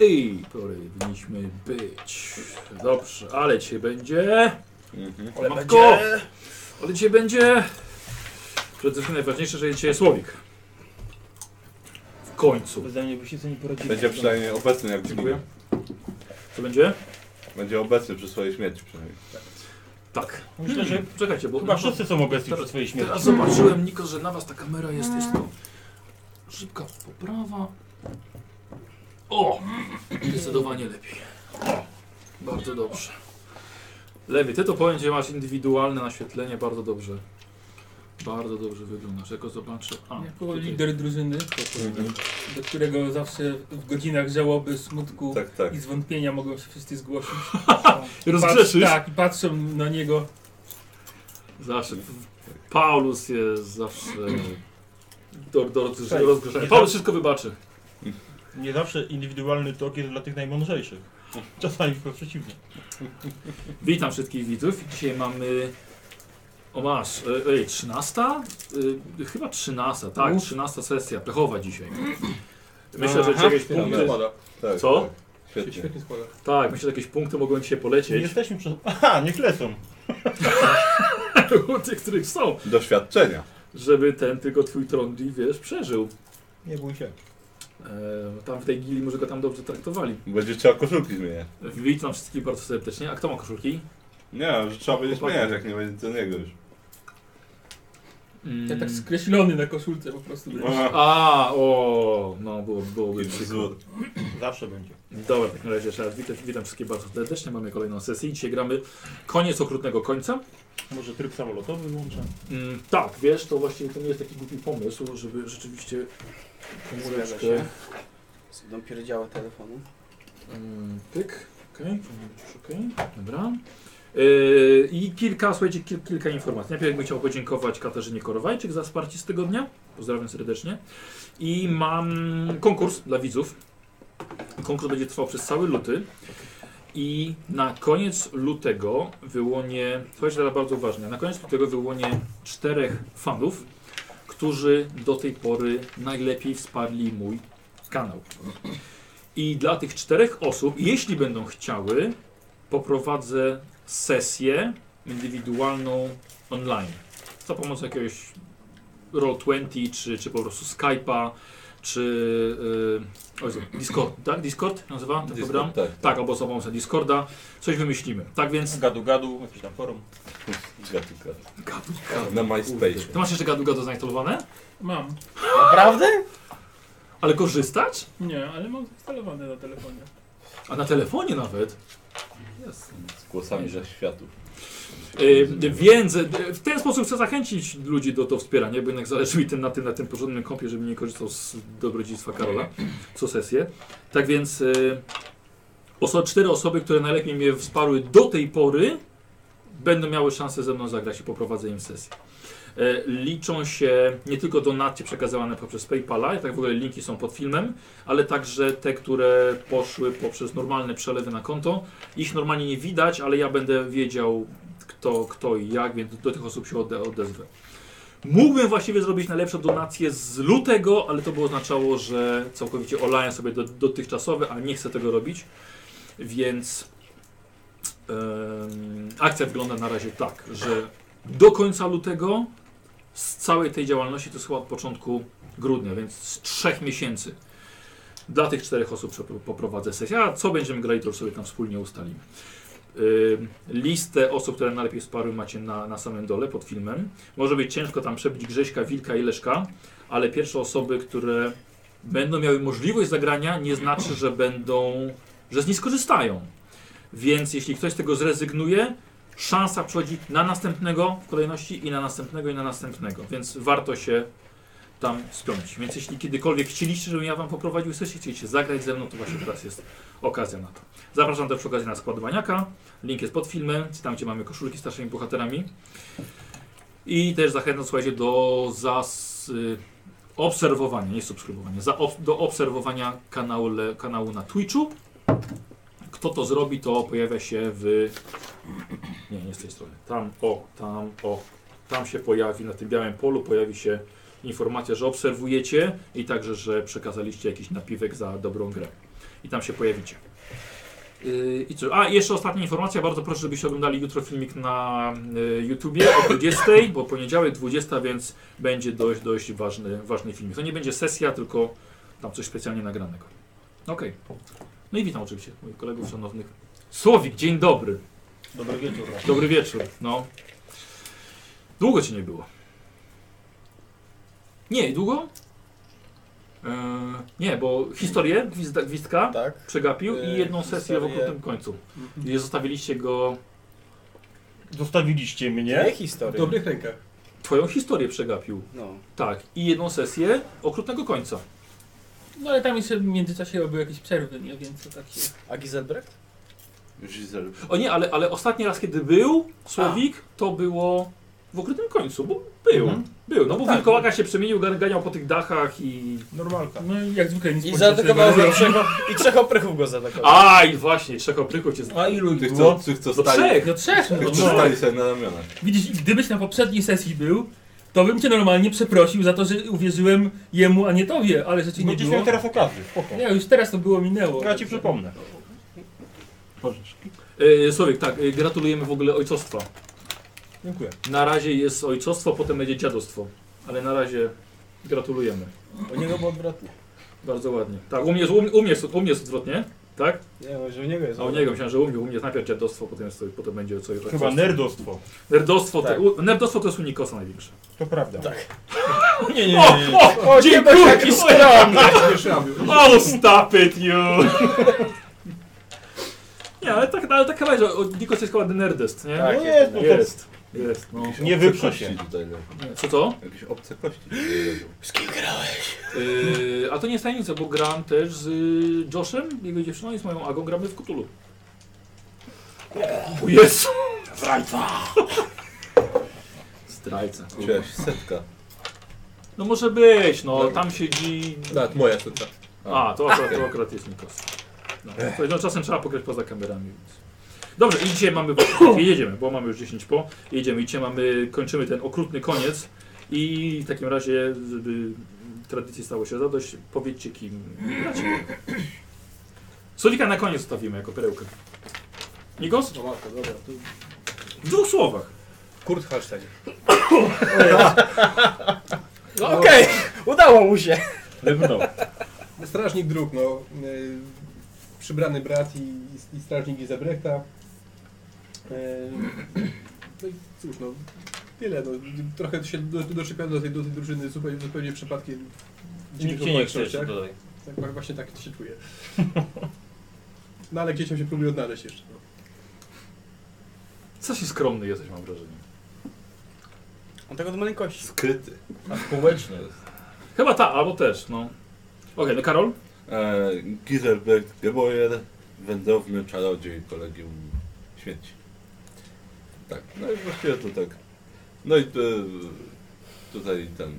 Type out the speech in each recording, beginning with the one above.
I powinniśmy być. Dobrze, ale cię będzie. Mhm. Ale Matko! będzie... Ale cię będzie. Przede wszystkim najważniejsze, że dzisiaj słowik. W końcu. Bez mnie byście sobie nie poradzili. Będzie przynajmniej obecny jak Dziękuję. Dziękuję. Co będzie? Będzie obecny przy swojej śmierci przynajmniej. Tak. Myślę, że Czekajcie, bo. chyba wszyscy są obecni przy Teraz- swojej śmierci. Teraz zobaczyłem, Niko, że na was ta kamera jest. Jest to szybka poprawa. O! Zdecydowanie lepiej. Bardzo dobrze. Lewy, ty to powiem, że masz indywidualne naświetlenie, bardzo dobrze. Bardzo dobrze wyglądasz. Jako zobaczę. A, Jako tutaj. lider drużyny, Mhm. do którego zawsze w godzinach żałoby, smutku Tak, tak. i zwątpienia mogą się wszyscy zgłosić. Rozgrzeszysz? Patrz- Tak, i patrzą na niego. Zawsze. Paulus jest zawsze. Do, do, do Cześć. rozgrzeszenia. Paulus wszystko wybaczy. Nie zawsze indywidualny tok jest dla tych najmądrzejszych. Czasami wprost przeciwnie. Witam wszystkich widzów. Dzisiaj mamy. O masz, e, ej, 13? E, Chyba 13, tak, Uf. 13 sesja, pechowa dzisiaj. Myślę, że Aha, jakieś wspieramy. punkty. Składa. Tak, Co? Tak. Świetnie. Świetnie składa. Tak, myślę, że jakieś punkty mogą ci się Nie polecieć. jesteśmy przez... Aha, niech lecą. U tych, no, których są, Doświadczenia. żeby ten tylko twój trondli, wiesz, przeżył. Nie bój się. E, tam w tej gili może go tam dobrze traktowali. Będzie trzeba koszulki zmieniać. Witam wszystkich bardzo serdecznie. A kto ma koszulki? Nie, że trzeba będzie Chłopaki. zmieniać, jak nie będzie do niego już. Ja Hmm. tak Mm. skreślony na koszulce po prostu. A, A, o, no było, byłoby jaki przykro. wzór. Zawsze będzie. Dobra, w takim razie jeszcze raz witam, witam wszystkich bardzo serdecznie. Mamy kolejną sesję. Dzisiaj gramy Koniec Okrutnego Końca. Może tryb samolotowy włączę. Mm, tak, wiesz, to właściwie to nie jest taki głupi pomysł, żeby rzeczywiście Zgadza komóreczkę... się. Będą pierdziały telefonu. Mm, pyk, okej, powinno być już okej, dobra. Yy, I kilka, słuchajcie, kil, kilka informacji. Najpierw bym chciał podziękować Katarzynie Korowajczyk za wsparcie z tego dnia. Pozdrawiam serdecznie. I mam konkurs dla widzów. Konkurs będzie trwał przez cały luty. I na koniec lutego wyłonię, słuchajcie teraz bardzo uważnie, na koniec lutego wyłonię czterech fanów, którzy do tej pory najlepiej wsparli mój kanał. I dla tych czterech osób, jeśli będą chciały, poprowadzę sesję indywidualną online. Za pomocą jakiegoś Roll20, czy, czy po prostu Skype'a, czy yy, o Jezu, Discord, tak? Discord nazywa ten program? Discord, tak. Tak, albo za pomocą Discorda. Coś wymyślimy. Tak więc... Gadu gadu, jakiś tam forum. Gadu, gadu. Gadu, Tak. Na No, Ty MySpace. masz jeszcze gadu gadu zainstalowane? Mam. Naprawdę? Ale korzystać? Nie, ale mam zainstalowane na telefonie. A na telefonie nawet? Jest. Z głosami ze światów. Yy, więc y, w ten sposób chcę zachęcić ludzi do to wspierania, bo jednak zależy mi tym na tym, na tym porządnym kompie, żeby nie korzystał z dobrodziejstwa Karola co sesję. Tak więc y, oso cztery osoby, które najlepiej mnie wsparły do tej pory, będą miały szansę ze mną zagrać i poprowadzę im sesję. E, Liczą się nie tylko donaty przekazywane poprzez PayPala, i tak w ogóle linki są pod filmem, ale także te, które poszły poprzez normalne przelewy na konto. Ich normalnie nie widać, ale ja będę wiedział kto, kto i jak, więc do tych osób się ode, odezwę. Mógłbym właściwie zrobić najlepszą donację z lutego, ale to by oznaczało, że całkowicie olałem sobie do, dotychczasowe, a nie chcę tego robić, więc em, akcja wygląda na razie tak, że do końca lutego z całej tej działalności, to jest chyba od początku grudnia, więc z trzech miesięcy dla tych czterech osób przepro- poprowadzę sesję, a co będziemy grali, to już sobie tam wspólnie ustalimy. Y, Listę osób, które najlepiej sparły macie na, na samym dole pod filmem. Może być ciężko tam przebić Grześka, Wilka i Leszka, ale pierwsze osoby, które będą miały możliwość zagrania, nie znaczy, że będą, że z niej skorzystają. Więc jeśli ktoś z tego zrezygnuje, szansa przechodzi na następnego w kolejności i na następnego i na następnego, więc warto się tam spiąć. Więc jeśli kiedykolwiek chcieliście, żebym ja wam poprowadził sesję, chcieliście zagrać ze mną, to właśnie teraz jest okazja na to. Zapraszam też przy okazji na skład Baniaka. Link jest pod filmem, tam gdzie mamy koszulki z starszymi bohaterami. I też zachęcam, słuchajcie, do zas, y, obserwowania, nie subskrybowania, za, ob, do obserwowania kanału, le, kanału na Twitchu. Kto to zrobi, to pojawia się w... Nie, nie z tej strony. Tam, o, tam, o. Tam się pojawi, na tym białym polu pojawi się informacja, że obserwujecie i także, że przekazaliście jakiś napiwek za dobrą grę. i tam się pojawicie. Yy, I co? A, jeszcze ostatnia informacja. Bardzo proszę, żebyście oglądali jutro filmik na y, YouTubie o 20, bo poniedziałek 20, więc będzie dość, dość ważny, ważny filmik. To nie będzie sesja, tylko tam coś specjalnie nagranego. Okej. No i witam oczywiście moich kolegów szanownych. Słowik, dzień dobry. Dobry wieczór. Dobry wieczór. No. Długo cię nie było. Nie, długo? Eee, nie, bo historię gwizda, gwizdka Tak. przegapił i Eee, jedną sesję w historię- okrutnym końcu. I zostawiliście go, Zostawiliście Nie mnie. W historia. dobrych rękach. twoją historię przegapił. No. Tak, i jedną sesję okrutnego końca. No ale tam jeszcze w międzyczasie były jakieś przerwy, nie? Więc to tak się... A Giselbrecht? Już Giselle. O nie, ale, ale ostatni raz, kiedy był Słowik, to było w okrutnym końcu, bo był. Mhm. Był, no bo tak. wilkołaka się przemienił, gan- ganiał po tych dachach i Normalka. No i jak zwykle nic I politycznego zaatakował nie go robią. trzech, i trzech oprychów go zaatakował. Aj, właśnie, trzech opryków cię A ilu ich Tych było? co, tych, co Do stali, trzech! No trzech, no, tych, co no. stali sobie na ramionach. Widzisz, i gdybyś na poprzedniej sesji był, to bym cię normalnie przeprosił za to, że uwierzyłem jemu, a nie tobie, ale rzeczy nie Będziesz było. miał teraz okazję, spoko. Nie, już teraz to było minęło. Ja ci przypomnę. Pożyczki. E, Słowik, tak, e, gratulujemy w ogóle ojcostwa. Dziękuję. Na razie jest ojcostwo, potem będzie dziadostwo. Ale na razie gratulujemy. U niego było odwrotnie. Bardzo ładnie. Tak, u mnie, jest- u, mnie- u, mnie, jest- u mnie jest odwrotnie, tak? Nie, może u niego jest. A u niego myślałem, że u mnie, u mnie jest najpierw dziadostwo, potem, jest, potem będzie co Chyba nerdostwo. Nerdostwo, Tak. to, u, nerdostwo to jest u Nikosa największe. To prawda. Tak. Nie, nie, nie. nie. O, O, nie bądź taki skromny! Oh, stop it, you! nie, ale tak, ale tak chyba, że o, Nikos jest chyba nerdest, nie? Tak, No jest, no to Jest, jest, no. Jakieś Nie obce wyprze kości się. Tutaj leżą. Co to? Jakieś obce kości tutaj leżą. Z kim grałeś? Yy, a to nie jest tajemnica, bo gram też z y, Joshem, jego dziewczyną i z moją Agą gramy w Kutulu. O Jezu! Zdrajca! Zdrajca. Cześć, setka. No może być, no tam siedzi... Tak, moja sutra. A, to akurat, to akurat jest Nikos. No, to, no, czasem trzeba pograć poza kamerami, więc... Dobrze, i dzisiaj mamy... Jedziemy, bo mamy już 10 po. Jedziemy i dzisiaj mamy... Kończymy ten okrutny koniec. I w takim razie, żeby tradycji stało się zadość, powiedzcie kim gracie. Solika na koniec stawimy jako perełkę. Nikos? No matko, dobra. Tu... W dwóch słowach. Kurt Hallstein. No okej, udało mu się. Lewnął. Strażnik dróg, no. y, przybrany brat i, i- i strażnik Gizebrechta. Yy, no i cóż, no. Tyle, no. Trochę się do, doczepiam do tej, do tej drużyny zupełnie, zupełnie przypadkiem. w dziwnych Nikt cię nie chce okolicznościach. jeszcze dodaj. Tak, wa- właśnie tak się czuję. No ale gdzieś tam się próbuję odnaleźć jeszcze. No. Co się skromny jesteś, mam wrażenie. On tak od maleńkości. Skryty. A społeczny. Chyba ta, albo też, no. Okej, no Karol? E, Giselbert Geboyer, wędrowny czarodziej kolegium śmierci. Tak, no i właściwie to tak. No i e, tutaj ten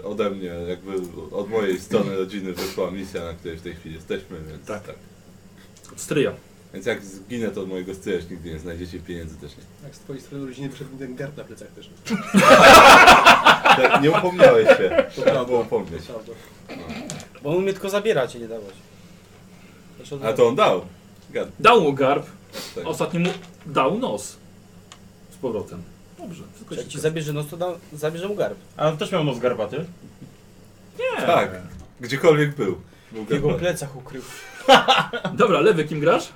e, ode mnie, jakby od mojej strony rodziny wyszła misja, na której w tej chwili jesteśmy, więc Tak. tak. tak. Od Stryja. Więc jak zginę, to od mojego stryja już nigdy nie znajdziecie pieniędzy też nie. Jak z twojej strony rodziny wyszedł ten gard na plecach też. Tak, nie upomniałeś się. To Trzeba prawda. było upomnieć. Prawda. Bo on mnie tylko zabiera, cię nie dawać. Zresztą A to on dał. Gad, Dał mu garb, tak. Ostatnio mu dał nos. Z powrotem. Dobrze, wszystko się Jak ci zgadza. zabierze nos, to da, zabierze mu garb. A on też miał nos garbaty. Nie. Tak, gdziekolwiek był. był W jego Geboyer. plecach ukrył. Dobra, lewy kim grasz?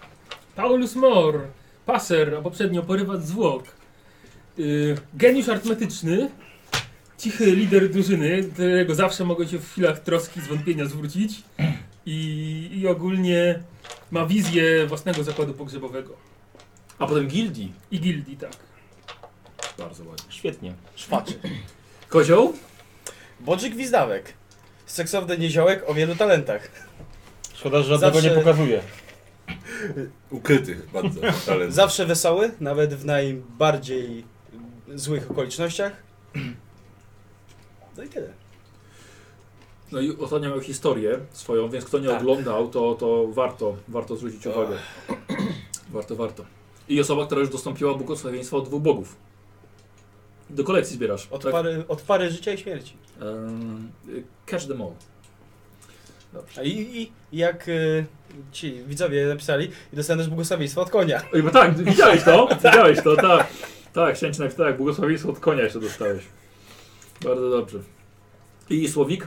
Paulus Mor, paser, a poprzednio porywacz zwłok. Yy, geniusz arytmetyczny, cichy lider drużyny, do którego zawsze mogę się w chwilach troski, zwątpienia zwrócić. I, I ogólnie ma wizję własnego zakładu pogrzebowego. A potem gildii. I gildii, tak. Bardzo ładnie. Świetnie. Szwaczy. Kozioł? Bodzik Gwizdawek. Seksowny nieziołek o wielu talentach. Szkoda, że żadnego Zawsze- nie pokazuje. Ukrytych bardzo talentów. Zawsze wesoły, nawet w najbardziej złych okolicznościach. No i tyle. No i ostatnio miał historię swoją, więc kto nie Tak. oglądał, to, to warto, warto zwrócić Ach. uwagę. Warto, warto. I osoba, która już dostąpiła błogosławieństwa od dwóch bogów. Do kolekcji zbierasz. Od, tak? pary, od pary życia i śmierci. Ehm, Catch them all. A i, i jak y, ci widzowie napisali, i dostaniesz błogosławieństwo od konia. Oj, bo tak, widziałeś to? Widziałeś to, tak. Tak, chciałem ci napisać, tak, błogosławieństwo od konia jeszcze dostałeś. Bardzo dobrze. I Słowik?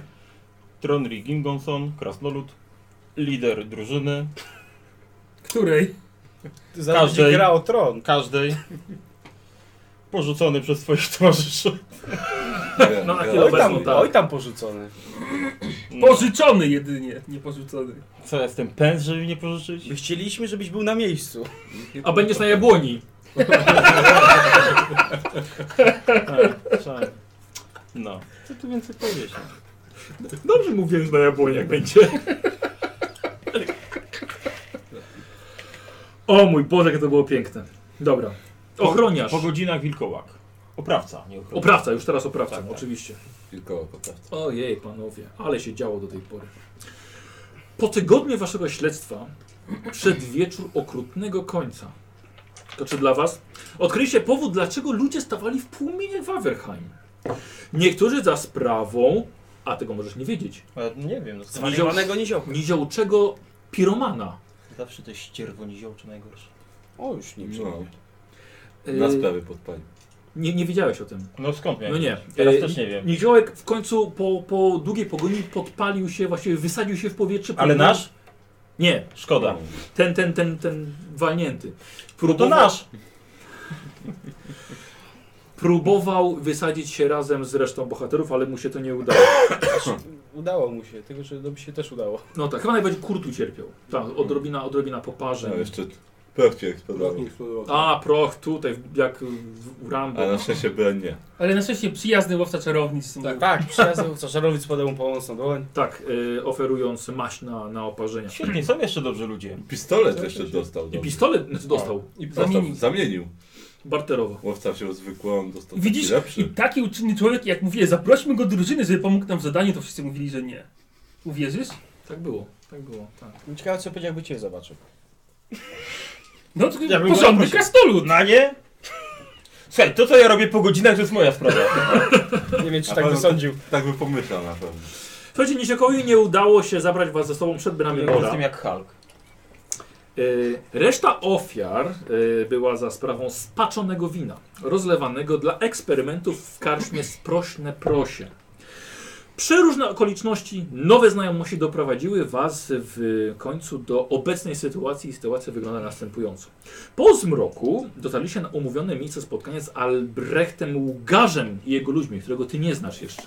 Tronri Gingonson, krasnolud, lider drużyny, Której? Zaraz Każdej. gra o tron. każdej, porzucony przez swoich towarzyszy. Nie, No, na nie. chwilę Oj obecną, tam, tak. oj tam porzucony. Mm. Pożyczony jedynie, nie porzucony. Co, jestem pęd, żeby mi nie pożyczyć? My chcieliśmy, żebyś był na miejscu. A będziesz na jabłoni. Szalenie. Tak, No. Co tu więcej powiedzieć? Dobrze mówiłem, że na jabłoni jak będzie. O mój Boże, jakie to było piękne. Dobra. Ochroniarz. Po godzinach wilkołak. Oprawca, nie ochroniarz. Oprawca, już teraz oprawca, Tak, tak. oczywiście. Tylko oko, prawda. Ojej, panowie, ale się działo do tej pory. Po tygodniu waszego śledztwa, przedwieczór okrutnego końca. To czy dla was? Odkryliście powód, dlaczego ludzie stawali w płomieniach Waverheim. Niektórzy za sprawą, a tego możesz nie wiedzieć, Ale nie wiem, no to Nizioł- Zwariowanego niziołka. niziołczego piromana. zawsze to ścierwo niziołcze najgorsze. O, już nie No, przyjmuję. Yy, na sprawy podpali. nie, nie wiedziałeś o tym. No skąd miałem? No nie. wiedzieć? Teraz Yy, też nie wiem. Niziołek w końcu po, po długiej pogoni podpalił się, właściwie wysadził się w powietrze. Ale nasz? Nie, Szkoda. ten, ten, ten, ten walnięty. No to nasz! Próbował wysadzić się razem z resztą bohaterów, ale mu się to nie udało. Udało mu się, tylko że to by się też udało. No. No tak, chyba najbardziej kurt ucierpiał. Tak, odrobina, odrobina poparzeń. No, jeszcze proch cię eksplodował. Rotnik eksplodował. A, proch tutaj, jak w- u Rambo. A na szczęście broń nie. Ale na szczęście przyjazny łowca czarownic. Tak, tak przyjazny co żarowic podał mu pomocną dłoń. Tak, y, oferując maść na, na oparzenia. Świetnie, są jeszcze dobrzy ludzie. Pistolet jeszcze dostał. I dobry. pistolet No. znaczy, dostał, I Dostał- zamienił. Zamienił. barterowo. Łowca wziął zwykły, on dostał taki Widzisz, i lepszy. taki uczynny człowiek, jak mówię, zaprośmy go do drużyny, żeby pomógł nam w zadaniu, to wszyscy mówili, że nie. Uwierzysz? Tak było, tak było, tak. Ciekawe co powiedział, jakby cię zobaczył. No to Ja bym go porządny zaprosił. krasnolud. Na nie? Słuchaj, to co ja robię po godzinach to jest moja sprawa. Nie wiem, czy A tak pan- wysądził. Tak by pomyślał na pewno. Słuchajcie, Niziokowi nie udało się zabrać was ze sobą przed bramie Bora. Jestem jak Hulk. Y, Reszta ofiar y, była za sprawą spaczonego wina, rozlewanego dla eksperymentów w karczmie Sprośne Prosie. Przeróżne okoliczności, nowe znajomości doprowadziły Was w końcu do obecnej sytuacji i sytuacja wygląda następująco. Po zmroku dotarliście na umówione miejsce spotkania z Albrechtem Łgarzem i jego ludźmi, którego Ty nie znasz jeszcze.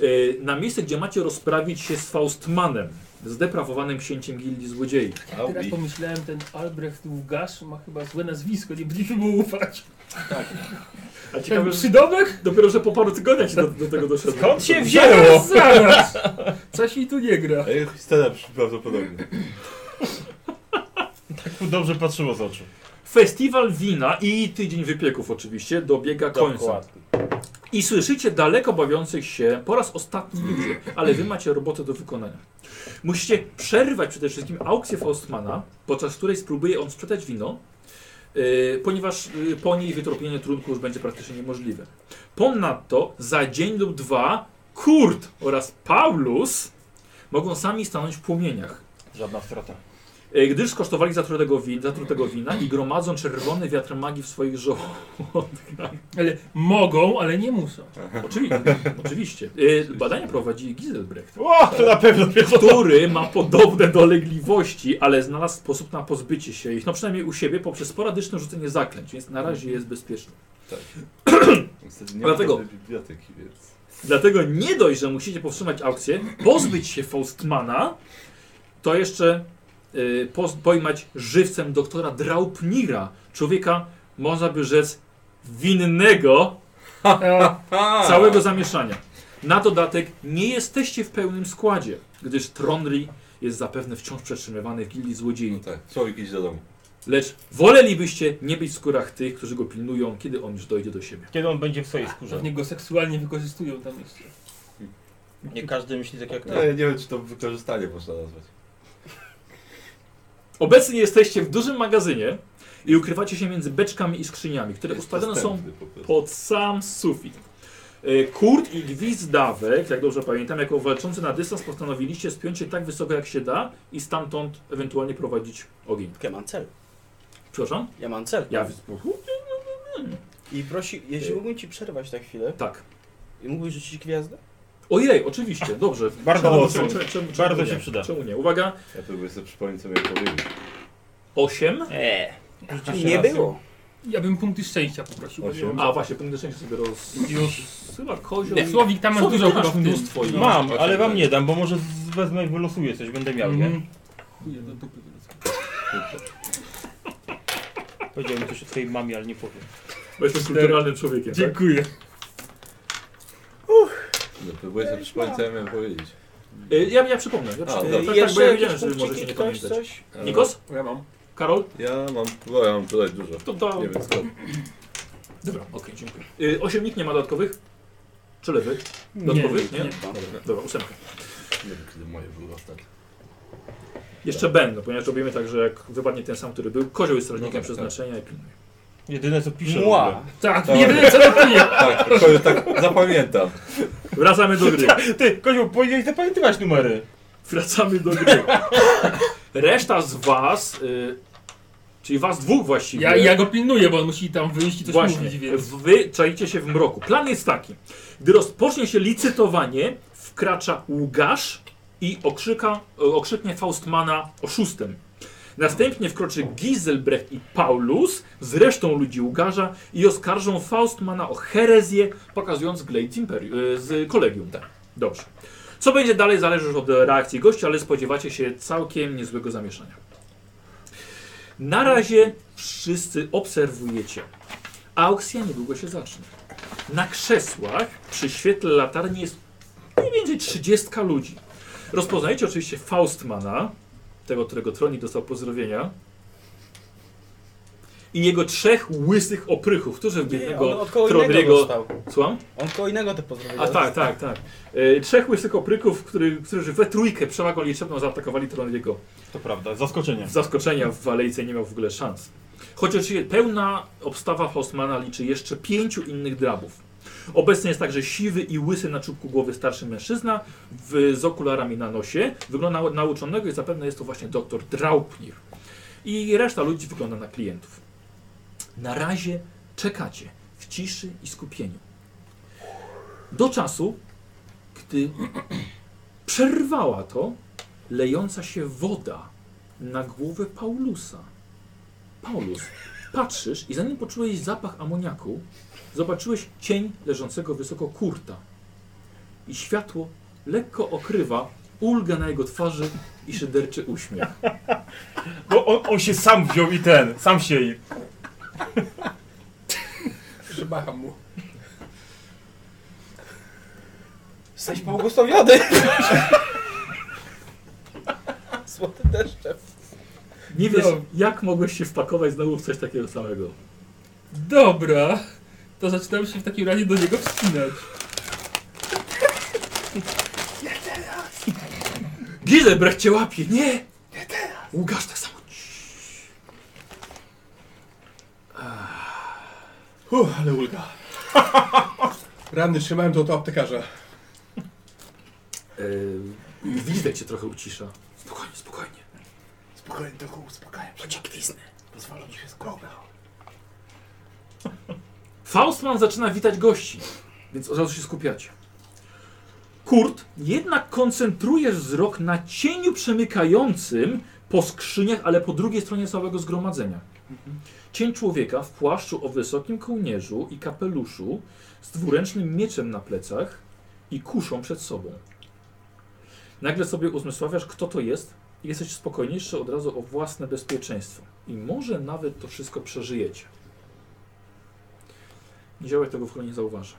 Y, Na miejsce, gdzie macie rozprawić się z Faustmanem, zdeprawowanym księciem gildii złodziei. Teraz Aubi. pomyślałem, ten Albrecht Ługasz ma chyba złe nazwisko, nie będziemy mu ufać. A Ten ciekawe, że przydomek? dopiero że po paru tygodniach się do, do tego doszedłem. Skąd się Zaraz, wzięło? zaraz! Coś mi tu nie gra. A jego historia przy- prawdopodobnie. Tak dobrze patrzyło z oczu. Festiwal wina i tydzień wypieków oczywiście dobiega końca. I słyszycie daleko bawiących się po raz ostatni ludzi, ale wy macie robotę do wykonania. Musicie przerwać przede wszystkim aukcję Faustmana, podczas której spróbuje on sprzedać wino, yy, ponieważ yy, po niej wytropienie trunku już będzie praktycznie niemożliwe. Ponadto za dzień lub dwa Kurt oraz Paulus mogą sami stanąć w płomieniach. Żadna strata. E, gdyż skosztowali zatrutego, wi zatrutego wina i gromadzą czerwony wiatr magii w swoich żołądkach. Ale mogą, ale nie muszą. Oczywiście. oczywiście. E, Badania prowadzi Giselbrecht, O, to na pewno wiesz. który ma podobne dolegliwości, ale znalazł sposób na pozbycie się ich, no przynajmniej u siebie, poprzez sporadyczne rzucenie zaklęć, więc na razie jest bezpieczny. Niestety nie Dlatego- ma żadnej biblioteki, więc... Dlatego nie dość, że musicie powstrzymać aukcję, pozbyć się Faustmana, to jeszcze y, poz- pojmać żywcem doktora Draupnira, człowieka, można by rzec, winnego A, całego zamieszania. Na dodatek nie jesteście w pełnym składzie, gdyż Tronri jest zapewne wciąż przetrzymywany w gildii No złodziei. tak, człowiek idzie do domu. Lecz wolelibyście nie być w skórach tych, którzy go pilnują, kiedy on już dojdzie do siebie. Kiedy on będzie w swojej skórze? pewnie go seksualnie wykorzystują tam jeszcze. Nie każdy myśli tak jak No, ty. ja nie wiem, czy to wykorzystanie można nazwać. Obecnie jesteście w dużym magazynie i ukrywacie się między beczkami i skrzyniami, które Jest ustawione są dostępny po prostu. pod sam sufit. E, Kurt i Gwizdawek, jak dobrze pamiętam, jako walczący na dystans postanowiliście spiąć się tak wysoko jak się da i stamtąd ewentualnie prowadzić ogień. Ja mam cel. Przepraszam? Ja mam cel. Ja... I prosi, jeśli mógłbym ci przerwać na chwilę, Tak. mógłbyś rzucić gwiazdę? Ojej, oczywiście, dobrze. Bardzo Czemu- mocno. czemu- czemu- czemu Bardzo nie? się przyda. Czemu nie? Uwaga, Ja próbuję sobie przypomnieć, co miałem powiedzieć. 8. Eee. Rzucić Nie raz. było. Ja bym punkty szczęścia poprosił. Osiem. A właśnie, będę szczęście sobie roz... Już. Chyba kozioł. Nie. Słowik, tam masz Słowik, dużo ty chyba masz w tym. mnóstwo i- Mam, Osiem, ale wam tak. nie dam, bo może z- wezmę i wylosuję coś, będę miał, nie? Mhm. Chuje, do dupy wylazłem. Powiedziałem coś o twojej mamie, ale nie powiem. Bo jestem kulturalnym człowiekiem, tak? Dziękuję. No, próbuję sobie przypomnieć, co ja miałem powiedzieć. Y, Ja, ja przypomnę. Ja A, przypomnę. dobra. tak, Eee, tak, bo jeszcze ja jakieś wiedziałem, że wy możecie punkciki, nie ktoś, pamiętać. coś? Ale Nikos? Ja mam. Karol? Ja mam, bo ja mam tutaj dużo. To, to... Nie wiem skąd. Dobra, okej, dziękuję. Y, osiem nikt nie ma dodatkowych? Czy lewy? Dodatkowych? Nie? nie. Dobra, dobra, ósemka. Nie wiem, kiedy moje były ostatnie. Jeszcze będą, ponieważ robimy tak, że jak wypadnie ten sam, który był, kozioł jest strażnikiem No tak, przeznaczenia i pilnuje. Jedyne co piszę. Mła. Tak, Dobra. jedyne co robię. Tak, to tak zapamiętam. Wracamy do gry. Ty, Kozioł, powinieneś zapamiętywać numery. Wracamy do gry. Reszta z was, y, czyli was dwóch właściwie, Ja, ja go pilnuję, bo on musi tam wyjść i coś Właśnie, mówić, więc... wy czaicie się w mroku. Plan jest taki. Gdy rozpocznie się licytowanie, wkracza Łukasz i okrzyka, e, okrzyknie Faustmana oszustem. Następnie wkroczy Giselbrecht i Paulus z resztą ludzi Łgarza i oskarżą Faustmana o herezję, pokazując Glade Imperium, y, z kolegium. Dobrze. Co będzie dalej, zależy już od reakcji gości, ale spodziewacie się całkiem niezłego zamieszania. Na razie wszyscy obserwujecie. Aukcja niedługo się zacznie. Na krzesłach przy świetle latarni jest mniej więcej 30 ludzi. Rozpoznajecie oczywiście Faustmana, tego, którego troni dostał pozdrowienia. I jego trzech łysych oprychów, którzy w Nie, on jednego od kogo innego Trondriego... dostał. Słucham? On koło innego te pozdrowienia. A tak, tak, tak. E, trzech łysych opryków, który, którzy we trójkę przewagą liczebną zaatakowali Troniego. To prawda, zaskoczenie. Zaskoczenia w Walejce nie miał w ogóle szans. Chociaż je- pełna obstawa Hausmana liczy jeszcze pięciu innych drabów. Obecny jest także siwy i łysy na czubku głowy starszy mężczyzna w, z okularami na nosie. Wygląda na nauczonego i zapewne jest to właśnie doktor Draupnir. I reszta ludzi wygląda na klientów. Na razie czekacie w ciszy i skupieniu. Do czasu, gdy przerwała to lejąca się woda na głowę Paulusa. Paulus, patrzysz i zanim poczułeś zapach amoniaku, zobaczyłeś cień leżącego wysoko kurta. I światło lekko okrywa ulgę na jego twarzy i szyderczy uśmiech. Bo on, on się sam wziął i ten, sam się i... Przybacham mu. Jesteś błogosławiony. Złoty deszcze. Nie wiesz, No. jak mogłeś się wpakować znowu w coś takiego samego. Dobra, to zaczynam się w takim razie do niego wspinać. Gizelbrecht cię łapie, nie! Nie teraz! Łukasz tak samo. Uff, ale ulga. Ranny trzymałem to od aptekarza. Yy, Gwizdek cię trochę ucisza. Spokojnie, spokojnie. Spokojnie, trochę uspokajam. Chodź, gwiznę. Pozwalam ci się skończyć. Faustman zaczyna witać gości, więc od razu się skupiacie. Kurt jednak koncentruje wzrok na cieniu przemykającym po skrzyniach, ale po drugiej stronie całego zgromadzenia. Cień człowieka w płaszczu o wysokim kołnierzu i kapeluszu z dwuręcznym mieczem na plecach i kuszą przed sobą. Nagle sobie uzmysławiasz, kto to jest i jesteś spokojniejszy od razu o własne bezpieczeństwo. I może nawet to wszystko przeżyjecie. Niziołek tego w ogóle nie zauważa.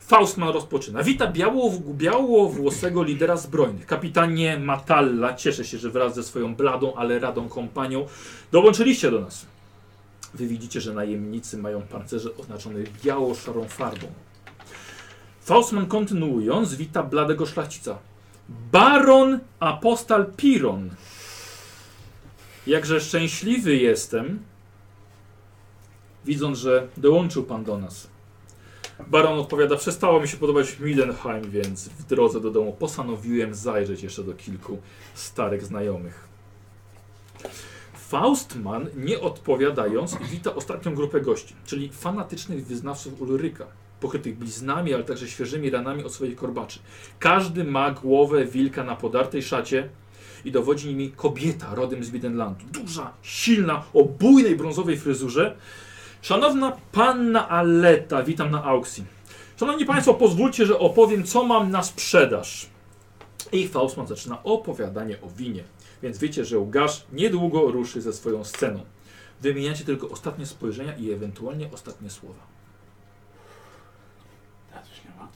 Faustman rozpoczyna. Wita białow- białowłosego lidera zbrojnych. Kapitanie Matalla, cieszę się, że wraz ze swoją bladą, ale radą kompanią dołączyliście do nas. Wy widzicie, że najemnicy mają pancerze oznaczone biało-szarą farbą. Faustman kontynuując, wita bladego szlachcica. Baron apostal Piron. Jakże szczęśliwy jestem, widząc, że dołączył pan do nas. Baron odpowiada, przestało mi się podobać Millenheim, więc w drodze do domu postanowiłem zajrzeć jeszcze do kilku starych znajomych. Faustman, nie odpowiadając, wita ostatnią grupę gości, czyli fanatycznych wyznawców Ulryka, pokrytych bliznami, ale także świeżymi ranami od swoich korbaczy. Każdy ma głowę wilka na podartej szacie i dowodzi nimi kobieta rodem z Bidenlandu. Duża, silna, o bujnej brązowej fryzurze. Szanowna panna Aleta, witam na aukcji. Szanowni Państwo, pozwólcie, że opowiem, co mam na sprzedaż. I Faustman zaczyna opowiadanie o winie, więc wiecie, że Łgasz niedługo ruszy ze swoją sceną. Wymieniacie tylko ostatnie spojrzenia i ewentualnie ostatnie słowa. Teraz już nie ma.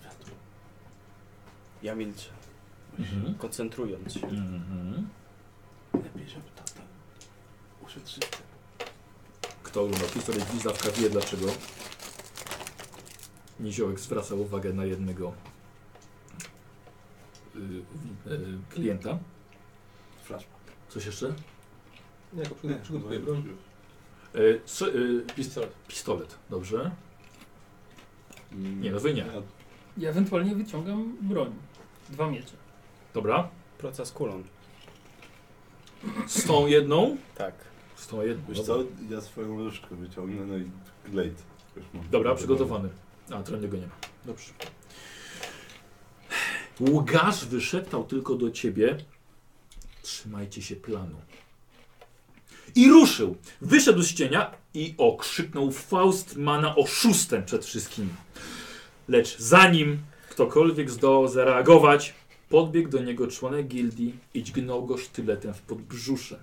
Ja milczę, Mhm. koncentrując się. Lepiej, żeby tata uszedł szybko. Kto oglądał historię Gwizdawka wie dlaczego Niziołek zwraca uwagę na jednego y, y, klienta. Flashback. Coś jeszcze? Nie, no jako przygotuję, przygotuję broń. Y, co, y, Pistolet. pistolet, dobrze? Nie, no wy nie. Ja ewentualnie wyciągam broń. Dwa miecze. Dobra. Proca z kulą. Z tą jedną? Tak. Z tą jedną. Wiesz Dobra, co, ja swoją różdżkę wyciągnę, no i glejt. Już mam. dobra przygotowany. A, trendy go nie ma. Dobrze. Łukasz wyszeptał tylko do ciebie. Trzymajcie się planu. I ruszył. Wyszedł z cienia i okrzyknął Faustmana oszustem przed wszystkimi. Lecz zanim ktokolwiek zdołał zareagować, podbiegł do niego członek gildii i dźgnął go sztyletem w podbrzusze.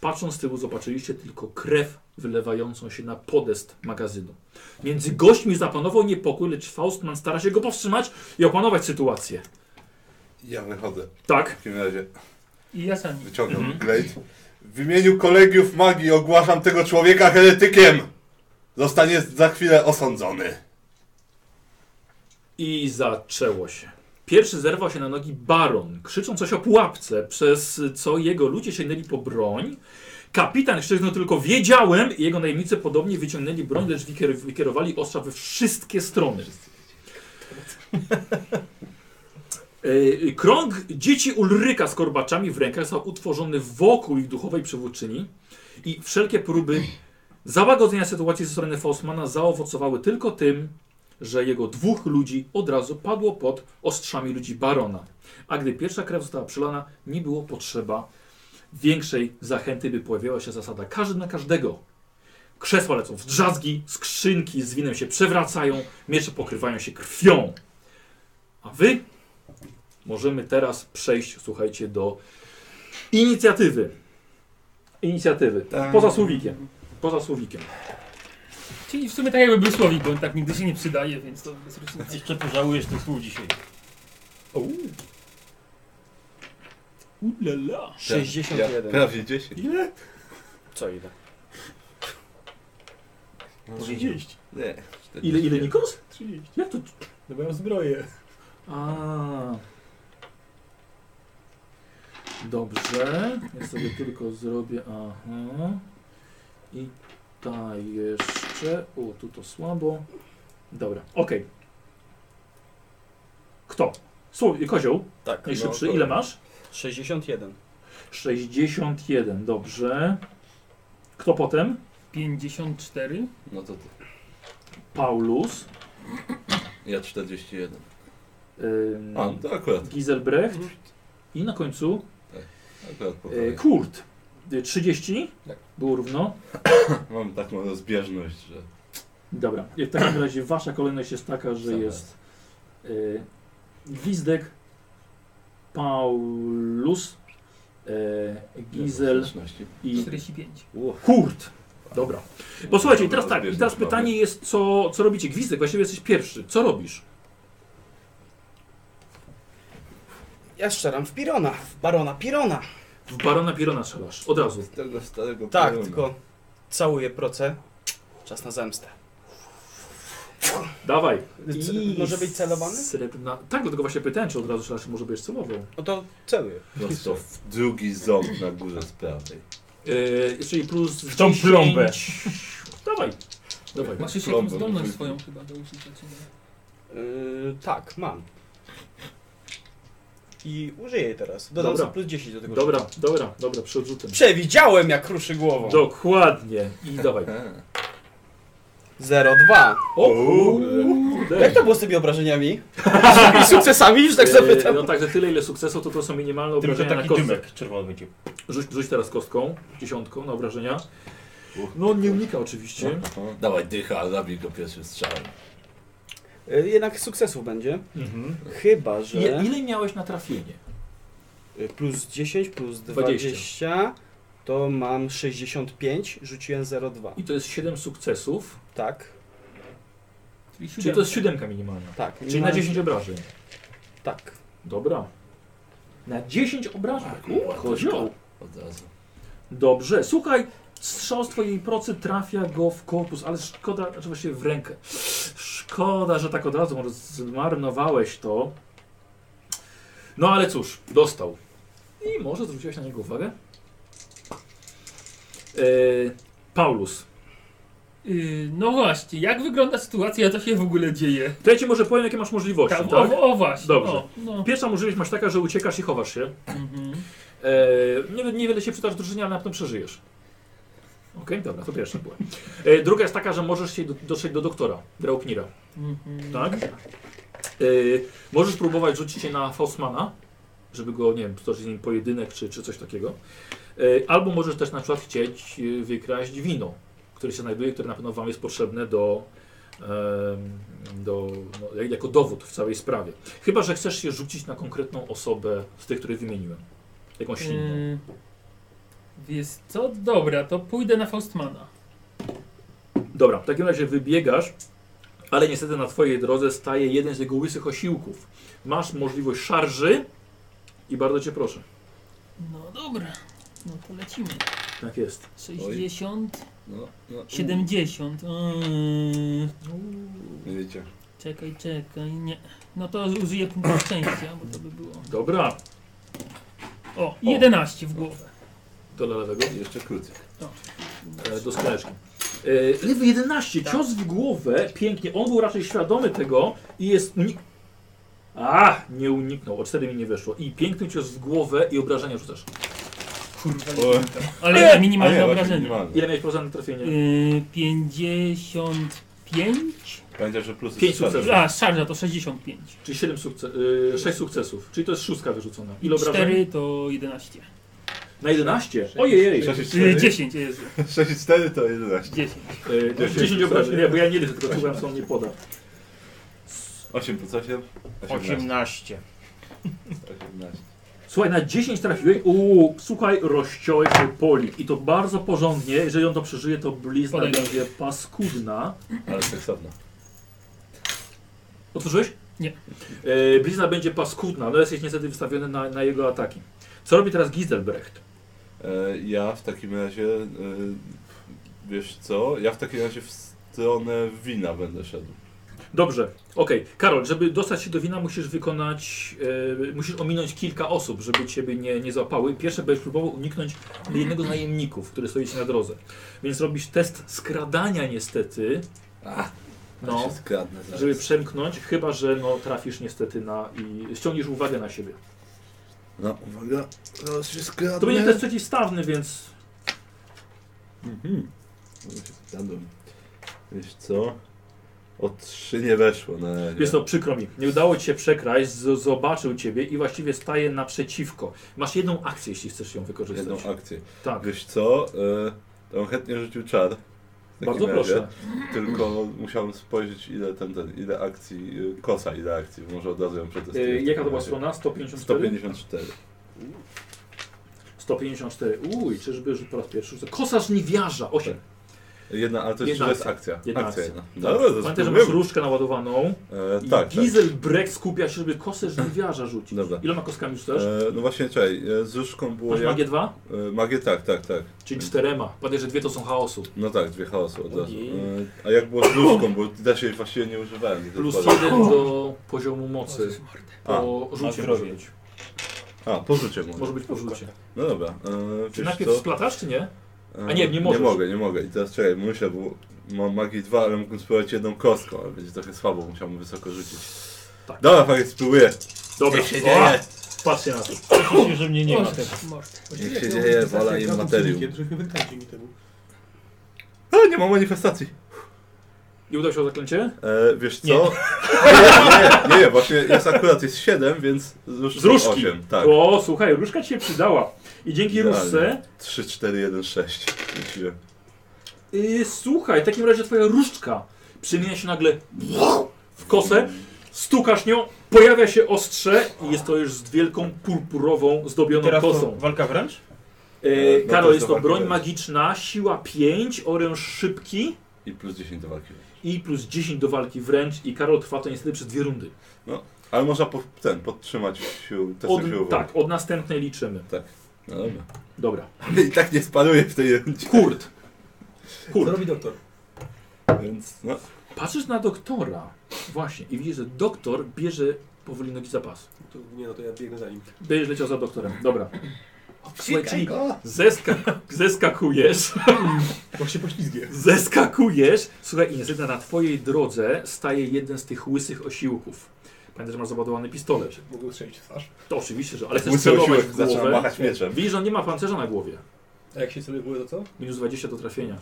Patrząc z tyłu zobaczyliście tylko krew wylewającą się na podest magazynu. Między gośćmi zapanował niepokój, lecz Faustman stara się go powstrzymać i opanować sytuację. Ja wychodzę. W Tak. takim razie I ja sami. wyciągam Mhm. glejt. W imieniu kolegiów magii ogłaszam tego człowieka heretykiem. Zostanie za chwilę osądzony. I zaczęło się. Pierwszy zerwał się na nogi baron, krzycząc coś o pułapce, przez co jego ludzie sięgnęli po broń. Kapitan krzyknął tylko wiedziałem i jego najemnicy podobnie wyciągnęli broń, lecz wykier- wykierowali ostrza we wszystkie strony. Y, Krąg dzieci Ulryka z korbaczami w rękach został utworzony wokół ich duchowej przywódczyni i wszelkie próby załagodzenia sytuacji ze strony Faustmana zaowocowały tylko tym, że jego dwóch ludzi od razu padło pod ostrzami ludzi barona. A gdy pierwsza krew została przelana, nie było potrzeba większej zachęty, by pojawiała się zasada każdy na każdego. Krzesła lecą w drzazgi, skrzynki z winem się przewracają, miecze pokrywają się krwią. A wy możemy teraz przejść, słuchajcie, do inicjatywy. Inicjatywy. Poza słowikiem. Poza słowikiem. Czyli w sumie tak jakby był słowik, bo on tak nigdy się nie przydaje, więc to bez różnicy. Jeszcze pożałujesz tych słów dzisiaj. Ulala. 61. prawie 10. Ile? Co ile? Nie. Ile, ile Nikos? 30. Jak to? No bo ja mam zbroję. A. Dobrze. Ja sobie tylko zrobię. Aha. I ta jeszcze. O, tu to słabo. Dobra, okej. Kto? Słuchaj, kozioł, Tak. najszybszy, no, ile masz? 61. 61, dobrze. Kto potem? 54. No to ty. Paulus. Ja 41. Ym, A, no to akurat. Giselbrecht. I na końcu Akurat E, pokoju. Kurt. Y, 30? Tak. Było równo. Mam taką rozbieżność, że... Dobra. I w takim razie wasza kolejność jest taka, że Sam jest y, Gwizdek, Paulus, y, Gizel Zręczności. i 45. Kurt. Dobra. Posłuchajcie, i teraz Dobra, tak, i teraz rozbieżność pytanie jest, co, co robicie? Gwizdek, właściwie jesteś pierwszy. Co robisz? Ja strzelam w Pirona, w Barona Pirona. W Barona Pirona strzelasz. Od razu. mamy. Z tego starego Tak, pioruna. tylko całuję procę. Czas na zemstę. Dawaj. C- I może być celowany? Srebrna... Tak, dlatego właśnie pytałem, czy od razu strzelasz, czy może byś celował. No to celuję. Prosto w drugi ząb na górze z prawej. Yy, czyli plus W tą plombę. Dawaj. Dawaj. Masz jeszcze Problem. Tak, jakąś zdolność swoją chyba do użycia, czy nie? Yy, tak, mam. I użyję jej teraz. Dodam Dobra. sobie plus 10 do tego. Dobra, dobra, dobra, przy odrzutem. Przewidziałem jak ruszy głową. Dokładnie. I dawaj. 0,2. O kurde. Jak to było z tymi obrażeniami? Z tymi sukcesami, że tak E, zapytam. No także tyle ile sukcesów, to to są minimalne Tylko obrażenia na taki kostce. dymek czerwony będzie. Rzuć, rzuć teraz kostką, dziesiątką na obrażenia. No on nie unika oczywiście. Aha. Dawaj dycha, zabij go pierwszym strzałem. Yy, Jednak sukcesów będzie. Mhm. Chyba, że... Ile, ile miałeś na trafienie? Y, Plus 10, plus 20. 20, to mam 65, rzuciłem 0,2. I to jest 7 sukcesów, Tak, czyli to jest siódemka minimalna. tak. Czyli na Mam- 10 obrażeń. Tak. Dobra. Na 10 obrażeń. U, kozioł. Od razu. Dobrze, słuchaj, strzał z twojej procy trafia go w korpus, ale szkoda, znaczy właściwie w rękę. Szkoda, że tak od razu może zmarnowałeś to. No ale cóż, dostał. I może zwróciłeś na niego uwagę? Eee, Paulus. Yy, no właśnie, jak wygląda sytuacja, co się w ogóle dzieje? To ja ci może powiem, jakie masz możliwości, Tam, tak? O, o właśnie. Dobrze. O, no. Pierwsza możliwość masz taka, że uciekasz i chowasz się. mhm. Eee, niewiele, niewiele się przydasz drużynie, ale na pewno przeżyjesz. Okej, dobra, to pierwsza była. Eee, druga jest taka, że możesz się do, dotrzeć do doktora, Draupnira. Mhm. Tak? Y, możesz próbować rzucić się na Faustmana, żeby go, nie wiem, stoczyć z nim pojedynek czy, czy coś takiego. Y, albo możesz też na przykład chcieć y, wykraść wino, które się znajduje, które na pewno Wam jest potrzebne do, em, do, no, jako dowód w całej sprawie. Chyba, że chcesz się rzucić na konkretną osobę z tych, które wymieniłem. Jakąś inną. Yy, wiesz co? Dobra, to pójdę na Faustmana. Dobra, w takim razie wybiegasz, ale niestety na twojej drodze staje jeden z jego łysych osiłków. Masz możliwość szarży i bardzo cię proszę. No dobra, no to lecimy. Tak jest. 60, No, no. 70. Yy, Nie wiecie. czekaj, czekaj, nie. No to użyję punktu szczęścia, bo to by było. Dobra, O, 11 w głowę. to dla lewego. I Jeszcze krócej. E, do skleczki. E, lewy 11, cios w głowę, pięknie. On był raczej świadomy tego i jest... Uni- A, nie uniknął, o 4 mi nie weszło. I piękny cios w głowę i obrażenia rzucasz. O, Ale a minimalne nie, obrażenie. minimalne. Ile miałeś procent na trafienie? Yy, 55? Pamiętaj, że plusy Pięć strzelasz. sukcesów. A, szarża to 65. Czyli 7 sukces, y, 6 sukcesów, czyli to jest szóstka wyrzucona. Ile obrażeń? 4 to 11. Na 11? Ojej, Sześć i Yy, cztery. 10, Jezu, 6 i 4 to 11. 10. Y, Dziesięć. 10 obrażeń, nie, bo ja nie liczę, tylko czułem, co on nie poda. 8 plus 8? 18. 18. Słuchaj, na 10 trafiłeś. Uuu, słuchaj, rozciąłeś się polik. I to bardzo porządnie. Jeżeli on to przeżyje, to blizna Podaj będzie paskudna. Ale seksowna. Otworzyłeś? Nie. E, blizna będzie paskudna. No jesteś niestety wystawiony na, na jego ataki. Co robi teraz Giselbrecht? E, ja w takim razie, e, wiesz co, ja w takim razie w stronę wina będę szedł. Dobrze, okej. Karol, żeby dostać się do wina, musisz wykonać. E, musisz ominąć kilka osób, żeby ciebie nie, nie złapały. Pierwsze będziesz próbował uniknąć jednego z najemników, który stoi ci na drodze. Więc robisz test skradania, niestety. A, No. się skradnę zaraz. żeby przemknąć, chyba że no, trafisz niestety na i ściągniesz uwagę na siebie. No, uwaga, zaraz się skradnę. To będzie też przeciwstawny, więc Mhm. Zaraz się skradłem. Wiesz co, o 3 nie weszło na razie. jest to przykro mi. Nie udało ci się przekraść, z- zobaczył ciebie i właściwie staje naprzeciwko. Masz jedną akcję, jeśli chcesz ją wykorzystać. Jedną akcję. tak, Wiesz co, e, to bym chętnie rzucił czar. W takim bardzo razie. proszę. Tylko musiałem spojrzeć ile tam ten, ile akcji, y, kosa ile akcji, może od razu ją przetestuję. Yy, w jaka to takim była razie. strona? 154? 154. 154. Uj, czyżby po raz pierwszy. rzucę. Kosarz niewiarza, 8. Jedna, ale to jest, Jedna to jest akcja. Jedna akcja. akcja. No. jedna. Dobra, Tak. No, to Pamiętaj, że masz spróbujemy. różkę naładowaną. E, I tak, tak. Giselbrecht skupia się, żeby kosarz niewiarza rzucić. Dobra. Iloma kostkami rzucasz? E, no właśnie, czekaj, e, z różką było Masz jak... magię 2? E, magię, tak, tak, tak. Czyli czterema. Pamiętaj, że dwie to są chaosu. No tak, dwie chaosu od razu. Ojej. E, a jak było z różką, bo też jej właściwie nie używałem. nie Plus tylko- jeden do poziomu mocy. A, Po rzucie może zdrowie. być. A, porzucie mu. Może być po rzucie. No dobra, e, Czy wiesz najpierw co? splatasz, czy nie? E, A nie, nie możesz. Nie mogę, nie mogę. I teraz czekaj, myślę, bo Mam magię 2, ale mógłbym spróbować jedną kostką, ale będzie trochę słabo, musiałbym wysoko rzucić. Tak. Dobra, fajnie, spróbuję. Dobra, Niech się o, dzieje. patrzcie na to. Myślę, że mnie nie ma. Mord, mord. Niech się dzieje, wola i materium. Żeśmy wygrali mi temu. A, nie ma manifestacji. Nie udało się o zaklęcie? E, wiesz co? Nie. Nie. Nie, nie, nie, właśnie jest akurat jest 7, więc Z różki. 8. Tak. O, słuchaj, różka ci się przydała. I dzięki Idealnie. różce, 3, 4, 1, 6. Rzuciłem. yy, słuchaj, w takim razie twoja różdżka przemienia się nagle w kosę, stukasz nią, pojawia się ostrze i jest to już z wielką purpurową, zdobioną Teraz to kosą. walka wręcz? E, No to Karol, jest jest to walka broń wręcz. magiczna, siła 5, oręż szybki I plus 10 do walki. i plus 10 do walki wręcz i Karol trwa to niestety przez dwie rundy. Ale można po, ten, podtrzymać sił, testem Od, siłowym. tak, od następnej liczymy. No dobra. Dobra. I tak nie spaluję w tej rundzie. Kurt. Co Kurt. robi doktor? Więc no. Patrzysz na doktora. Właśnie. I widzisz, że doktor bierze powoli nogi za pas. To, nie no, to ja biegnę za nim. Będziesz leciał za doktorem. Dobra. Słuchaj, czyli zeska zeskakujesz. Bo się poślizgnie. Zeskakujesz. Słuchaj, i niestety na twojej drodze staje jeden z tych łysych osiłków. Pamiętaj, że masz załadowany pistolet. Mogę strzelić w twarz. To oczywiście, że ale chcesz Łysy celować osiłek w zaczyna głowę. machać mieczem. Widzisz, że on nie ma pancerza na głowie. A jak się celuje w głowę, to co? Minus 20 do trafienia.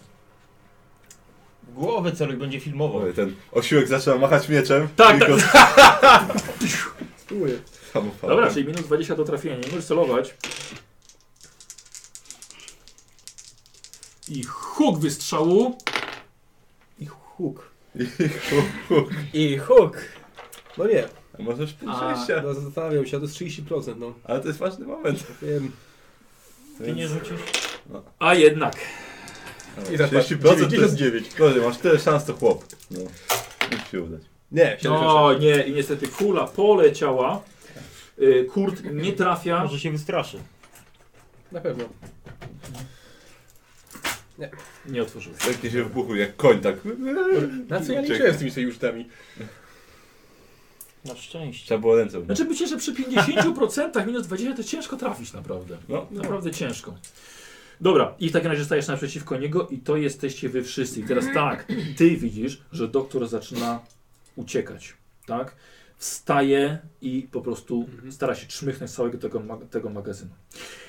W głowę celuj, będzie filmowo. Mówię, Ten osiłek zaczyna machać mieczem. Tak, tylko tak. Spróbuję. samopalem. Dobra, czyli minus 20 do trafienia. Nie możesz celować. I huk wystrzału. I huk. I huk. No nie, A Możesz A. przejścia. no, zastanawiam się, a to jest 30%, no. Tak Ale to jest ważny moment. Wiem. Ty nie rzucisz? No. A jednak. Dobra, I tak, 30% to jest 99. Boże, masz tyle szans, to chłop. No. Musi się udać. Nie, No nie, i niestety kula poleciała. Y, Kurt nie trafia. Może się wystraszy. Na pewno. Nie otworzył. Leknie się wybuchł jak koń, tak. Na co ja Czekaj. liczyłem z tymi sojuszami? Na szczęście. Trzeba było ręce. Znaczy myślę, że przy 50% minus 20 to ciężko trafić naprawdę. No, no. Naprawdę ciężko. Dobra, i w takim razie stajesz naprzeciwko niego i to jesteście wy wszyscy. I teraz tak, ty widzisz, że doktor zaczyna uciekać, tak? Wstaje i po prostu Mhm. stara się trzmychnąć z całego tego, ma- tego magazynu.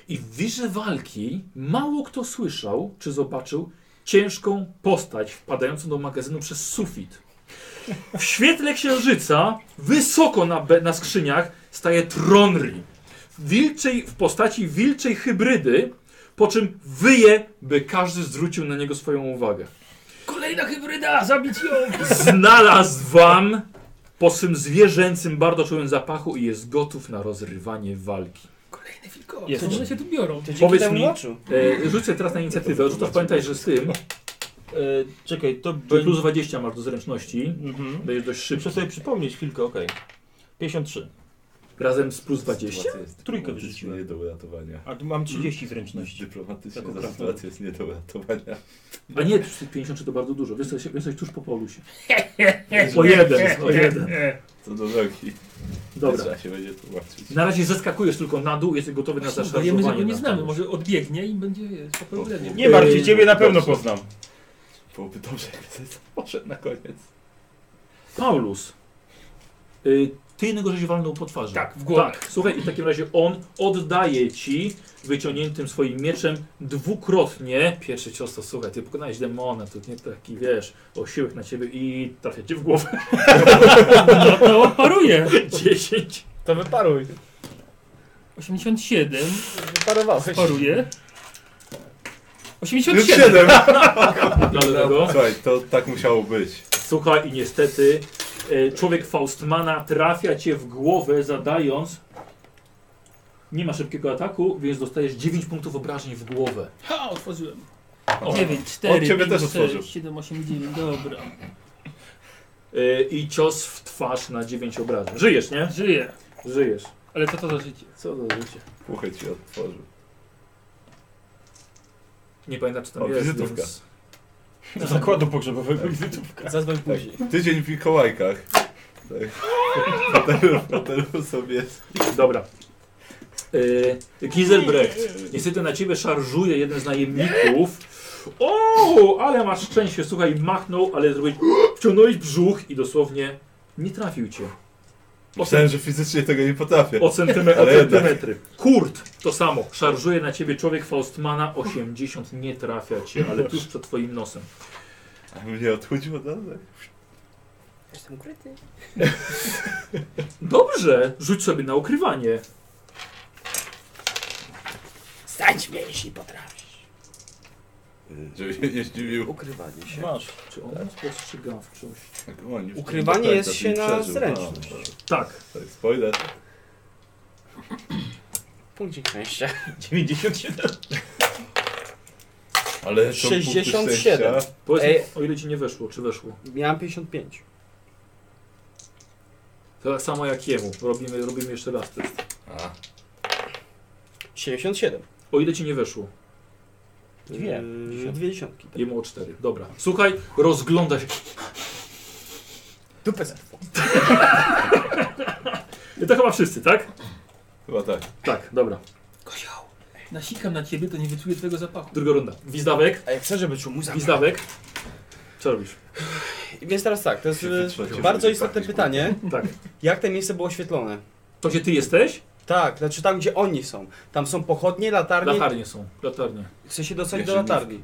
I w wirze walki mało kto słyszał czy zobaczył ciężką postać wpadającą do magazynu przez sufit. W świetle księżyca, wysoko na, be- na skrzyniach, staje Tronry. Wilczej, w postaci wilczej hybrydy, po czym wyje, by każdy zwrócił na niego swoją uwagę. Kolejna hybryda, zabić ją! Znalazł wam po swym zwierzęcym, bardzo czułym zapachu i jest gotów na rozrywanie walki. Kolejny wilko. Jest. Skąd one się tu biorą? To dzięki Powiedz temu mi- moczu. E, rzucę teraz na inicjatywę, rzucasz pamiętaj, że z tym, E, czekaj, to czyli plus będzie... 20 masz do zręczności, Mhm. dajesz dość szybko, Muszę sobie przypomnieć chwilkę, okej. 53. razem z plus 20. Trójkę wyrzuciłem. wyrzuciłem. Nie do uratowania. A tu mam 30 zręczności. Dyplomatycznie Jako ta prawda. sytuacja jest nie do uratowania. A nie, 53 to bardzo dużo, jesteś, jesteś tuż po polusie. O jeden, o jeden. Co do drogi. Dobra. Trzeba się będzie tłumaczyć. Na razie zeskakujesz tylko na dół, jesteś gotowy na zaszarżowanie. Udajemy, że go nie na znamy, to. może odbiegnie i będzie wiesz, po problemie. Nie martw się, Yy, ciebie na pewno dobrze. poznam. Byłoby dobrze, jakby to poszedł na koniec. Paulus, y, ty jednego żeś walnął po twarzy. Tak, w głowę. Tak, słuchaj, i w takim razie on oddaje ci wyciągniętym swoim mieczem dwukrotnie. Pierwszy cios to, słuchaj, ty pokonałeś demona, to nie taki, wiesz, osiłek na ciebie i trafia ci w głowę No to odparuje. 10. To wyparuj. 87, Wyparowałeś. paruje. 87! Już siedem! Dlatego, Słuchaj, to tak musiało być. słuchaj, i niestety y, człowiek Faustmana trafia cię w głowę zadając... Nie ma szybkiego ataku, więc dostajesz 9 punktów obrażeń w głowę. Ha, otworzyłem. O, 9, 4, ciebie 5, też 4, otworzył. 7, 8, 9, dobra. Y, I cios w twarz na 9 obrażeń. Żyjesz, nie? Żyję. Żyjesz. Ale co to za życie? Co za życie. Puchę ci otworzył. Nie pamiętam, czy tam O, jest. wizytówka. Więc... Do zakładu pogrzebowego wizytówka. Zadzwoń później. Tydzień w Mikołajkach. Tak. W Fotelu, w fotelu sobie. Dobra. Y, Yy, Kieselbrecht, niestety na ciebie szarżuje jeden z najemników. O, ale masz szczęście, słuchaj, machnął, ale zrobić. Wciągnąłeś brzuch i dosłownie nie trafił cię. O, Myślałem, że fizycznie tego nie potrafię. o, centyme o Ale jednak. centymetry. Kurt, to samo. Szarżuje na ciebie człowiek Faustmana 80, nie trafia cię, ale tuż przed twoim nosem. A mnie odchudziło dalej. Jestem ukryty. Dobrze, rzuć sobie na ukrywanie. Stać mnie, jeśli potrafisz. Żeby się nie zdziwił. Ukrywanie No, się. Masz. Czy on ma spostrzegawczość? Tak, o, nie wciągnął Ukrywanie jest tak, tak, się na przeżył. zręczność. A, Tak. tak, spoiler. Punkcik szczęścia. 97. Ale są punkty 67. szczęścia. Powiedz mi, Ej. o ile ci nie weszło, czy weszło? Miałem 55. To tak samo jak jemu. Robimy, robimy jeszcze raz test. A, 77. O ile ci nie weszło? Dwie. Yy, Dwie dziesiątki. Jemu o 4. Dobra. Słuchaj, rozgląda się. Dupę zerwą. To chyba wszyscy, tak? chyba tak. Tak, dobra. Kozioł, nasikam na ciebie, to nie wyczuję twojego zapachu. Druga runda. Wizdawek. A jak chcę, żeby czuł mój zapach. Wizdawek. Co robisz? Więc teraz tak, to jest Się y, wytrzeć, bardzo żeby istotne pachnieć. pytanie. Tak. Jak to miejsce było oświetlone? To gdzie ty jesteś? Tak, znaczy tam, gdzie oni są. Tam są pochodnie, latarnie. Latarnie są. Latarnie. Chcę się dostać Jeszcze do latarni.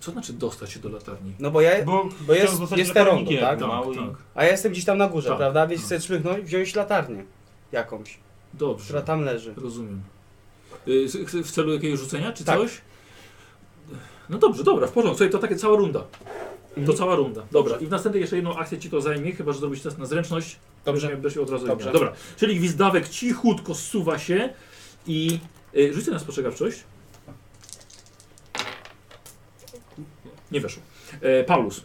Co znaczy dostać się do latarni? No bo ja, E, Bo, bo jest, chciał zostać jest te rondo, latarnikiem. tak? No. mały i- tak. A ja jestem gdzieś tam na górze, Tak. prawda? Więc chcę czmychnąć i wziąć latarnię jakąś, która Dobrze. tam leży. Rozumiem. Y, z- z- W celu jakiegoś rzucenia czy Tak. coś? No dobrze, dobra, w porządku. Słuchaj, to takie cała runda. To Mhm. cała runda. Dobra. I w następnej jeszcze jedną akcję ci to zajmie, chyba że zrobisz test na zręczność. Dobrze. Będziesz miał od razu Dobrze. imię. Dobra, czyli gwizdawek cichutko zsuwa się i y, rzucę na spostrzegawczość. Nie weszło. E, Paulus,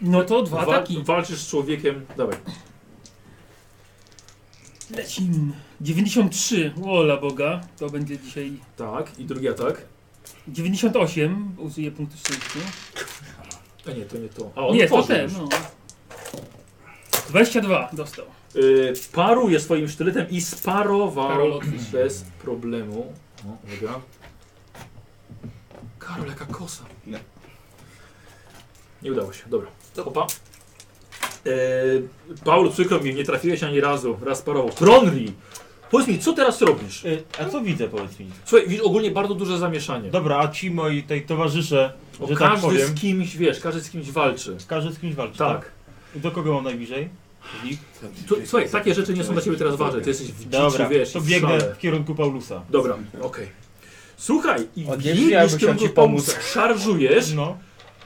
No to dwa wa- ataki. walczysz z człowiekiem. Dawaj. Lecim. 93, wola Boga, to będzie dzisiaj Tak, i drugi atak. 98, użyję punktu szczęścia. A E, nie, to nie to. A on nie, to tworzy ten, już. no. 22 dostał. Y, paruje swoim sztyletem i sparował Karolotny. bez problemu. O, uwaga. Karol, jaka kosa. Nie. Nie udało się, dobra. Opa. E, Paul, przykro mi, nie trafiłeś ani razu. Raz sparował. Tronri! Powiedz mi, co teraz robisz? Y, A co widzę, powiedz mi? Słuchaj, widzisz ogólnie bardzo duże zamieszanie. Dobra, a ci moi tej towarzysze, O, że tak każdy powiem, z kimś, wiesz, każdy z kimś walczy. każdy z kimś walczy. Tak. Do kogo mam najbliżej? Z nich? Tu, słuchaj, takie rzeczy nie są dla ciebie teraz ważne. Ty jesteś w dziczy, Dobra, wiesz, to i w biegnę szale. w kierunku Paulusa. Dobra, okej. Słuchaj, i Odjeżdżaj, biegniesz w jakby chciał kierunku ci pomóc. pomóc. Szarżujesz, No,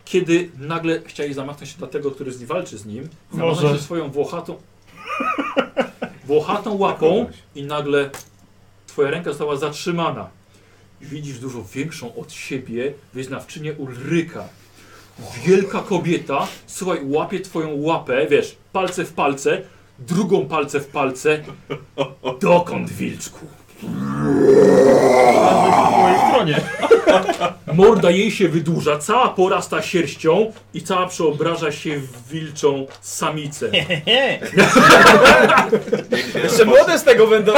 kiedy nagle chciałeś zamachnąć się na tego, który z nim walczy z nim. Zamachnął Może. się swoją włochatą... włochatą Tak łapą i nagle twoja ręka została zatrzymana. Widzisz dużo większą od siebie wyznawczynię Ulryka. Wielka kobieta, słuchaj, łapie twoją łapę, wiesz, palce w palce, drugą palce w palce. Dokąd, wilczku? po mojej stronie. Morda jej się wydłuża, cała porasta sierścią i cała przeobraża się w wilczą samicę. Jeszcze młode z tego będą.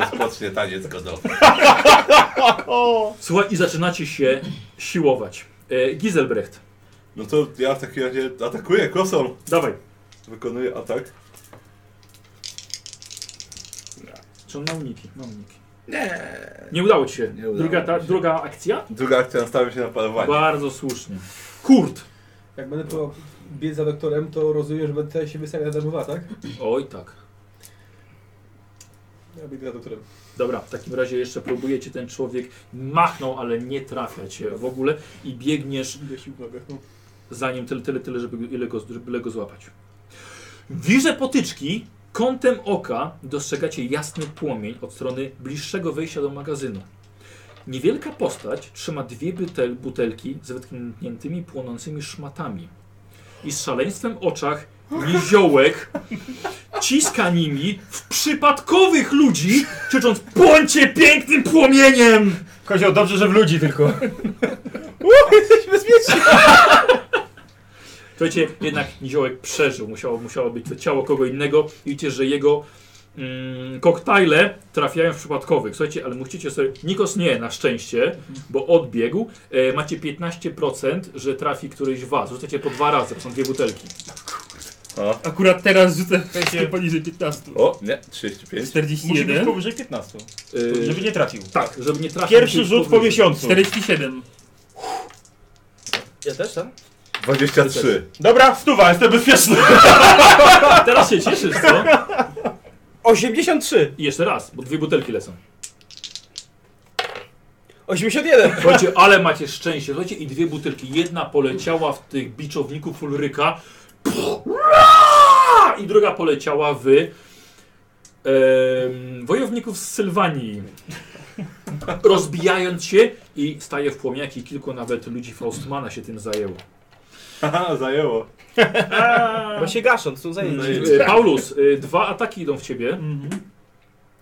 Rozpocznie taniec godowy. Słuchaj, i zaczynacie się siłować. E, Giselbrecht, No to ja w takim razie atakuję kosą. dawaj. Wykonuję atak. Czy on ma uniki? Ma uniki. Nie. Nie udało ci się. Nie udało druga, ta, mi się. druga akcja? Druga akcja nastawiam się na parowanie. Bardzo słusznie. Kurt. Jak będę próbował biec za doktorem, to rozumiem, że będę tutaj się wystawiał za dwa, tak? Oj tak. Ja biegnę za doktorem. Dobra, w takim razie jeszcze próbujecie ten człowiek machnął, ale nie trafia cię w ogóle i biegniesz Idę sił w nogach. No. zanim tyle, tyle, tyle, żeby ile go, żeby byle go złapać. Wirze potyczki kątem oka dostrzegacie jasny płomień od strony bliższego wyjścia do magazynu. Niewielka postać trzyma dwie butel, butelki z wytkniętymi płonącymi szmatami i z szaleństwem w oczach niziołek ciska nimi w przypadkowych ludzi, krzycząc płońcie pięknym płomieniem! Kozioł, dobrze, że w ludzi tylko. Słuchajcie, jednak niziołek przeżył, musiało, musiało być to ciało kogo innego i widzicie, że jego Mm, koktajle trafiają w przypadkowych. Słuchajcie, ale musicie sobie. Nikos nie, na szczęście, bo odbiegł. E, macie 15%, że trafi któryś z was. Rzucacie po dwa razy, to są dwie butelki. O, Akurat teraz rzucę Słuchajcie. poniżej 15. o nie, 35. Musi być 41. powyżej 15, E, żeby nie trafił. Tak, żeby nie trafić. Pierwszy musisz rzut po powiedzieć. miesiącu. 47. Ja też tak? tam? 23. Dobra, stuwa, jestem bezpieczny. Teraz się cieszysz, co? 83! I jeszcze raz, bo dwie butelki lecą. 81! Słuchajcie, ale macie szczęście. Słuchajcie, i dwie butelki. Jedna poleciała w tych biczowników Ulryka. Puh, ra! I druga poleciała w em, wojowników z Sylwanii. Rozbijając się i staje w płomiaki. Kilku nawet ludzi Faustmana się tym zajęło. Haha, zajęło. Właśnie gasząc, są zajęci. E, Paulus, e, dwa ataki idą w ciebie. Mhm.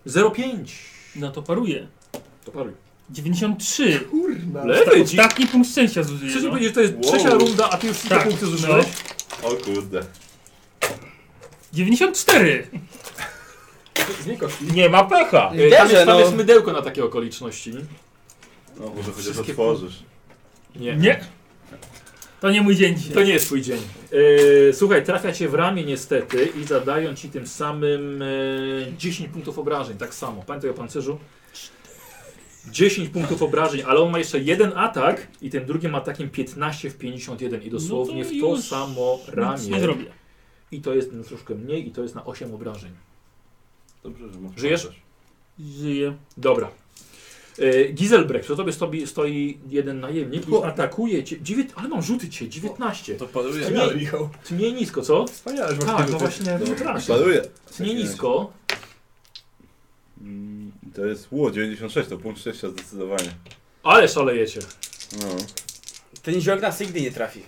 0,5. No to paruje. To paruj. 93. Kurna. Lewy ci. Tak, Taki punkt szczęścia zużyję. Chcesz mi No. powiedzieć, że to jest Wow. trzecia runda, a ty już wszystkie Tak, punkty zużyłeś? O kurde. 94. Z Nikosi. Nie ma pecha. E, Tam, jest, Wierzę, tam no. jest mydełko na takie okoliczności. No, może chociaż Wszystkie- otworzysz. Nie. Nie. To nie mój dzień To dzisiaj. nie jest twój dzień. E, słuchaj, trafia cię w ramię niestety i zadają ci tym samym e, 10 punktów obrażeń, tak samo. Pamiętaj o pancerzu. 10 punktów obrażeń, ale on ma jeszcze jeden atak i tym drugim atakiem 15 w 51 i dosłownie No to w to już samo Nic nie ramię. zrobię. I to jest no, troszkę mniej i to jest na 8 obrażeń. Dobrze, że masz. Żyjesz? pancerz. Żyję. Dobra. E, Giselbrecht, to tobie stoi, stoi jeden najemnik i O. atakuje cię. Dziewię... Ale mam rzuty cię, 19. To paruje. Nie. Wspaniale, Michał. Tnie nisko, co? Wspaniale, że masz Tak, tego no typu. właśnie, No, przepraszam. Paruje. Tnie nisko. Mm, To jest ło, 96, to punkt szczęścia zdecydowanie. Ale szalejecie. No. Ten ziołek nas nigdy nie trafi.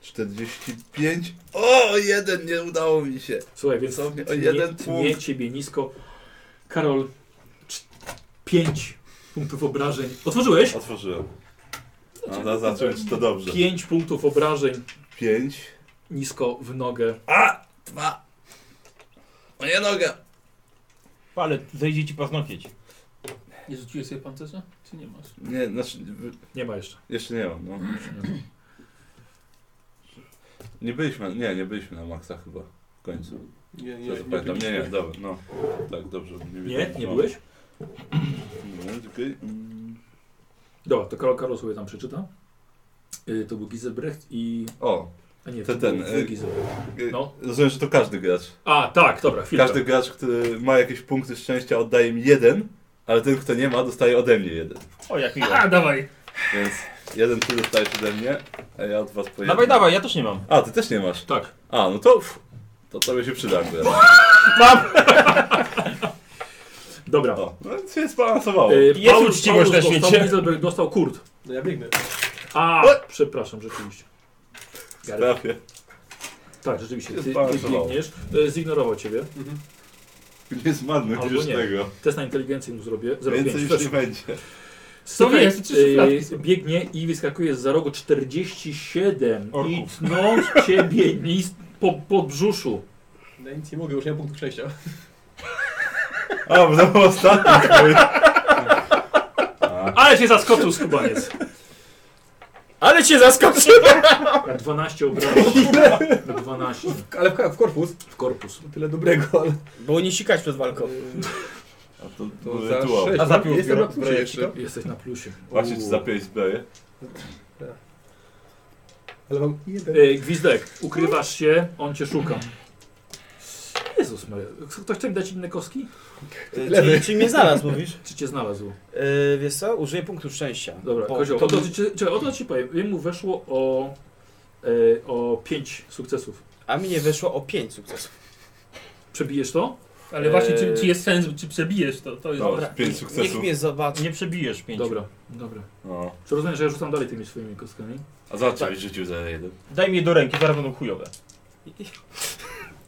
45. O, jeden nie udało mi się. Słuchaj, więc Co mnie- o tnie- jeden tnie punkt. ciebie nisko. Karol, 5 punktów obrażeń. Otworzyłeś? Otworzyłem. A na zacząć to dobrze. 5 punktów obrażeń 5. nisko w nogę. A! Dwa. Moja noga. Ale zejdzie ci paznokieć. Nie rzuciłeś sobie pancerza? Czy nie masz? Nie, znaczy, w- Nie ma jeszcze. jeszcze nie mam, no. Nie ma. Nie byliśmy, nie, nie byliśmy na maksa chyba. W końcu. Nie, nie, Nie, nie. pamiętam. nie, nie, dobra, no. Tak, dobrze. Nie, nie no. byłeś? Nie, tylko... mm. Dobra, to Karol, Karol sobie tam przeczyta. Y, To był Giselbrecht i... O, A nie, To to ten, był y- Giselbrecht. No. no. rozumiem, że to każdy gracz. A, tak, dobra, chwilę. Każdy gracz, który ma jakieś punkty szczęścia, oddaje mi jeden, ale ten, kto nie ma, dostaje ode mnie jeden. O, jak miło. A, dawaj. Więc jeden ty dostajesz ode mnie, a ja od was pojedę. Dawaj, dawaj, ja też nie mam. A, ty też nie masz. Tak. A, no to pff, to tobie się przyda akurat. Dobra. O, no się zbalansowało. Y, Jest uczciwość na dostał, świecie. Giselbrecht dostał kurt. No ja biegnę. A, przepraszam, rzeczywiście. Trafię. Tak, rzeczywiście, ty, ty Zbalansowało. biegniesz. Y, Zignorował ciebie. Mhm. Nie zmarnuj Albo już nie. tego. Test na inteligencję mu zrobię. 05. Więcej już nie będzie. Słuchaj, To jest, trzy szufladki e, są. biegnie i wyskakuje z za rogu 47 i Orków. tnąć ciebie nis po, po brzuszu. No nic nie mogę, już nie mam punktu szczęścia. A, bo to był ostatni twój. A, Ale cię zaskoczył skubaniec. Ale cię zaskoczyłem! Na 12 obrażeń. Na 12 Ale w, w korpus. w korpus. Tyle dobrego, ale... Było nie sikać przed walką. a to, to To za rytuał. sześć. A za piłkę Jestem na plusie brojeczka. jeszcze. Jesteś na plusie. Właśnie ci za pięć zbroje. Ale mam jeden. E, Gwizdek, ukrywasz się, on cię szuka. Jezus Maria, ktoś chce mi dać inne kostki? Czyli, czyli mnie znalazł, mówisz? Czy cię znalazł? Yy, wiesz co? Użyję punktu szczęścia. Dobra, Bo Kozioł, to- to... to, czy- czekaj, o to ci powiem. Jemu weszło o, e, o 5 sukcesów. A mi nie wyszło o 5 sukcesów. Przebijesz to? Ale właśnie, czy, Eee. czy jest sens, czy przebijesz to? To jest Dobra, dobra. No, pięć Niech sukcesów. mnie zobaczy. Nie przebijesz pięciu. Dobra, dobra. No. Czy rozumiesz, że ja rzucam dalej tymi swoimi kostkami? A zacząłeś rzucił za jeden. Daj mi je do ręki, zaraz będą chujowe.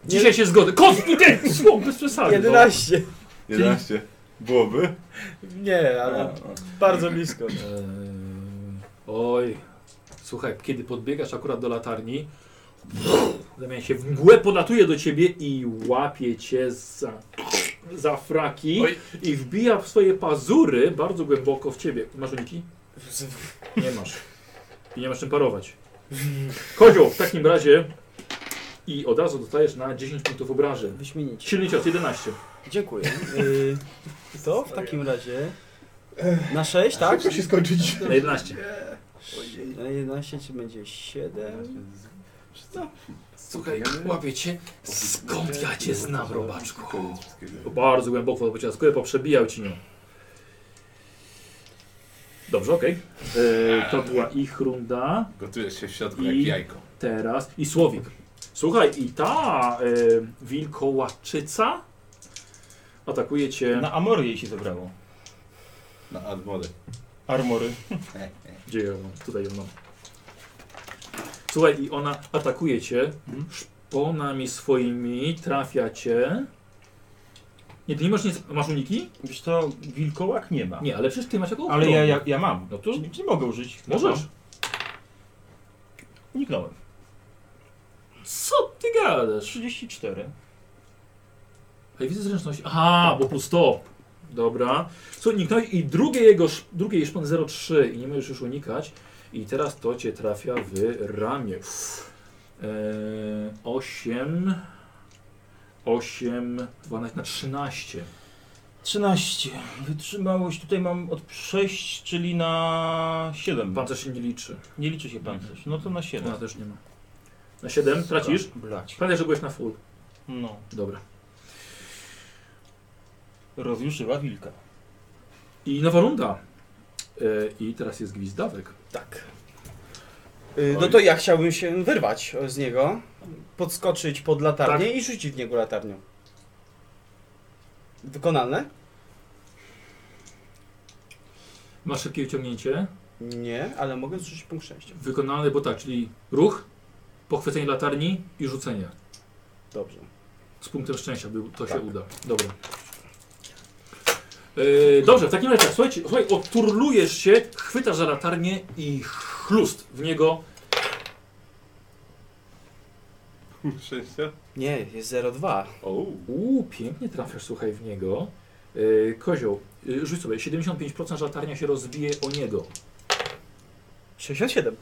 Dzisiaj się zgodzę. Kostki, ty! Słom, bez przesady. no. 11. 11. Byłoby? No. Nie, A, ale a. bardzo blisko. Eee, oj. Słuchaj, kiedy podbiegasz akurat do latarni, Zamienia się w mgłę, podlatuje do ciebie i łapie cię za, za fraki Oj. i wbija w swoje pazury bardzo głęboko w ciebie. Masz uniki? Nie masz. I nie masz czym parować. Kozioł, w takim razie i od razu dostajesz na 10 punktów obrażeń. Wyśmienicie. Silny cios, 11. Dziękuję. Y, to w takim razie... Na 6, tak? Szybko się skończyć. Na 11. Na 11 czy będzie 7? Słuchaj, łapię cię. Skąd ja cię znam, robaczku? Bo Bardzo głęboko zapociła skórę, poprzebijał ci nią. Dobrze, okej. Yy, To była ich runda. Gotujesz się w środku I- jak jajko. Teraz i Słowik. Słuchaj, i ta yy, wilkołaczyca atakuje cię. Na Amory jej się zebrało. Na armory. Armory. Gdzie ją mam? Tutaj ją mam. Słuchaj, i ona atakuje cię szponami swoimi, trafia cię. Nie, ty nie masz nic. Masz uniki? Wiesz to wilkołak nie ma. Nie, ale przecież ty masz jaką Ale ja, ja, ja mam. No to- Czy, czy mogę użyć? Możesz. Uniknąłem. Co ty gadasz? 34. A widzę zręczność. Aha, bo plus 100. Dobra. Co uniknąłeś i drugie jego, sz- drugie jej szpon 03 i nie możesz już unikać. I teraz to cię trafia w ramię. Uff. Eee, 8, 8, 12 na 13. 13. Wytrzymałość tutaj mam od 6, czyli na 7. Pancerz się nie liczy. Nie liczy się pancerz. No to na 7. Ona też nie ma. Na 7 tracisz? Blać. Pamiętaj, że byłeś na full. No. Dobra. Rozjuszyła wilka. I nowa runda. Eee, I teraz jest gwizdawek. Tak. Y, No to ja chciałbym się wyrwać z niego, podskoczyć pod latarnię i rzucić w niego latarnią. Wykonalne? Masz szybkie uciągnięcie. Nie, ale mogę zrzucić punkt szczęścia. Wykonany, bo tak, czyli ruch, pochwycenie latarni i rzucenie. Dobrze. Z punktem szczęścia był, to się uda. Dobra. Yy, dobrze, w takim razie tak, słuchajcie, słuchaj, odturlujesz się, chwytasz za latarnię i chlust w niego. Szczęścia? Nie, jest 0,2. O, Uuu, pięknie trafiasz, słuchaj, w niego. Yy, kozioł, yy, rzuć sobie, 75% że latarnia się rozbije o niego. 67.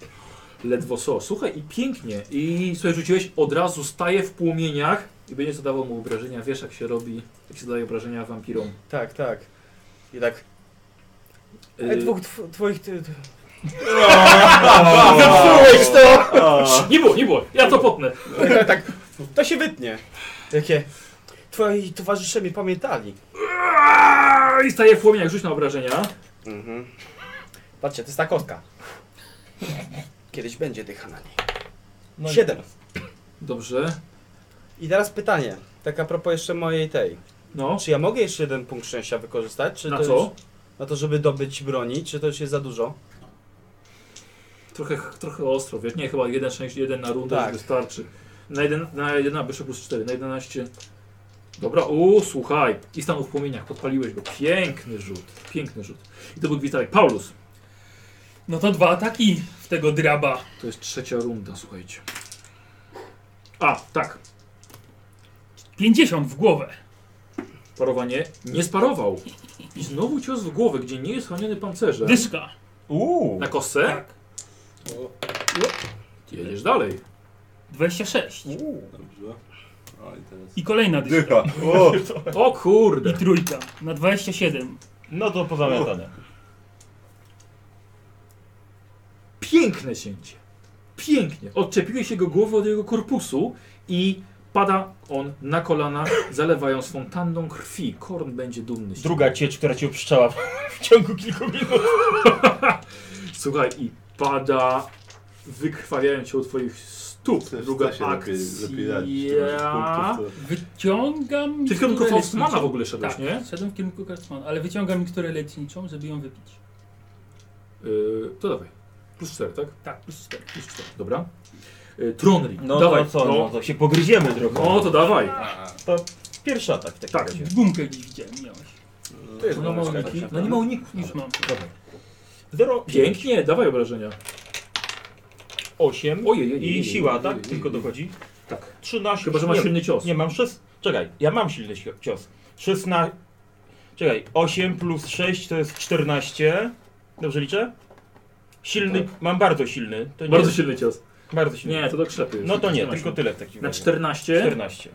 Ledwo so. Słuchaj, i pięknie. I słuchaj, rzuciłeś, od razu staje w płomieniach i będzie zadawał mu obrażenia. Wiesz, jak się robi, jak się daje obrażenia wampirom. Tak, tak. I tak. Yy, E, dwóch tw- twoich. Ty, ty. Zepsułeś to! Nie było, nie było. Ja to potnę. Tak, tak. To się wytnie. Jakie? Twoi towarzysze mnie pamiętali. Aaa, I staje w płomieniach, rzuć na obrażenia. Mhm. Patrzcie, to jest ta kostka. Kiedyś będzie dycha na niej. No i Siedem. teraz. Dobrze. I teraz pytanie. Tak a propos jeszcze mojej tej. No. Czy ja mogę jeszcze jeden punkt szczęścia wykorzystać? Czy Na to co? Już, na to, żeby dobyć broni? Czy to już jest za dużo? Trochę, trochę ostro, wiesz? Nie, chyba 1, 6, 1 na rundę Tak. już wystarczy. Na 1, na 1 wyszło plus 4, na 11. Dobra, uuu, słuchaj. I stanął w płomieniach, podpaliłeś go. Piękny rzut, piękny rzut. I to był gwizdawek. Paulus, No to dwa ataki w tego draba. to jest trzecia runda, słuchajcie. A, tak, 50 w głowę. parowanie nie sparował. I znowu cios w głowę, gdzie nie jest chroniony pancerzem. Dyszka. Uuu. Na kostce? Tak. Jedziesz dalej. 26. dobrze. O, i teraz... I kolejna dyszka. Dycha! O! O I kurde. trójka. Na 27. No to pozamiatane. Piękne cięcie. Pięknie. Odczepiłeś jego głowę od jego korpusu i pada on na kolana, zalewając fontanną krwi. Korn będzie dumny. z ciebie. Druga ciecz, która cię obszczała w ciągu kilku minut. Słuchaj, i pada, wykrwawiając się u twoich stóp. Chcesz, Druga da się lepiej- lepiej radzić, akcja. czy masz punktów, Wyciągam. Czy w kierunku które Faustmana leczniczą. w ogóle szedłeś, Tak, nie? szedłem w kierunku Kartmana, ale wyciągam niektóre leczniczą, żeby ją wypić. Yy, to dawaj. Plus 4, tak? Tak, plus 4. Plus 4. Dobra. Yy, Tronry. No dawaj. to co, no. no. to się pogryziemy drogą. no to dawaj. Tak. To pierwszy atak w takim Tak. razie. Gumkę gdzieś widziałem, miałeś. to- To jest No, ma bonus. uniki. no nie ma uników. Już mam. No Dawaj. Zero, Pięknie, dawaj obrażenia. Osiem. Ojej, ojej, I ojej, siła, ojej, tak? ojej, Tylko ojej. dochodzi. Tak. 13. Chyba, że masz nie, silny cios. Nie, mam 6. Czekaj, ja mam silny sio- cios. 16. Czekaj, 8 plus 6 to jest 14. Dobrze liczę? Silny, mam bardzo silny. To nie Tak. Bardzo jest- silny cios. Bardzo silny. Nie, to tak do krzepy. No to nie, masz. tylko tyle w takim Na razie. 14? 14.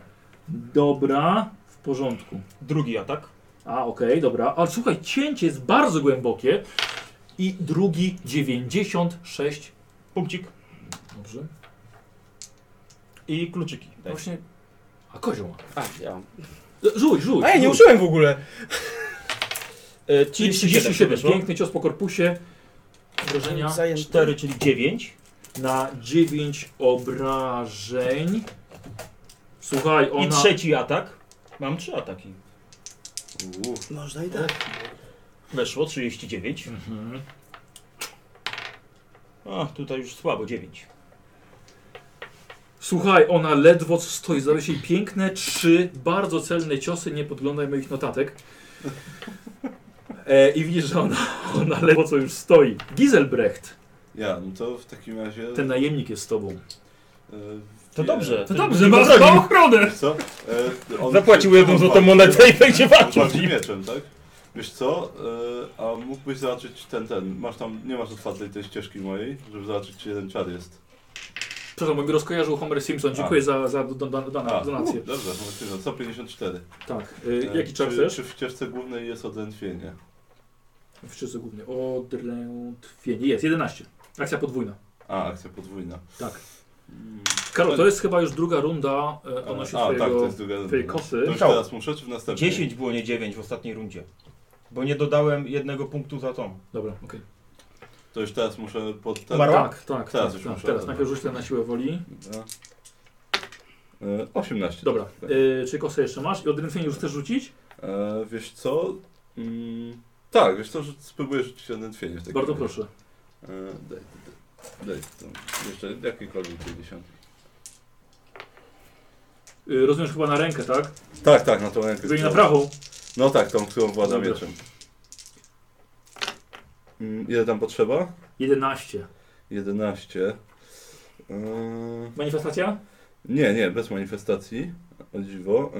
Dobra, w porządku. Drugi atak. A, okej, dobra. Ale słuchaj, cięcie jest bardzo głębokie. I drugi 96. Punkcik Dobrze. i kluczyki. Daj. Właśnie. A kozioł. Tak. A, ja. mam. E, Rzuć, rzuć. A ja nie rzuć. użyłem w ogóle. E, Czyli 37. Piękny cios po korpusie. Wrażenia. Zajęty. 4, czyli 9. Na 9 obrażeń. Słuchaj, ona. I trzeci atak. Mam trzy ataki. Można i tak. Weszło 39. Mhm. A, tutaj już słabo 9. Słuchaj, ona ledwo stoi. Zdały się jej piękne trzy bardzo celne ciosy. Nie podglądaj moich notatek. E, I widzisz, że ona, ona ledwo co już stoi. Giselbrecht, Ja, no to w takim razie... ten najemnik jest z tobą. e, To wie- dobrze. To dobrze, masz małą ochronę. Co? E, on- Zapłacił jedną on złotą walczy- monetę i będzie on walczył. walczy mieczem, tak? Wiesz co, e, a mógłbyś zobaczyć ten, ten, masz tam, nie masz otwartej tej ścieżki mojej, żeby zobaczyć czy jeden czar jest. Przepraszam, bo mi rozkojarzył Homer Simpson. Dziękuję za, za do- do- do- A, donację. u, dobrze, zobaczymy, No, 154. Tak. E, E, jaki czar czy, chcesz? Czy w ścieżce głównej jest odrętwienie? W czym głównie? Odrętwienie. Jest, 11. Akcja podwójna. A, akcja podwójna. Tak. Mm, Karol, to jest chyba już druga runda e, A, odnośnie tak, to twojego... jest druga twojej runda. kosy. To już teraz muszę, czy w następnej? 10 było nie 9 w ostatniej rundzie. Bo nie dodałem jednego punktu za tą. Dobra, okej. To już teraz muszę pod ten... Umarła? Tak, tak, Teraz tak. już tak. muszę. Teraz najpierw rzuć ten na siłę woli. No. E, 18. Dobra, Tak. e, czy kosę jeszcze masz? I odrętwienie już chcesz rzucić? E, wiesz co? Mm, tak, wiesz co, że spróbuję rzucić odrętwienie w takim Bardzo razie. proszę. E, daj, daj, daj to. jeszcze jakiekolwiek 50. E, rozumiesz chyba na rękę, tak? Tak, tak, na tą rękę. Czyli na którą- prawą. No tak, tą, którą włada Dobra. mieczem. Mm, ile tam potrzeba? 11. 11. E, Manifestacja? Nie, nie, bez manifestacji. O dziwo.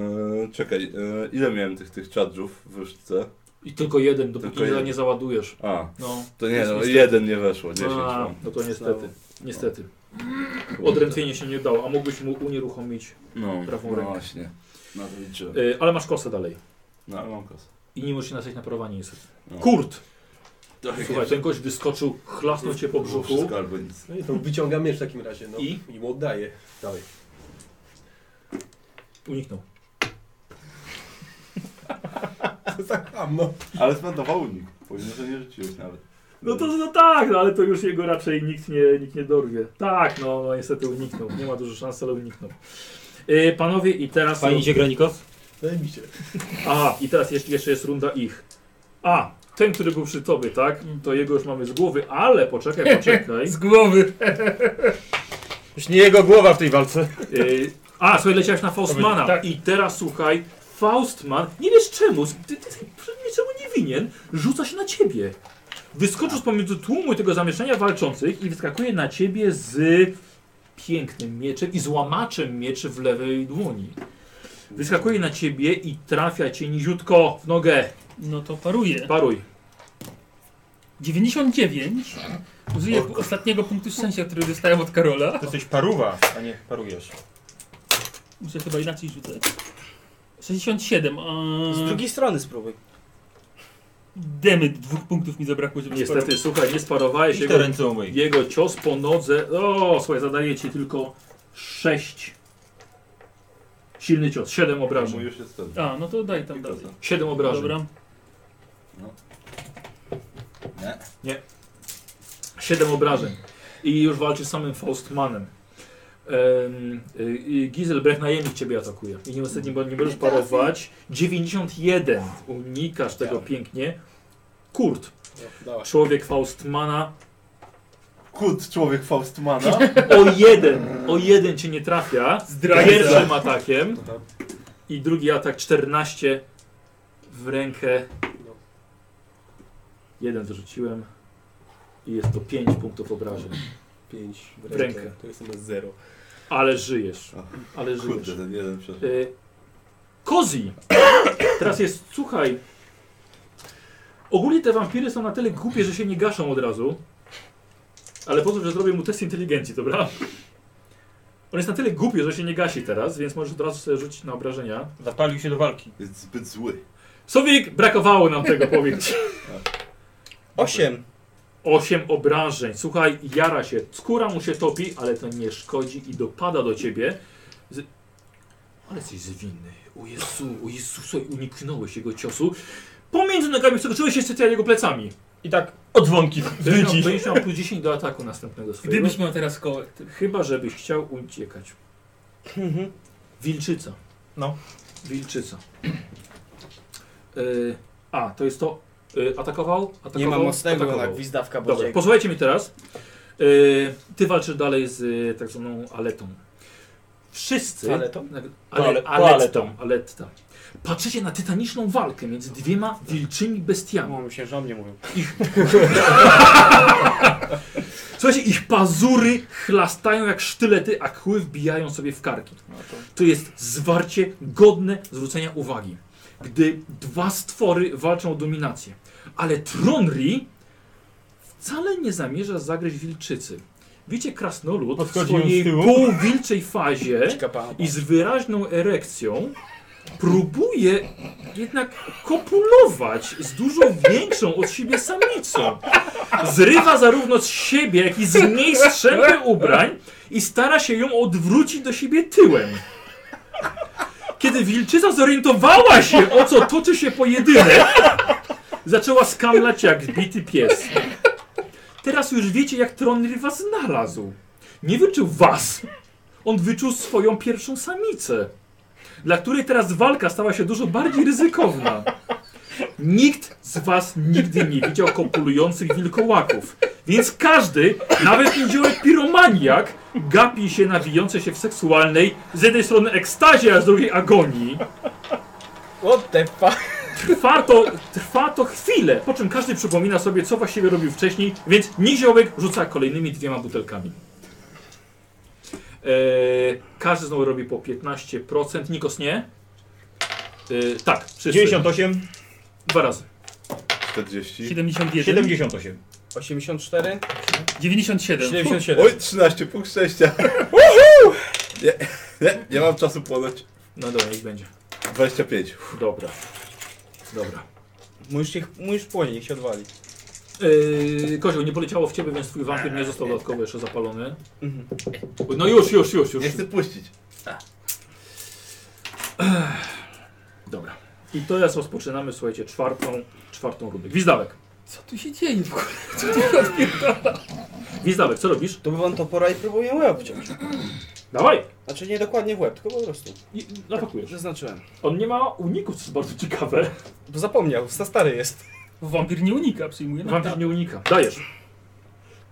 E, czekaj, e, ile miałem tych, tych czadżów w wyszce? I tylko jeden, dopóki Tylko jeden. nie załadujesz. A, No, to nie, Jest no, niestety. jeden nie weszło, 10 A, mam. no to niestety. Niestety. Kurde. Odrętwienie się nie udało, a mógłbyś mu unieruchomić. No, prawą no rękę. właśnie. No to liczyłem. E, ale masz kosę dalej. No, ale mam kosę. I nie możesz się nastać na parowanie niestety. No. Kurt! Słuchaj, ten gość wyskoczył, chlasnął cię po Było brzuchu. wszystko albo nic. No i to wyciągam miecz w takim razie, no. I? I mu oddaję. Dalej. Uniknął. Zakłam, no. Ale zmandował unik, pomimo, że nie rzuciłeś nawet. No to no tak, no, ale to już jego raczej nikt nie, nikt nie dorwie. Tak, no, no niestety uniknął. Nie ma dużo szans, ale uniknął. E, panowie i teraz... Pani idzie Granikos? Daj mi się. A, i teraz jeszcze, jeszcze jest runda ich. A, ten, który był przy tobie, tak? To jego już mamy z głowy, ale poczekaj, poczekaj. Z głowy. Już nie jego głowa w tej walce. Yy, a, słuchaj, leciałeś na Faustmana. Tak. I teraz słuchaj, Faustman, nie wiesz czemu, ty, ty, ty niczemu nie winien, rzuca się na ciebie. Wyskoczył z pomiędzy tłumu i tego zamieszania walczących i wyskakuje na ciebie z pięknym mieczem i złamaczem mieczy w lewej dłoni. Wyskakuje na ciebie i trafia cię niziutko w nogę. No to paruje. Paruj. 99. Użyję ostatniego punktu szczęścia, który dostałem od Karola. Ty jesteś paruwa, a nie parujesz. Muszę chyba inaczej rzucać. 67. Z A... drugiej strony spróbuj. Demyt, dwóch punktów mi zabrakło, żeby Niestety, słuchaj, nie sparowałeś I jego, te ręce umyj. jego cios po nodze. O, słuchaj, zadaje ci tylko 6. Silny cios, 7 Mój obrażeń. już jest ten. A, no to daj tam I dalej. kosa. 7 obrażeń. Dobra. Nie. 7 obrażeń. I już walczy z samym Faustmanem. Um, Giselbrecht najemnik ciebie atakuje. I niestety nie, nie możesz parować. 91. Unikasz tego pięknie. Kurt, No, dała. człowiek Faustmana. Kut, człowiek Faustmana. O jeden, o jeden cię nie trafia. Zdrajca. Pierwszym atakiem. I drugi atak 14 w rękę. Jeden zrzuciłem. I jest to 5 punktów obrażeń. Pięć w rękę. To jest zero. Ale żyjesz. Ale żyjesz. Kurde, ten jeden przez... Y, Kozi. Teraz jest, słuchaj. Ogólnie te wampiry są na tyle głupie, że się nie gaszą od razu. Ale pozwól, że zrobię mu test inteligencji, dobra? On jest na tyle głupi, że się nie gasi teraz, więc możesz od razu sobie rzucić na obrażenia. Zapalił się do walki. Jest zbyt zły. Sowik, brakowało nam tego, powiem ci. 8. Osiem obrażeń. Słuchaj, jara się. Skóra mu się topi, ale to nie szkodzi i dopada do ciebie. Z... Ale jesteś zwinny. O Jezu, o Jezu, słuchaj, uniknąłeś jego ciosu. Pomiędzy nogami wskoczyłeś jeszcze ty jego plecami. I tak odzwonki no, Będziesz miał- wdryci. będziesz miał plus 10 do ataku następnego swojego. Gdybyś miał teraz kołek. Chyba, żebyś chciał uciekać. Wilczyca. No. Wilczyca. Y, a, to jest to. Y, atakował? atakował? Nie ma mocnego, atakował. na gwizdawka Dobra, bodziego. posłuchajcie mnie teraz. Yy, ty walczysz dalej z y, tak zwaną aletą. Wszyscy. Toaletą? Ale, Toale- aletą. Aletta. Patrzycie na tytaniczną walkę między dwiema wilczymi bestiami. No, myślę, że o mnie mówią. Słuchajcie, ich pazury chlastają jak sztylety, a kły wbijają sobie w karki. No To jest zwarcie godne zwrócenia uwagi, gdy dwa stwory walczą o dominację. Ale Tronri wcale nie zamierza zagryźć wilczycy. Widzicie krasnolud w Podchodzi ją z swojej tyłu. półwilczej fazie Ciekawa. i z wyraźną erekcją próbuje jednak kopulować z dużo większą od siebie samicą. Zrywa zarówno z siebie, jak i z niej strzępy ubrań i stara się ją odwrócić do siebie tyłem. Kiedy wilczyca zorientowała się, o co toczy się pojedynek, zaczęła skamlać jak bity pies. Teraz już wiecie, jak Tronry was znalazł. Nie wyczuł was, on wyczuł swoją pierwszą samicę, dla której teraz walka stała się dużo bardziej ryzykowna. Nikt z was nigdy nie widział kopulujących wilkołaków, więc każdy, nawet niedziałek piromaniak, gapi się na wijące się w seksualnej, z jednej strony ekstazie, a z drugiej agonii. What the fuck? Trwa to, trwa to chwilę, po czym każdy przypomina sobie, co właściwie robił wcześniej, więc niziołek rzuca kolejnymi dwiema butelkami. Eee, każdy znowu robi po 15%. Nikos nie? Eee, tak, wszyscy. 98, Dwa razy. 40. 71. 78. 84? 97. 77. Oj, 13, punkt szczęścia. nie, nie, nie mam czasu płonąć. No dobra, niech będzie. 25. Dobra. Dobra. Mój już, niech, mój już płonie, niech się odwali. Eee, Kozioł, nie poleciało w ciebie, więc twój wampir nie został dodatkowo jeszcze zapalony. Mhm. No już, już, już, już. Nie chcę puścić. Dobra. I teraz rozpoczynamy, słuchajcie, czwartą, czwartą rundę. Gwizdawek. Co tu się dzieje w ogóle? Gwizdawek, co robisz? To by wam to pora i próbuję łeb obciąć. Dawaj! Znaczy nie dokładnie w łeb, tylko po prostu. I atakujesz. Zaznaczyłem. On nie ma uników, co jest bardzo ciekawe. Bo zapomniał, za stary jest. Wampir nie unika, przyjmuje na tak. Wampir nie unika. Dajesz.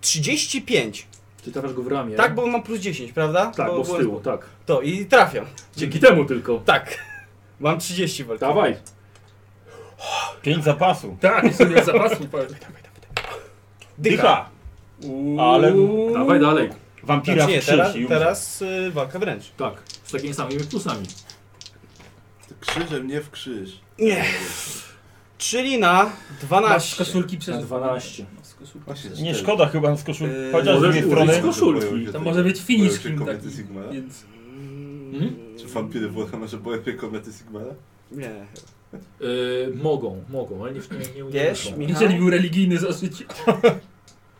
35. Ty trafiasz go w ramię. Tak, bo mam plus 10, prawda? tak, bo z byłem- tyłu, tak. To i trafiam. Dzięki temu tylko. Tak. Mam 30 walki. Dawaj. 5 zapasu. Tak, sobie zapasu. Dycha. Dycha. Ale- Dawaj dalej. Wampira Znaczy w nie, krzyż teraz, i umrze. teraz y, walka wręcz. Tak. Z takimi samymi plusami. Krzyżem, nie w krzyż. Nie. Czyli na Masz 12. koszulki przez 12. No, Właśnie, Nie szkoda chyba z koszulki. Yy, Chociaż z Eee, możesz drugiej użyć strony. kosz- koszulki. Boją się To tej- może być boją się finiskim kobiety taki. Sigmara? Więc Mm. Hmm? Czy wampiry Włocha może boją się kobiety Sigmara? Nie. Yy, mogą, mogą, ale nie, nie, nie Wiesz, unika. Michał? jeżeli był religijny zasyć.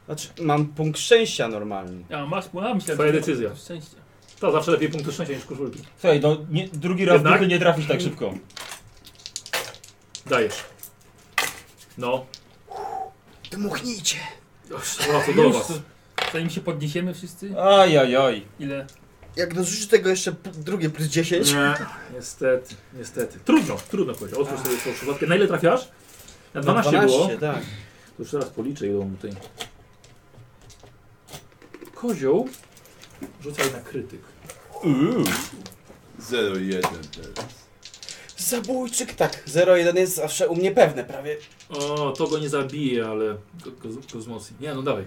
Znaczy, mam punkt szczęścia normalnie. A masz, a myślałem, Twoja że- decyzja. Szczęście. To zawsze lepiej punktu szczęścia niż koszulki. Słuchaj, no nie, drugi raz Jednak? Jednak? nie trafisz tak szybko. Dajesz. No. Dmuchnijcie. O, co no do Już, was. Zanim się podniesiemy wszyscy, Ajajaj. ile? Jak dorzucisz tego jeszcze p- drugie plus 10. Nie, niestety, niestety. Trudno, trudno powiedzieć. Otwórz sobie tą szufladkę. Na ile trafiasz? Na 12, było. tak. To już teraz policzę ile mu tutaj. Kozioł rzucaj na krytyk. Uuu. 0,1 teraz. Zabójczyk, tak. 0,1 jest zawsze u mnie pewne prawie. O, to go nie zabije, ale go, go, go wzmocni. Nie, no dawaj.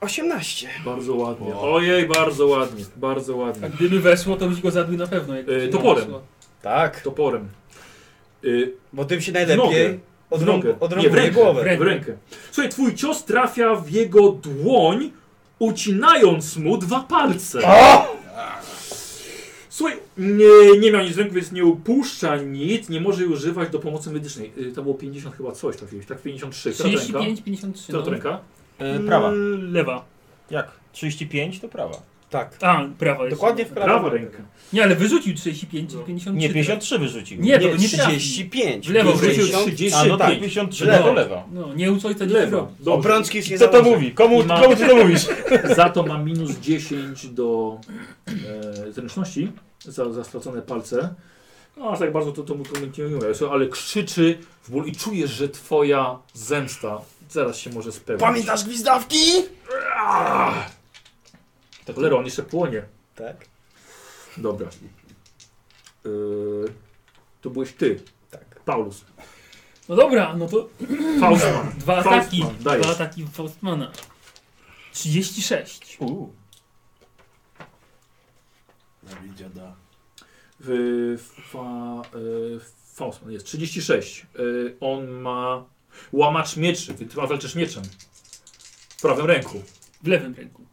18. Bardzo ładnie. Ojej, bardzo ładnie, bardzo A ładnie. gdyby weszło, to byś go zabił na pewno. jak Yy, nie toporem. weszło. Tak, Toporem. Y, bo tym się nogę. najlepiej W nogę. odrą- Nie, w odrąbuje rękę. głowę. w rękę. Słuchaj, twój cios trafia w jego dłoń, ucinając mu dwa palce. Słuchaj, nie, nie miał nic w ręku, więc nie upuszcza nic, nie może jej używać do pomocy medycznej. Y, To było 50 chyba coś trafiłeś, tak? 53. Która to ręka? 35, 53. Która to No. ręka? E, prawa. Yy, Lewa. Jak? 35 to prawa. Tak. A, prawa jest. Dokładnie w prawo. Prawa ręka. Nie, ale wyrzucił 35 No. i 53. No, Nie, 53 wyrzucił. Nie, to Nie, by nie trafił. 35. W lewo Wrzucił 50. 30, A no tak, tak. 53 Lewo. to lewa. No, nie ucoj, to nie Lewa. zrobi. Dobrze. Obrączki już nie Co to założę. mówi? Komu, I ma- komu ty to mówisz? Za to ma minus 10 do e, zręczności za, za stracone palce. No aż tak bardzo to, to mu to nie mówię, Słuchaj, ale krzyczy w ból i czujesz, że twoja zemsta zaraz się może spełnić. Pamiętasz gwizdawki? To cholera, on jeszcze płonie. Tak. Dobra. Y, to byłeś ty. Tak. Paulus. No dobra, no to Faustman. dwa Faustman, ataki. dajesz. Dwa ataki w Faustmana. 36. Uuu. Zabij dziada. Y, fa, y, Faustman jest 36. Y, on ma łamacz mieczy. Ty ty walczysz mieczem. W prawym ręku. W lewym ręku.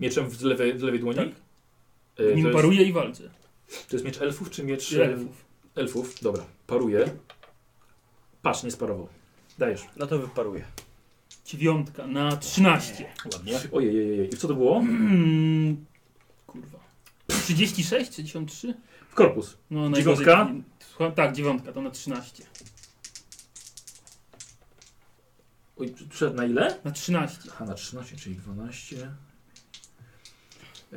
Mieczem w lewej, w lewej dłoni? Tak. E, Nim to, jest, paruje i walczy. to jest miecz elfów czy miecz e, Elfów. elfów? Dobra, paruje. Patrz, nie sparował. Dajesz. No to wyparuję. Dziewiątka na 13. Ładnie. Ojej, ojej, ojej. I co to było? Mm, Kurwa. 36? 63? W korpus. No, Dziewiątka? najgorzej. Słucham, tak, dziewiątka, to na 13. Oj, przed na ile? Na 13. Aha, na 13, czyli 12. E,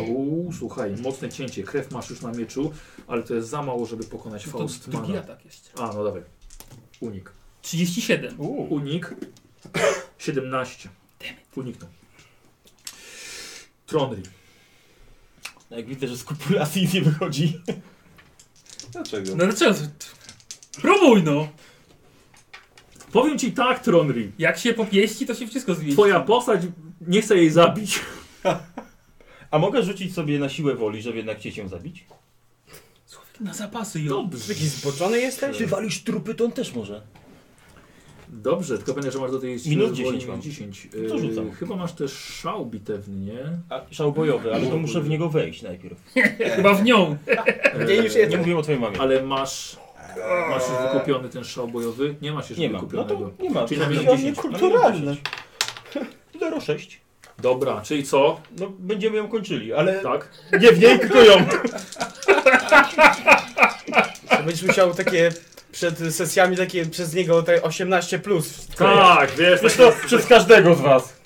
o, słuchaj, mocne cięcie. Krew masz już na mieczu, ale to jest za mało, żeby pokonać No to drugi Faustmana. atak jeszcze. A, no dawaj. Unik. 37. Uuu. Unik. 17. Uniknął. Tronry. Jak widzę, że z kopulacji nie wychodzi. Dlaczego? No dlaczego? Próbuj no! Powiem ci tak, Tronry. Jak się popieści, to się wszystko zmieni. Twoja postać nie chce jej zabić. A mogę rzucić sobie na siłę woli, żeby jednak cię się zabić? Człowiek na zapasy ją. Dobrze. Taki zboczony jesteś? Ty walisz trupy, to on też może. Dobrze, tylko pamiętaj, że masz do tej siły Minus woli 10 mam. 10. No to rzucam. Yy, chyba masz też szał bitewny, nie? A, szał bojowy, ale to muszę w niego wejść najpierw. Chyba w nią. Nie, już jest. Nie mówię o twojej mamie. Ale masz, masz już wykupiony ten szał bojowy? Nie masz jeszcze Nie mam. No wykupionego. to nie mam. Czyli na minus Zrobiłem 10. Kulturalne. Zero sześć. Dobra, czyli co? No będziemy ją kończyli, ale Tak? nie w niej, tylko ją. To Będziesz musiał takie przed sesjami takie przez niego te 18 plus. Tak, wiesz. Wiesz Tak to przez każdego z was.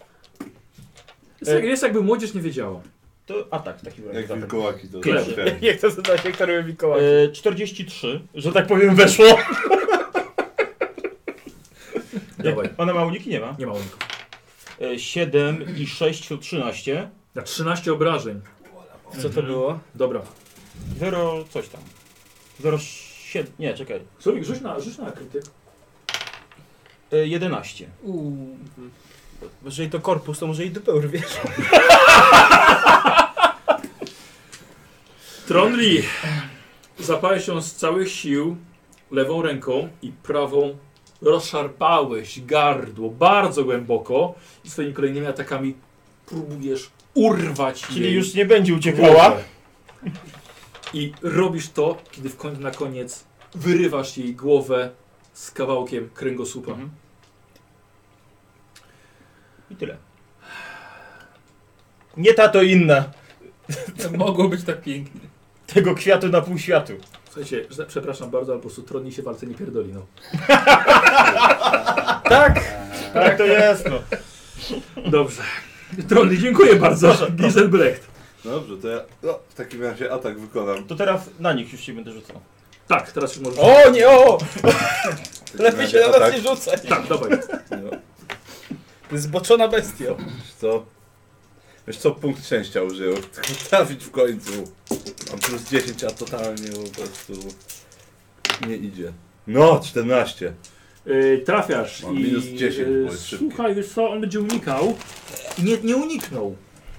jest, jak- jest jakby młodzież nie wiedziała. To atak w takim razie. Jak zatem. wilkołaki to Klep. ten. Jak to zada się Karol Mikołaj? E, 43, że tak powiem weszło. Dawaj. Ona ma uniki? Nie ma. Nie ma uników. E, 7 i 6 to 13. Na 13 obrażeń. Co to było? Dobra. 0 coś tam. 0 7, nie, czekaj. Słowik, rzuć na, rzuć na krytyk. E, 11. Uuu. Może i to korpus, to może i dupę urwiesz. Tronli zapalił się z całych sił lewą ręką i prawą rozszarpałeś gardło bardzo głęboko i swoimi kolejnymi atakami próbujesz urwać Czyli jej już nie będzie uciekała. głowę. I robisz to, kiedy w końcu na koniec wyrywasz jej głowę z kawałkiem kręgosłupa. Mhm. I tyle. Nie ta to inna. To mogło być tak pięknie. Tego kwiatu na pół światu. Słuchajcie, że- przepraszam bardzo, ale po prostu Tronli się w walce nie pierdoli. No. Tak! Tak to jest no. Dobrze. Tronli, dziękuję bardzo. Giselbrecht. Dobrze, to ja no, w takim razie atak wykonam. To teraz na nich już się będę rzucał. Tak, teraz już możesz... O nie, o! W takim Lepiej razie się na nas atak. nie rzucaj. Tak, dawaj. No, Zboczona bestia. wiesz co? Wiesz co, punkt szczęścia użył. Tylko trafić w końcu. Mam plus 10, a totalnie po prostu nie idzie. No, 14. E, trafiasz Mam i... minus 10, bo e, jest szybki. Słuchaj, wiesz co, on będzie unikał. I nie, nie uniknął.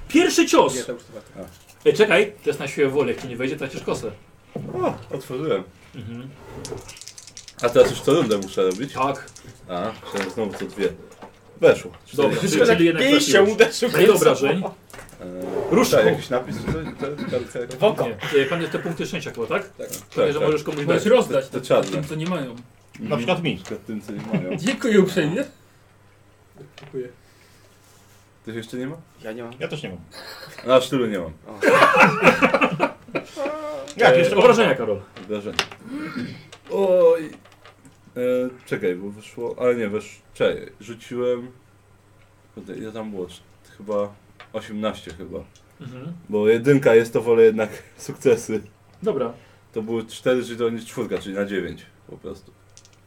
Pierwszy cios! Nie, to już chyba tak. Ej, czekaj, to jest na siłę woli, jak ci nie wejdzie, tracisz kosę. O, otworzyłem. Mhm. A teraz już co rundę muszę robić? Tak, A, chciałem znowu co dwie. Weszło. dobra, tak- Cztery. czyli, czyli jednak Pięścią trafiłeś. uderzył Daj obrażeń. Eee, Ruszku. tak, jakiś napis czy coś? To- kartka jakaś? W oko. Nie, e, pan jest te punkty szczęścia chyba, tak? Tak. Pewnie, Tak, że tak. możesz komuś dać. Możesz rozdać To to czarne. tym, co nie mają. Na przykład mi. przykład tym, co nie mają. Dziękuję uprzejmie. Dziękuję. Ktoś jeszcze nie ma? Ja nie mam. Ja też nie mam. Na sztylu nie mam. Jak, E, jeszcze obrażenia, Karol. Wrażenie. Oj. E, czekaj, bo wyszło. Ale nie, wesz. Czekaj, rzuciłem. Kurde, Ile tam było? Cz- Chyba 18 chyba. Mhm. Bo jedynka jest to wolę jednak sukcesy. Dobra. To były 4, czyli to nie czwórka, czyli na 9 po prostu.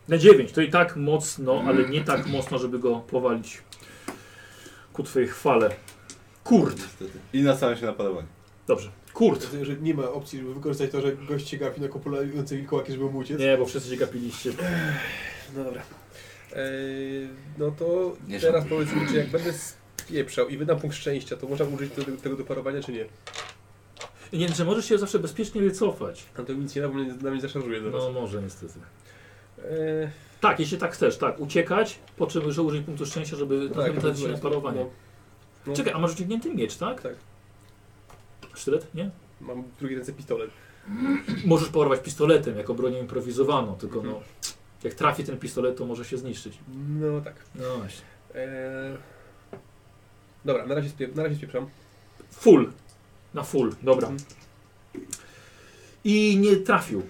Na 9, to i tak mocno, ale nie tak mocno, żeby go powalić ku twojej chwale. Kurt. Niestety. I nastawiam się na parowanie. Dobrze. Kurt. Rozumiem, że nie ma opcji, żeby wykorzystać to, że gość się gapi na kopulające wilkołaki, żeby mu uciec. Nie, bo wszyscy się gapiliście. No dobra. Eee, no to teraz powiedz mi, czy jak będę spieprzał i wydam punkt szczęścia, to można użyć tego, tego do parowania, czy nie? Nie, że możesz się zawsze bezpiecznie wycofać. No to nic nie da, bo mnie, na mnie zaszarżuje zaraz. No może niestety. Eee, Tak, jeśli tak chcesz, tak. Uciekać, po czym że użyj punktu szczęścia, żeby tak, to tak, się na jest- parowanie. No, no, Czekaj, a masz ucieknięty miecz, tak? Tak. Sztylet? Nie? Mam w drugiej ręce pistolet. Możesz porwać pistoletem jako bronią improwizowaną, tylko Mhm. no... Jak trafi ten pistolet, to może się zniszczyć. No tak. No właśnie. Eee, dobra, na razie, spiep- na razie spieprzam. Full. Na full, dobra. Mhm. I nie trafił.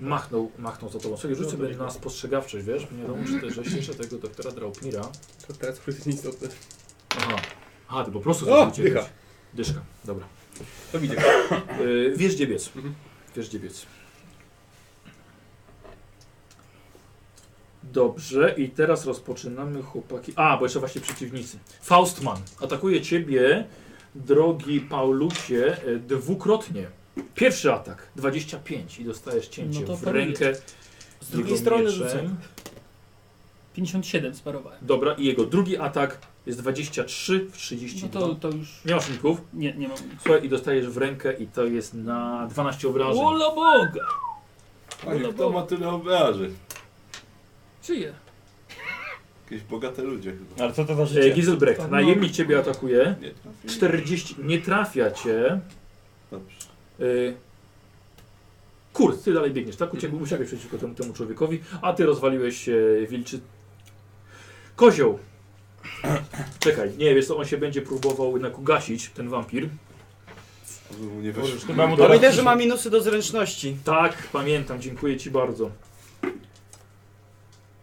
Machnął, machnął za tobą. Słuchaj, rzuć No, sobie dobra. na spostrzegawczość, wiesz? bo Nie wiadomo, czy też żeś jeszcze tego doktora Draupnira. To teraz już jest nieistotne. Aha. Aha, ty po prostu O, zaczął dycha. uciekać. Dyszka, dobra. To widzę. Yy, wiesz gdzie biec. Mhm. Wiesz gdzie biec. Dobrze, i teraz rozpoczynamy chłopaki. A, bo jeszcze właśnie przeciwnicy. Faustman atakuje ciebie, drogi Paulusie, e, dwukrotnie. Pierwszy atak 25 i dostajesz cięcie No to w paruje. rękę. Z jego drugiej strony mieczem. rzucę. 57 sparowałem. Dobra, i jego drugi atak jest 23 w 30. No to, to już... Nie masz uników. Nie, nie mam. Słuchaj, i dostajesz w rękę i to jest na 12 obrażeń. Ola Boga! Panie, No kto bo- ma tyle obrażeń? Czyje? Jakieś bogate ludzie chyba. Ale co to za E, życie? Giselbrecht, najemnik ciebie atakuje. Nie trafiłem. 40 nie trafia cię. Dobrze. Y... Kurt, ty dalej biegniesz, tak? Uciekł, uciekłeś przeciwko temu, temu człowiekowi, a ty rozwaliłeś e, wilczy. Kozioł. Czekaj, nie wiesz co, on się będzie próbował jednak ugasić, ten wampir. Żeby mu nie weszło. Chyba mu Bo teraz... widzę, że ma minusy do zręczności. Tak, pamiętam, dziękuję ci bardzo.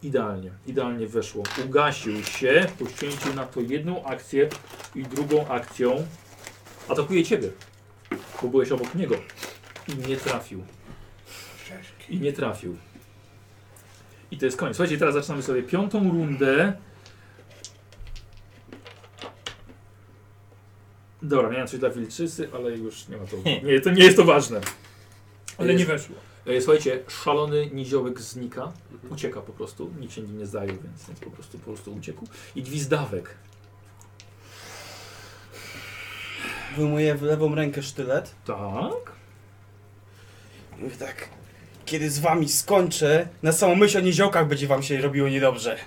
Idealnie, idealnie weszło. Ugasił się, poświęcił na to jedną akcję i drugą akcją atakuje ciebie, bo byłeś obok niego i nie trafił. I nie trafił. I to jest koniec. Słuchajcie, teraz zaczynamy sobie piątą rundę. Dobra, miałem coś dla wilczycy, ale już nie ma to. Nie, to nie jest to ważne. Ale nie weszło. Mhm. E, Słuchajcie, szalony niziołek znika, ucieka po prostu, nikt się nim nie zdaje, więc, więc po, prostu, po prostu uciekł. I gwizdawek. Wyjmuję w lewą rękę sztylet. Tak? Mówię tak. Kiedy z wami skończę, na samą myśl o niziołkach będzie wam się robiło niedobrze.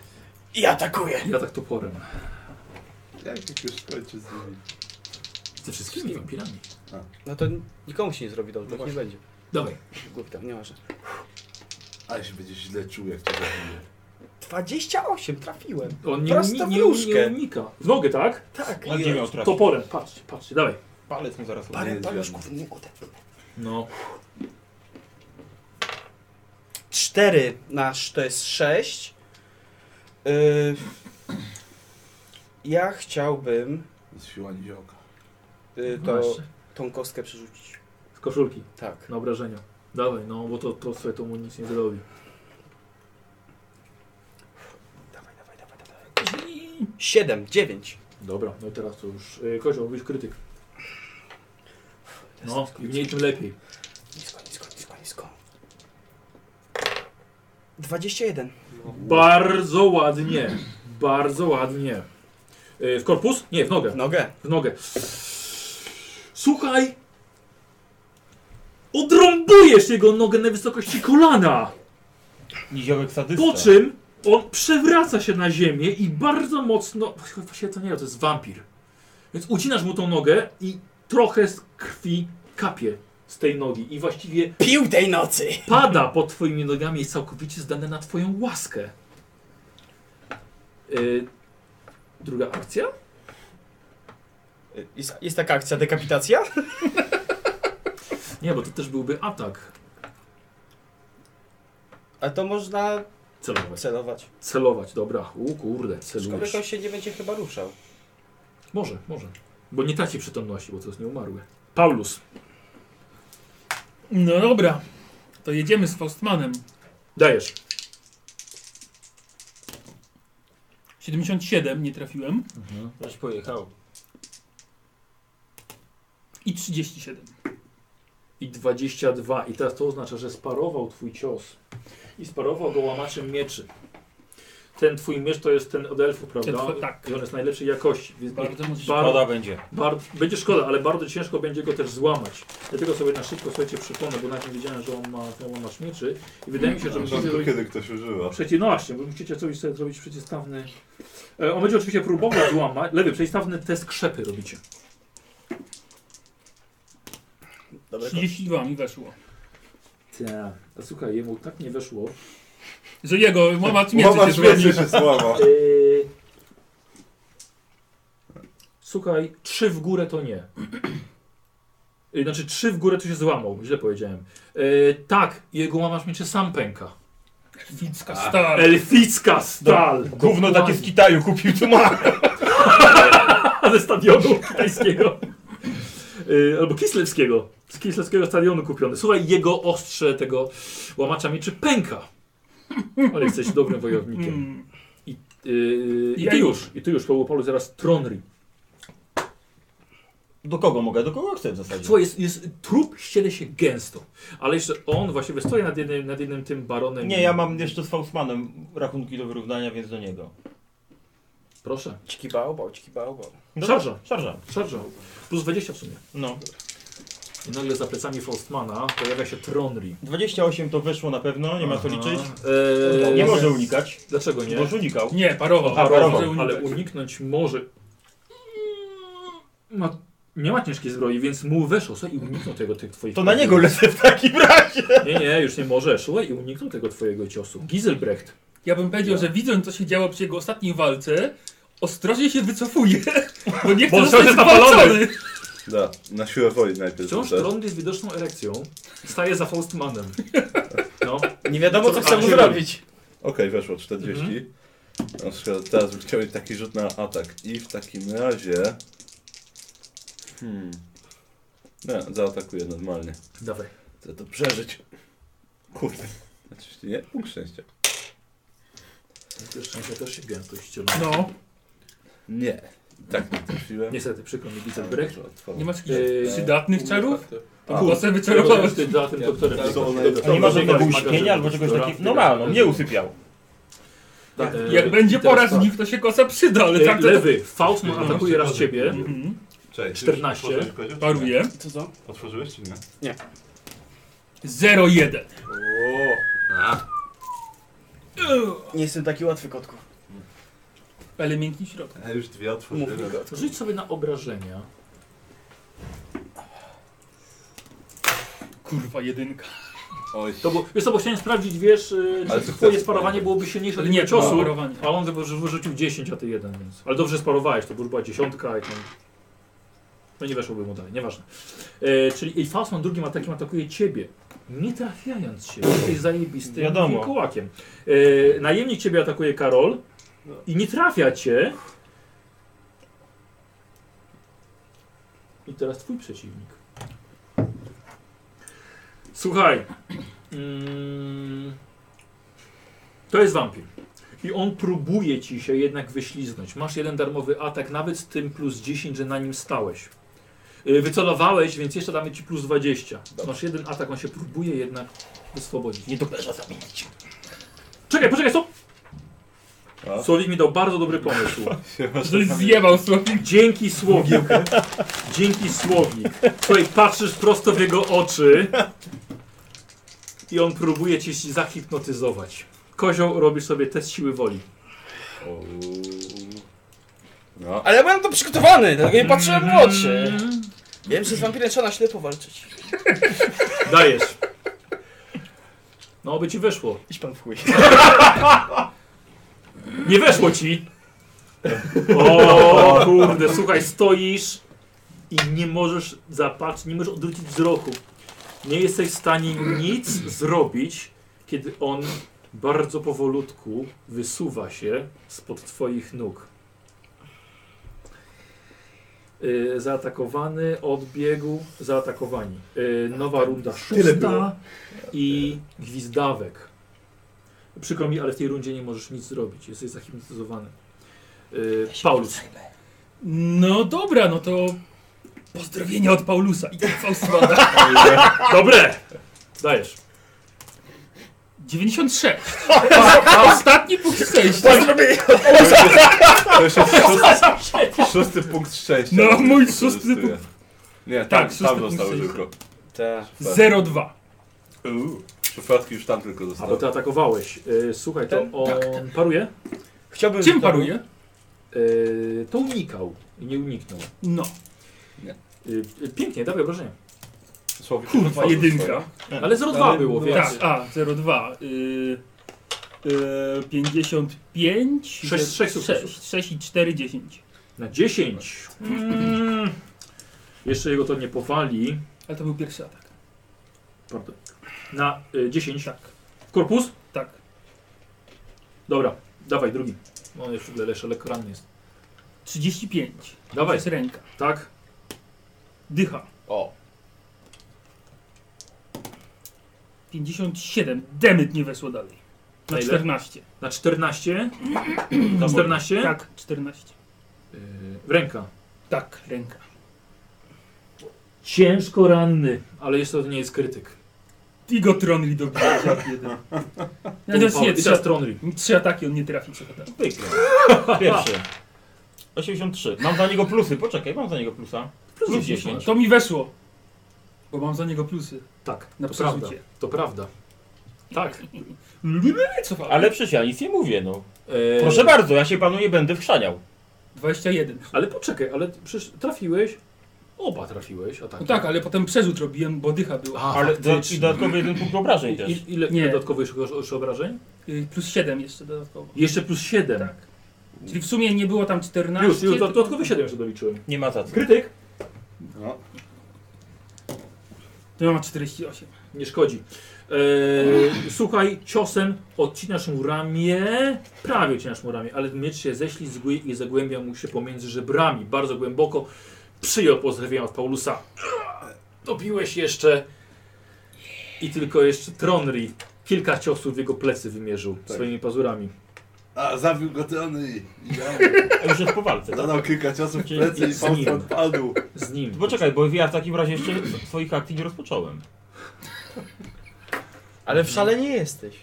I atakuję. Ja tak toporem. Jak już skończy z nimi? Ze wszystkimi wampirami. No to nikomu się nie zrobi dobrze, tak nie będzie. Dawaj. Głupi tam, nieważne. Ale się będzie źle czuł, jak cię zabije. 28, trafiłem. On nie, uni- Prosto w nie, uni- nie nóżkę. unika. W nogę, tak? Tak. On nie miał trafić. Toporem, patrzcie, patrzcie, dawaj. Palec mu zaraz Parę jest paluszków nie uda. No. 4 na sz- to jest 6. Yy, ja chciałbym To jest siła niziołka. yy, No to, jeszcze. tą kostkę przerzucić. Z koszulki, Tak. na obrażenia. Dawaj, no, bo to, to sobie to mu nic nie zrobi. Dawaj, dawaj, dawaj, dawaj. 7, 9. Dobra, no i teraz to już. Yy, Kozioł, robisz krytyk. No, im mniej tym lepiej. Nisko, nisko, nisko, nisko. 21. Bardzo ładnie. Bardzo ładnie. Y, W korpus? Nie, w nogę. W nogę. W nogę. Słuchaj! Odrąbujesz jego nogę na wysokości kolana! Niziołek sadysta. Po czym on przewraca się na ziemię i bardzo mocno. Właściwie to nie, to jest wampir. Więc ucinasz mu tą nogę i trochę z krwi kapie z tej nogi. I właściwie Pił tej nocy! pada pod twoimi nogami jest całkowicie zdane na twoją łaskę. Yy, druga akcja? Jest, jest taka akcja dekapitacja? Nie, bo to też byłby atak A to można celować. celować. Celować, dobra. U kurde, celujesz. Aczkolwiek on się nie będzie chyba ruszał. Może, może. Bo nie traci przytomności, bo to jest nieumarły. Paulus, No dobra, to jedziemy z Faustmanem. dajesz. 77 nie trafiłem Ktoś pojechał. i 37. i 22. I teraz to oznacza, że sparował twój cios. I sparował go łamaczem mieczy. Ten twój miecz to jest ten od elfu, prawda? Ten tw- tak. I on jest najlepszej jakości. Więc Bardzo mocno. bar- Szkoda będzie. bar- będzie szkoda, ale bardzo ciężko będzie go też złamać. Dlatego sobie na szybko słuchajcie przypomnę, bo nawet nie wiedziałem, że on ma ten łamacz mieczy. I wydaje mi się, że musicie Rzadko zrobić... kiedy ktoś używa. Przeci- no właśnie, bo musicie coś sobie zrobić przeciwstawny. E, on będzie oczywiście próbował złamać. Lewy, przeciwstawny test krzepy robicie. 32 mi weszło. Tak. A słuchaj, jemu tak nie weszło, Że jego mama Łamacz zmieni. mieczy się słama. Yy, Słuchaj, trzy w górę to nie. Yy, Znaczy trzy w górę to się złamał, źle powiedziałem. Yy, tak, jego łamasz mieczy sam pęka. Ficka star. Elficka stal! Gówno takie z Kitaju kupił, co ma. ze stadionu kitajskiego. Yy, Albo kislewskiego. Z kislewskiego stadionu kupiony. Słuchaj, jego ostrze tego łamacza mieczy pęka. Ale jesteś dobrym wojownikiem. Mm, Yy, I Ja ty już. już, i ty już, po Łopolu zaraz Tronri. Do kogo mogę? Do kogo chcę w zasadzie. Słuchaj, jest, jest, trup ściele się gęsto, ale jeszcze on właściwie stoi nad jednym, nad jednym tym baronem. Nie, ja mam jeszcze z Faustmanem rachunki do wyrównania, więc do niego. Proszę, Ciki bałbał, ciki bałbał. Szarża. No Szarża. szarża. Plus 20 w sumie. No. I nagle za plecami Faustmana pojawia się Tronri. 28 to weszło na pewno, nie ma co liczyć. Eee, Nie może unikać. Dlaczego nie? Bo już unikał. Nie, parował. A, parował, Może unikać. ale uniknąć może. Ma, nie ma ciężkiej zbroi, więc mu weszło sobie i uniknął tego tych twoich. To na niego lecę w takim razie. Nie, nie, już nie możesz. Słuchaj, i uniknął tego twojego ciosu. Giselbrecht. Ja bym powiedział, że widząc co się działo przy jego ostatniej walce, ostrożnie się wycofuje, bo nie Bo chce został zostać zapalony. zwalczony. Da, na siłę woli najpierw. Wciąż rzucę. Tronri z widoczną erekcją staje za Faustmanem. No. Nie wiadomo Co co chce mu zobaczymy. zrobić. Okej, weszło 40. Na przykład teraz bym chciał mieć taki rzut na atak. I w takim razie... Hmm... Nie, zaatakuję normalnie. Dawaj. Chcę to przeżyć. Kurde. Znaczy nie, punkt szczęścia. Te szczęścia też się gęsto ścielą. No, Nie. Tak nie trafiłem. Niestety, przykro mi, widzę Ale brecht. może otworzę. nie masz Eee, jakichś przydatnych no czarów? A, Bo Czerwałeś sobie wyczarowałeś. ty za tym Ja- doktorem. tak, Dobra, to ona- dobra, A nie ma dobra, żadnego dobra, uśpienia albo czegoś dobra. takiego. No ma, no mnie usypiał. Tak, eee, Jak będzie teraz pora z tak. nich, to się kosa przyda, ale Eee, tak to... Lewy, Faustman atakuje raz ciebie. Mhm, Cześć, 14. otworzyłeś kozie, czy nie? Paruje. Co co? Otworzyłeś czy nie? 0-1. A, Nie jestem taki łatwy, kotku. Ale miękki środek. ja już dwie otworzyłem. Rzuć sobie na obrażenia. Kurwa, jedynka. Oj, To bo, wiesz co, bo chciałem sprawdzić, wiesz, eee, Ale czy to twoje chcesz. sparowanie byłoby silniejsze Ale od nie, nie ciosu. ciosu. Parowanie. A on wywo- wyrzucił 10, a ty 1, więc. Ale dobrze sparowałeś, to już była dziesiątka. Jak on... No nie weszłoby mu dalej, nieważne. E, czyli i Faustman drugim atakiem atakuje ciebie, nie trafiając się. Jesteś zajebistym Wiadomo. kołakiem. E, najemnik ciebie atakuje Karol i nie trafia cię. I teraz twój przeciwnik. Słuchaj. Mm, to jest wampir. I on próbuje ci się jednak wyśliznąć. Masz jeden darmowy atak, nawet z tym plus 10, że na nim stałeś. Yy, Wycelowałeś, więc jeszcze damy ci plus 20. Masz jeden atak, on się próbuje jednak wyswobodzić. Nie do perza zamienić. Poczekaj, poczekaj, stop! A? Słowik mi dał bardzo dobry pomysł. Coś zjebał słowik. Dzięki Słowik. Dzięki Słowik. Słuchaj, patrzysz prosto w jego oczy i on próbuje cię zahipnotyzować. Kozioł, robisz sobie test siły woli. O, No, Ale ja byłem to przygotowany, dlatego nie patrzyłem w oczy. Wiem, że z wampirem trzeba na ślepo walczyć. Dajesz. No, by ci weszło. Idź pan w chuj. Nie weszło ci! O kurde, słuchaj, stoisz i nie możesz zapatrzeć, nie możesz odwrócić wzroku. Nie jesteś w stanie nic zrobić, kiedy on bardzo powolutku wysuwa się spod twoich nóg. Yy, zaatakowany, odbiegł, zaatakowani. Yy, nowa runda szósta i gwizdawek. Przykro mi, ale w tej rundzie nie możesz nic zrobić. Jesteś zahipnotyzowany. Yy, Paulus. No dobra, no to pozdrowienia od Paulusa i tak Faustwana. Dobre! Dajesz. 96. Ostatni punkt szczęścia. to już jest szósty, szósty punkt szczęścia. No, który mój wykorzystuję. szósty punkt. Nie, tam, Tak, tak, szósty tam punkt zostały szczęścia. tylko. 02. Szufladki już tam tylko A bo zostały. ty atakowałeś. Yy, słuchaj, to on paruje? Chciałbym... Czym paruje? Yy, to unikał. i Nie uniknął. No. Yy, yy, pięknie, dawaj obrażenia. Słowik już Kurwa, otworzył swoje. jedynka. Tak. Ale 0,2 było, więc... Tak, a, 02. Y, y, 55. Sześć- sześć sukcesów. 6 i 4, 10. Na 10. Mm. Jeszcze jego to nie powali. Ale to był pierwszy atak. Pardon. Na y, 10. Tak. Korpus? Tak. Dobra, dawaj drugi. No, On jeszcze w ogóle jeszcze lekko ranny jest. 35. To Dawaj. jest ręka. Tak. Dycha. O. 57. Demyt nie wesło dalej. Na Na ile? 14. Na 14. Na 14? Tak, 14. Yy, ręka. Tak, ręka. Ciężko ranny. Ale jeszcze to nie jest krytyk. I go Tronli dobija za jeden. No to jest Paul- nie, I trzy, teraz Tronry. trzy ataki on nie trafi co chyba. Pierwszy. 83. Mam za niego plusy, poczekaj, mam za niego plusa. Plus 10. To mi weszło. Bo mam za niego plusy. Tak, Na to prawda. przerzucie. To prawda. Tak. Cofałem. Ale przecież ja nic nie mówię, no. E, Proszę bardzo, ja się panu nie będę wchrzaniał. 21. Ale poczekaj, ale przecież trafiłeś. Oba trafiłeś, a tak. No tak, ale potem przerzut robiłem, bo dycha była. A, Ale do, faktycznie. i dodatkowy jeden punkt obrażeń I- też. i- ile, Nie. ile dodatkowych jeszcze, jeszcze obrażeń? Y, Plus 7 jeszcze dodatkowo. Jeszcze plus 7. Tak. Czyli w sumie nie było tam 14. Już, już, do- dodatkowe 7 jeszcze doliczyłem. Nie ma za co. Krytyk? To ja mam 48. Nie szkodzi. E, słuchaj, ciosem odcinasz mu ramię, prawie odcinasz mu ramię, ale miecz się ześlizguje i zagłębia mu się pomiędzy żebrami, bardzo głęboko. Przyjął pozdrowienia od Paulusa. Dobiłeś jeszcze i tylko jeszcze Tronri kilka ciosów w jego plecy wymierzył Tak. swoimi pazurami. A, zabił go Tony i ja A Już jest po walce, tak? zadał kilka ciosów w Czyli plecy i jest Faust nim. odpadł. Z nim. Poczekaj, bo ja w takim razie jeszcze swoich akcji nie rozpocząłem. Ale w szale nie jesteś.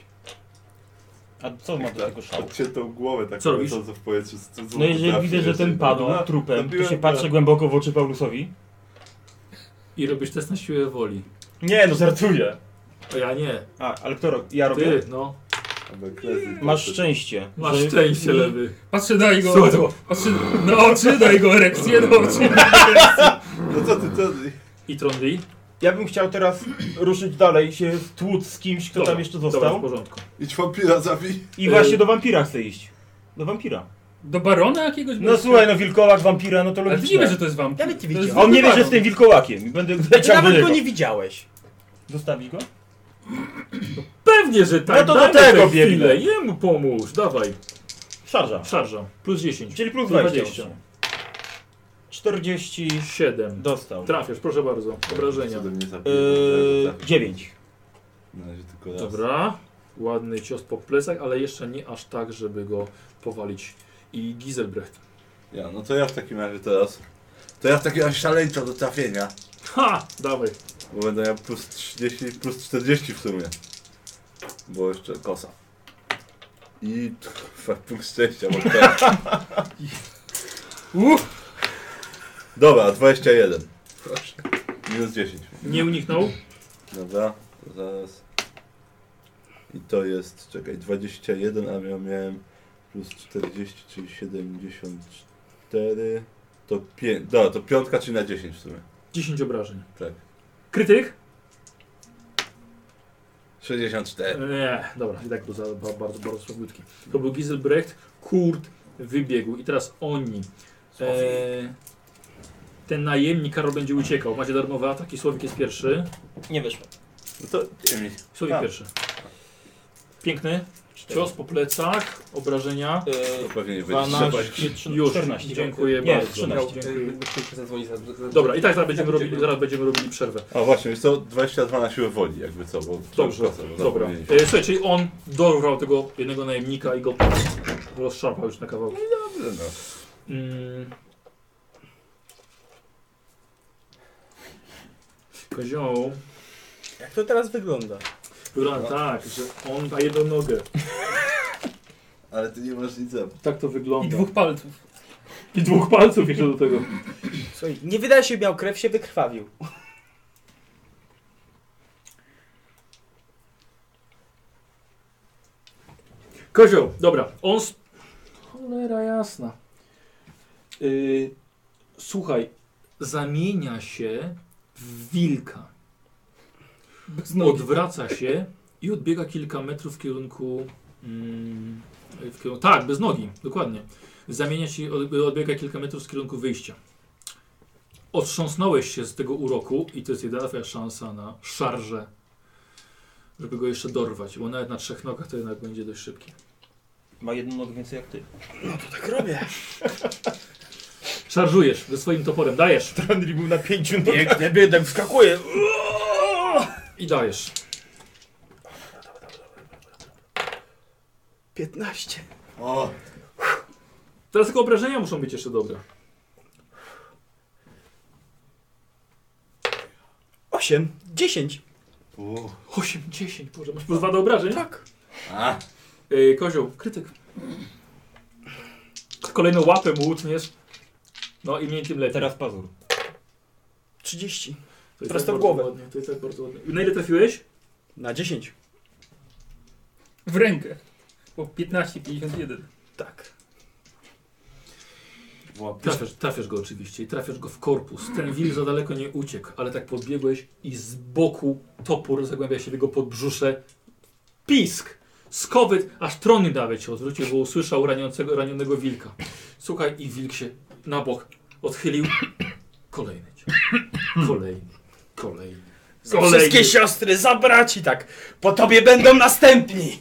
A co ma do tego szału? Odciętą głowę tak Co robisz? lecącą w powietrzu. Co- co No jeżeli potrafi, widzę, że ten padł No, trupem, to zabiłem się go. tak. patrzę głęboko w oczy Paulusowi. I robisz test na siłę woli. Nie, no żartuję. A ja nie. A, ale kto robi? Ja robię? Ty, no. Aby klęsnął. Masz szczęście. Masz że- szczęście, lewy. Patrzę na jego. Słuchaj, to- Patrzę na oczy, na jego erekcję, na oczy. No co ty, Tony? I Tronri? Ja bym chciał teraz ruszyć dalej, się tłuc z kimś, kto tam jeszcze Dobra, w został. porządku. Idź wampira zabij. I właśnie do wampira chcę iść. Do wampira. Do barona jakiegoś? No słuchaj, no wilkołak, wampira, no to Ale widzimy, że logiczne. to jest wam. Ja bym nie To jest widział. On nie wie, że baron. jestem wilkołakiem i będę Ty leciał do nawet niego. go nie widziałeś. Zostawić go? Pewnie, że tak. No to do Daj mu tego tę chwilę. biegnę. Jemu pomóż, dawaj. Szarża. Szarża. Plus 10. Czyli plus Plus 20. 20. 40 7. dostał. Trafiasz, proszę bardzo. Obrażenia. Co do mnie zabił? Yy, Tak, tak. 9. Na razie tylko raz. Dobra. Ładny cios po plecach, ale jeszcze nie aż tak, żeby go powalić. I Giselbrecht. Ja, no to ja w takim razie teraz. To ja w takim razie szaleńczo do trafienia. Ha! Dawaj. Bo no będę miał plus 30, plus 40 w sumie. Bo jeszcze kosa. I kurwa, punkt szczęścia mam teraz. Uff! Dobra, 21. Minus 10. Nie uniknął? Dobra, to zaraz. I to jest, czekaj, 21, a ja miałem plus 40, czyli 74. To 5, da, to piątka, czyli na 10 w sumie. 10 obrażeń. Tak. Krytyk? 64. Nie, dobra, i tak był za, ba, bardzo, bardzo słabiutki. To był Giselbrecht, Kurt wybiegł i teraz oni. E, ten najemnik Karol będzie uciekał. Macie darmowe ataki, Słowik jest pierwszy. Nie wyszło. No to nie mi. Słowik Tak. pierwszy. Piękny cios po plecach, Y, obrażenia. To pewnie nie będzie trzeba. 12, 13, Już, 14. dziękuję nie, bardzo. 13. Dziękuję. Muszę zadzwonić za, za, Dobra, i tak zaraz będziemy robili, zaraz będziemy robili przerwę. A właśnie, jest to 22 na siłę woli, jakby co, bo Dobrze, co, no, bo dobra. zapomnieliśmy. E, słuchaj, czyli on dorwał tego jednego najemnika i go rozszarpał już na kawałki. Dobrze, no. Mm. Kozioł Jak to teraz wygląda? No. wygląda tak, że on ma jedną nogę. Ale ty nie masz nic za. Tak to I wygląda. dwóch palców. I dwóch palców jeszcze do tego. Słuchaj, nie wydaje się, miał krew, się wykrwawił. Kozioł, dobra, on... Sp... Cholera jasna. Yy, słuchaj, zamienia się w wilka. Bez nogi. Odwraca się i odbiega kilka metrów w kierunku. Mm, w kierunku tak, bez nogi, dokładnie. Zamienia się, od- odbiega kilka metrów z kierunku wyjścia. Otrząsnąłeś się z tego uroku i to jest jedyna twoja szansa na szarżę, żeby go jeszcze dorwać, bo nawet na trzech nogach to jednak będzie dość szybkie. Ma jedną nogę więcej jak ty. Tak robię. Szarżujesz ze swoim toporem, dajesz Henry był na pięciu nogach. Pięknie, biedem, wskakuje. i dajesz. 15. O, Teraz tylko obrażenia muszą być jeszcze dobre. 8. 10. 8, 10, Boże, masz plus dwa do obrażeń? Tak. a, Yy, kozioł, krytyk. Kolejną łapę mu utniesz. No i mniej tym lepiej. Teraz pazur. 30. to jest prosto tak w głowę. bardzo Ładnie, to jest tak bardzo ładnie. Na ile trafiłeś? Na 10. W rękę. Po 15, 51. Tak. Trafiasz, trafiasz go oczywiście i trafiasz go w korpus. Ten wilk za daleko nie uciekł, ale tak podbiegłeś i z boku topór zagłębia się w jego podbrzusze. Pisk! Skowyt, aż trony nawet się odwrócił, bo usłyszał raniącego, ranionego wilka. Słuchaj, i wilk się na bok odchylił. Kolejny cios. Kolejny. Kolejny. Kolejny. Wszystkie siostry zabrać i tak. Po tobie będą następni.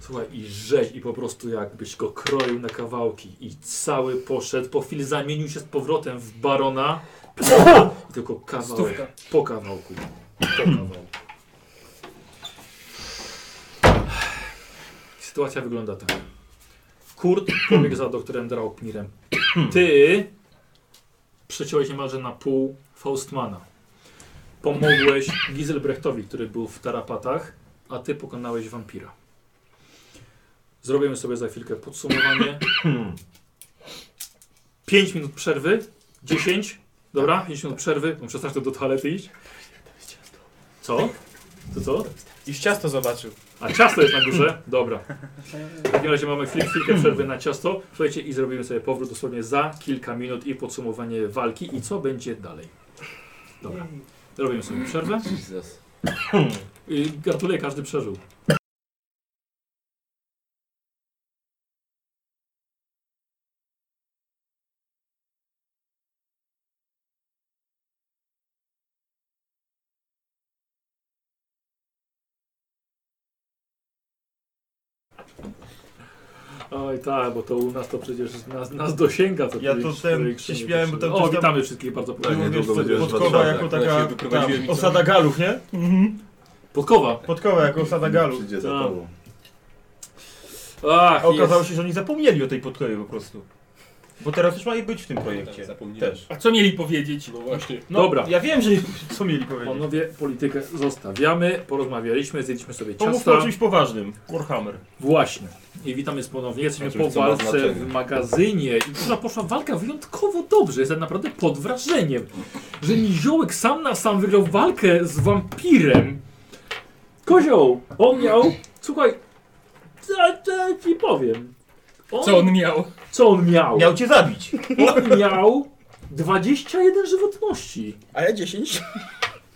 Słuchaj, i rzeź, i po prostu jakbyś go kroił na kawałki. I cały poszedł, po chwili zamienił się z powrotem w barona. I tylko kawałek, Stówka. po kawałku, po kawałku. Sytuacja wygląda tak. Kurt pobiegł za doktorem Draupnirem. Ty przeciąłeś niemalże na pół Faustmana. Pomogłeś Giselbrechtowi, który był w tarapatach, a ty pokonałeś wampira. Zrobimy sobie za chwilkę podsumowanie. 5 minut przerwy. 10. Dobra, 5 minut przerwy. Muszę strasznie do toalety iść. Co? To co? I z ciasto zobaczył. A ciasto jest na górze? Dobra. W takim razie mamy chwil, chwilkę przerwy na ciasto. Słuchajcie i zrobimy sobie powrót dosłownie za kilka minut i podsumowanie walki i co będzie dalej. Dobra. Robimy sobie przerwę. Jesus. Y, Gratuluję, każdy przeżył. Oj tak, bo to u nas to przecież nas, nas dosięga. To Ja to ten, się śmiałem, bo tam O, coś tam- witamy wszystkich bardzo Tak, podobnie. nie, Wiesz długo co, będziesz w Podkowa Warszawie. jako Jak się taka wyprowadziłem i tam, co? osada galów, nie? Podkowa. Podkowa jako osada galów. Przyjdzie za Tak. tobą. Ach, A okazało jest. się, że oni zapomnieli o tej podkowie po prostu. Bo teraz już ma i być w tym projekcie. Tak, zapomniałem. Też. A co mieli powiedzieć? No właśnie. No, Dobra. Ja wiem, że co mieli powiedzieć. Panowie, politykę zostawiamy, porozmawialiśmy, zjedliśmy sobie Pomówmy o ciasta. czymś poważnym. Warhammer. Właśnie. I witamy z ponownie. Jesteśmy po Oczywiście, co ma walce znaczenie. w magazynie. I kurwa poszła walka wyjątkowo dobrze. Jestem naprawdę pod wrażeniem, że Niziołek sam na sam wygrał walkę z wampirem. Kozioł, on miał... Słuchaj, co co ci powiem. On, Co on miał? co on miał? Miał cię zabić. On miał 21 żywotności. A ja 10.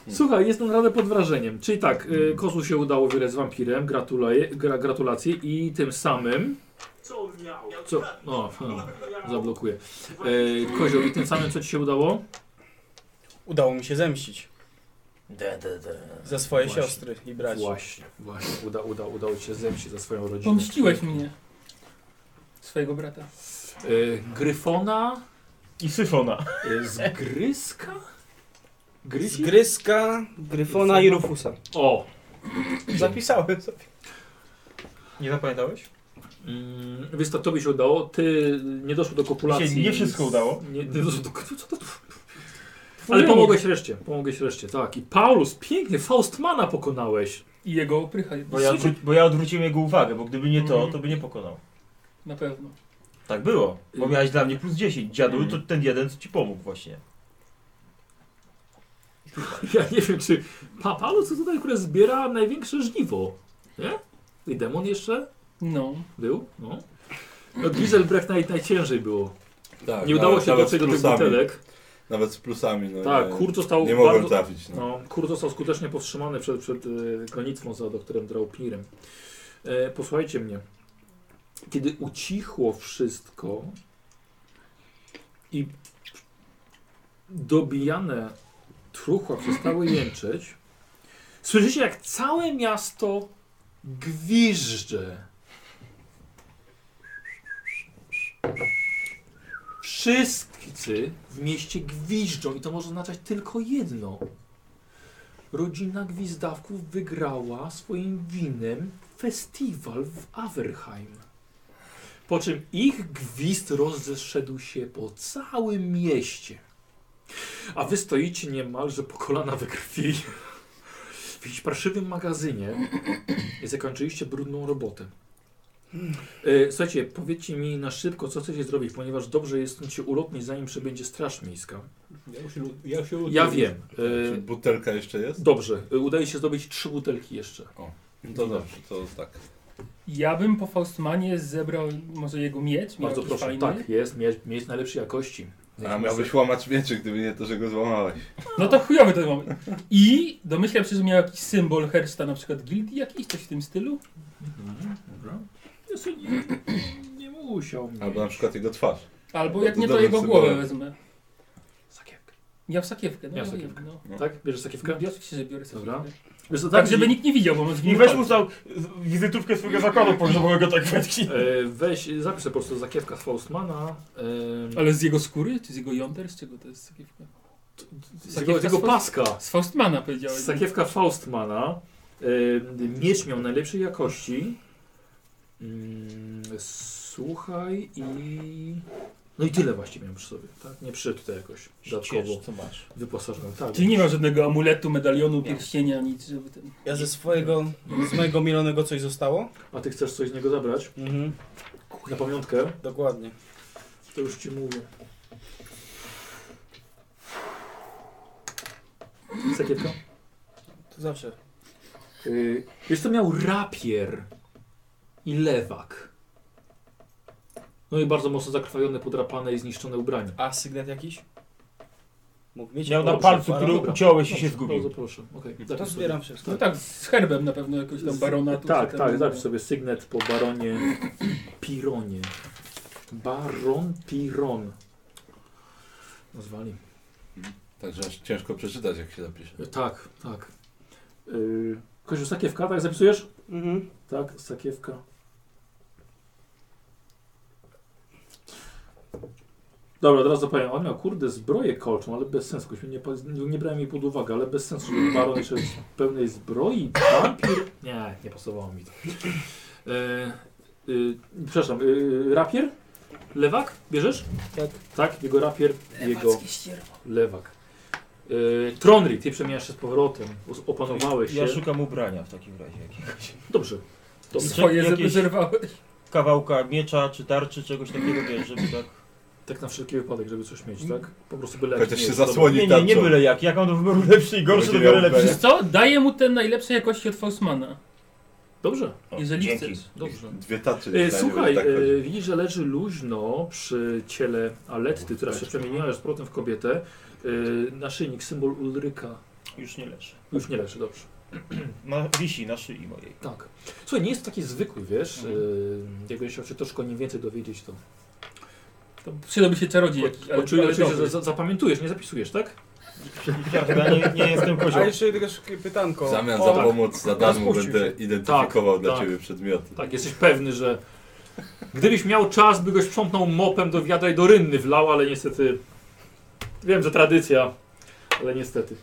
Słuchaj, jestem naprawdę pod wrażeniem. Czyli tak, y, Kozu się udało wygrać z wampirem, gratulacje, gra, gratulacje i tym samym... Co on miał? Co? O, no, zablokuję. Y, Kozioł, i tym samym co ci się udało? Udało mi się zemścić Da, da, da. za swoje Właśnie. siostry i braci. Właśnie, właśnie. Uda, uda, udało ci się zemścić za swoją rodzinę. Pomściłeś mnie. Swojego brata. Y, Gryfona I syfona. y, z Gryska? Z Grysi? Gryska, Gryfona i Rufusa. O! Zapisałem sobie. Nie zapamiętałeś? Mm, Wiesz co, tobie się udało, ty nie doszło do kopulacji. Się nie wszystko udało. Nie, nie doszło do... Co to Ale pomogłeś reszcie, pomogłeś reszcie, tak. I Paulus, pięknie, Faustmana pokonałeś. I jego oprycha. Bo No ja, odwró- bo ja odwróciłem jego uwagę, bo gdyby nie to, Mhm. to by nie pokonał. Na pewno. Tak było. Bo Y- miałeś dla mnie plus 10. Dziadu, to ten jeden, co ci pomógł właśnie. Ja nie wiem, czy pa, Paulus to tutaj, które zbiera największe żniwo, nie? I demon jeszcze No. był, no. No Giselbrecht naj, najciężej było. Tak, Nie udało nawet- się nawet dotrzeć z do tych plusami. butelek. Nawet z plusami, no Tak, nie, Kurt został nie mogłem bardzo... trafić. No. No, Kurt został skutecznie powstrzymany przed, przed e, gonitwą za doktorem Draupnirem. E, posłuchajcie mnie. Kiedy ucichło wszystko i dobijane truchła przestały jęczeć, słyszycie jak całe miasto gwiżdże. Wszyscy w mieście gwiżdżą i to może oznaczać tylko jedno. Rodzina Gwizdawków wygrała swoim winem festiwal w Averheim. Po czym ich gwizd rozeszedł się po całym mieście. A wy stoicie niemalże po kolana we krwi w jakimś parszywym magazynie i zakończyliście brudną robotę. E, Słuchajcie, powiedzcie mi na szybko, co chcecie zrobić, ponieważ dobrze jest stąd się ulotnić, zanim przybędzie Straż Miejska. Ja już, lu- ja już lubię. Ja wiem. Czy e, butelka jeszcze jest? Dobrze, y, udaje się zdobyć trzy butelki jeszcze. No to dobrze, to tak. Ja bym po Faustmanie zebrał może jego miecz. miał Bardzo jakiś proszę. fajny. Tak, jest, mieć, mieć najlepszej jakości. A miałbyś łamać mieczy, gdyby nie to, że go złamałeś. No to chujowy ten moment. I domyślam się, że miał jakiś symbol Hersta, na przykład gildii jakiś, coś w tym stylu. Mhm, dobra. Ja sobie nie, nie musiał mieć. Albo na przykład jego twarz. Albo No jak to nie, to dobry jego symbol. głowę wezmę. Sakiewkę. Miał sakiewkę, no Miał ja wiem, sakiewkę. no. Tak? Bierzesz sakiewkę? Ja Oczywiście, że biorę Dobra. sakiewkę. Wiesz co, Tak, żeby i- nikt nie widział, bo może I weź mu za wizytówkę swojego zakładu pogrzebowego tak wetki. e, Weź, zapisz sobie po prostu zakiewka z Faustmana. E, Ale z jego skóry, czy z jego jąder, z czego to jest sakiewka? z jego, z jego Faust- paska. Z Faustmana powiedziałeś. Sakiewka Faustmana. E, miecz miał najlepszej jakości. Mm, słuchaj i... No i tyle właśnie miałem przy sobie. Tak? Nie przyszedł tutaj jakoś dodatkowo co masz. wyposażony. Tak, Czyli nie ma żadnego amuletu, medalionu, pierścienia, nic, żeby ten... Tak. Ja ze swojego, z mojego mielonego coś zostało? A ty chcesz coś z niego zabrać? Mhm, Na pamiątkę? dokładnie. To już ci mówię. Sakiewka? To zawsze. Yy, wiesz co, miał rapier i lewak. No i bardzo mocno zakrwawione, podrapane i zniszczone ubranie. A sygnet jakiś? Mógł mieć? Miał na Dobrze, palcu, para- który dobra. uciąłeś i się Dobrze, Bardzo zgubił. proszę. Okay. To zbieram wszystko. No tak, z herbem na pewno jakoś tam baronatu. Tak, czy tam- tak, zapisz sobie sygnet po baronie Pironie. Baron Piron. Nazwali. Także aż ciężko przeczytać, jak się zapisze. Tak, tak. Yy, Kościół sakiewka, tak zapisujesz? Mhm. Tak, sakiewka. Dobra, od razu powiem, on miał kurde zbroję kolczą, ale bez sensu, jakoś nie, pa- nie brałem jej pod uwagę, ale bez sensu, żeby baron jeszcze z pełnej zbroi, wampir... E, Nie, nie pasowało mi to. Yy, yy, przepraszam, yy, rapier? Lewak? Bierzesz? Tak. Tak, jego rapier, jego lewak. Yy, Tronry, ty przemieniasz się z powrotem. Us- Opanowałeś się. Ja szukam ubrania w takim razie. jakiegoś. Dobrze. Dobrze. Swoje Jakieś- zerwałeś. Kawałka miecza czy tarczy, czegoś takiego, wiesz, żeby tak... Tak na wszelki wypadek, żeby coś mieć, tak? Po prostu byle Chociaż się Dobra. zasłoni Nie, nie, nie tarczą. byle jak. Jak mam do wyboru lepszy i gorszy, to biorę lepszy. Wiesz co? Daję mu ten najlepszej jakości od Faustmana. Dobrze, Jeżeli dzięki. chcesz. Dobrze. Dwie tacy. E, Słuchaj, tak tak e, widzisz, że leży luźno przy ciele Aletty, która się przemieniła już z powrotem w kobietę. E, Naszyjnik, symbol Ulryka. Już nie leży. Już nie leży, dobrze. Na, wisi na szyi mojej. Tak. Słuchaj, nie jest taki zwykły, wiesz. Mhm. E, Jakbyś chciał się troszkę o nim więcej dowiedzieć, to... To przydałby się czarodziej jakiś, ale, Oczywiście, ale oczywiście dobry. że za- zapamiętujesz, nie zapisujesz, tak? Ja chyba nie, nie jestem A kozioł. jeszcze tylko szybkie pytanko. W zamian O, za pomoc za darmo Rozpuścił będę identyfikował Tak, dla tak. ciebie przedmioty. Tak, jesteś pewny, że... Gdybyś miał czas, by go sprzątnął mopem do wiadra i do rynny wlał, ale niestety... Wiem, że tradycja, ale niestety.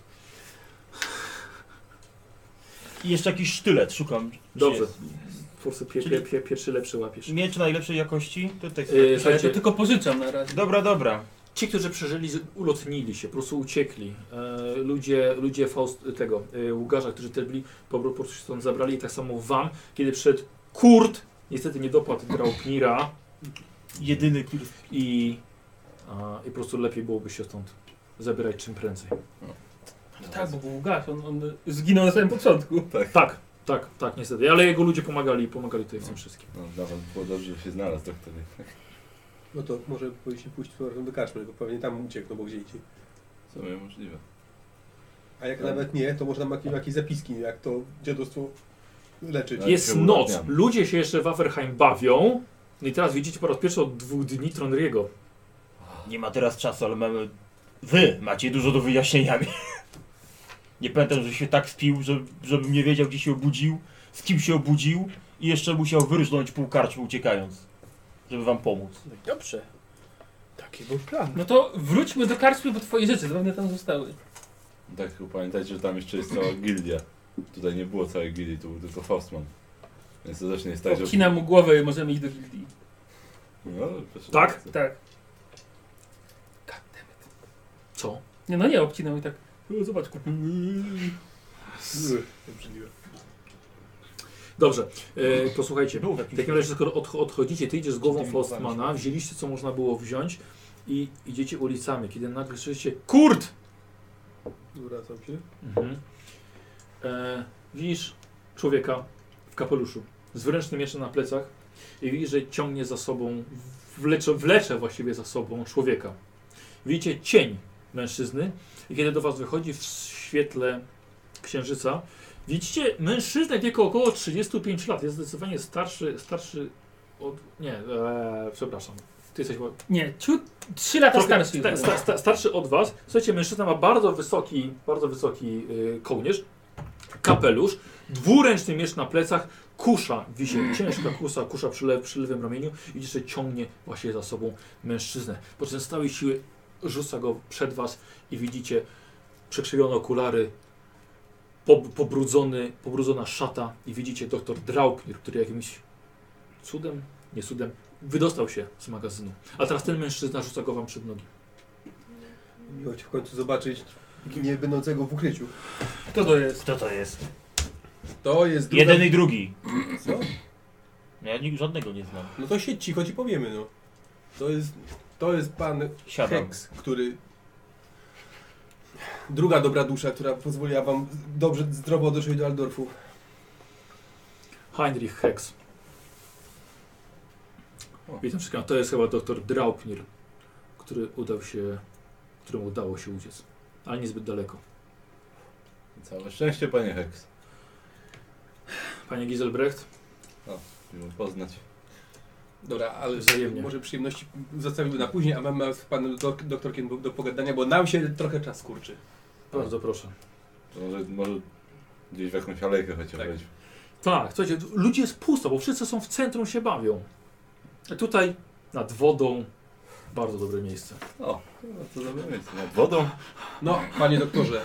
I jeszcze jakiś sztylet szukam. Gdzie Dobrze. jest? Po prostu pie, pie, Czyli- pie, pierwszy lepszy łapiesz. Miecz najlepszej jakości? Tutaj są. E, Ale to słuchajcie, tylko pożyczam na razie. Dobra, dobra. Ci, którzy przeżyli, z- ulotnili się, po prostu uciekli. E, ludzie, ludzie Faust, tego, e, Łgarza, którzy też byli, po po prostu się stąd zabrali. I tak samo wam, kiedy przed Kurt, niestety nie dopadł Graupnira Jedyny, który... i, a, i po prostu lepiej byłoby się stąd zabierać czym prędzej. No. Tak, bo był gaś, on, on zginął na samym początku. Tak, tak, tak, niestety. Ale jego ludzie pomagali, pomagali tutaj w tym wszystkim. No, nawet było dobrze, że się znalazł, tak to nie. No to może powinniśmy pójść z powrotem do karczmy, bo pewnie tam uciekł, no bo gdzie indziej. W sumie możliwe. A jak nawet nie, to może nam jakieś, jakieś zapiski, jak to dziadostwo leczyć. Tak, Jest się noc, ulatniamy. ludzie się jeszcze w Waferheim bawią. No i teraz widzicie po raz pierwszy od dwóch dni Tronriego. Nie ma teraz czasu, ale mamy... Wy macie dużo do wyjaśnienia. Nie pamiętam, że się tak spił, że, żebym nie wiedział, gdzie się obudził, z kim się obudził i jeszcze musiał wyrżnąć pół karczmy uciekając, żeby wam pomóc. Dobrze. Taki był plan. No to wróćmy do karczmy, bo twoje rzeczy zapewne tam zostały. Tak, tylko pamiętajcie, że tam jeszcze jest cała gildia. Tutaj nie było całej gildii, tu był tylko Faustman. Więc to też nie jest tak, że... Obcina mu głowę i możemy iść do gildii. No, proszę Tak? bardzo. Tak. Co? Nie, no nie, obcinał i tak. No, Zobacz, kupił. Uy, obrzydliwe. Dobrze, e, posłuchajcie. Był W taki... takim razie, skoro odcho- odchodzicie, ty idziesz z głową Zdziwiłem Faustmana, wzięliście co można było wziąć i idziecie ulicami, kiedy nagle słyszycie KURT! Zwracam się. Mhm. E, widzisz człowieka w kapeluszu z wręcznym mieczem na plecach i widzisz, że ciągnie za sobą, wlecze, wlecze właściwie za sobą człowieka. Widzicie cień mężczyzny i kiedy do was wychodzi w świetle księżyca, widzicie mężczyznę wieku około 35 lat. Jest zdecydowanie starszy, starszy od... Nie, e, przepraszam. Ty jesteś chyba Nie, ciut, trzy lata Trochę- starszy. sta- jest. sta- sta- starszy od was. Słuchajcie, mężczyzna ma bardzo wysoki, bardzo wysoki y, kołnierz, kapelusz, dwuręczny miecz na plecach, kusza wisi, ciężka kusa, kusza przy, le, przy lewym ramieniu i jeszcze ciągnie właśnie za sobą mężczyznę. Po czym z całej siły rzuca go przed was i widzicie przekrzywione okulary, pob- pobrudzony, pobrudzona szata i widzicie doktor Draupnir, który jakimś cudem, nie cudem, wydostał się z magazynu. A teraz ten mężczyzna rzuca go wam przed nogi. Miło cię w końcu zobaczyć nie będącego w ukryciu. Kto to jest? Kto to jest? To jest druga... Jeden i drugi. Co? No Ja nikt żadnego nie znam. No to siedź cicho ci powiemy, no. To jest... To jest pan Siadam. Hex, który... Druga dobra dusza, która pozwoliła wam dobrze, zdrowo dotrzeć do Aldorfu. Heinrich Hex. Witam wszystkich. A To jest chyba doktor Draupnir, który udał się, któremu udało się uciec. Ale niezbyt daleko. Całe szczęście, panie Hex. Panie Giselbrecht, Miło poznać. Dobra, ale Wzajemnie. może przyjemności zostawimy na później, a mamy z panem dok doktorkiem do, do pogadania, bo nam się trochę czas kurczy. bardzo proszę. To Może, może gdzieś w jakąś alejkę chociaż Tak. wejdźmy. Tak, słuchajcie, ludzi jest pusto, bo wszyscy są w centrum, się bawią. A tutaj nad wodą bardzo dobre miejsce. O, no to dobre miejsce. Nad wodą? No, panie doktorze,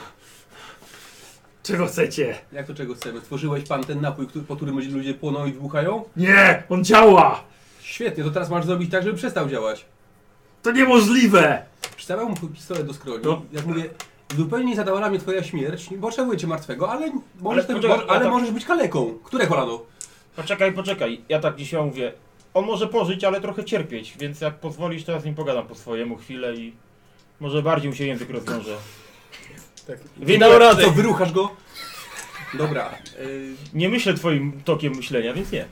Czego chcecie? jak to czego chcemy? Stworzyłeś pan ten napój, który, po którym ludzie płoną i wybuchają? Nie! On działa! Świetnie, to teraz masz zrobić tak, żeby przestał działać. To niemożliwe! Przystawiam mu pistolet do skroni. No. Jak mówię, zupełnie zadowala mnie twoja śmierć. Nie potrzebuję cię martwego, ale możesz, też, poczekaj, ale, ja tak- możesz być kaleką. Które kolano? Poczekaj, poczekaj. Ja tak dzisiaj mówię. On może pożyć, ale trochę cierpieć, więc jak pozwolisz, to ja z nim pogadam po swojemu chwilę i może bardziej mu się język rozwiąże. Tak. Więc Dam radę. To wyruchasz go? Dobra. y, nie myślę twoim tokiem myślenia, więc nie.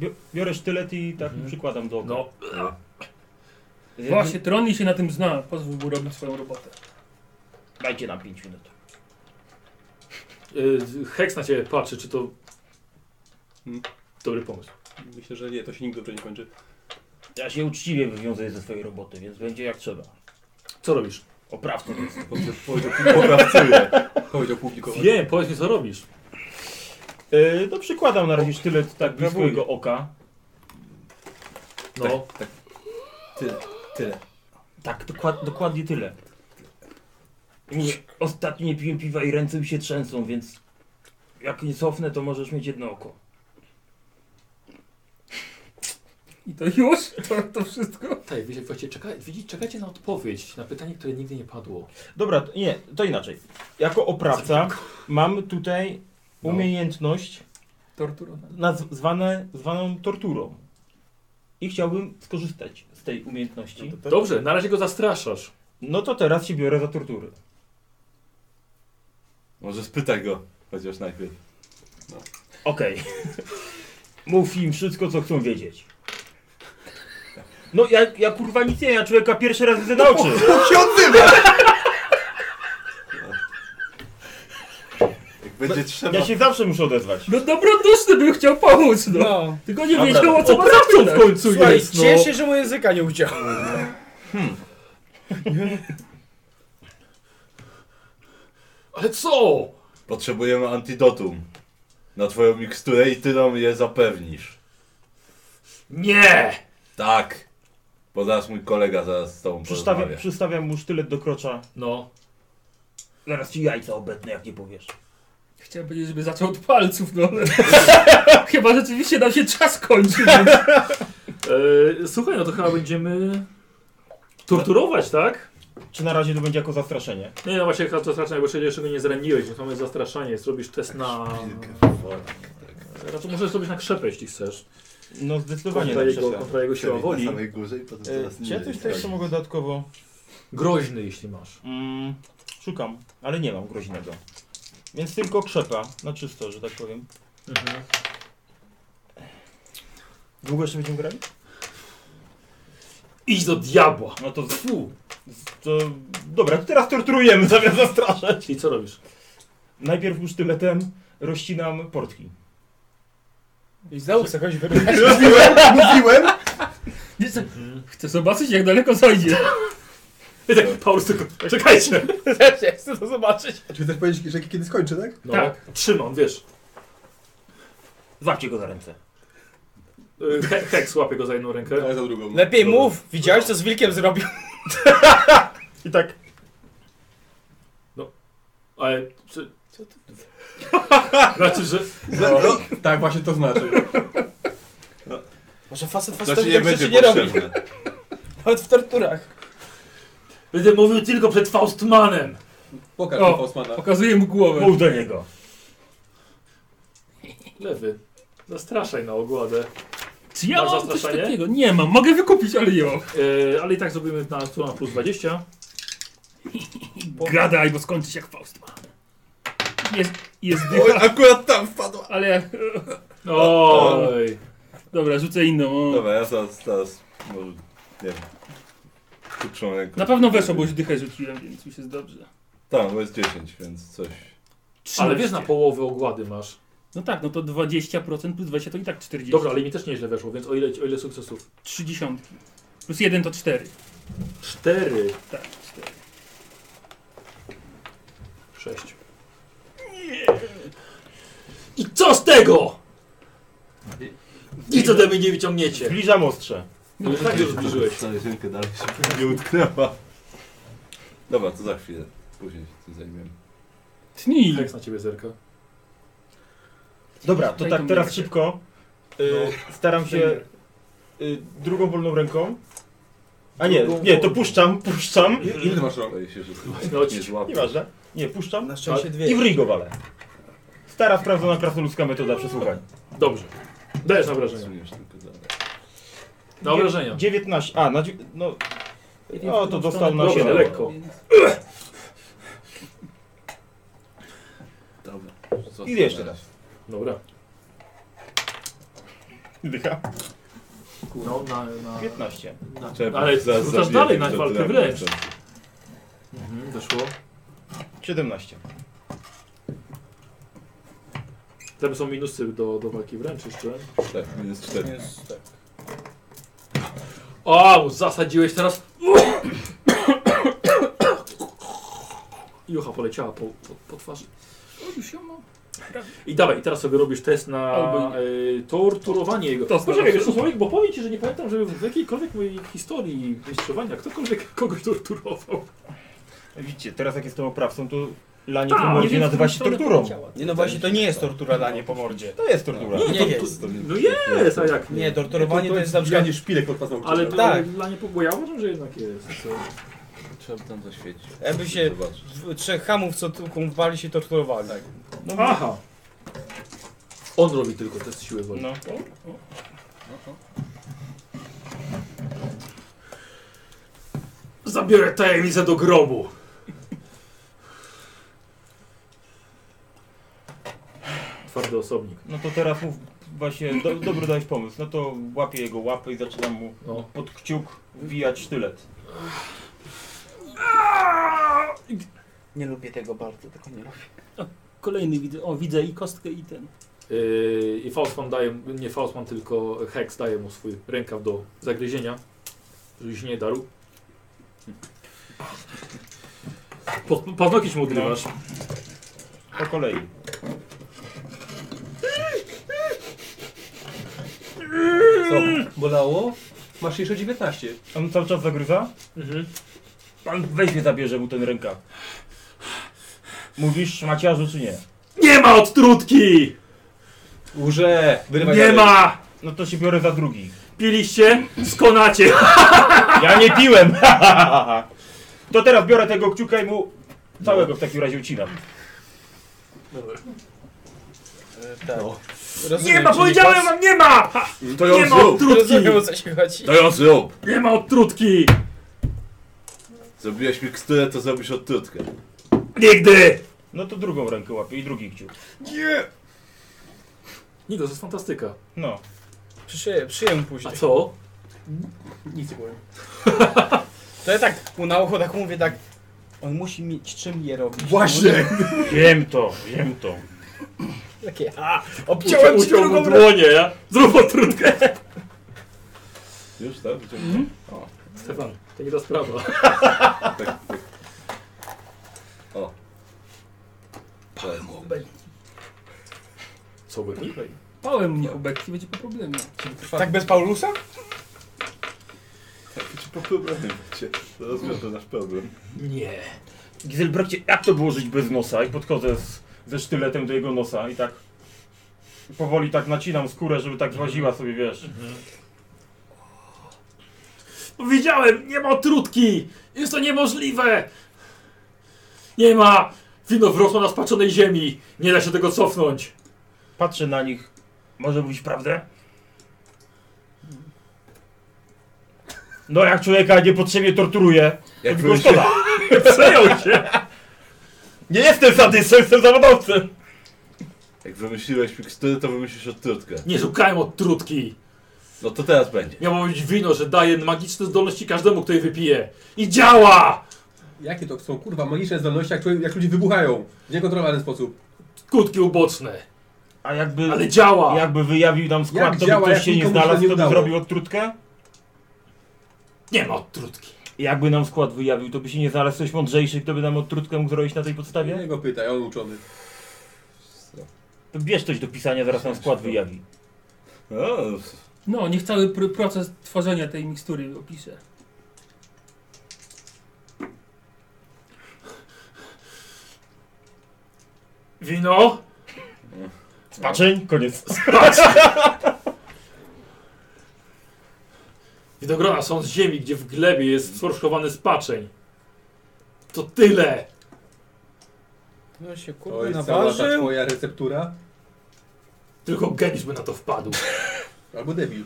Bio- Biorę sztylet i tak przykładam do oka. No, Więc- Właśnie, Troni się na tym zna. Pozwól mu robić swoją robotę. Dajcie nam 5 minut. y, Heks na ciebie patrzy, czy to... Hmm. Dobry pomysł. Myślę, że nie, to się nigdy dobrze nie kończy. Ja się uczciwie wywiązuję ze swojej roboty, więc będzie jak trzeba. Co robisz? Oprawcą jest. Powiedział- Powiedział Popracuję. powiedział publikować. Wiem, powiedz mi co robisz. Yy, to przykładam na razie sztylet tak blisko Brawuję. jego oka. No, Tyle, tyle. Tak, dokład, dokładnie tyle. I Mówię, ostatnio nie piłem piwa i ręce mi się trzęsą, więc jak nie cofnę, to możesz mieć jedno oko. I to już? To, to wszystko? tak, wiecie, właśnie czeka, widzicie, czekacie na odpowiedź, na pytanie, które nigdy nie padło. Dobra, to- nie, to inaczej. Jako oprawca mam tutaj umiejętność Torturona. naz- zwane, zwaną torturą. I chciałbym skorzystać z tej umiejętności. Dobrze, na razie go zastraszasz. No to teraz się biorę za tortury. Może spytaj go, chociaż najpierw. Okej. Mów im wszystko, co chcą wiedzieć. No ja, ja kurwa nic nie, ja człowieka pierwszy raz widzę na oczy. Jak będzie trzeba. Ja się zawsze muszę odezwać. No dobroduszny był, chciał pomóc, no. No. Tylko nie Dobra, wiedział, o co ma Oprawcą w zapytać. końcu Słuchaj, jest, cieszę no. się, że mu języka nie udział. Ale co? Potrzebujemy antidotum na twoją miksturę i ty nam je zapewnisz. Nie! Tak. Bo zaraz mój kolega zaraz z tobą Przystawiam, porozmawia. przystawiam mu sztylet do krocza. No, Zaraz ci jajca obetnę, jak nie powiesz. Chciałem powiedzieć, żeby zaczął od palców, no ale... Chyba rzeczywiście nam się czas kończy. więc- E, słuchaj, no to chyba będziemy torturować, tak? Czy na razie to będzie jako zastraszenie? Nie, no właśnie, to zastraszanie, bo jeszcze- jeszcze go nie zraniłeś, więc mamy zastraszanie. Zrobisz test na. Znaczy, możesz zrobić na krzepę, jeśli chcesz. No zdecydowanie Kontra na jego, przeszłam. kontra jego siła Czyli na woli. samej górze i potem zaraz E, Czy ja niżej. coś jeszcze Tak. mogę dodatkowo... Groźny, jeśli masz. Mm, szukam, ale nie mam groźnego. Więc tylko krzepa, na czysto, że tak powiem. Mhm. Długo jeszcze będziemy grali? Idź do diabła! No to, z- Fu! to... Dobra, to teraz torturujemy zamiast zastraszać. Czyli co robisz? Najpierw już tyletem rozcinam portki. I znowu chcę kogoś wyrywać. Mówiłem, mówiłem! Wiesz co, Chcę zobaczyć, jak daleko zajdzie. I tak, Paulus tylko. Czekajcie! Też ja chcę to zobaczyć. Czy chcesz powiedzieć, że kiedy skończę, tak? No, Trzymam, wiesz. Złapcie go za ręce. E, He, heks łapie go za jedną rękę. Ale za drugą. Lepiej mów. Widziałeś, co z wilkiem zrobił? I tak... No. Ale. Czy... Znaczy, że. No, no, tak, właśnie to znaczy. Może facet To ci Znaczy, facetowi nie tak rzeczy będzie nie robi. potrzebne. Nawet w torturach. Będę mówił tylko przed Faustmanem! Pokaż O. mi Osmana. Pokazuję mu głowę. Mów do niego. Lewy. Zastraszaj na ogładę. Czy ja Masz mam coś zastraszenie? takiego? Nie mam, mogę wykupić, ale jo. E, ale i tak zrobimy na, tu na plus 20. Gadaj, bo skończysz jak Faust ma. Jest, jest Oj, dycha, akurat tam wpadła. ale... Oj. Dobra, rzucę inną. O. Dobra, ja zaraz, zaraz, może, nie wiem, krótszą ręką. Na pewno weszło, bo już dychę rzuciłem, więc już jest dobrze. Tak, bo jest 10, więc coś. Ale wiesz, na połowę ogłady masz. No tak, no to 20% plus 20 to i tak 40. Dobra, ale mi też nieźle weszło, więc o ile, o ile sukcesów? 30. Plus 1 to 4. Cztery, Tak, 4. sześć. I co z tego? Nic ode mnie nie wyciągniecie. Zbliżam ostrze. No już tak już zbliżyłeś. Wcale rękę dalej się nie utknęła. Dobra, to za chwilę. Później się tym zajmiemy. Tnij. Heks na ciebie zerka. Dobra, to Daj tak tą teraz rękę. szybko. Y, Staram się y, drugą wolną ręką. A nie, nie, to puszczam, puszczam. Ile ty masz rąk? Boję się, że No, nie złapię. Nieważne. Nie, puszczam. Na szczęście A- dwie. I w ryj go walę. Stara, sprawdzona krasnoludzka metoda przesłuchań. Dobrze. Dajesz na obrażenia. Odsuniesz tylko dalej. Na obrażenia. 19. A, na, dzi- no. O, to dostał na Dobrze, 7. lekko. Dobra. I jeszcze raz. Dobra. Dycha. No, na, na, 15. na, Trzeba ale za- rzucasz zabiję, dalej na to walkę tyle. wręcz. Mhm, weszło. 17. Tam są minusy do, do walki wręcz jeszcze. Tak, minus 4. O, zasadziłeś teraz. Jucha poleciała po, po, po twarzy. I dawaj, teraz sobie robisz test na Albo y, torturowanie jego. To Poczekaj, wiesz co, Sławek, bo powiem ci, że nie pamiętam, żeby w jakiejkolwiek mojej historii mistrzowania ktokolwiek kogoś torturował. Widzicie, teraz jak jestem oprawcą, to lanie Tak, po mordzie wiem, w którą nazywa się stronę torturą. poleciała. Nie no właśnie, to nie jest tortura danie po mordzie. To jest tortura. Nie jest. No jest, a jak nie? Nie, torturowanie to jest na przykład... Ja nie szpilek pod paznokcie. Ale prawda? tak. Tak. dla nie bo ja uważam, że jednak jest. Co? Trzeba by tam zaświecić. Jakby się Zobacz. dw- trzech hamów, co tu wali się torturowali. Tak. no, Aha. On robi tylko test siły woli. No. Zabiorę tajemnicę do grobu. Twardy osobnik. No to teraz mów, właśnie, do, dobry dałeś pomysł. No to łapię jego łapę i zaczynam mu No. pod kciuk wbijać sztylet. Nie lubię tego bardzo, tego nie lubię. Kolejny widzę. O, widzę i kostkę i ten. Yy, I Faustman daje, nie Faustman, tylko Hex daje mu swój rękaw do zagryzienia, żeby się nie darł. Po- Paznokieć mu odrywasz. Po kolei. Co? Bolało? Masz jeszcze 19. On cały czas zagryza? Mhm. Pan weźmie, zabierze mu ten rękaw. Mówisz maciarzu czy nie? Nie ma odtrutki! Łże! Wyrywaj Nie dalej. ma! No to się biorę za drugi. Piliście? Skonacie! Ja nie piłem! to teraz biorę tego kciuka i mu całego w takim razie ucinam. Tak. No. Rozumiem, Nie ma! czyli Powiedziałem pas- wam, nie ma! Ha! To Nie ją ma zrób! odtrutki! Rozumiem o co się chodzi. To ją zrób! Nie ma odtrutki! Zrobiłeś miksturę, to zrobisz odtrutkę. Nigdy! No to drugą rękę łapię i drugi kciuk. Nigos, to jest fantastyka. No. Przyję, przyjem A później. co? Nic nie powiem. To ja tak mu na ucho tak mówię tak. On musi mieć czym je robić. Wiem to, wiem to. Takie, a, obciąłem ci Uciął mu drugą rękę. dłonie, ja? Zrób odtrutkę! Już, tak? Mhm. Wyciągnąłem. Stefan, to nie ta sprawa. Tak, tak. O. Co by? Pałem mnie obecnie, będzie po problemie. Tak bez Paulusa? Czy po problemie macie? To rozwiąże nasz problem. Nie. Gizelbrechcie, jak to było żyć bez nosa? I podchodzę z, ze sztyletem do jego nosa i tak powoli tak nacinam skórę, żeby tak właziła sobie, wiesz. Widziałem, nie ma trutki! Jest to niemożliwe! Nie ma! Wino wrosło na spaczonej ziemi! Nie da się tego cofnąć! Patrzę na nich. Może mówić prawdę? No jak człowieka niepotrzebnie torturuje, to Jak tylko się... szkoda. Przejął się! Nie jestem sadystą, jestem zawodowcem! Jak wymyśliłeś miksturę, to wymyślisz odtrutkę. Nie szukałem od trutki! No to teraz będzie. Miało być wino, że daje magiczne zdolności każdemu, kto je wypije. I działa! Jakie to są kurwa magiczne zdolności, jak, człowiek- jak ludzie wybuchają w niekontrolowany sposób? Skutki uboczne, A jakby, ale działa! jakby wyjawił nam skład, Jak to by działa, ktoś jak się nie nikomu się znalazł, nie to by udało? zrobił odtrutkę? Nie ma od trutki. Jakby nam skład wyjawił, to by się nie znalazł ktoś mądrzejszy, kto by nam odtrutkę mógł zrobić na tej podstawie? Tak, Nie go pytaj, on uczony. To bierz coś do pisania, zaraz nam skład wyjawi. O, No, niech cały pr- proces tworzenia tej mikstury opiszę. Wino? Spaczeń, koniec. Widogrona są z ziemi, gdzie w glebie jest sforszkowany spaczeń. To tyle! No się To kurde jest cała ta naważył. twoja receptura. Tylko geniusz by na to wpadł. Albo debil.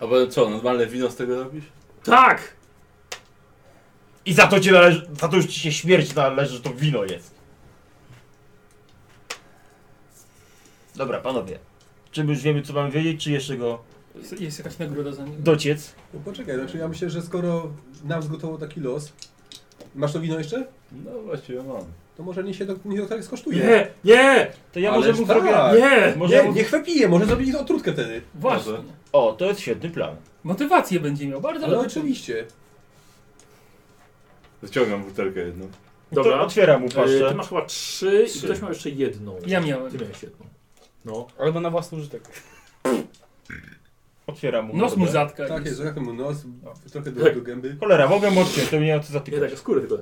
A potem co, normalne wino z tego robisz? Tak! I za to cię należy, za to już ci się śmierć należy, że to wino jest. Dobra, panowie. Czy my już wiemy, co mamy wiedzieć, czy jeszcze go Jest, jest jakaś nagroda za niego. dociec? No poczekaj, znaczy ja myślę, że skoro nam zgotował taki los, masz to wino jeszcze? No właściwie mam. To może nie się do, nie do tak skosztuje. Nie! Nie! To ja Ależ może mu tak. zrobię... Nie! Może nie, mu... niech wypije, może zrobili otrutkę wtedy. Właśnie. O, to jest świetny plan. Motywację będzie miał, bardzo Ale dobrze. oczywiście. Wyciągam butelkę jedną. Dobra. Y, To otwieram mu Yy, paszczę. ty masz chyba trzy i Trzy. ktoś miał jeszcze jedną. Ja miałem. Ty miałeś jedną. No. Albo na własny użytek. Otwieram mu Nos mu mordę. zatka. No. Tak jest, jest. jak mu nos, trochę do, Tak. do gęby. Cholera, mogę mu odciąć, to mnie nie ma co Nie zatykać. tak, skórę tylko.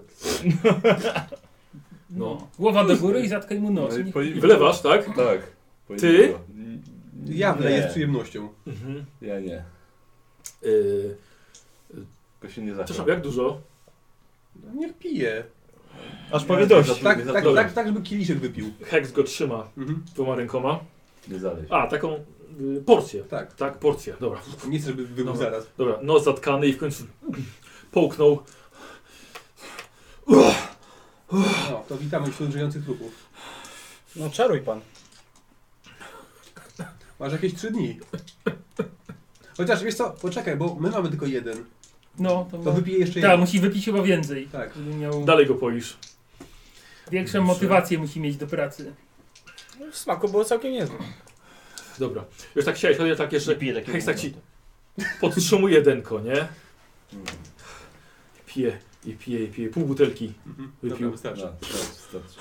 No. Głowa do góry i zatkaj mu nos. No i Nie- po- I wylewasz, tak? Tak. po Ty? jednego. N- Ja nie. wleję z przyjemnością. Mhm. Ja nie. Yy, Tylko się nie przepraszam, zachowam. jak dużo? No, niech pije. Aż powie dość. Tak, Nie tak, za- tak, tak, żeby kieliszek wypił. Hex go trzyma Mhm. dwoma rękoma. Nie zaleźć. A, taką yy, porcję. Tak, Tak, porcję. Dobra. nie chcę, żeby wypił Dobra. zaraz. Dobra, nos zatkany i w końcu połknął. Uch, No, to witamy wśród żyjących trupów. No czaruj pan. Masz jakieś trzy dni. Chociaż wiesz co, poczekaj, bo my mamy tylko jeden. No, to, To ma... wypije jeszcze Tak, jeden. musi wypić chyba więcej. Tak. Żeby miał Dalej go poisz. większą motywację musi mieć do pracy. No, W smaku było całkiem niezłe. Dobra. Już tak chciałeś, ale tak jeszcze Nie piję takiego Hej, tak ci- gówna. podtrzymuje denko, nie? Mm. Pije i pije i pije. Pół butelki. Mhm. Wypił. Dobra, wystarczy. No, starczy, starczy.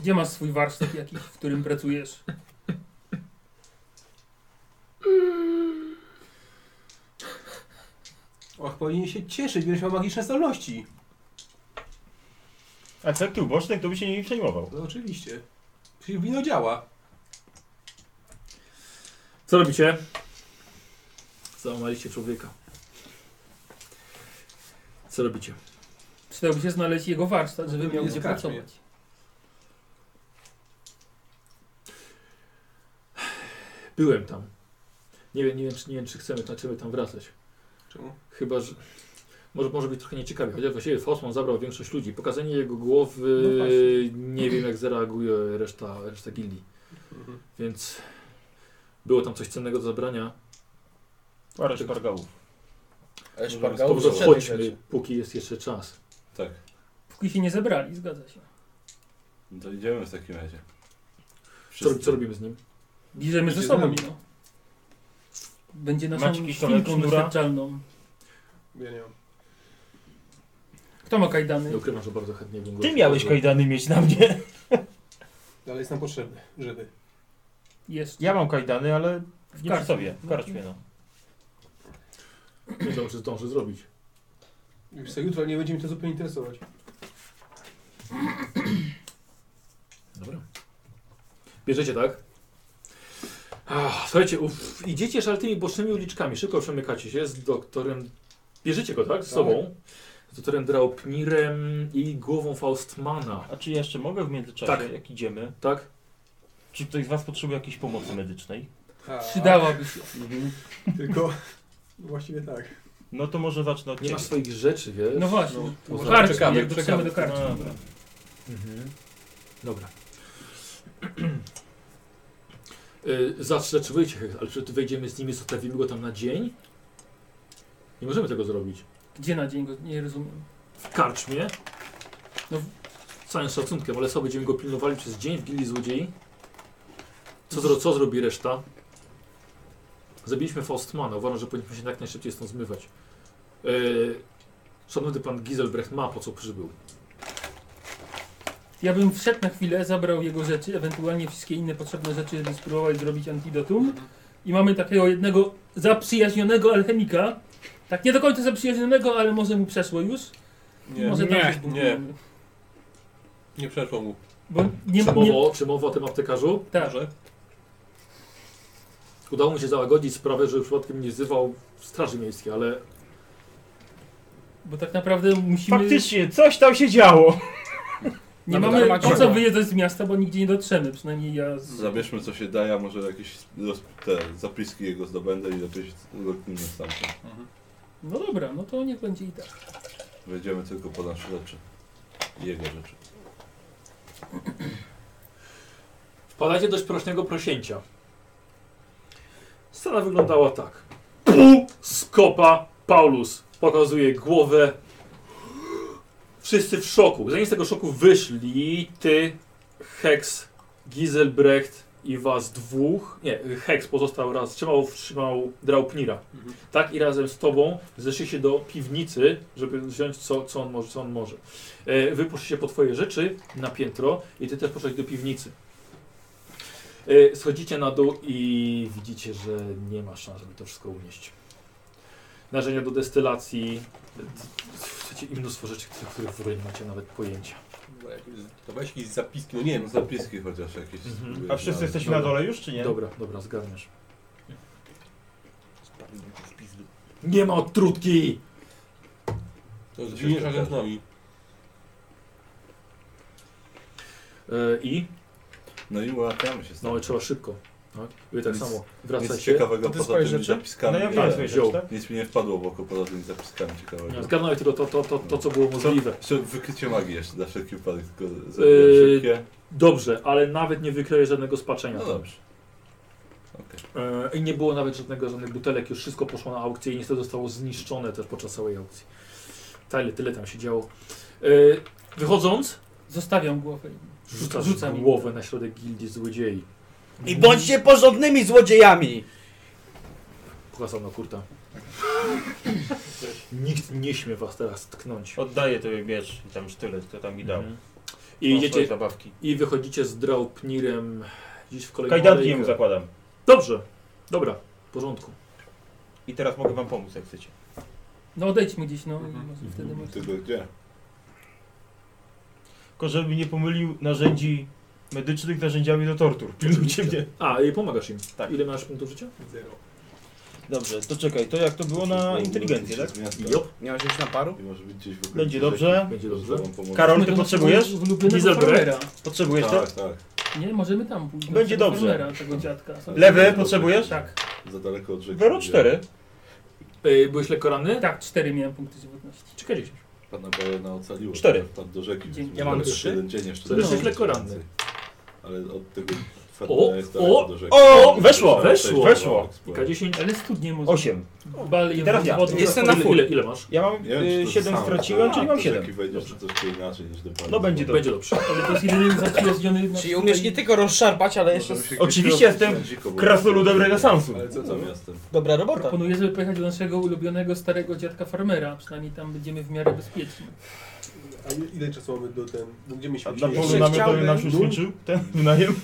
Gdzie masz swój warsztat jakiś, w którym pracujesz? Och, powinien się cieszyć, będziesz miał magiczne zdolności. A ten tu boczny, kto by się nie przejmował? No oczywiście. Przecież wino działa. Co robicie? Załamaliście człowieka. Co robicie? Przydałoby się znaleźć jego warsztat, żeby miał Jest gdzie w karczmie. pracować. Byłem tam. Nie wiem, nie wiem, czy, nie wiem, czy chcemy, czy chcemy tam wracać. Czemu? Chyba, że... Może, może być trochę nieciekawie, chociaż właściwie Fosman zabrał większość ludzi. Pokazanie jego głowy, No właśnie. nie wiem jak zareaguje reszta, reszta gildii. Mhm. Więc było tam coś cennego do zabrania. Parę szpargałów. Ale Po szpargał prostu do przedniej chodźmy, rzeczy. póki jest jeszcze czas. Tak. Póki się nie zebrali, zgadza się. No to idziemy w takim razie. Co, Wszyscy. co robimy z nim? Bierzemy ze Idzie sobą. nami. No. Będzie naszą Macie jakiś tomek szpilką sznura? doświadczalną. Ja nie mam. Kto ma kajdany? Nie ukrywam, że bardzo chętnie bym go Ty miałeś rozpoznał. kajdany mieć na mnie. Ale jest nam potrzebny, żeby. Jest. Ja mam kajdany, ale nie przy karczmie. sobie. W karczmie, no. Nie wiem, czy zdąży zrobić. Już co, jutro nie będzie mi to zupełnie interesować. Dobra. Bierzecie, tak? Ach, słuchajcie, uff, idziecie szaltymi bocznymi uliczkami, szybko przemykacie się z doktorem... Bierzecie go, tak? Z Tak. sobą. Z doktorem Draupnirem i głową Faustmana, A czy ja jeszcze mogę w międzyczasie, Tak. jak idziemy? tak? Czy ktoś z was potrzebuje jakiejś pomocy medycznej? Tak. Przydałaby się. Tylko właściwie tak. No to może zacznę od Nie ciebie. masz swoich rzeczy, wiesz? No właśnie. poza- No, karczmy, czekamy, jak dotrzemy czekamy. do karczmy. Dobra. Mhm. Dobra. Y, Zawsze czy wyjdzie, ale czy wejdziemy z nimi, zostawimy go tam na dzień? Nie możemy tego zrobić. Gdzie na dzień go nie rozumiem. W karczmie? No No, z całym szacunkiem, ale co, będziemy go pilnowali przez dzień w gili złodziei? Co, zro, co zrobi reszta? Zabiliśmy Faustmana, uważam, że powinniśmy się jak najszybciej stąd zmywać. Yy, szanowny pan Giselbrecht ma po co przybył. Ja bym wszedł na chwilę, zabrał jego rzeczy, ewentualnie wszystkie inne potrzebne rzeczy, żeby spróbować zrobić antidotum. I mamy takiego jednego zaprzyjaźnionego alchemika. Tak nie do końca zaprzyjaźnionego, ale może mu przeszło już. Nie. może nie, tam się zbudujemy. Nie przerwał mu. Bo nie, czy, nie, mowa, czy mowa o tym aptekarzu? tak, Udało mu się załagodzić sprawę, że przypadkiem nie wzywał Straży Miejskiej, ale bo tak naprawdę musimy... Faktycznie, coś tam się działo. Nie mamy po co wyjeżdżać z miasta, bo nigdzie nie dotrzemy, przynajmniej ja... Z... Zabierzmy co się daje, a może jakieś roz- te zapiski jego zdobędę i lepiej urodnimy stamtąd. No dobra, no to niech będzie i tak. Wejdziemy tylko po nasze rzeczy. I Jego rzeczy. wpadacie do prośnego prosięcia. Scena wyglądała tak. Skopa Paulus pokazuje głowę. Wszyscy w szoku. Zanim z tego szoku wyszli, ty, Hex, Giselbrecht i was dwóch. Nie, Hex pozostał raz, trzymał, trzymał Draupnira. Tak i razem z tobą zeszli się do piwnicy, żeby wziąć co, co on może. Co on może. E, wy poszliście po twoje rzeczy na piętro i ty też poszedłeś do piwnicy. E, schodzicie na dół i widzicie, że nie ma szans, żeby to wszystko unieść. Narzędzia do destylacji, d- d- chcecie i mnóstwo rzeczy, które- które w ogóle nie macie nawet pojęcia. Dobra, jak- To weź jakieś zapiski, no nie No wiem, za... zapiski chociaż jakieś. no, Mhm. spróbuję A wszyscy znaleźć. jesteśmy na dole już, czy nie? Dobra, dobra, zgarniasz. Nie ma odtrutki! to zginiesz razem z nami. E, I? No i ułatwiamy się No i stąd. trzeba szybko. Tak? Wy tak Nic- samo Nic wracacie. ciekawego To ty poza swoje tymi rzeczy? zapiskami. No ja nie. wiem swoje rzeczy, wziął. tak? Nic mi nie wpadło w oko poza tymi zapiskami ciekawego. Zgarnąłeś tylko to, to, to, to, co było możliwe. Jeszcze wykrycie magii jeszcze na wszelki wypadek tylko zrobię Yy, szybkie. Dobrze, ale nawet nie wykryje żadnego spaczenia. No tam. dobrze. E, I nie było nawet żadnego, żadnych butelek, już wszystko poszło na aukcję i niestety zostało zniszczone też podczas całej aukcji. Tyle, tyle tam się działo. E, Wychodząc, Zostawiam głowę. rzucasz Rzucam im. głowę na środek gildii złodziei. I bądźcie porządnymi złodziejami! Pokazał na kurta. Nikt nie śmie was teraz tknąć. Oddaję tobie miecz i tam sztylet, to tam mi dał. Mhm. Mam I No, swoje idziecie, zabawki. i wychodzicie z Draupnirem gdzieś w kolejną Kajdanki mu alejkę. zakładam. Dobrze, dobra, w porządku. I teraz mogę wam pomóc, jak chcecie. No odejdźmy gdzieś, no Mhm. może wtedy może. Tylko gdzie? Tylko żeby nie pomylił narzędzi medycznych narzędziami do tortur. Pilnujcie mnie. A, i pomagasz im. Tak. Ile masz punktów życia? Zero. Dobrze, to czekaj, to jak to było na inteligencję, tak? Jop. Miałeś już na paru? I tak? może być gdzieś w ogóle. Będzie dobrze. Będzie dobrze. Karol, ty Możemy potrzebujesz? w- w lubionego Dieselbrecht? farmera. Potrzebujesz to? Tak, tak. Nie, możemy tam pójść. do Będzie tego dobrze. farmera, Tego dziadka. Sobie- Lewy potrzebujesz? Tak, Za daleko od rzeki. Wero 4. E, Byłeś lekko ranny? tak, cztery miałem punkty żywotności. Czekaj 10. Pana Bajona ocaliło. Cztery. Wpadł do rzeki. Dzięki. więc Ja mam jeszcze trzy. Jeden dzień jeszcze. To do jesteś rzeki. lekko ranny. Ale od tego O, Ferdynanda jest daleko o, do rzeki. Tak, o, weszło, weszło, weszło. I K10. Ale studnie może. 8. Bal I teraz ja. wodą. Jestem na ile, full. ile, ile masz? Ja mam Nie wiem, czy to jest 7 samo. y, straciłem, czyli mam Do 7. rzeki wejdziesz, czy coś inaczej niż do pana. No będzie dobrze. Będzie dobrze. Ale to jest jedyny zaprzyjaźniony... Czyli umiesz nie tylko rozszarpać, ale jeszcze... Oczywiście jestem Krasoludem renesansu. Ale co tam jestem? Dobra robota. Proponuję, żeby pojechać do naszego ulubionego starego dziadka farmera. Przynajmniej tam będziemy w miarę bezpieczni. A ile- ile czasu mamy do ten... No, gdzie A myśmy dla chcieli- Bogu Jeszcze namiotowy chciałbym- nam się skończył ten wynajem.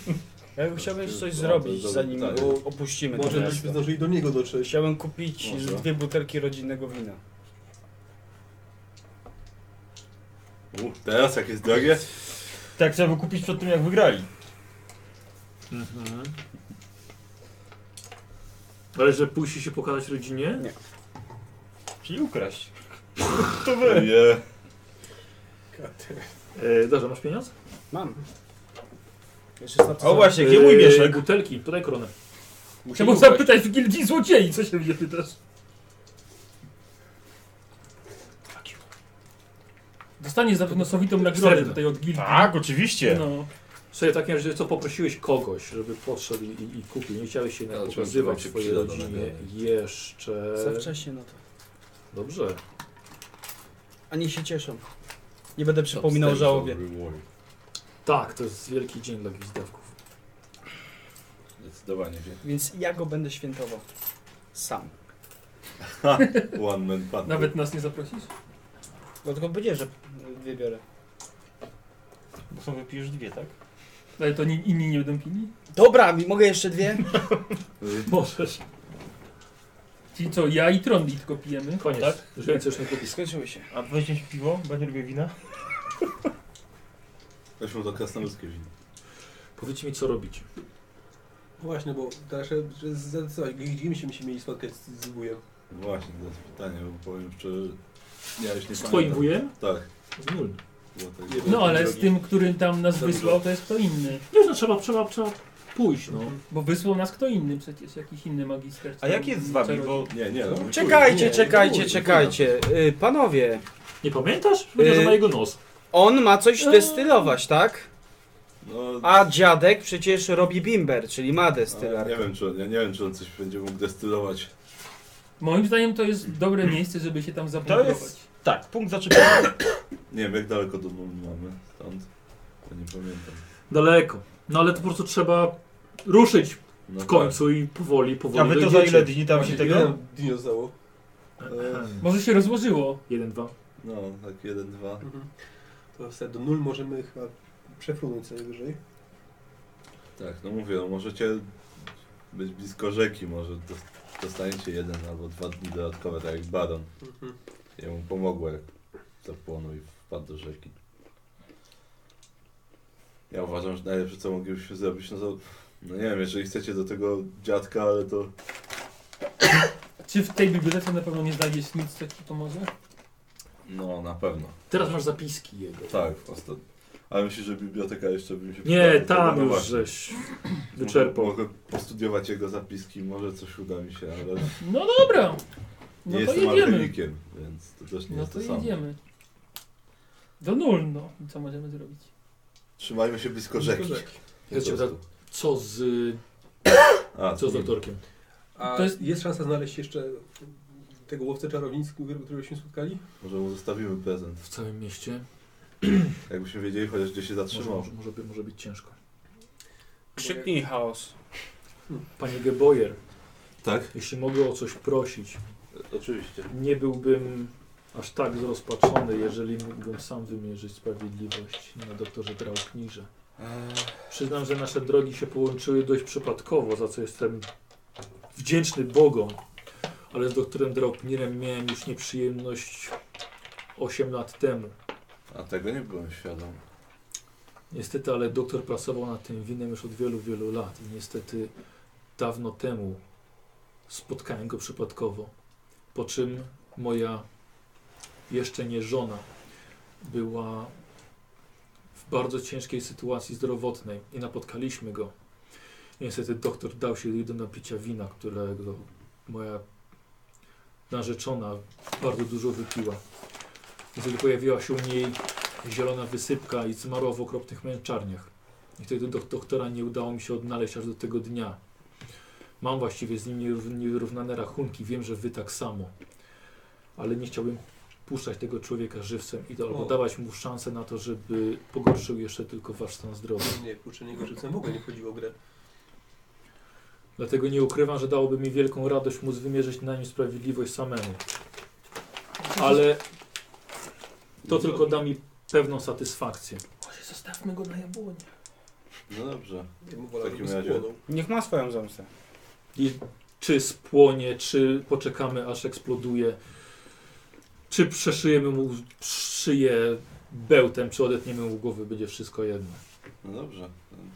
Ja bym chciał jeszcze coś zrobić, zanim Tak. opuścimy to Może byśmy miasto. zdążyli do niego dotrzeć. Chciałem kupić Może. dwie butelki rodzinnego wina. U, teraz jak jest drogie? Tak trzeba było kupić przed tym jak wygrali. Mhm. Ale że pójście się pokazać rodzinie? Czyli ukraść. To wy. Nie. E, dobrze, masz pieniądz? Mam. Eee, Jeszcze starczy O właśnie, gdzie E, mój mieszek? Butelki, podaj koronę. Musimy Trzeba ukraść. zapytać w gildii złodziei, co się mnie pytasz? Dostaniesz zapewne sowitą nagrodę Srebrne. tutaj od gildii. Tak, oczywiście. No. Słuchaj, w takim razie co poprosiłeś kogoś, żeby podszedł i, i kupił. Nie chciałeś się Ale jednak czy on pokazywać wam się swojej przyda do rodzinie nagrania? jeszcze. Za wcześnie na no to. Dobrze. A nie się cieszą. Nie będę przypominał o żałobie. Reward. Tak, to jest wielki dzień dla gwizdawków. Zdecydowanie wie. Więc ja go będę świętował. Sam. One man pan. Nawet nas nie zaprosisz? No tylko będzie, że dwie biorę. Bo są wypijesz dwie, tak? Ale to ni- inni nie będą pili? Dobra, mi- mogę jeszcze dwie? Y, Możesz. Czyli co, ja i Trondi tylko pijemy? Koniec. Tak? Już więcej już nie kupisz. Skończyły się. A weźmiesz piwo, bo nie lubię wina. Weszło do krasnoludzkiej winy. Powiedzcie mi, co robicie. Właśnie, bo teraz trzeba- trzeba zdecydować, gdzie myśmy się mieli spotkać z, z wujem. Właśnie, to jest pytanie, bo powiem, czy... Ja już nie Z twoim pamiętam. wujem? Tak. Z nul. Było tak. No ale z tym, który tam nas Za dużo. wysłał, to jest kto inny. Nie, no trzeba, trzeba, trzeba pójść, no. Bo wysłał nas kto inny przecież, jakiś inny magister. A jak jest z wami, bo... Nie, nie, no. Czekajcie, Nie, czekajcie, chuj, czekajcie. Y, Panowie, Nie pamiętasz? Powiedział, że Yy. ma jego nos. on ma coś Eee. destylować, tak? no A dziadek przecież robi bimber, czyli ma ale nie destylarkę. wiem, czy on, ja nie wiem, czy on coś będzie mógł destylować. Moim zdaniem to jest dobre miejsce, żeby się tam zaplanować. Hmm. jest- Tak, punkt zaczepienia. Nie wiem, jak daleko do Nul mamy stąd. To nie pamiętam. Daleko. No ale to po prostu trzeba ruszyć No w końcu i powoli, powoli A wy to za dojdziecie. ile dni tam się Właśnie tego... Ile dni zostało? Może się rozłożyło. Jeden, dwa. Tak. No, tak jeden, dwa. Mhm. To wtedy do nul możemy chyba przefrunąć co najwyżej. Tak, no mówię, no możecie być blisko rzeki, może dos- dostaniecie jeden albo dwa dni dodatkowe, tak jak Baron. Mhm. Jemu pomogło, jak zapłonął i wpadł do rzeki. Ja uważam, że najlepsze co moglibyśmy zrobić, no to... No nie wiem, jeżeli chcecie do tego dziadka, ale to... Czy w tej bibliotece na pewno nie znajdziesz nic, co ci pomoże? No, na pewno. Teraz masz zapiski jego. Tak, ostatnio. Ale myślisz, że biblioteka jeszcze by mi się Nie, przydała? tam No już właśnie. żeś wyczerpał. Mogę postudiować jego zapiski, może coś uda mi się, ale nie No dobra. No to jestem jedziemy. alchemikiem, więc to też nie No jest to to samo. jedziemy. Do nul, no. I Co możemy zrobić? Trzymajmy się blisko rzeki. Ja cię pytam, co z, y, A, co z nie. doktorkiem? A To to jest- jest... jest szansa znaleźć jeszcze tego łowcę czarownic, którego się spotkali? Może mu zostawimy prezent. W całym mieście? Jakbyśmy wiedzieli chociaż gdzie się Może, zatrzymał. może, może, by- może być ciężko. Krzyknij chaos. Panie Geboyer, Tak? jeśli mogę o coś prosić, Oczywiście. nie byłbym aż tak zrozpaczony, jeżeli mógłbym sam wymierzyć sprawiedliwość na doktorze Drauknirze. Przyznam, że nasze drogi się połączyły dość przypadkowo, za co jestem wdzięczny Bogom, ale z doktorem Drauknirem miałem już nieprzyjemność 8 lat temu. A tego nie byłem świadom. Niestety, ale doktor pracował nad tym winem już od wielu, wielu lat i niestety dawno temu spotkałem go przypadkowo. Po czym moja jeszcze nie żona była w bardzo ciężkiej sytuacji zdrowotnej i napotkaliśmy go. Niestety doktor dał się jej do napicia wina, którego moja narzeczona bardzo dużo wypiła. Niestety pojawiła się u niej zielona wysypka i zmarła w okropnych męczarniach. I wtedy do doktora nie udało mi się odnaleźć aż do tego dnia. Mam właściwie z nim nierów- niewyrównane rachunki, wiem, że wy tak samo. Ale nie chciałbym puszczać tego człowieka żywcem i do, albo O. dawać mu szansę na to, żeby pogorszył jeszcze tylko wasz stan zdrowia. Nie, kurczę, niego żywcem w ogóle nie wchodziło w grę. Dlatego nie ukrywam, że dałoby mi wielką radość móc wymierzyć na nim sprawiedliwość samemu. Ale to tylko da mi pewną satysfakcję. Może zostawmy go na jabłoni. No dobrze. Ja mu wolę, W takim żeby razie- spłonął. Niech ma swoją zemstę. I czy spłonie, czy poczekamy aż eksploduje, czy przeszyjemy mu szyję bełtem, czy odetniemy mu głowy, będzie wszystko jedno. No dobrze.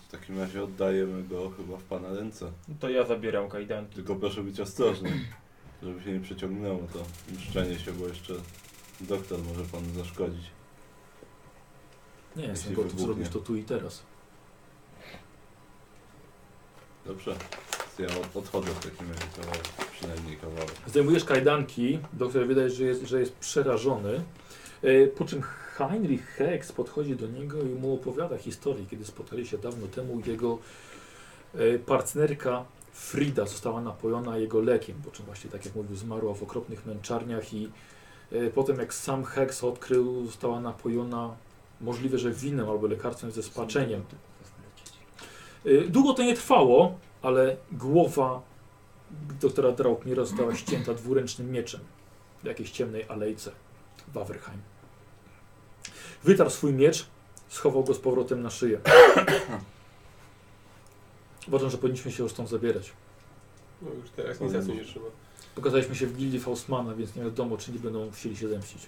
W takim razie oddajemy go chyba w pana ręce. No To ja zabieram kajdanki. Tylko proszę być ostrożny, żeby się nie przeciągnęło to mszczenie się, bo jeszcze doktor może panu zaszkodzić. Nie jestem Jeśli gotów wybuchnie. zrobić to tu i teraz. Dobrze. Ja od- odchodzę w takim razie kawałek, przynajmniej kawałek. Zdejmujesz kajdanki, doktor wydaje, że jest, że jest przerażony. E, Po czym Heinrich Hex podchodzi do niego i mu opowiada historię, kiedy spotkali się dawno temu jego e, partnerka Frida została napojona jego lekiem, po czym właśnie tak jak mówił zmarła w okropnych męczarniach i e, potem jak sam Hex odkrył została napojona możliwe, że winem albo lekarstwem ze spaczeniem. E, Długo to nie trwało, ale głowa doktora Draupnira została ścięta dwuręcznym mieczem w jakiejś ciemnej alejce w Wawerheim. Wytarł swój miecz, schował go z powrotem na szyję. Uważam, że powinniśmy się już stąd zabierać. No już teraz nic za co nie trzyma. Pokazaliśmy się w gildii Faustmana, więc nie wiadomo, czy nie będą chcieli się zemścić.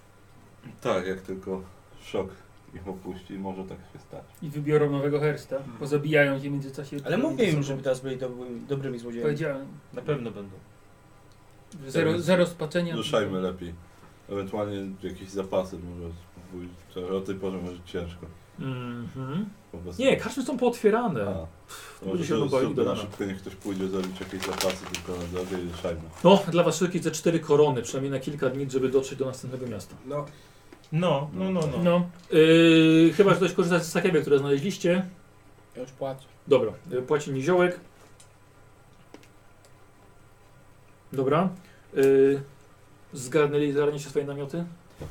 Tak, jak tylko szok ich opuści, może tak się stać. I wybiorą nowego hersta. Hmm. Pozabijają się w międzyczasie. Ale mówię im, żeby teraz byli dobrymi, dobrymi złodziejami. Powiedziałem, Na pewno będą. że zero, zero spaczenia. Ruszajmy lepiej. Ewentualnie jakieś zapasy może spróbuj. To O tej porze może ciężko. Mhm. Po prostu. Nie, karczmy są pootwierane. A. To Ludzie może się się obawiali do super rana. szybko, niech ktoś pójdzie zrobić jakieś zapasy tylko na drogę i ruszajmy. No, dla was wszystkich te cztery korony, przynajmniej na kilka dni, żeby dotrzeć do następnego miasta. No, No, no, no, no. No, Yy, chyba, że ktoś korzysta z sakiewek, które znaleźliście. Ja już płacę. Dobra, yy, płaci niziołek. Dobra. Yy, zgarnęli zarannie się swoje namioty?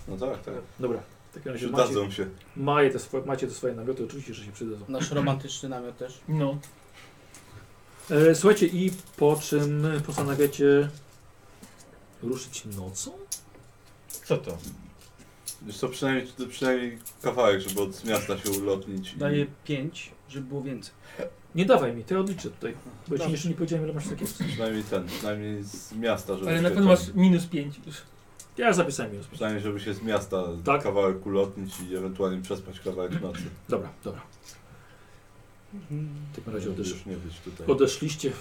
No tak, tak. Dobra. W takim razie macie, Przydadzą się. maje te swoje, macie te swoje namioty, oczywiście, że się przydadzą. Nasz romantyczny namiot też. no. E, słuchajcie, i po czym postanawiacie ruszyć nocą? Co to? Wiesz co, przynajmniej, przynajmniej kawałek, żeby od miasta się ulotnić. i- Daję 5, żeby było więcej. Nie dawaj mi, to ja odliczę tutaj. Bo ja ci jeszcze nie powiedziałem, ile masz sakiewek. Przynajmniej ten, przynajmniej z miasta, żeby Ale się na pewno tam- masz minus 5 już. Ja zapisałem minus. Przynajmniej, żeby się z miasta Tak. kawałek ulotnić i ewentualnie przespać kawałek nocy. Dobra, dobra. W takim razie Żeby odesz... już nie być tutaj. odeszliście.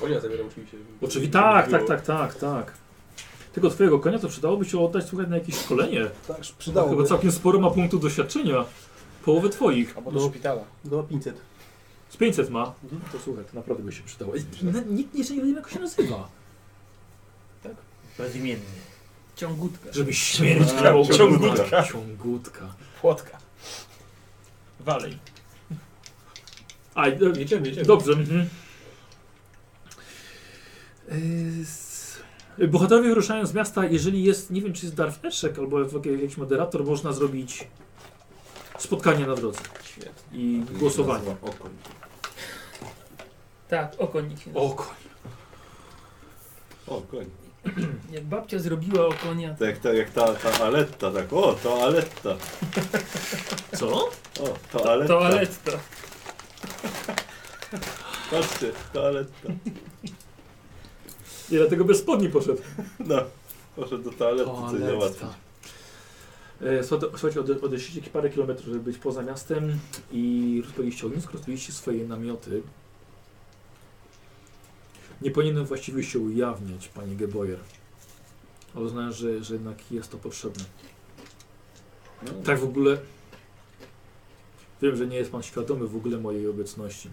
konia zabieram oczywiście. Oczywiście, tak, tak, tak, tak, tak. Tylko twojego konia to przydałoby się oddać słuchaj na jakieś szkolenie. Tak, Dałoby. No, Chyba przydałoby. całkiem sporo ma punktów doświadczenia. Połowę twoich. Albo do No, szpitala. Do 500. z 500 ma. Mhm, To słuchaj, to naprawdę by się przydało. I n- Nikt jeszcze nie wie, jak się nazywa. Bezimienny. Ciągutka. Żeby śmierć A, grało. ciągutka. Ciągutka. Płotka. Walej. A, e, Jedziemy, jedziemy. Dobrze. Mhm. Yy, s- Bohaterowie wyruszają z miasta, jeżeli jest, nie wiem czy jest Darth Eszek albo jak- jakiś moderator, można zrobić spotkanie na drodze Świetnie. i głosowanie. Oko. Tak, okoń. się- O koń. O, koń. Jak babcia zrobiła okonia, To jak ta, jak ta, ta aletta, tak. O, toaletta. Co? O, toaletta. toaletta. Patrzcie, toaletta. I dlatego bez spodni poszedł. No, poszedł do toalety, co nie łatwo. Toaletta. E, słuchaj- Słuchajcie, ode- odeszliście parę kilometrów, żeby być poza miastem i rozpaliliście ognisko, rozpaliliście swoje namioty. Nie powinienem właściwie się ujawniać, panie Geboyer. Ale uznałem, że, że jednak jest to potrzebne. No, Tak w ogóle... Wiem, że nie jest pan świadomy w ogóle mojej obecności.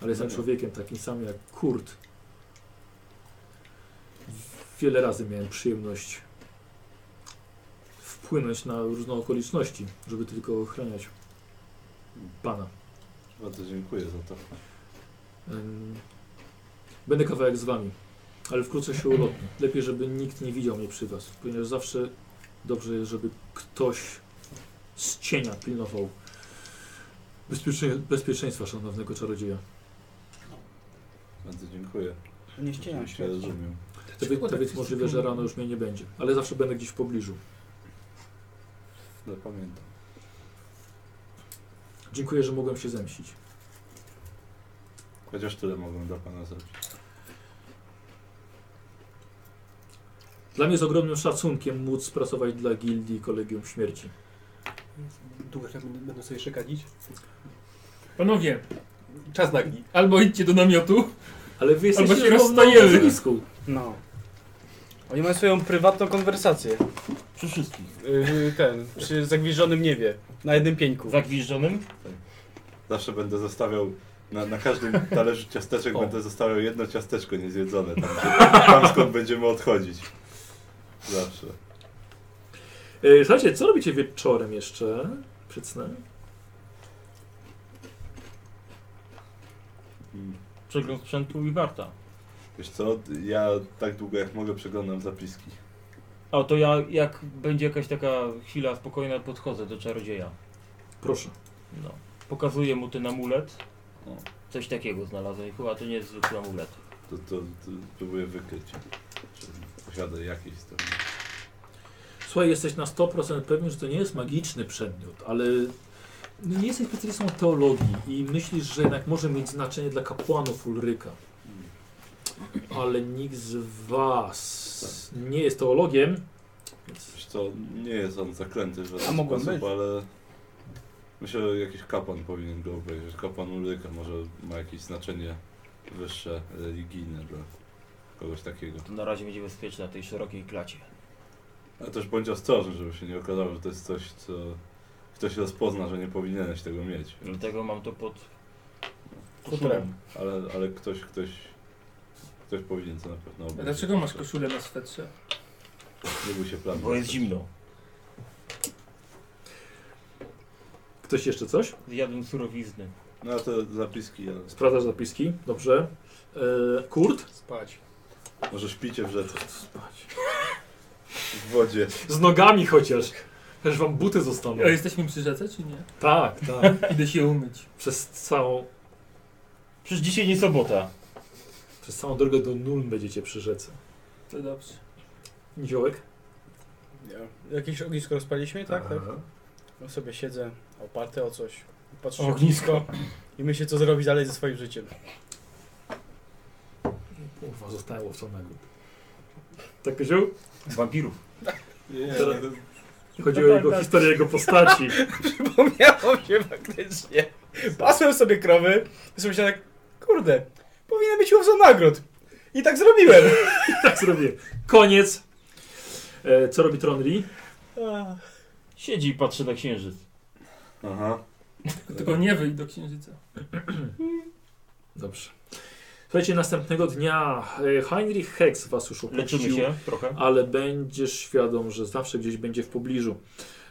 Ale jestem No nie. człowiekiem takim samym jak Kurt. Wiele razy miałem przyjemność wpłynąć na różne okoliczności, żeby tylko ochraniać pana. Bardzo dziękuję za to. Ym, Będę kawałek z wami, ale wkrótce się ulotnię. Lepiej, żeby nikt nie widział mnie przy was, ponieważ zawsze dobrze jest, żeby ktoś z cienia pilnował bezpiecznie- bezpieczeństwa szanownego czarodzieja. Bardzo dziękuję. Nie ściemniam Oczywiście się. rozumiem. To, wie- to więc możliwe, że rano już mnie nie będzie, ale zawsze będę gdzieś w pobliżu. No, Zapamiętam. Dziękuję, że mogłem się zemścić. Chociaż tyle mogłem dla pana zrobić. Dla mnie jest ogromnym szacunkiem móc pracować dla gildii Kolegium Śmierci. Długo tak będę będę sobie jeszcze gadzić. Panowie, Czas nagli. albo idźcie do namiotu. Ale wy jesteście się rozmową rozstajemy. na ognisku. No. Oni mają swoją prywatną konwersację. Przy wszystkich. Yy, ten, przy zagwizdżonym niebie. Na jednym pieńku. Zagwizdżonym? Zawsze będę zostawiał, na, na każdym talerzu ciasteczek O. będę zostawiał jedno ciasteczko niezjedzone, tam, gdzie- tam skąd będziemy odchodzić. Zawsze. E, Słuchajcie, co robicie wieczorem jeszcze przed snem? Mm. Przegląd sprzętu i warta. Wiesz co, ja tak długo jak mogę przeglądam zapiski. A to ja, jak będzie jakaś taka chwila spokojna, podchodzę do czarodzieja. Proszę. No. Pokazuję mu ten amulet. O. Coś takiego znalazłem. Chyba to nie jest zwykły amulet. To, to, to próbuję wykryć, czy posiada jakieś to. Słuchaj, jesteś na 100% pewien, że to nie jest magiczny przedmiot, ale no nie jesteś specjalistą od teologii i myślisz, że jednak może mieć znaczenie dla kapłanów Ulryka. Ale nikt z was nie jest teologiem, więc Wiesz co, nie jest on zaklęty w żaden A mogłem sposób, być. ale Myślę, że jakiś kapłan powinien go obejrzeć. Kapłan Ulryka może ma jakieś znaczenie wyższe, religijne dla kogoś takiego. To na razie będzie bezpieczne na tej szerokiej klacie. Ale też bądź ostrożny, żeby się nie okazało, że to jest coś, co ktoś rozpozna, że nie powinieneś tego mieć. Dlatego mam to pod Koszulę. Ale, ale ktoś, ktoś, ktoś powinien to na pewno A obejrzeć. dlaczego masz koszulę na swetrze? Nie bój się planu. Bo jest zimno. Ktoś jeszcze coś? Zjadłem surowizny. No to zapiski, ale Sprawdzasz zapiski, dobrze. E, Kurt? Spać. może śpicie w rzece. W wodzie. Z nogami chociaż. Też wam buty zostaną. No. A jesteśmy przy rzece, czy nie? Tak, tak. Idę się umyć. Przez całą, Przecież dzisiaj nie sobota. przez całą drogę do Nuln będziecie przy rzece. To dobrze. Niziołek? Jakieś ognisko rozpaliśmy, tak? tak? Aha. Ja sobie siedzę oparty o coś. Patrzę O, w ognisko i myślę, co zrobić dalej ze swoim życiem. Kurwa, zostałem łowcą nagród. Tak, Kozioł? Wampirów. Nie, Teraz- Chodzi o jego historię, jego postaci. Tak, Przypomniało mi się faktycznie. Pasłem sobie krowy i sobie myślałem tak, kurde, powinien być łowcą nagród. I tak zrobiłem. Tak zrobię. Koniec. E, co robi Tronli? Siedzi i patrzy na księżyc. Aha. Tylko nie wyjdź do księżyca. Dobrze. Słuchajcie, następnego dnia e, Heinrich Hex was już Leczymy opuścił. się trochę. Ale będziesz świadom, że zawsze gdzieś będzie w pobliżu.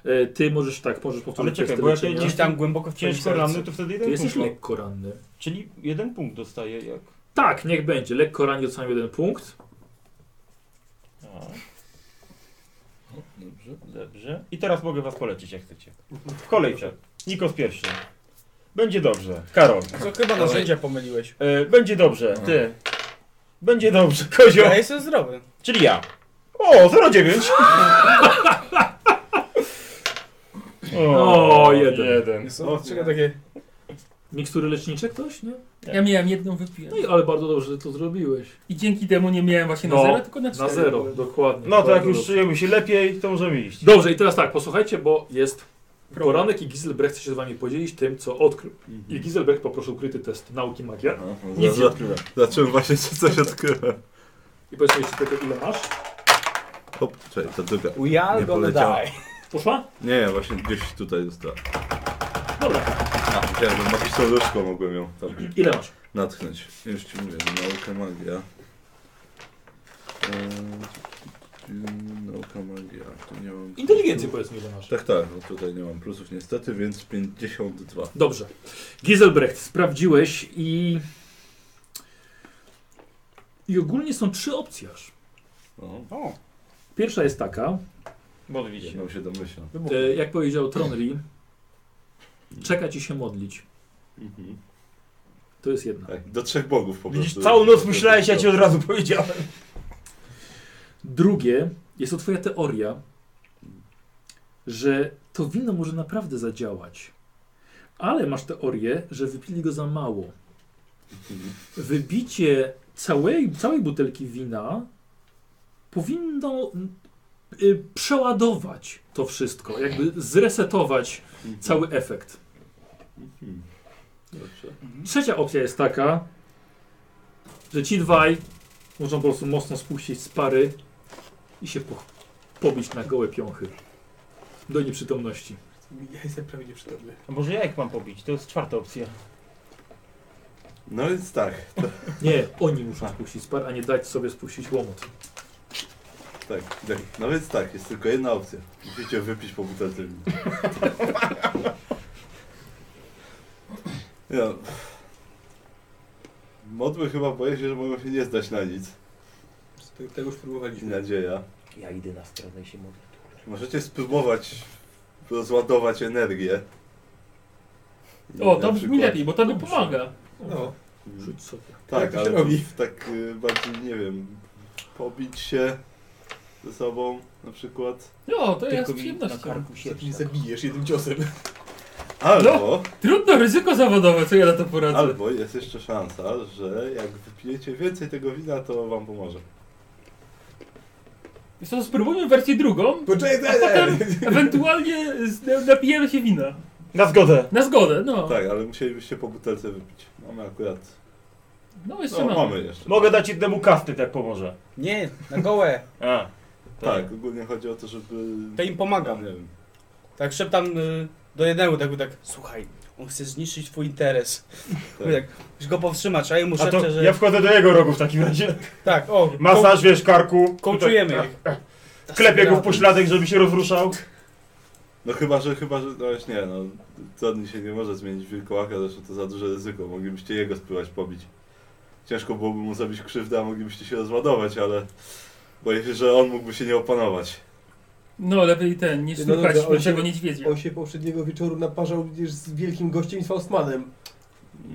E, ty możesz tak, możesz Ale powtórzyć czekaj, test bo jak leczenia. gdzieś Tam głęboko w twoim ciężko sercu. ranny, to wtedy Ty jeden punkt. jesteś mam. lekko ranny. Czyli jeden punkt dostaje jak... Tak, niech będzie. Lekko ranny dostałem jeden punkt. A. Dobrze, dobrze. I teraz mogę was polecić jak chcecie. W kolejce. Nikos pierwszy. Będzie dobrze. Karol. Co chyba narzędzia pomyliłeś. E, będzie dobrze. Ty. Będzie dobrze. Kozio. Ja jestem zdrowy. Czyli ja. O, 09. O, jeden. O, No, czego takie... Mikstury lecznicze ktoś, nie? Ja miałem jedną, wypiłem. No i ale bardzo dobrze, że to zrobiłeś. I dzięki temu nie miałem właśnie na No, zero, tylko na Na cztery. zero, dokładnie. No to jak Bardzo już dobrze. czujemy się lepiej, to możemy iść. Dobrze, i teraz tak, posłuchajcie, bo jest poranek i Giselbrecht chce się z wami podzielić tym, co odkrył. Mhm. I Giselbrecht poprosił ukryty test nauki magia. Aha, Nic za- nie za- Zacząłem właśnie czy coś odkryłem. I powiedz mi jeszcze tego, ile masz. Hop, czekaj, to druga. We are Nie gonna poleciało. die. Poszła? Nie, właśnie gdzieś tutaj została. Dobra. A, chciałem, że magiczną różką mogłem ją tam Ile masz? natchnąć. Już ci mówię, nauka magia. Eee, nauka magia, tu nie mam... Inteligencji powiedz mi, ile masz. Tak, tak, no tutaj nie mam plusów niestety, więc 52. Dobrze. Giselbrecht, sprawdziłeś i... I ogólnie są trzy opcje aż. O, O, Pierwsza jest taka, Modlić się. jedną się domyślam. e, jak powiedział Tronri, czeka ci się modlić. Mhm. To jest jedna. Tak, do trzech bogów po prostu. Widzisz, całą noc myślałeś, ja ci od razu powiedziałem. Drugie, jest to twoja teoria, że to wino może naprawdę zadziałać. Ale masz teorię, że wypili go za mało. Wybicie całej, całej butelki wina powinno y, przeładować to wszystko, jakby zresetować Mhm. cały efekt. Mhm. Dobrze. Trzecia opcja jest taka, że ci dwaj muszą po prostu mocno spuścić z pary i się po, pobić na gołe piąchy. Do nieprzytomności. Ja jestem prawie nieprzytomny. A może ja jak mam pobić? To jest czwarta opcja. No więc tak, Nie, oni muszą spuścić z par, a nie dać sobie spuścić łomot. tak, tak. No więc tak, jest tylko jedna opcja. Musicie wypić po butelce wina. Ja. Modły chyba boję się, że mogą się nie zdać na nic. Te- Tego już I próbowaliśmy. nadzieja. Ja idę na stronę i się modlę. Możecie spróbować rozładować energię. O, Na to brzmi przykład- lepiej, bo to mi pomaga. No, Rzuć sobie. Jak Tak, to się ale robi? w- tak y, bardziej, nie wiem, pobić się ze sobą na przykład. No, to ja z Tylko mi na przyjemnością. karku to sierść. mnie zabijesz jednym ciosem. Albo, Trudno ryzyko zawodowe, co ja na to poradzę. albo jest jeszcze szansa, że jak wypijecie więcej tego wina, to wam pomoże. Wiesz co, spróbujmy wersję drugą, Poczekaj, a potem ewentualnie z- napijemy się wina. Na zgodę. Na zgodę, no. Tak, ale musielibyście po butelce wypić. Mamy akurat. No No, jeszcze mamy. mamy jeszcze. Mogę dać jednemu kasty, tak pomoże. Nie, na gołe. A. Tak, ogólnie chodzi o to, żeby. To im pomagam. Nie wiem. Tak szeptam y, do jednego, tak, tak, słuchaj, on chce zniszczyć twój interes. Tak. Tak. Musisz go powstrzymać, a jemu A to szepczę, że... ja wchodzę do jego rogu w takim razie. Tak, o, Masaż, wiesz, karku. Kołczujemy Tutaj. ich. Klepię go w pośladek, żeby się rozruszał. No chyba, że chyba, że. No już nie, no. Zadni się nie może zmienić wilkołaka, zresztą to za duże ryzyko. Moglibyście jego spływać pobić. Ciężko byłoby mu zrobić krzywdę, a moglibyście się rozładować, ale. Boję się, że on mógłby się nie opanować. No lepiej ten, niż No szukać dobra, on naszego się- niedźwiedzia. On się poprzedniego wieczoru naparzał przecież z wielkim gościem i z Faustmanem.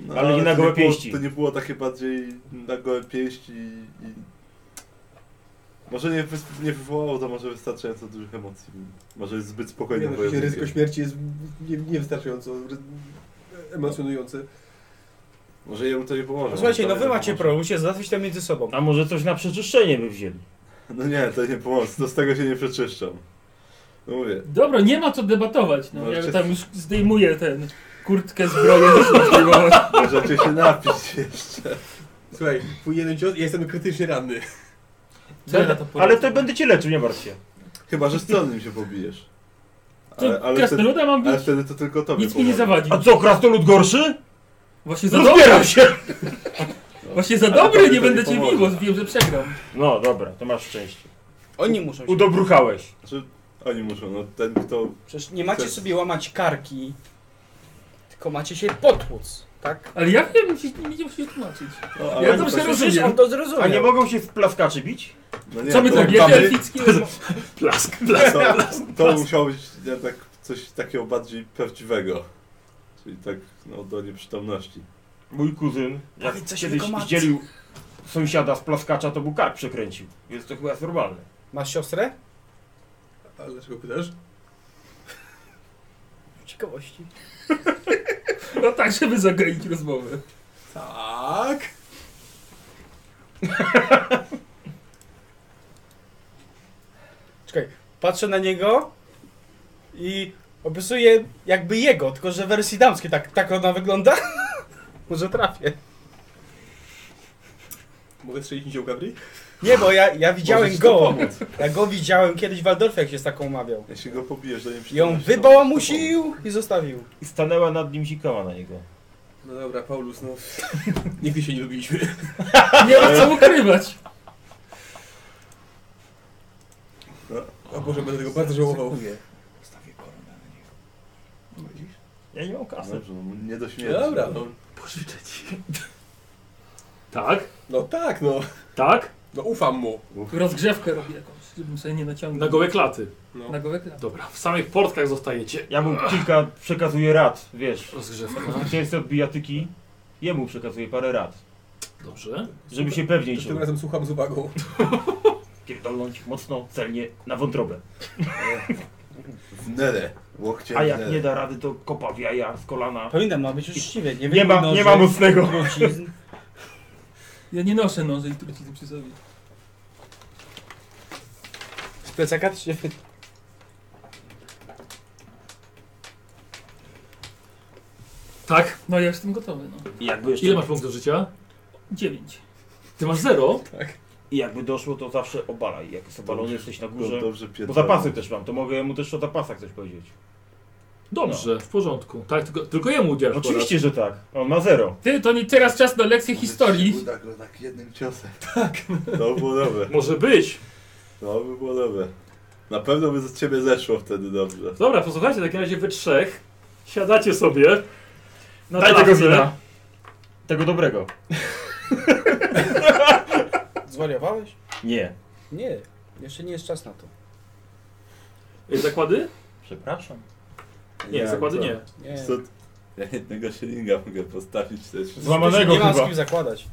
No, Ale nie na to gołe było- pięści. To nie było takie bardziej na gołe pięści i... i... Może nie, wys- nie wywołało to może wystarczająco dużych emocji. Może jest zbyt Nie, spokojny no, przecież ryzyko wojownikiem. śmierci jest nie- niewystarczająco ry- emocjonujące. Może jemu to nie pomoże. Słuchajcie, może no to wy nie macie pomoże. problem, musicie załatwić to między sobą. A może coś na przeczyszczenie by wzięli. No nie, to nie pomoże, to z tego się nie przeczyszczam. No mówię, Dobra, nie ma co debatować. No, No, ja jeszcze- tam już zdejmuję ten kurtkę, zbroję. zdejmować. możecie się napić jeszcze. Słuchaj, twój jeden cios, ja jestem krytycznie ranny. Co ja na to poradzę? Ale to będę cię leczył, nie martw się. Chyba, że z nim się pobijesz. Ale, To ale, wtedy, krasnoluda mam ale być? wtedy to tylko tobie Nic mi nie pomoże. zawadzi. A co, krasnolud gorszy? Właśnie za dobry, Rozbieram się! właśnie za Ale dobry tobie nie to nie będę cię pomoże. miło, wiem, że przegram. No dobra, to masz szczęście. Oni muszą się... Udobruchałeś. Znaczy, oni muszą, no ten kto... Przecież nie macie sobie łamać karki, tylko macie się potłuc, tak? Ale ja wiem, ci nie będziemy się tłumaczyć. No, Ja to dobrze się- Przecież rozumiem. on to zrozumiał. A nie mogą się w plaskaczy bić? no nie, Co my tak to to mamy- wiemy, elfickie? Plask, plask. To, to musiało być jednak coś takiego bardziej prawdziwego. Czyli tak no, do nieprzytomności. Mój kuzyn, jak Powiedz coś kiedyś tylko matce. zdzielił sąsiada z plaskacza, to mu kark przekręcił. Więc to chyba jest normalne. Masz siostrę? Ale dlaczego pytasz? Ciekawości. No tak, żeby zagaić rozmowę. Tak. Czekaj, patrzę na niego i opisuję jakby jego, tylko że w wersji damskiej, tak, tak ona wygląda? Może trafię. Mogę strzelić cię Gabri? Nie, bo ja, ja widziałem Możesz to go. pomóc. Ja go widziałem kiedyś w Waldorfie, jak się z taką umawiał. Jeśli go pobijesz do nieprzytomności... I on wybałamusił i zostawił. I stanęła nad nim zikała na niego. No dobra, Paulus, no. Nigdy się nie lubiliśmy. Nie ma co ukrywać. O Boże, będę tego bardzo żałował. Zostawię koronę na niego. Ja nie mam No kasy. Dobrze, no, nie do śmierci. Dobra, no. Pożyczę ci. Tak, No tak, no. tak. No ufam mu. Rozgrzewkę robię jakąś, żebym sobie nie naciągnął. Na gołe klaty. No. Na gołe klatki. Dobra, w samych portkach zostajecie. Ja mu kilka przekazuję rad, wiesz. Rozgrzewka. Zwycięzcy od bijatyki, jemu przekazuję parę rad. Dobrze. Żeby się pewniej Tym czuł. razem słucham z uwagą. Pierdolnąć mocno, celnie, na wątrobę. W nerę. Łokcie A w jak nerę. nie da rady, to kopa w jaja z kolana. Powinnam ma być uczciwie, nie Nie wiem. ma, nie ma mocnego. Trucizn. Ja nie noszę noży i trucizn przy sobie. Z plecaka się... Tak. No ja jestem gotowy, no. I jakby jeszcze... Ile masz punktów życia? Dziewięć. Ty masz zero? I jakby doszło, to zawsze obalaj. Jak jest obalony, jesteś na Dobrze, górze. dobrze Bo pierdolę. zapasy też mam, to mogę mu też o zapasach coś powiedzieć. Dobrze, w porządku. Tak, tylko, tylko jemu udzielasz Oczywiście, że tak. On ma zero. Ty, to nie teraz czas na lekcję Może ci historii. się Uda go tak jednym ciosem. Tak. To by było dobre. porad. Może być. To by było dobre. Na pewno by z ciebie zeszło wtedy dobrze. Dobra, posłuchajcie, w takim razie wy trzech siadacie sobie na Daj trawce. tego wina. Tego dobrego. Zwariowałeś? Nie. Nie, jeszcze nie jest czas na to. Y, Zakłady? Przepraszam. Nie, zakłady co? nie. Nie, Co? Ja jednego sielinga mogę postawić też. Złamanego nie ma z chyba. kim zakładać.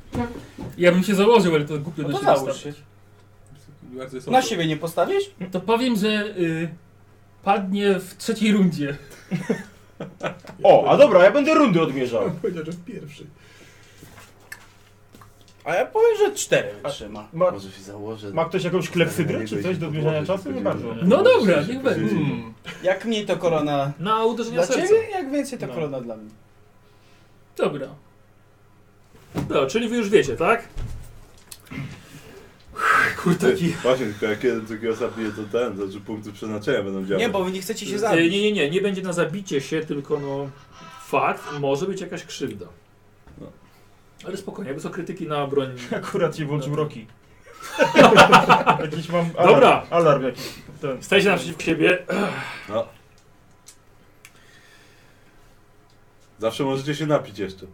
Ja bym się założył, ale to głupio tak. No na to siebie załóż stawiać. Bardzo jest Na siebie nie postawisz? To powiem, że y, padnie w trzeciej rundzie. O, a dobra, ja będę rundy odmierzał. Powiedział, że w pierwszy. A ja powiem, że cztery wytrzyma. Ma, Może się założę. ma ktoś jakąś klepsydrę czy coś do zmierzania czasu? Nie bardzo. No dobra, niech będzie. Hmm. Jak mniej to korona Na uderzenia dla serca. ciebie, jak więcej to No. korona dla mnie. Dobra. No, czyli wy już wiecie, tak? Kurde, taki... Właśnie, tylko jak jeden drugiego zabije, to ten, to że punkty przeznaczenia będą działać. Nie, bo wy nie chcecie Y, się E, zabić. Nie, nie, nie, nie będzie na zabicie się, tylko no... Fakt, może być jakaś krzywda. No. Ale spokojnie, jakby są krytyki na broń Akurat się włączył Roki. jakiś mam alarm, Dobra. alarm jakiś. Ten. Stajcie naprzeciw siebie. No. Zawsze możecie się napić jeszcze.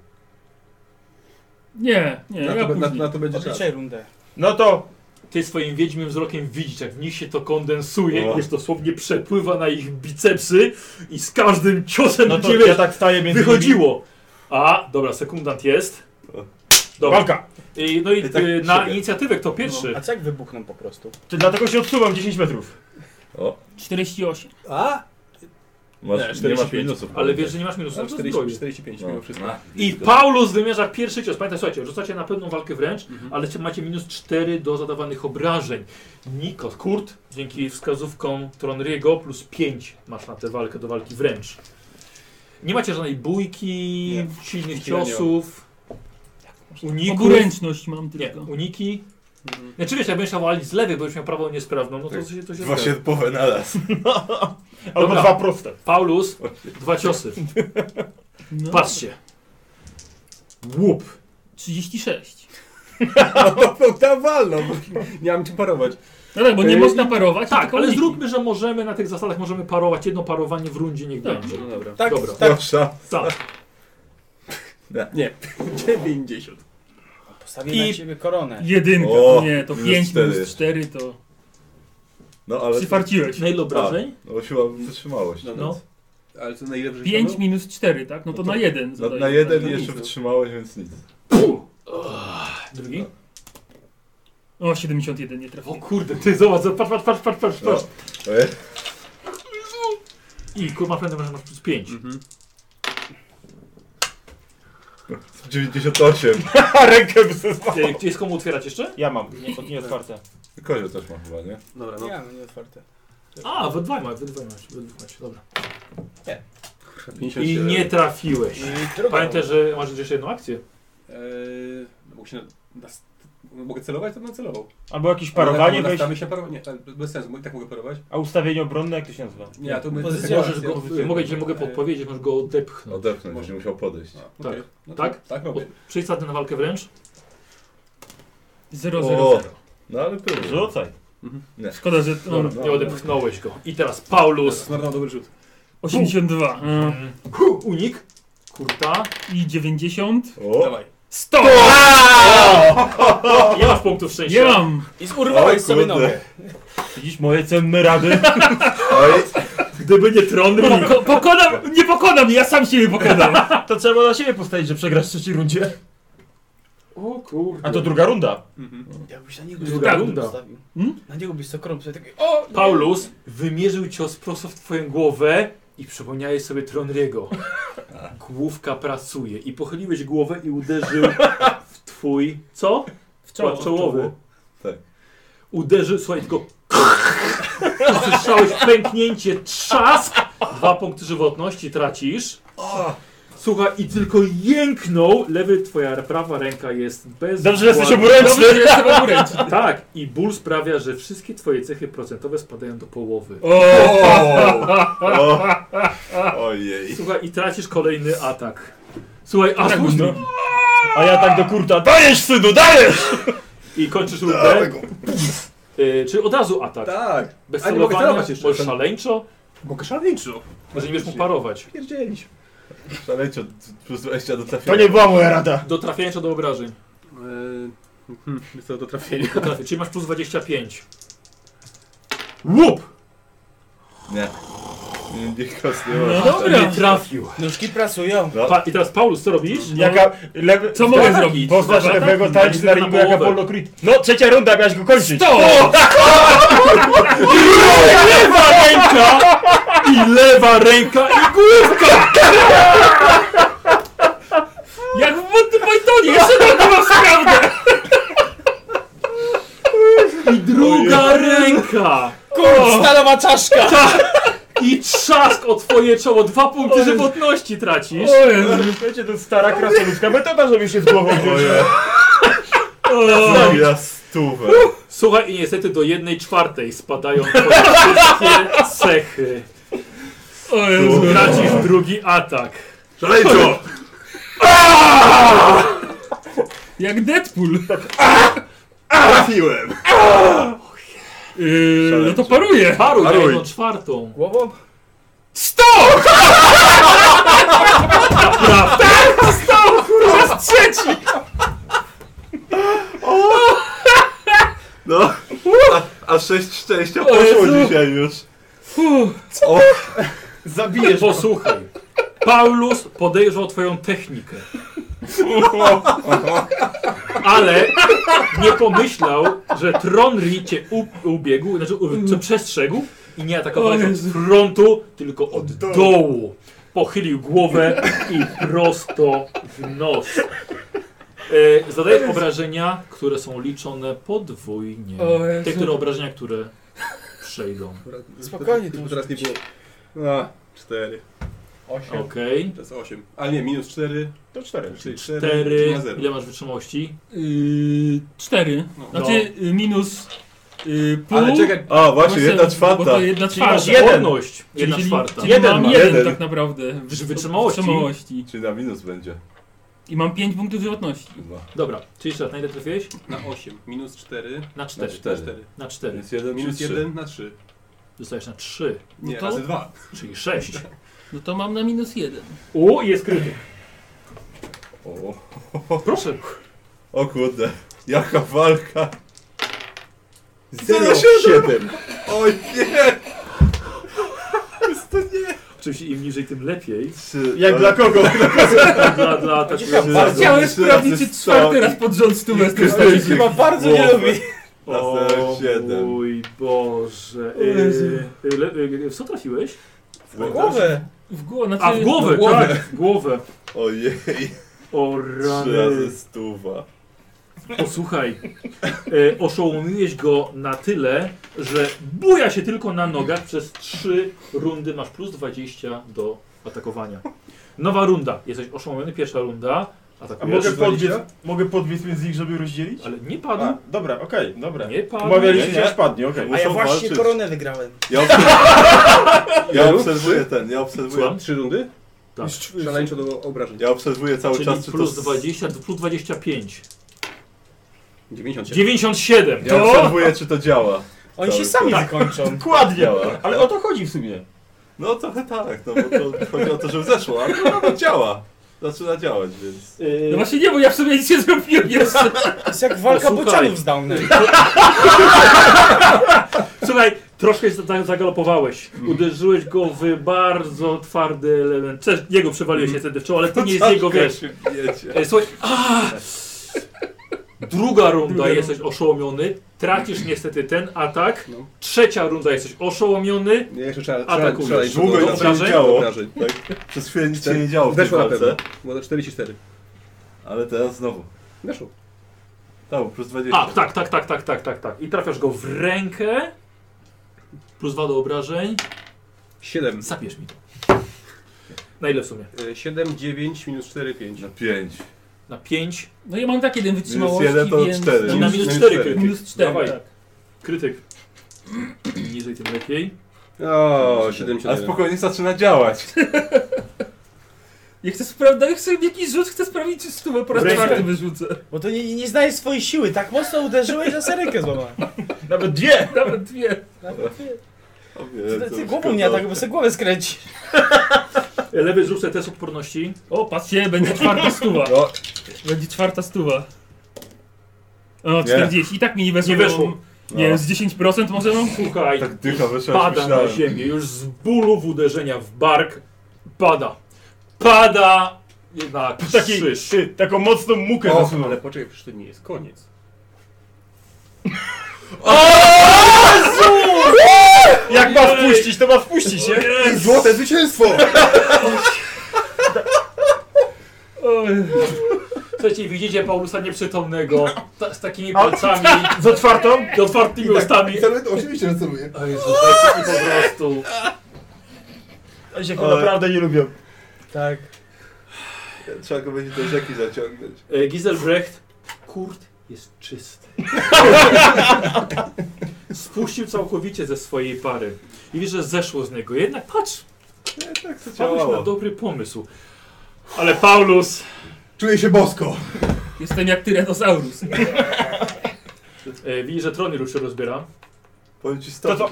Nie, nie, Na, ja to, na, później. na to będzie czas. Odliczaj rundę. No to Ty swoim wiedźmym wzrokiem widzisz, jak w nich się to kondensuje, O. jest dosłownie przepływa na ich bicepsy i z każdym ciosem No no to ja tak staję między nimi. wychodziło. A, dobra, sekundant jest. O. Dobra. Walka! I, no i No, I tak y, na siebie. inicjatywę kto Y. pierwszy. A co jak wybuchną po prostu? Czy dlatego się odsuwam 10 metrów? O, 48. A? masz, nie, masz 45, minusów. Ale wiesz, że nie masz minusów no. Mam do zbroi. 45 mimo wszystko. I Paulus wymierza pierwszy cios. Pamiętaj, słuchajcie, rzucacie na pewną walkę wręcz, Mhm. ale macie minus 4 do zadawanych obrażeń. Nikos, Kurt, dzięki wskazówkom Tronriego, plus 5 masz na tę walkę do walki wręcz. Nie macie żadnej bójki, silnych Nigdzie nie ciosów, uników. Oburęczność mam Nie, tylko. Mhm. uniki. Znaczy wiesz, jak będziesz miał walić z lewej, bo już miał prawą niesprawną, no to, Tak. się, to się Właśnie zgadza. połowę na raz. Albo Dobra. dwa proste. Paulus, dwa ciosy. No, Patrzcie. Łup. 36. No tam walno, bo nie mam czym parować. No tak, bo nie Ej, można parować. Tak, tylko ale uniki. zróbmy, że możemy na tych zasadach możemy parować jedno parowanie w rundzie, niech Tak. będzie. No dobra. Tak, Dobra. tak. Proszę. Tak. Nie, 90. Postawię I- na ciebie koronę. Jedynka. O, nie, to minus 5 cztery. minus 4 to... No ale. Przyfarciłeś. Na ile obrażeń? Tak. No bo siła wytrzymałość. No, No. Ale co najlepsze że 5 siadło? minus 4, tak? No to No to- na 1. Na, na jeden no nic, jeszcze no. wytrzymałeś, więc nic. Drugi? tak? O, 71 nie O trafił. kurde, ty zobacz, patrz, patrz, patrz, patrz, patrz, patrz. E, I kurwa, prędzej masz masz plus 5. Mhm. 98. A rękę by sobie spadł. Gdzie jest komu otwierać jeszcze? Ja mam, nie, nie otwarte. Kozio też ma chyba, nie? Dobra, no. Nie, no nie otwarte. A, we dwaj masz, we dwaj masz, we dwaj masz, dobra. 57. I nie trafiłeś. I druga Pamiętaj, że masz jeszcze jedną akcję. Eee, no, bo się na, na, st- no mogę celować, to bym celował. tak, Albo jakieś parowanie na, wejść, na się parować? Nie, ale bez sensu, bo i tak mogę parować. a ustawienie obronne jak to się nazywa? Nie, a to my Pozycja. Możesz go, mogę, ci- mogę podpowiedzieć, możesz go odepchnąć. Odepchnąć, Może. Może. musiał podejść. Okay. No to, Tak? Tak robię. Przyjdź zatem na walkę wręcz. 0, O. 0, 0. No ale próbuj. Rzucaj. Szkoda, że Dobra, on no. Nie odepchnąłeś go. I teraz Paulus. Zmarnował dobry rzut. 82 mm, Hu, unik. Kurta. i 90. O! Dawaj. 100! Nie masz punktów szczęścia. Nie mam! I urwałeś sobie kurde. nogę. Widzisz moje cenne rady? Oj! Gdyby nie Tronry. Poko pokonam, nie pokonam, ja sam siebie pokonam. To trzeba na siebie postawić, że przegrasz w trzeciej rundzie. O kurde. A to druga runda. Ja byś na niego Druga tak, runda. postawił. Hmm? Na niego byś to koronę postawił. Taki, o! Paulus wymierzył cios prosto w twoją głowę i przypomniałeś sobie Tronriego. Główka pracuje. I pochyliłeś głowę i uderzył w twój... Co? W Czoło, czołowy. Tak. Uderzył, słuchaj, tylko... Usłyszałeś pęknięcie, trzask. Dwa punkty żywotności tracisz. Słuchaj, i tylko jęknął. Lewy, twoja prawa ręka jest bez... Dobrze, że jesteś władzy. oburęczny. Dobrze, że jestem oburęcz. Tak, i ból sprawia, że wszystkie twoje cechy procentowe spadają do połowy. O! Ojej. Słuchaj, i tracisz kolejny atak. Słuchaj, aż Tak, no. no. A ja tak do kurta, dajesz synu, dajesz! I kończysz rundę. Y, czyli od razu atak. Tak. Bez A nie mogę celowania, celować jeszcze. możesz szaleńczo, Mogę szaleńczu. może nie wiesz mu parować. Pierdzielić. Szaleńczo, plus 20 do To trafienia. nie była moja rada. Do trafienia czy do obrażeń? Eee, E, hmm, co do trafienia. Do trafi- czyli masz plus 25. Łup! Nie. Nie, nie kostnie No no. Nie dobra. trafił. Nóżki pracują. Pa, I teraz Paulus, co robisz? Jaka lewy... Co mogę Ataki, zrobić? Poznasz Ataki, lewego ataki tańcz na na ringu jaka połowę. Apollo Creed. No, trzecia runda, miałeś go kończyć. To! Lewa ręka! I lewa ręka i główka! Jak w Monty Pythonie, jeszcze tylko mam sprawdę! czaszka! Kurcz, stalowa czaszka! I trzask o twoje czoło. Dwa punkty żywotności tracisz. O Jezu. Wiecie, to stara krasnoludzka metoda, żeby się z głową wziąć. O. Ja stówę. Słuchaj, i niestety do jednej czwartej spadają twoje wszystkie cechy. O Jezu. Tracisz drugi atak. Szaleńczo! Jak Deadpool. Tak, Trafiłem! Yy, no to paruje. Paruj na Paruj. jedną czwartą. Głową? Prawda? No, a, a sześć szczęścia poszło Jezu. dzisiaj już. Zabijesz go. Posłuchaj. Paulus podejrzał twoją technikę. Ale nie pomyślał, że Tronri cię u- ubiegł, znaczy u- cię przestrzegł i nie O atakował cię od Jezu. frontu, tylko od dołu. Pochylił głowę i prosto w nos. E, Zadajesz obrażenia, które są liczone podwójnie. O Jezu. Te, które obrażenia, które przejdą. Spokojnie, Tylko to teraz nie było. No, 4. Okej. To jest 8. Ale nie, minus 4. To 4. Czyli 4. Cztery. Na 0. Ile masz wytrzymałości? Yy, cztery. No. Znaczy y, minus yy, pół. Ale czekaj, A, właśnie, Bo se- jedna Bo czwarta. to jedna Czyli masz czwarta. jeden. odporność. Jedna czyli, czwarta. Czyli Jeden mam ma. jeden, Jeden. tak naprawdę. w- Że wytrzymałości? wytrzymałości. Czyli na minus będzie. I mam 5 punktów żywotności. Chyba. Dobra, czyli jeszcze raz, na ile trafiłeś? na 8. Minus 4. Na 4. cztery. Na 4. Minus jeden, Minus minus 1 na 3. Dostajesz na 3, Nie, No to- razy 2. czyli 6. No to mam na minus jeden. U, i jest kryty. O, Proszę. o kurde, jaka walka. Zero, siedem. O nie! Oczywiście im niżej, tym lepiej. Trzy, Jak ale- dla kogo? Dla, dla Trzy, atakujących. razy Chciałem trzy, sprawdzić, razy czy sto. czwarty raz pod rząd stówę z tym Krytyk. Chyba bardzo nie Głowę. lubi. Na zero, O siedem. mój Boże. O Jezu. Yy, le, y, w co trafiłeś? Głowę. W głowę. Znaczy, A, w głowę, w głowę. tak. W głowę. Ojej, O trzy rany. razy stuwa. Posłuchaj, e, oszołomiłeś go na tyle, że buja się tylko na nogach. Przez trzy rundy masz plus 20 do atakowania. Nowa runda. Jesteś oszołomiony, pierwsza runda. A Atakujesz, mogę Jeszcze podbiec, dwadzieścia? mogę podbiec między ich, żeby rozdzielić? ale nie A, padł. dobra, okej, dobra. Nie padł. Umawialiśmy Nie, się, nie. aż padnie, okej. Muszą walczyć. wygrałem. Ja, obser- ja Rób obserwuję ten, ja obserwuję. Słucham? 3 rundy? Tak. Szaleńczo do obrażeń. Ja obserwuję cały Czyli czas, czy plus to... s- 20, plus 25. 97. 97. Ja To? obserwuję, czy to działa. Oni się Cały Tak. sami wykończą. Dokładnie, Działa. ale o to chodzi w sumie. No trochę tak, no bo to chodzi o to, że wzeszło, ale to nawet działa. Zaczyna działać, więc... No Yy, właśnie nie, bo ja w sumie nic nie zrobiłem jeszcze. To jest jak walka Posłuchaj. bocianów z Downem. słuchaj, troszkę się za- zagalopowałeś. Mhm. Uderzyłeś go w bardzo twardy element. Cześć, jego przewaliłeś Mhm. się wtedy w czoło, ale No to nie jest jego, wiesz. Się bijecie. E, Słuchaj, a! Druga runda Druga jesteś oszołomiony, tracisz niestety ten atak. No. Trzecia runda jesteś oszołomiony. Nie, jeszcze trzeba. Atakujesz. szaleńczo do Długo Do i to się obrażeń? nie działo. obrażeń. Tak? Przez chwilę nic się nie działo w tej Weszło na pewno. walce. Było na 44. Ale teraz znowu. Weszło. Tam, plus 20. A, tak, tak, tak, tak, tak, tak, tak. I trafiasz go w rękę. Plus dwa do obrażeń. 7. Zapiesz mi to. Na ile w sumie? 7, 9, E, minus 4, 5. Na 5. Na 5. No ja mam tak jeden Minus wytrzymałości, 1 to więc... 4. Na minus 4 krytyk. Minus cztery, Dawaj. tak. Krytyk. Im Niżej tym lepiej. O, 7, A 7. spokojnie zaczyna działać. Ja chcę sprawdzić, ja chcę jakiś rzut, chcę sprawdzić, czy stówę po raz Brain. czwarty wyrzucę. Bo to nie, nie znaje swojej siły. Tak mocno uderzyłeś, że serykę złamałem. Nawet dwie! Nawet dwie. O, Ty, wiem, ty, to ty już głową nie szkoda. tak, bo sobie głowę skręci. Lewy zrób sobie test odporności. O, patrzcie, będzie czwarta stuwa. No. Będzie czwarta stuwa. O, Nie. 40. I tak mi nie weszło. Nie weszło. bo- Nie, No. z 10% może No, mam? Słuchaj, Tak dycha weszła, jak pada na myślałem. ziemię, już z bólu w uderzenia w bark pada. Pada na Taki, krzyż. ty, taką mocną mukę zasunął. ale poczekaj, przecież to nie jest koniec. Jak ma wpuścić, to ma wpuścić, nie? Złote zwycięstwo! Słuchajcie, widzicie Paulusa nieprzytomnego, ta, z takimi palcami, Z otwartą? z otwartymi tak- ustami. Celuję, oczywiście, że celuję. O Jezu, taki po prostu. Ja się Ale... naprawdę nie lubię. Tak. Trzeba go będzie do rzeki zaciągnąć. E, Giselbrecht, Kurt jest czysty. Spuścił całkowicie ze swojej pary. I wiesz, że zeszło z niego. Jednak patrz, Tak to Paulus działało. na dobry pomysł. Ale Paulus, Czuję się bosko. Jestem jak Tyranosaurus. e, widzisz, że Trony już się rozbiera. Powiem ci To stop. co?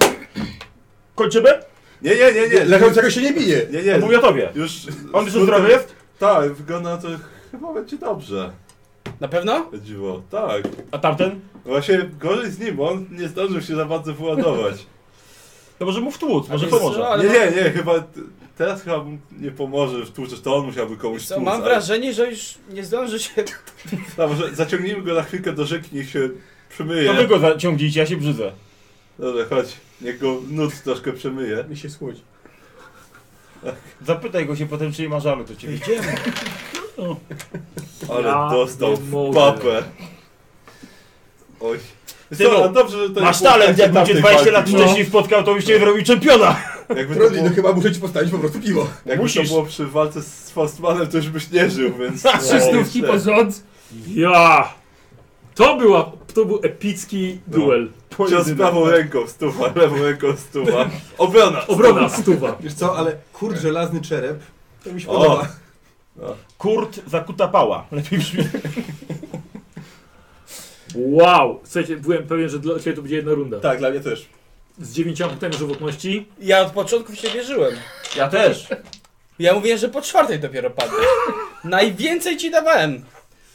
Kończymy? Nie, nie, nie, nie. Leczącego się nie bije. Nie, nie. Mówię o tobie. Już. On już zdrowy jest? Tak, wygląda to chyba będzie dobrze. Na pewno? O Dziwo, tak. A tamten? Właśnie gorzej z nim, bo on nie zdążył się za bardzo wyładować. To No może mu wtłuc, może wiesz co, pomoże. no, ale Nie, mam- nie, nie, chyba t- teraz chyba mu nie pomoże wtłuczesz, to on musiałby komuś Co, tłuc. mam ale- wrażenie, że już nie zdąży się. No, może zaciągnijmy go na chwilkę do rzeki, niech się To wy przymyje. go zaciągnijcie, ja się brzydzę. Dobrze, chodź, niech go nut troszkę przemyje. Mi się słodzi. Zapytaj go się potem, czy nie ma żalu do ciebie. Ale Ja dostał nie w mogę. papę. Oj. Ty no, Co, a dobrze, że to Masz nie było talent, takie jakbym cię tamtej 20 lat walki. wcześniej spotkał, to byś nie zrobił czempiona. Jakby to Trudno, było, no chyba muszę ci postawić po prostu piwo. jakby to musisz. było przy walce z Fastmanem, to już byś nie żył, więc... Trzy no, stówki po rząd. Ja! To, była, to był epicki No. duel. Cios prawą ręką stuwa, lewą ręką stuwa. Obrona! Obrona stuwa. Wiesz co, ale kurde, żelazny czerep. To mi się O. podoba. Kurt zakuta pała. Lepiej brzmi. Wow! Słuchajcie, byłem pewien, że dla ciebie to będzie jedna runda. Tak, dla mnie też. Z 9 punktem żywotności. Ja od początku w się wierzyłem. Ja też. Ja mówiłem, że po czwartej dopiero padnę. Najwięcej ci dawałem,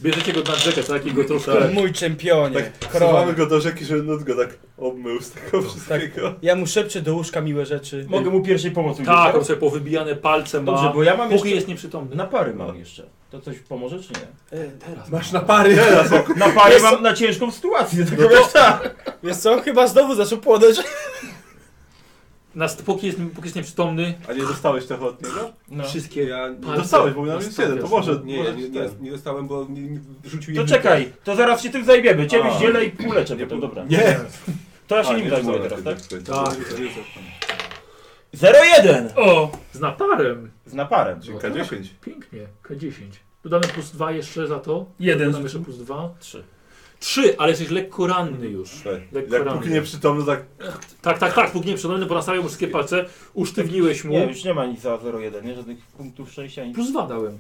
Bierzecie go na rzekę, tak? I go troszkę... Tak. mój czempionie. Tak, Król. Mamy go do rzeki, żeby nut go tak obmył z tego wszystkiego. Ja mu szepczę do łóżka miłe rzeczy. Mogę mu pierwszej pomocy udzielić, Tak, on sobie powybijane palce ma. Dobrze, bo ja mam jeszcze... Póki jest nieprzytomny. Na pary No mam jeszcze. To coś pomoże, czy nie? Masz na pary. Na pary mam na ciężką sytuację, tylko wiesz tak. co? Wiesz co, chyba znowu zaczął płodeć. Na, póki, jest, póki jest nieprzytomny, A nie dostałeś tego od niego? No. wszystkie Ja palce... Dostałeś, bo miałem minus jeden, to nastawiasz. może... nie, może ja nie, ci nie, ten. nie dostałem, bo nie, nie, rzucił To jedynkę. czekaj, to zaraz się tym zajmiemy. Ciebie A. zielę i półleczę Nie potem, pół- dobra. Nie. To ja A, się nim nie zajmuję dostałem teraz, tak? tego. Tak. Zero jeden O! Z naparem. Z naparem. Czyli K10. Pięknie. K10. Dodamy plus 2 jeszcze za to. Jeden. Dodamy jeszcze plus 2. Trzy. 3, ale jesteś lekko ranny już. Tak. Lekko Jak ramię. póki nie przytomny, tak... Tak, tak, tak. Póki nieprzytomny, ponastawiam mu wszystkie palce. Usztywniłeś mu. Nie, już nie ma nic za 0,1, nie? Żadnych punktów szczęścia, nic. Plus 2 dałem.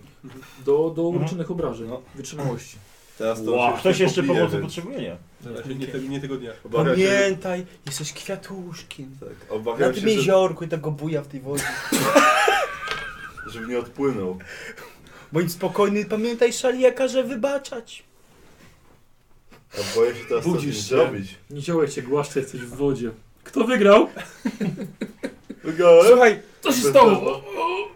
Do, do Mhm. urocznych obrażeń. No. Wytrzymałości. Teraz to Wow. już Ktoś jeszcze pobije, pomocy więc- potrzebuje, nie? Znaczy, Nie, te, nie tego dnia. Obawiam się, Pamiętaj, jesteś kwiatuszkiem. tak, Na obawiam tym się że, jeziorku i tego buja w tej wodzie. żeby nie odpłynął. Bądź spokojny, pamiętaj szaliaka, że wybaczać. A boję się teraz coś Budzisz z nim się. zrobić. Nie działaj się, głaszcze, jesteś w wodzie. Kto wygrał? Wygrałem. Słuchaj, Co się stało?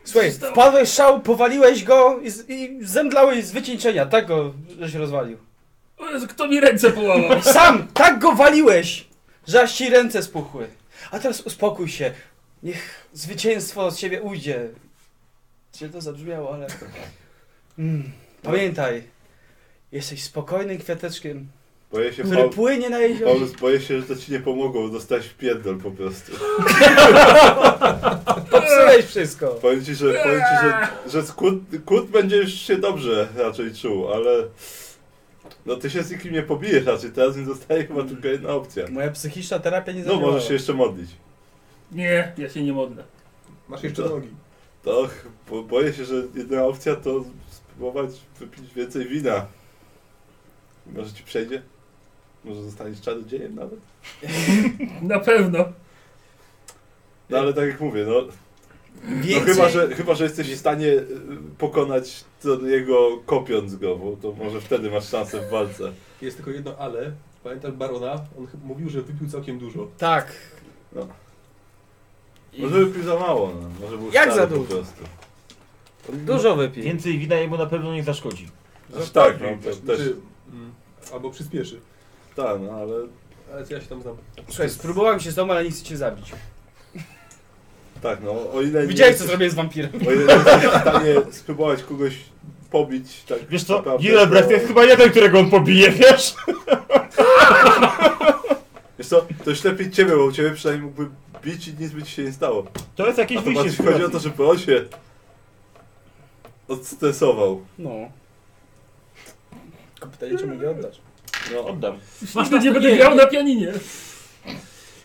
słuchaj, wpadłeś w szał, powaliłeś go i, z- i zemdlałeś z wycieńczenia, tak go, że się rozwalił. O Jezu, kto mi ręce połamał? Sam tak go waliłeś, że aż ci ręce spuchły. A teraz uspokój się. Niech zwycięstwo z ciebie ujdzie. Cię to zabrzmiało, ale. Mm, pamiętaj, jesteś spokojnym kwiateczkiem, Boję się, który Paul, płynie na jezioro. Paulus, boję się, że to ci nie pomogło, bo dostałeś w pierdol po prostu. Popsułeś wszystko. Powiem ci, że, powiem ci, że, że z Kut, Kut będzie już się dobrze raczej czuł, ale... No ty się z nikim nie pobijesz raczej, teraz nie zostaje chyba tylko jedna opcja. Moja psychiczna terapia nie No zadziałała. możesz się jeszcze modlić. Nie, ja się nie modlę. Masz jeszcze To- nogi. To ch- bo, boję się, że jedyna opcja to spróbować wypić więcej wina. Może ci przejdzie? Może zostaniesz czarodziejem nawet? Na pewno. No ale tak jak mówię, no, no Więcej. chyba, że, chyba, że jesteś w stanie y, pokonać jego kopiąc go, bo to może wtedy masz szansę w walce. Jest tylko jedno ale. Pamiętasz Barona? On ch- mówił, że wypił całkiem dużo. Tak. Może wypił za mało, no. może był Jak stary za po dużo? prostu. Dużo wypij. Więcej wina jemu na pewno nie zaszkodzi. Aż tak, no, to też, Czy, mm, albo przyspieszy. tak, no ale Ale ja się tam znam. Słuchaj, spróbowałem się z domu, ale nie chcę cię zabić. tak, no o ile nie Widziałeś co jesteś- zrobiłem z wampirem. O ile nie jesteś w stanie spróbować kogoś pobić tak Wiesz co, naprawdę, Gilbert to jest chyba jeden, którego on pobije, wiesz? Wiesz co, to już lepiej ciebie, bo u ciebie przynajmniej mógłby bić i nic by ci się nie stało. To jest jakieś A to wyjście z bardziej chodzi o to, sytuacji. żeby on się odstresował. No. Tylko pytanie, czemu nie oddasz? No, Oddam. Masz Nigdy nie będę nie. grał na pianinie.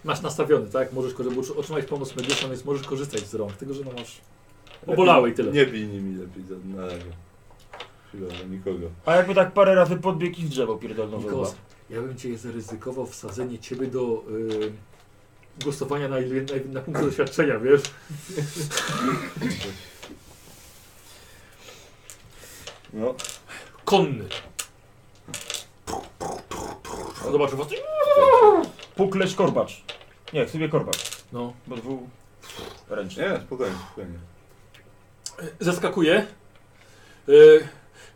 Masz nastawiony, tak? Możesz korzy- bo otrzymałeś pomoc medyczną, więc możesz korzystać z rąk, tylko że no masz... Obolały i tyle. nie bij nimi lepiej za- na razie. Chwilowo, nikogo. A jakby tak parę razy podbiegł i w drzewo pierdolną Nikos, ja bym cię zaryzykował wsadzenie ciebie do y, głosowania na, na, na punkty doświadczenia, wiesz? No, Konny. Zobacz, was. Pukle korbacz. Nie, w sobie korbacz, No. bo dwu... ręczny. nie, spokojnie, spokojnie. Zaskakuje. Y,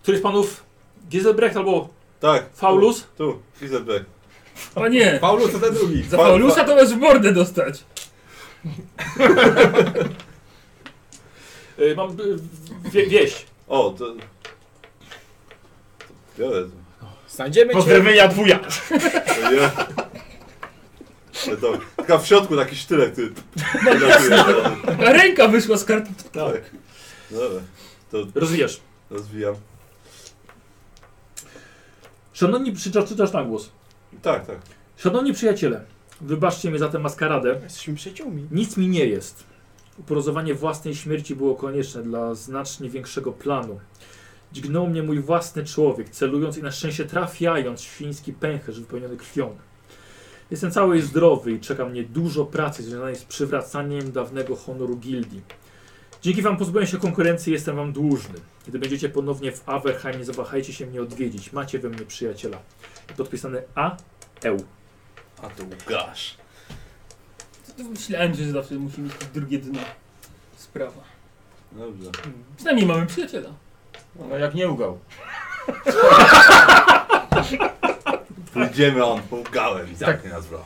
któryś z panów Gieselbrecht albo Tak. Faulus? Tu, tu Izelbeck. A nie, Paulus, to ten drugi. za Paulusa to masz w mordę dostać. Y, mam y, wie, wieść. O, to... to biorę to. Znajdziemy cię. Pozdrowienia dwuja! To ja. Ale to, taka w środku taki sztylet, ty. No, A ręka wyszła z karty. tak. No Dobra, Rozwijasz. rozwijam. Szanowni, przyczy- czytasz na głos. Tak, tak. Szanowni przyjaciele, wybaczcie mi za tę maskaradę. Jesteśmy przyjaciółmi. Nic mi nie jest. Uporozowanie własnej śmierci było konieczne dla znacznie większego planu. Dźgnął mnie mój własny człowiek, celując i na szczęście trafiając w świński pęcherz wypełniony krwią. Jestem cały i zdrowy i czeka mnie dużo pracy związanej z przywracaniem dawnego honoru gildii. Dzięki wam pozbyłem się konkurencji i jestem wam dłużny. Kiedy będziecie ponownie w Averheim, nie zawahajcie się mnie odwiedzić. Macie we mnie przyjaciela. Podpisane A.E.U. A to gasz. Myślałem, że zawsze musi mieć drugie dno. Sprawa. Dobrze. Przynajmniej mamy przyjaciela. No jak nie ugał. Pójdziemy on płukałem i tak zamknie nas w loch.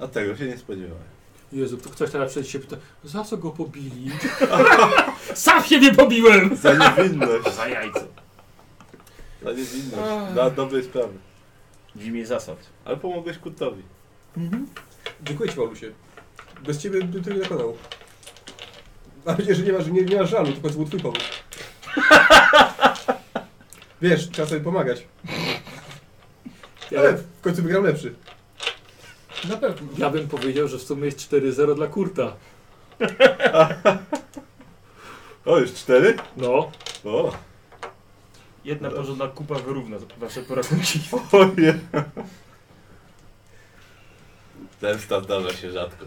A tego się nie spodziewałem. Jezu, to ktoś teraz przed się pyta, za co go pobili? Sam siebie pobiłem! Za niewinność. Za jajce. Za niewinność. Dla dobrej sprawy. W imię zasad. Ale pomogłeś Kurtowi. Dziękuję ci, Paulusie. Bez ciebie bym tego nie dokonał. Mam nadzieję, że nie masz, nie, nie masz żalu, tylko to był twój pomysł. Wiesz, trzeba sobie pomagać. Ale w końcu wygram lepszy. Na pewno. Ja bym powiedział, że w sumie jest 4-0 dla Kurta. O, już cztery? No, O, Jedna porządna kupa wyrówna wasze porachunki. oje. Ten stan zdarza się rzadko.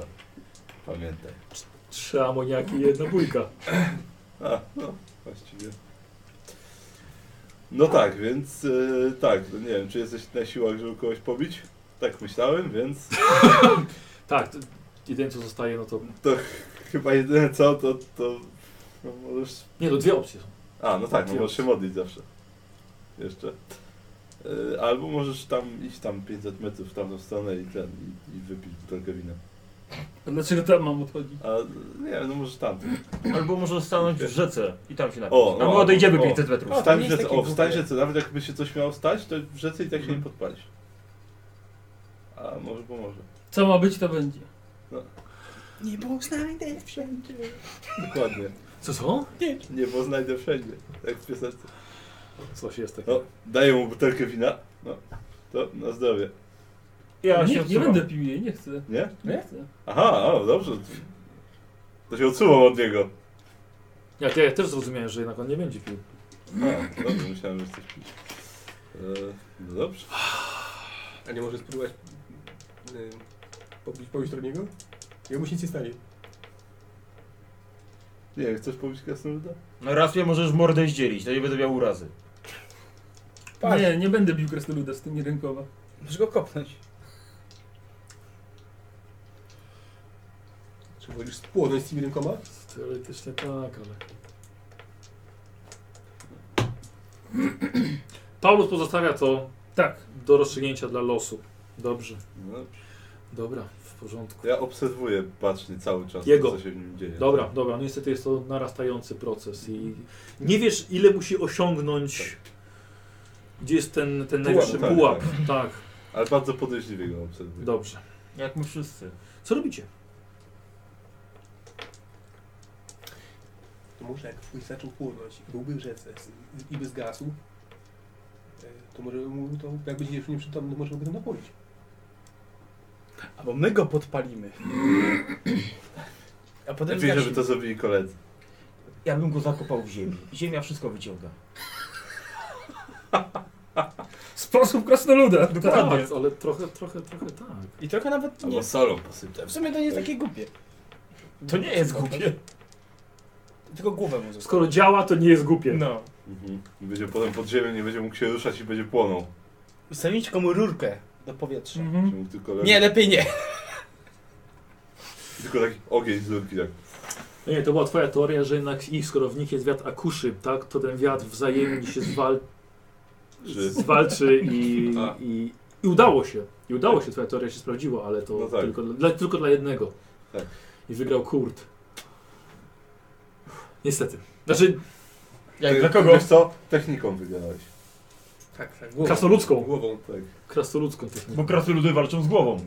Pamiętaj. trzy amoniaki i jedna bójka. A, no, właściwie. No tak, więc e, tak, no nie wiem, czy jesteś na siłach, żeby kogoś pobić? Tak myślałem, więc Tak, to jeden co zostaje, no to... chyba jedyne co, to, to no możesz... Nie, no dwie opcje są. A, no tak, no, możesz się modlić zawsze. Jeszcze. E, Albo możesz tam iść tam 500 metrów w tamtą stronę i ten, i, i wypić butelkę wina. A dlaczego tam Znaczy, mam odchodzić? A, nie wiem, no możesz tam. Albo może stanąć w rzece i tam się napić. O, A my o, odejdziemy o. 500 metrów. O, tam Wstań w jest rzece, takie o, wstań w głupie. rzece, nawet jakby się coś miało stać, to w rzece i tak się nie podpalisz. A, może pomoże. Co ma być, to będzie. Niebo znajdę wszędzie. Dokładnie. Co są? Nie, bo znajdę wszędzie. Jak w piosence. Coś jest takiego. No, daję mu butelkę wina. No, to na zdrowie. Ja się nie, nie odsuwam. będę pił jej, nie chcę. Nie? Nie chcę. Aha, o, dobrze. To się odsuwam od niego. Ja, ja też zrozumiałem, że jednak on nie będzie pił. A, dobrze, myślałem, że chcesz pić. E, no dobrze. A nie może spróbować yy, pobić, pobić drugiego? Jemu się nic nie stanie. Nie, chcesz pobić krasnoluda? No raz mnie możesz w mordę zdzielić, to nie będę miał urazy. Patrz. Nie, nie będę bił krasnoluda z tymi rękoma. Możesz go kopnąć. Czy wolisz spłonąć z tymi rękoma? Teoretycznie tak, ale... Paulus pozostawia to Tak. do rozstrzygnięcia dla losu. Dobrze. No dobrze. Dobra, w porządku. Ja obserwuję bacznie cały czas, Jego. co się w nim dzieje. Dobra, dobra, no niestety jest to narastający proces i nie wiesz ile musi osiągnąć, gdzie jest ten, ten Pułap, najwyższy tak, pułap. Tak, Ale bardzo podejrzliwie go obserwuję. dobrze. Jak my wszyscy. Co robicie? To może jak twój zaczął płonąć i byłby w rzece z- i by zgasł, e, to może mu to, jak będzie już nieprzytomny, możemy go napoić. Albo my go podpalimy. A potem Lepiej, żeby zgasimy. to zrobili koledzy. Ja bym go zakopał w ziemi. Ziemia wszystko wyciąga. Sposób krasnoluda, dokładnie. Tak, ale trochę, trochę, trochę tak. I trochę nawet nie. Albo solą posypać. W sumie to nie jest takie głupie. To nie jest głupie. Tylko głowę mu zostawię. Skoro działa, to nie jest głupie. No. Mhm. Będzie potem pod ziemią, nie będzie mógł się ruszać i będzie płonął. Ustawić komu rurkę do powietrza. Mhm. Będzie mógł tylko, le- Nie, lepiej nie. tylko taki ogień z rurki tak. No Nie, to była twoja teoria, że jednak ich skoro w nich jest wiatr akuszy, tak, to ten wiatr wzajemnie się zwal... Czy- zwalczy i, A. i, i udało się. I udało się, twoja teoria się sprawdziła, ale to No tak. tylko, dla, tylko dla jednego. Tak. I wygrał Kurt. Niestety. Znaczy, Jak Ty- dla kogo? Wiesz co? Techniką wygrałeś. Tak, tak, głową. krasnoludzką. Głową. Tak. Krasnoludzką techniką. Bo krasnoludy walczą z głową.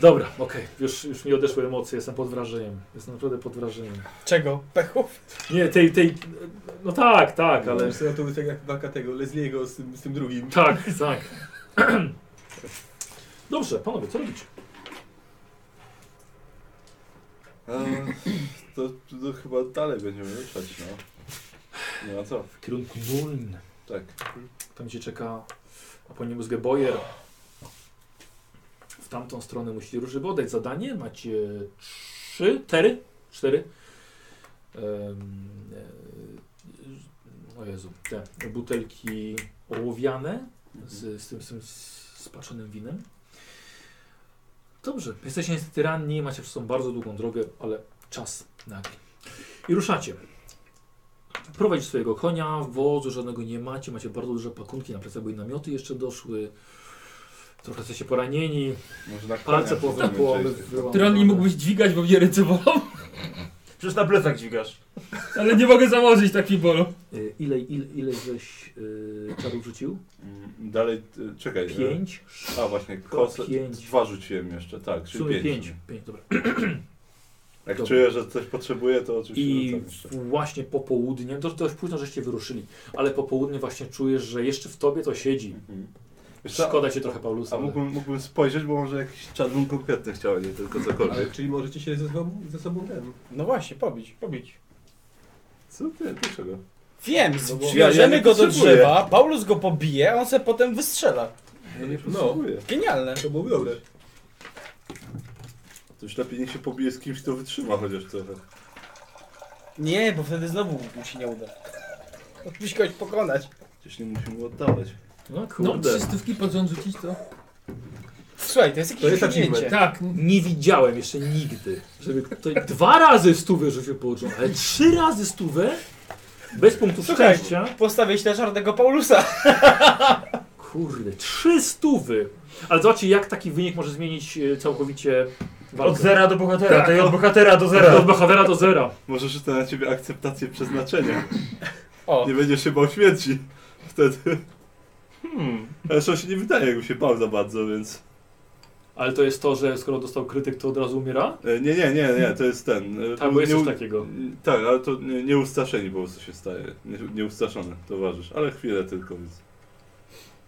Dobra, okej. Już, już mi odeszły emocje, jestem pod wrażeniem. Jestem naprawdę pod wrażeniem. Czego? Pechów? Nie, tej, tej... No tak, tak, ale... Ale to jest jak walka tego Leslie'ego z tym, z tym drugim. Tak, tak. Dobrze, panowie, co robicie? A, to, to chyba dalej będziemy ruszać, no. Nie ma co. W kierunku Muln. Tak. Tam gdzie czeka Aponimus Geboyer. W tamtą stronę musicie ruszyć, bo oddać zadanie. Macie trzy, tery, cztery. Em, e, o Jezu, te butelki ołowiane z, z tym, z tym spaczonym winem. Dobrze, jesteście niestety ranni, macie przed sobą bardzo długą drogę, ale czas nagli. I ruszacie. Prowadzisz swojego konia, wozu żadnego nie macie, macie bardzo duże pakunki na plecach, bo i namioty jeszcze doszły. Trochę jesteście poranieni, Może na palce koniach połowę się przejść. połowy Tron nie mógłbyś dźwigać, bo mnie ręce bolą, Przecież na plecach dźwigasz. ale nie mogę założyć takiej bolu. Y, Ile, ile, ile żeś y, czarów rzucił? Mm, Dalej, y, czekaj. e, Pięć? A właśnie, kosę, Pięć. dwa rzuciłem jeszcze, tak, W czyli sumie pięć. pięć. pięć dobra. Jak Dobra. czuję, że coś potrzebuję, to oczywiście I rzucam jeszcze. właśnie po południu, to, to już późno żeście wyruszyli, ale po południu właśnie czujesz, że jeszcze w tobie to siedzi. Mhm. Wiesz co, Szkoda cię trochę, Paulusa. A ale- mógłbym, mógłbym spojrzeć, bo może jakiś czadun konkretny chciał, a nie tylko Ale cokolwiek. czyli możecie się ze sobą, ze sobą ten. No właśnie, pobić, pobić. Co ty, dlaczego? Wiem, No bo- przywiążemy Ja- ja go do potrzebuję. drzewa, Paulus go pobije, a on se potem wystrzela. No nie No, no, Genialne. to byłoby dobre. No. to już lepiej niech się pobije z kimś, kto wytrzyma chociaż trochę. Nie, bo wtedy znowu mu się nie uda. Musisz kogoś pokonać. Przecież nie musimy go oddawać. No No, kurde. trzy stówki pod rząd rzucić to? Słuchaj, to jest jakieś To jest osiągnięcie. Tak, Nie widziałem jeszcze nigdy, żeby ktoś dwa razy stówę rzucił po oczom, ale trzy razy stówę bez punktu Słuchaj. szczęścia. Postawię źle żarnego Paulusa. Kurde, trzy stówy! Ale zobaczcie, jak taki wynik może zmienić e, całkowicie Od walkę. zera do bohatera, Tak, to i o- od bohatera do Od zera. bohatera do zera. Może rzucę na ciebie akceptację przeznaczenia. O, Nie będziesz się bał śmierci. Wtedy. Hmm. Zresztą się nie wydaje, jakby się bał za bardzo, więc... Ale to jest to, że skoro dostał krytyk, to od razu umiera? E, Nie, nie, nie, nie, to jest ten. e, Tak, bo jest nie coś u- takiego. Tak, ale to nie- nieustraszeni po prostu się staje. Nie- Nieustraszony towarzysz, ale chwilę tylko, więc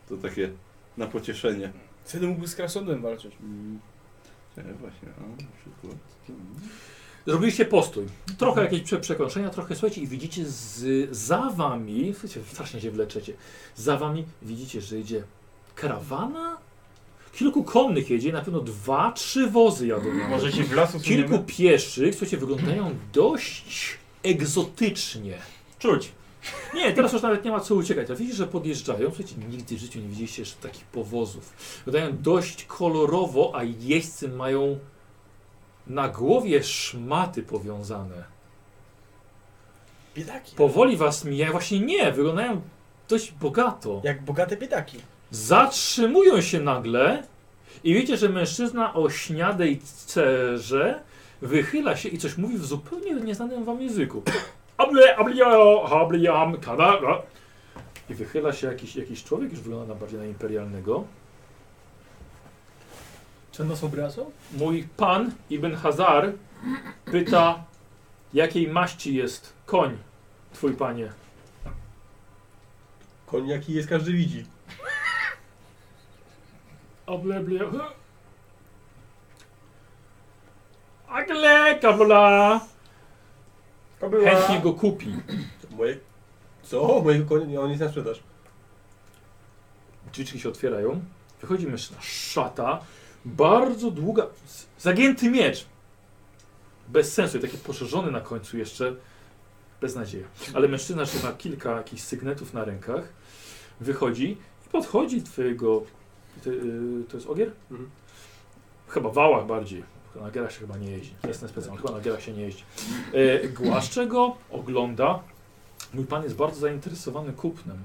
to takie na pocieszenie. wtedy mógłby z krasnoludem walczyć. Mm. Czekaj, właśnie, a na przykład... tu. Zrobiliście postój. Trochę jakieś prze przekroczenia, trochę słuchajcie i widzicie z, za wami, słuchajcie, strasznie się wleczecie, za wami widzicie, że idzie karawana? Kilku konnych jedzie, na pewno dwa, trzy wozy jadą. Może się w lasu Kilku suniemy? pieszych, słuchajcie, wyglądają dość egzotycznie. Czuć. Nie, teraz już nawet nie ma co uciekać. Ale widzisz, że podjeżdżają. Słuchajcie, nigdy w życiu nie widzieliście jeszcze takich powozów. Wyglądają dość kolorowo, a jeźdźcy mają na głowie szmaty powiązane. Biedaki. Powoli was mijają. Właśnie nie, wyglądają dość bogato. Jak bogate biedaki. Zatrzymują się nagle i wiecie, że mężczyzna o śniadej cerze wychyla się i coś mówi w zupełnie nieznanym wam języku. Able, ablio, abliam, kadara. no. I wychyla się jakiś, jakiś człowiek, już wygląda na bardziej na imperialnego. Czy on nas obrażał? Mój pan Ibn Hazar pyta, jakiej maści jest koń, twój panie. Koń jaki jest, każdy widzi. Obleble. Agle, kabla. To Chętnie go kupi. Moje... Co? Mojego konia? Nie, on jest na sprzedaż. Drzwiczki się otwierają. Wychodzi mężczyzna. Szata. Bardzo długa. z- Zagięty miecz. Bez sensu. I taki poszerzony na końcu jeszcze. Bez nadziei. Ale mężczyzna jeszcze ma kilka jakichś sygnetów na rękach. Wychodzi i podchodzi twojego. Ty, y, to jest ogier? Mhm. Chyba wałach bardziej. Na gierach się chyba nie jeździ. To jest ten specjal. Chyba na gierach się nie jeździ. E, głaszcze go, ogląda. Mój pan jest bardzo zainteresowany kupnem.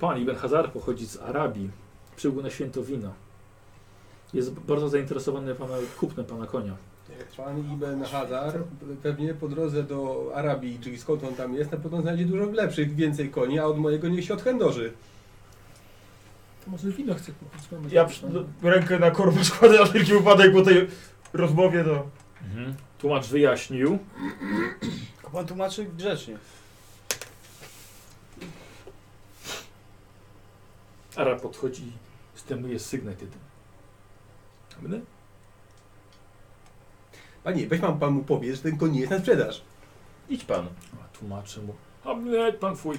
Pan Ibn Hazar pochodzi z Arabii. Przybył na święto wina. Jest bardzo zainteresowany pana, kupnem pana konia. Pan Ibn Hazar pewnie po drodze do Arabii, czyli skąd on tam jest, na pewno znajdzie dużo lepszych, więcej koni, a od mojego niech się odchędoży. To może wino chce kupić. Mamy Ja przy- no, rękę na korpus składam na wszelki wypadek po tej rozmowie, no. to... Tłumacz wyjaśnił. Pan tłumaczy grzecznie. Arab podchodzi, zdejmuje sygnet jeden. A Będę? Panie, weź pan, pan mu powie, że ten koń nie jest na sprzedaż. Idź pan. A tłumaczę mu. A mnie, pan twój.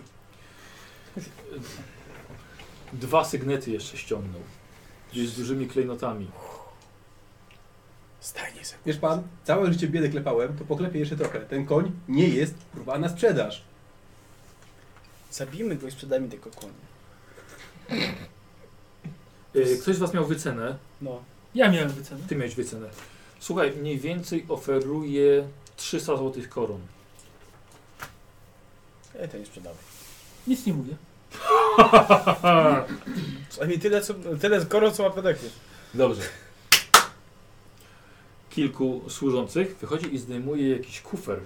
Dwa sygnety jeszcze ściągnął. Gdzieś z dużymi klejnotami. Stajnie sobie. Wiesz pan, całe życie biedę klepałem, to poklepię jeszcze trochę. Ten koń nie jest kurwa na sprzedaż. Zabijmy go i sprzedajmy tego konia. Y, Ktoś z was miał wycenę. No. Ja miałem wycenę. Ty miałeś wycenę. Słuchaj, mniej więcej oferuje 300 złotych koron. Ja to nie sprzedałem. Nic nie mówię. Przynajmniej tyle, co, tyle koron, co ma pedekus. Dobrze. Kilku służących wychodzi i zdejmuje jakiś kufer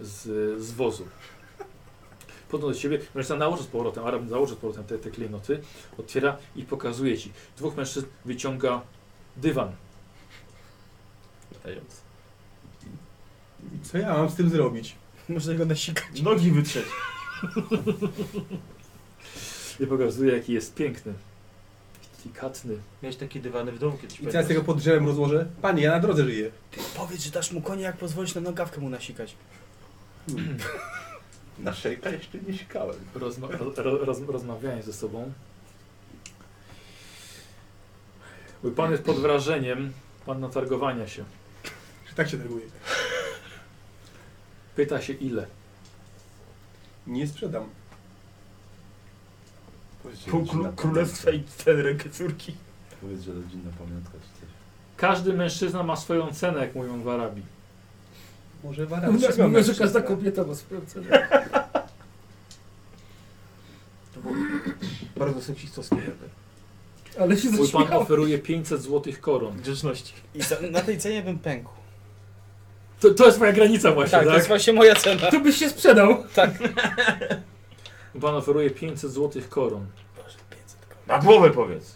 z, z wozu. Podnosi do siebie, mężczyzna nałoży z powrotem, Arab założy z powrotem te, te klejnoty, otwiera i pokazuje ci. Dwóch mężczyzn wyciąga dywan. Co ja mam z tym zrobić? Można go nasikać. Nogi wytrzeć. I pokazuje, jaki jest piękny. Delikatny. Miałeś takie dywany w domu kiedyś. I co ja z tego pod drzewem rozłożę? Panie, ja na drodze żyję. Powiedz, że dasz mu konia, jak pozwolisz na nogawkę mu nasikać. Na szejka jeszcze nie sikałem. Rozma ro roz rozmawiają ze sobą. Mój pan jest pod wrażeniem pana targowania się. Że Tak się denerwuję. Pyta się ile. Nie sprzedam. Powiedz, Pół rodzinna kró- królestwa i pamiątka. ten rękę córki. Powiedz, że rodzinna pamiątka czy coś. Każdy mężczyzna ma swoją cenę, jak mówią w Arabii. Może Tak, U nas warami. mówią, że każda kobieta ma swoją cenę. To było bardzo seksistowskie. Ale się Mój pan zaśmiał. oferuje 500 złotych koron. Grzeczności. I za, na tej cenie bym pękł. To, to jest moja granica właśnie, tak, tak? to jest właśnie moja cena. To byś się sprzedał. Mój pan oferuje 500 złotych koron. Boże, 500 koron. Na głowę powiedz.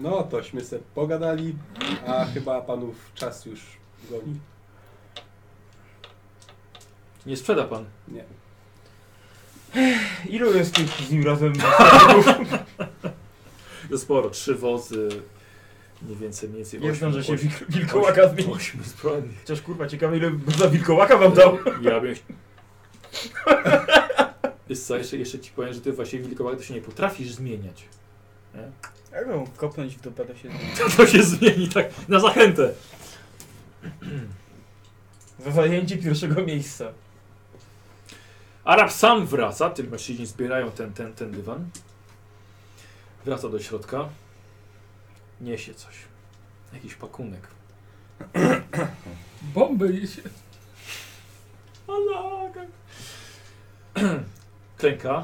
No tośmy se pogadali, a chyba panów czas już goni. Nie sprzeda pan. Nie. Ilu jest tych z nim razem? To sporo, trzy wozy, mniej więcej, mniej więcej Nie ośmiu- znam, że się ośmiu- wilk- wilkołaka zmieni. Ośmiu zbrojnych. Chociaż kurwa, ciekawe ile za wilkołaka wam dał. Ja bym... Wiesz co, jeszcze, jeszcze ci powiem, że ty właśnie wilkołak to się nie potrafisz zmieniać. Jak go kopnąć w dupę, to się To, to się zmieni tak na zachętę. Za zajęcie pierwszego miejsca. Arab sam wraca, tym mężczyźni zbierają ten, ten, ten dywan. Wraca do środka. Niesie coś. Jakiś pakunek. Bombę niesie. Alaga. tak. Klęka.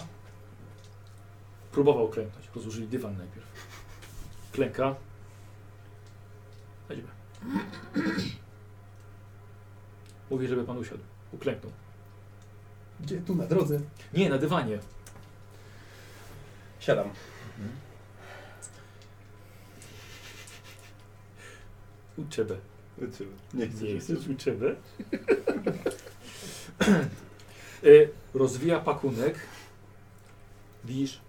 Próbował klęknąć. Rozłożyli dywan najpierw. Klęka. Chodźmy. Mówi, żeby pan usiadł. Uklęknął. Gdzie? Tu na drodze. Nie, na dywanie. Siadam. Uczebę. Lecimy. Nie chcę. Nie chcesz uczebę? Y, Rozwija pakunek. Widzisz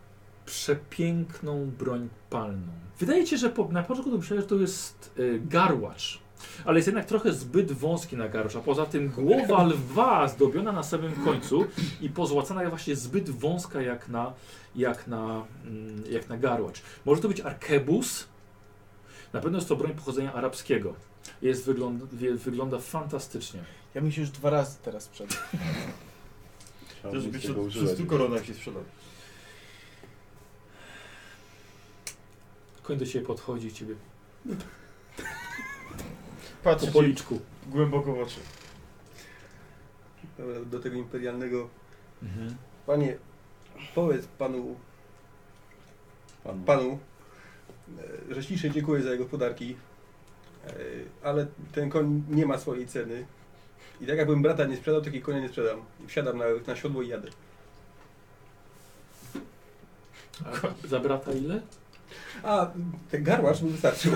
przepiękną broń palną. Wydaje ci się, że po, na początku to myślałeś, że to jest y, garłacz. Ale jest jednak trochę zbyt wąski na garłacz, a poza tym głowa lwa zdobiona na samym końcu i pozłacana jest właśnie zbyt wąska jak na, jak na, mm, jak na garłacz. Może to być arkebus. Na pewno jest to broń pochodzenia arabskiego. Jest, wygląda, wygląda fantastycznie. Ja mi się już dwa razy teraz sprzedał. Też byś tego od używać. 100 koronach się sprzedał. Koń do ciebie podchodzi i ciebie po Patrzę ci policzku. głęboko w oczy. Dobra, do tego imperialnego. Mhm. Panie, powiedz panu, Pan, pan. panu, e, że ślicznie dziękuję za jego podarki, e, ale ten koń nie ma swojej ceny. I tak jakbym brata nie sprzedał, takiego konia nie sprzedam. I Wsiadam na, na siodło i jadę. A za brata ile? A, ten garłacz mi wystarczył.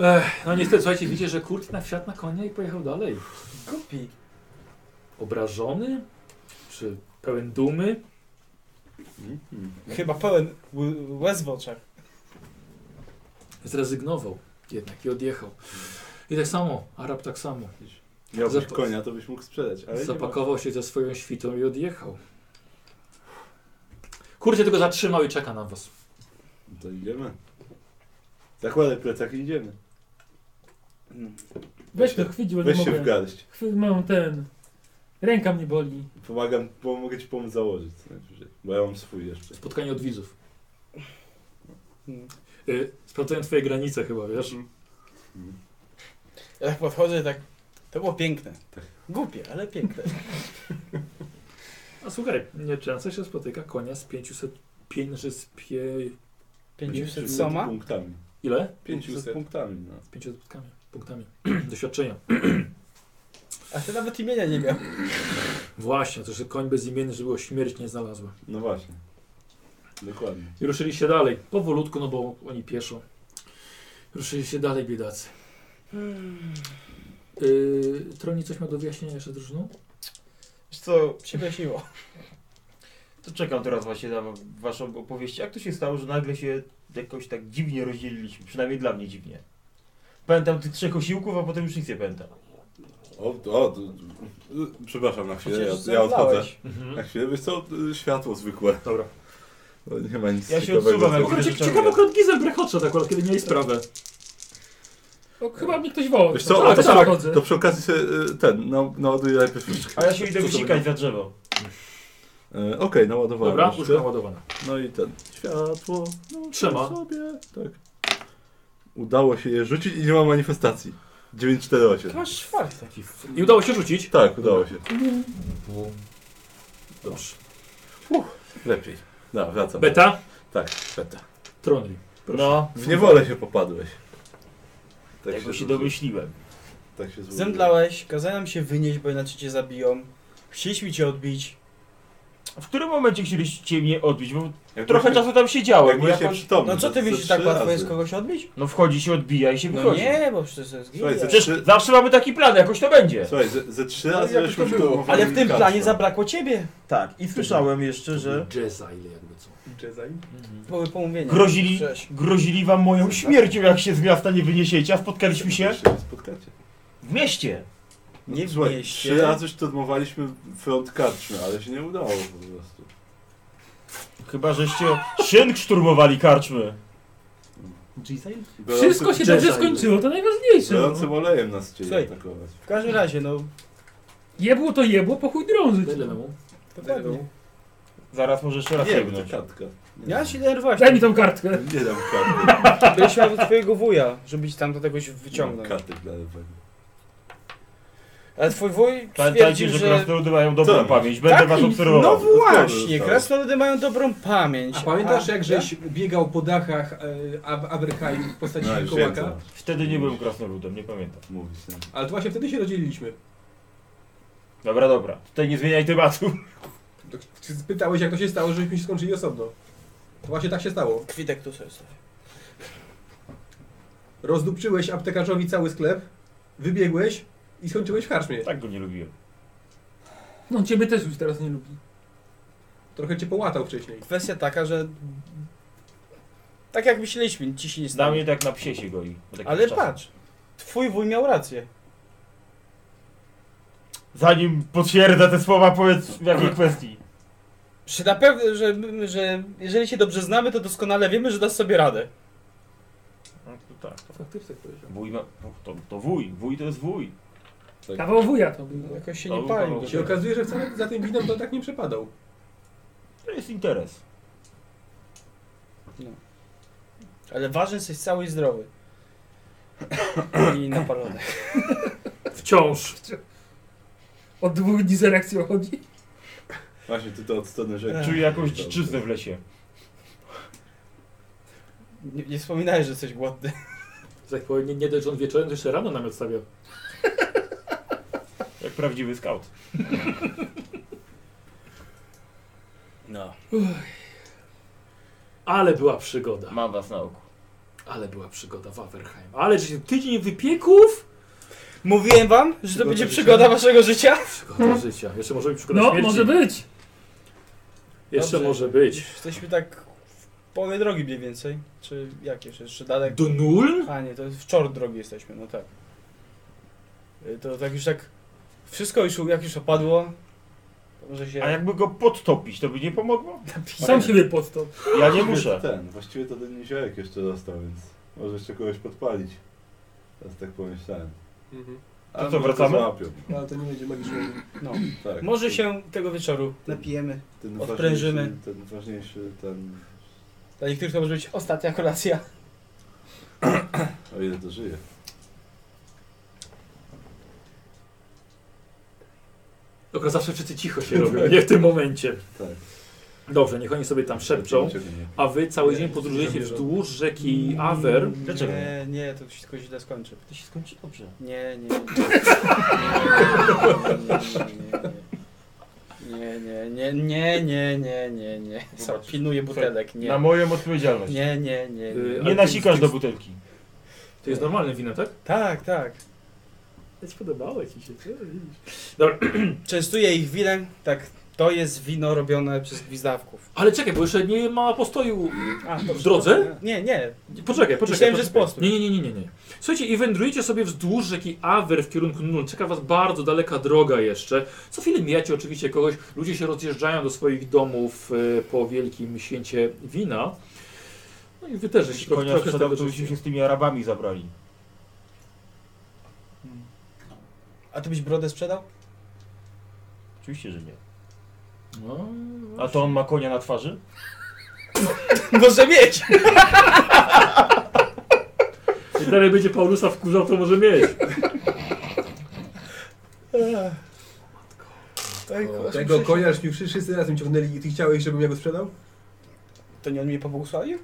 Ech, no niestety, słuchajcie, widzicie, że Kurt na wsiadł na konia i pojechał dalej. Kupi. Obrażony? Czy pełen dumy? Chyba pełen ł- łez w oczach. Zrezygnował jednak i odjechał. I tak samo, Arab tak samo. Miałbyś Zap- konia, to byś mógł sprzedać, ale nie ma. Zapakował się ze swoją świtą i odjechał. Kurt się tylko zatrzymał i czeka na was. To idziemy. Zakładaj plecak i idziemy. Weź to, chwyć, bo nie Weź się w mogę. garść. Chwy- Mam ten... Ręka mnie boli. Pomagam, pomogę ci pomóc założyć co najwyżej, bo ja mam swój jeszcze. Spotkanie od widzów. Mm. Y, sprawdzają twoje granice chyba, wiesz? Ja tak podchodzę i tak... To było piękne. Głupie, ale piękne. A słuchaj, nieczęsto się spotyka konia z 500... Pięć, znaczy z pie... 500 500 soma? punktami. Ile? 500 punktami, no. Z 500 punktami. punktami. Doświadczenia. A ty nawet imienia nie miał. Właśnie, to że koń bezimienny, żeby go śmierć nie znalazła. No właśnie. Dokładnie. I ruszyli się dalej. Powolutku, no bo oni pieszą. Ruszyli się dalej, biedacy. Hmm. Yy, Troni coś ma do wyjaśnienia jeszcze drużyną? Wiesz co, się wyjaśniło. To czekam teraz właśnie na waszą opowieść. Jak to się stało, że nagle się jakoś tak dziwnie rozdzieliliśmy? Przynajmniej dla mnie dziwnie. Pamiętam tych trzech osiłków, a potem już nic nie pamiętam. O, o, d- d- przepraszam na chwilę, Przecież ja, ja odchodzę. Mhm. zemdlałeś. Na chwilę, wiesz co, y, światło zwykłe. Dobra. Bo nie ma nic Ja się ciekawego odsuwam, w tym. ale- Akurat, cie- ciekawe akurat Gizel brechocze tak akurat, kiedy mieli sprawę. O, chyba mnie ktoś wołał. Wiesz co, Tak, a to, tak, tak, chodzę. to przy okazji się y, ten, no, naładuję najpierw wszystko. A ja się idę Co to wysikać na drzewo. Y, Okej, naładowałem Dobra, już, już naładowana. No i ten, światło, no, Trzyma. sobie, tak. Udało się je rzucić i nie ma manifestacji. 948. Masz czwarte. I udało się rzucić. Tak, udało się. Dobrze. Lepiej. No, wracam. Beta, Tak, beta. Troni. No, W niewolę się popadłeś. Tak tego się złożyło. domyśliłem. Tak się złożyło. Zemdlałeś, kazali nam się wynieść, bo inaczej cię zabiją. Chcieliśmy cię odbić. W którym momencie chcieliście mnie odbić? Tak Bo Jak trochę byłeś- czasu tam siedziałem. Jak byłeś Jakoś... nieprzytomny, No co ty ze myślisz, tak trzy łatwo razy. jest kogoś odbić? No wchodzi się, odbija i się No wychodzi. nie, bo przecież to jest Słuchaj, gildia. ze- Przecież zawsze mamy taki plan, jakoś to będzie. Słuchaj, ze, ze trzy Ale razy jakoś weszło to w było. dół, Ale w tym wpadłem planie w zabrakło ciebie. Tak, i słyszałem jeszcze, że Jezza ile jakby co. Jezaj. Były pomówienia. grozili, Cześć. grozili wam moją śmiercią, jak się z miasta nie wyniesiecie, a spotkaliśmy się Jeszcze nie spotkacie. w mieście. No, Nie w słuchaj, mieście. Trzy razy już szturmowaliśmy front karczmy, ale się nie udało po prostu. Chyba, żeście szynk szturmowali karczmy. Gorący- Wszystko się dobrze skończyło, to najważniejsze. Gorącym No. olejem nas chcieli Słuchaj. atakować. W każdym razie, no, Jebło to jebło, po chuj drążyć. Ile memu? dokładnie. Zaraz może jeszcze raz Nie, bo to sięgnąć. kartka. Nie, Ja się denerwowałem. Daj mi tą kartkę. nie dam karty. Byliśmy u twojego wuja, żeby ci tam do tegoś Nie mam wyciągnął. karty dla lewego. Ale twój wuj Pamiętajcie, twierdził, że że... krasnoludy mają dobrą Tak. pamięć, będę Tak, was No obserwował. właśnie, krasnoludy mają dobrą pamięć. A pamiętasz, A- jak żeś biegał po dachach e, Ab Aberheim w postaci No, już wiem, co tak? wilkołaka? Wtedy nie byłem krasnoludem, nie pamiętam. mówić. no. Ale to właśnie wtedy się rozdzieliliśmy. Dobra, dobra, tutaj nie zmieniaj tematu. To ty Spytałeś, jak to się stało, żeśmy się skończyli osobno. To właśnie tak się stało. Kwitek tu sobie stoi. Rozdupczyłeś aptekarzowi cały sklep, wybiegłeś i skończyłeś w karczmie. Tak go nie lubiłem. No ciebie też już teraz nie lubi. Trochę cię połatał wcześniej. Kwestia taka, że... Tak jak myśleliśmy, ci się nie Zna stało. mnie tak na psie się goi. od jakiegoś Ale czasu. patrz, twój wuj miał rację. Zanim potwierdza te słowa, powiedz w jakiej kwestii. Że na pewno, że, że jeżeli się dobrze znamy, to doskonale wiemy, że dasz sobie radę. No to tak, to Faktycznie tak powiedział. wuj ma... To, to wuj, wuj to jest wuj. Tak. Kawał wuja to był. no. Jakoś się To nie był pali. kawał. I się okazuje, że wcale za tym winem to tak nie przepadał. To jest interes. Ale ważny jesteś cały i zdrowy. I napalony. Wciąż. Od dwóch dni z erekcją chodzi. Właśnie ty to od strony rzeki. Czuję jakąś dziczyznę w lesie. Nie, nie wspominaj, że jesteś głodny. Tak powiem, nie, nie dość, że on wieczorem, to jeszcze rano namiot stawia. Jak prawdziwy scout. No. Ale była przygoda. Mam was na oku. Ale była przygoda w Averheim. Ale że tydzień wypieków? Mówiłem wam, że to będzie przygoda waszego życia? No. Przygoda życia. Jeszcze może być przygoda No, śmierci. może być. Jeszcze Dobrze. może być. Jesteśmy tak w połowie drogi mniej więcej. Czy jak jeszcze? Jeszcze dalej. Do Nuln? A nie, to jest w czor drogi jesteśmy, no tak. Y, To tak już tak... Wszystko już, jak już opadło, to może się... A jakby go podtopić, to by nie pomogło? Sam siebie podstał. Ja nie Muszę. muszę. Ten, właściwie to ten niziołek jeszcze został, więc może jeszcze kogoś podpalić. Teraz tak pomyślałem. Mhm. Ale co, może wracamy? złapią. Ale to nie będzie magiczne. No. Tak. Może się tego wieczoru napijemy. ten odprężymy. ważniejszy- Ten ważniejszy, ten... Dla niektórych to może być ostatnia kolacja. O ile to żyje. Tylko zawsze wszyscy cicho się robią, nie w tym momencie. Tak. Dobrze, niech oni sobie tam szepczą, a wy cały dzień podróżujecie wzdłuż rzeki Aver. Dlaczego? Nie, nie, to się tylko źle skończy. To się skończy dobrze. Nie, nie. Nie, nie, nie, nie, nie, nie, nie, nie, nie, nie, nie, nie. Sam pilnuję butelek, nie. Na moją odpowiedzialność. Nie, Nie, nie, nie, nie. Y, nie nasikasz do butelki. To jest normalne wino, tak? Tak, tak. Nie spodobało ci się, co? Częstuję ich winem, tak, to jest wino robione przez gwizdawków. Ale czekaj, bo jeszcze nie ma postoju. A, W drodze? Nie, nie, Poczekaj, poczekaj. Myślałem, że z poczekaj. postu. Nie, nie, nie, nie, nie. Słuchajcie, i wędrujecie sobie wzdłuż rzeki Aver w kierunku Nul. Czeka was bardzo daleka droga jeszcze. Co chwilę mijacie oczywiście kogoś. Ludzie się rozjeżdżają do swoich domów e, po wielkim święcie wina. No i wy też żeście trochę, Konia trochę z sprzedał, tego to byśmy życie. się z tymi Arabami zabrali. A ty byś brodę sprzedał? Oczywiście, że nie. No, A to on ma konia na twarzy? Może mieć! I dalej będzie Paulusa wkurzał, to może mieć. Tak, Tego kojarz mi wszyscy- wszyscy razem ciągnęli i ty chciałeś, żebym ja go sprzedał? To nie on mnie pobłogosławił?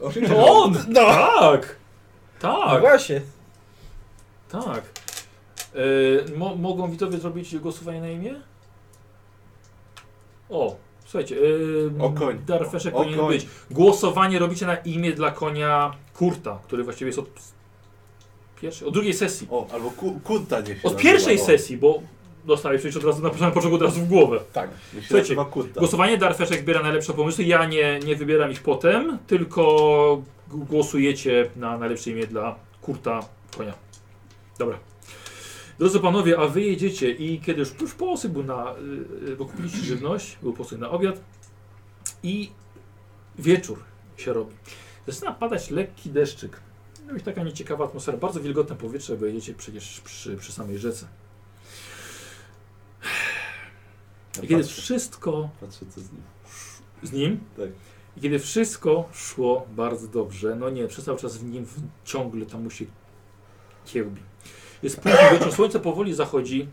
Oczywiście. To on! No! Tak! no Tak, właśnie. tak. E, mo mogą widzowie zrobić głosowanie na imię? O, słuchajcie. E, O koń. Darfeszek O powinien koń. być. Głosowanie robicie na imię dla konia Kurta, który właściwie jest od pierwszej, od drugiej sesji. O, albo ku, kurta niech się Od pierwszej nazywa, o. sesji, bo dostałeś przecież od razu na samym początku od razu w głowę. Tak, niech się Słuchajcie, nazywa kurta. Głosowanie Darfeszek wybiera najlepsze pomysły. Ja nie, nie wybieram ich potem, tylko g- głosujecie na najlepsze imię dla kurta konia. Dobra. Drodzy panowie, a wy jedziecie i kiedy już, już posyp był na. y, y, bo kupiliście żywność, był posyp na obiad i wieczór się robi. Zaczyna padać lekki deszczyk. No i taka nieciekawa atmosfera, bardzo wilgotne powietrze, bo jedziecie przecież przy, przy samej rzece. I kiedy Patrzę, wszystko patrzę co z nim. z nim. Tak. I kiedy wszystko szło bardzo dobrze, no nie, przez cały czas w nim w- ciągle tam mu się kiełbi. Jest późny wieczór, słońce powoli zachodzi,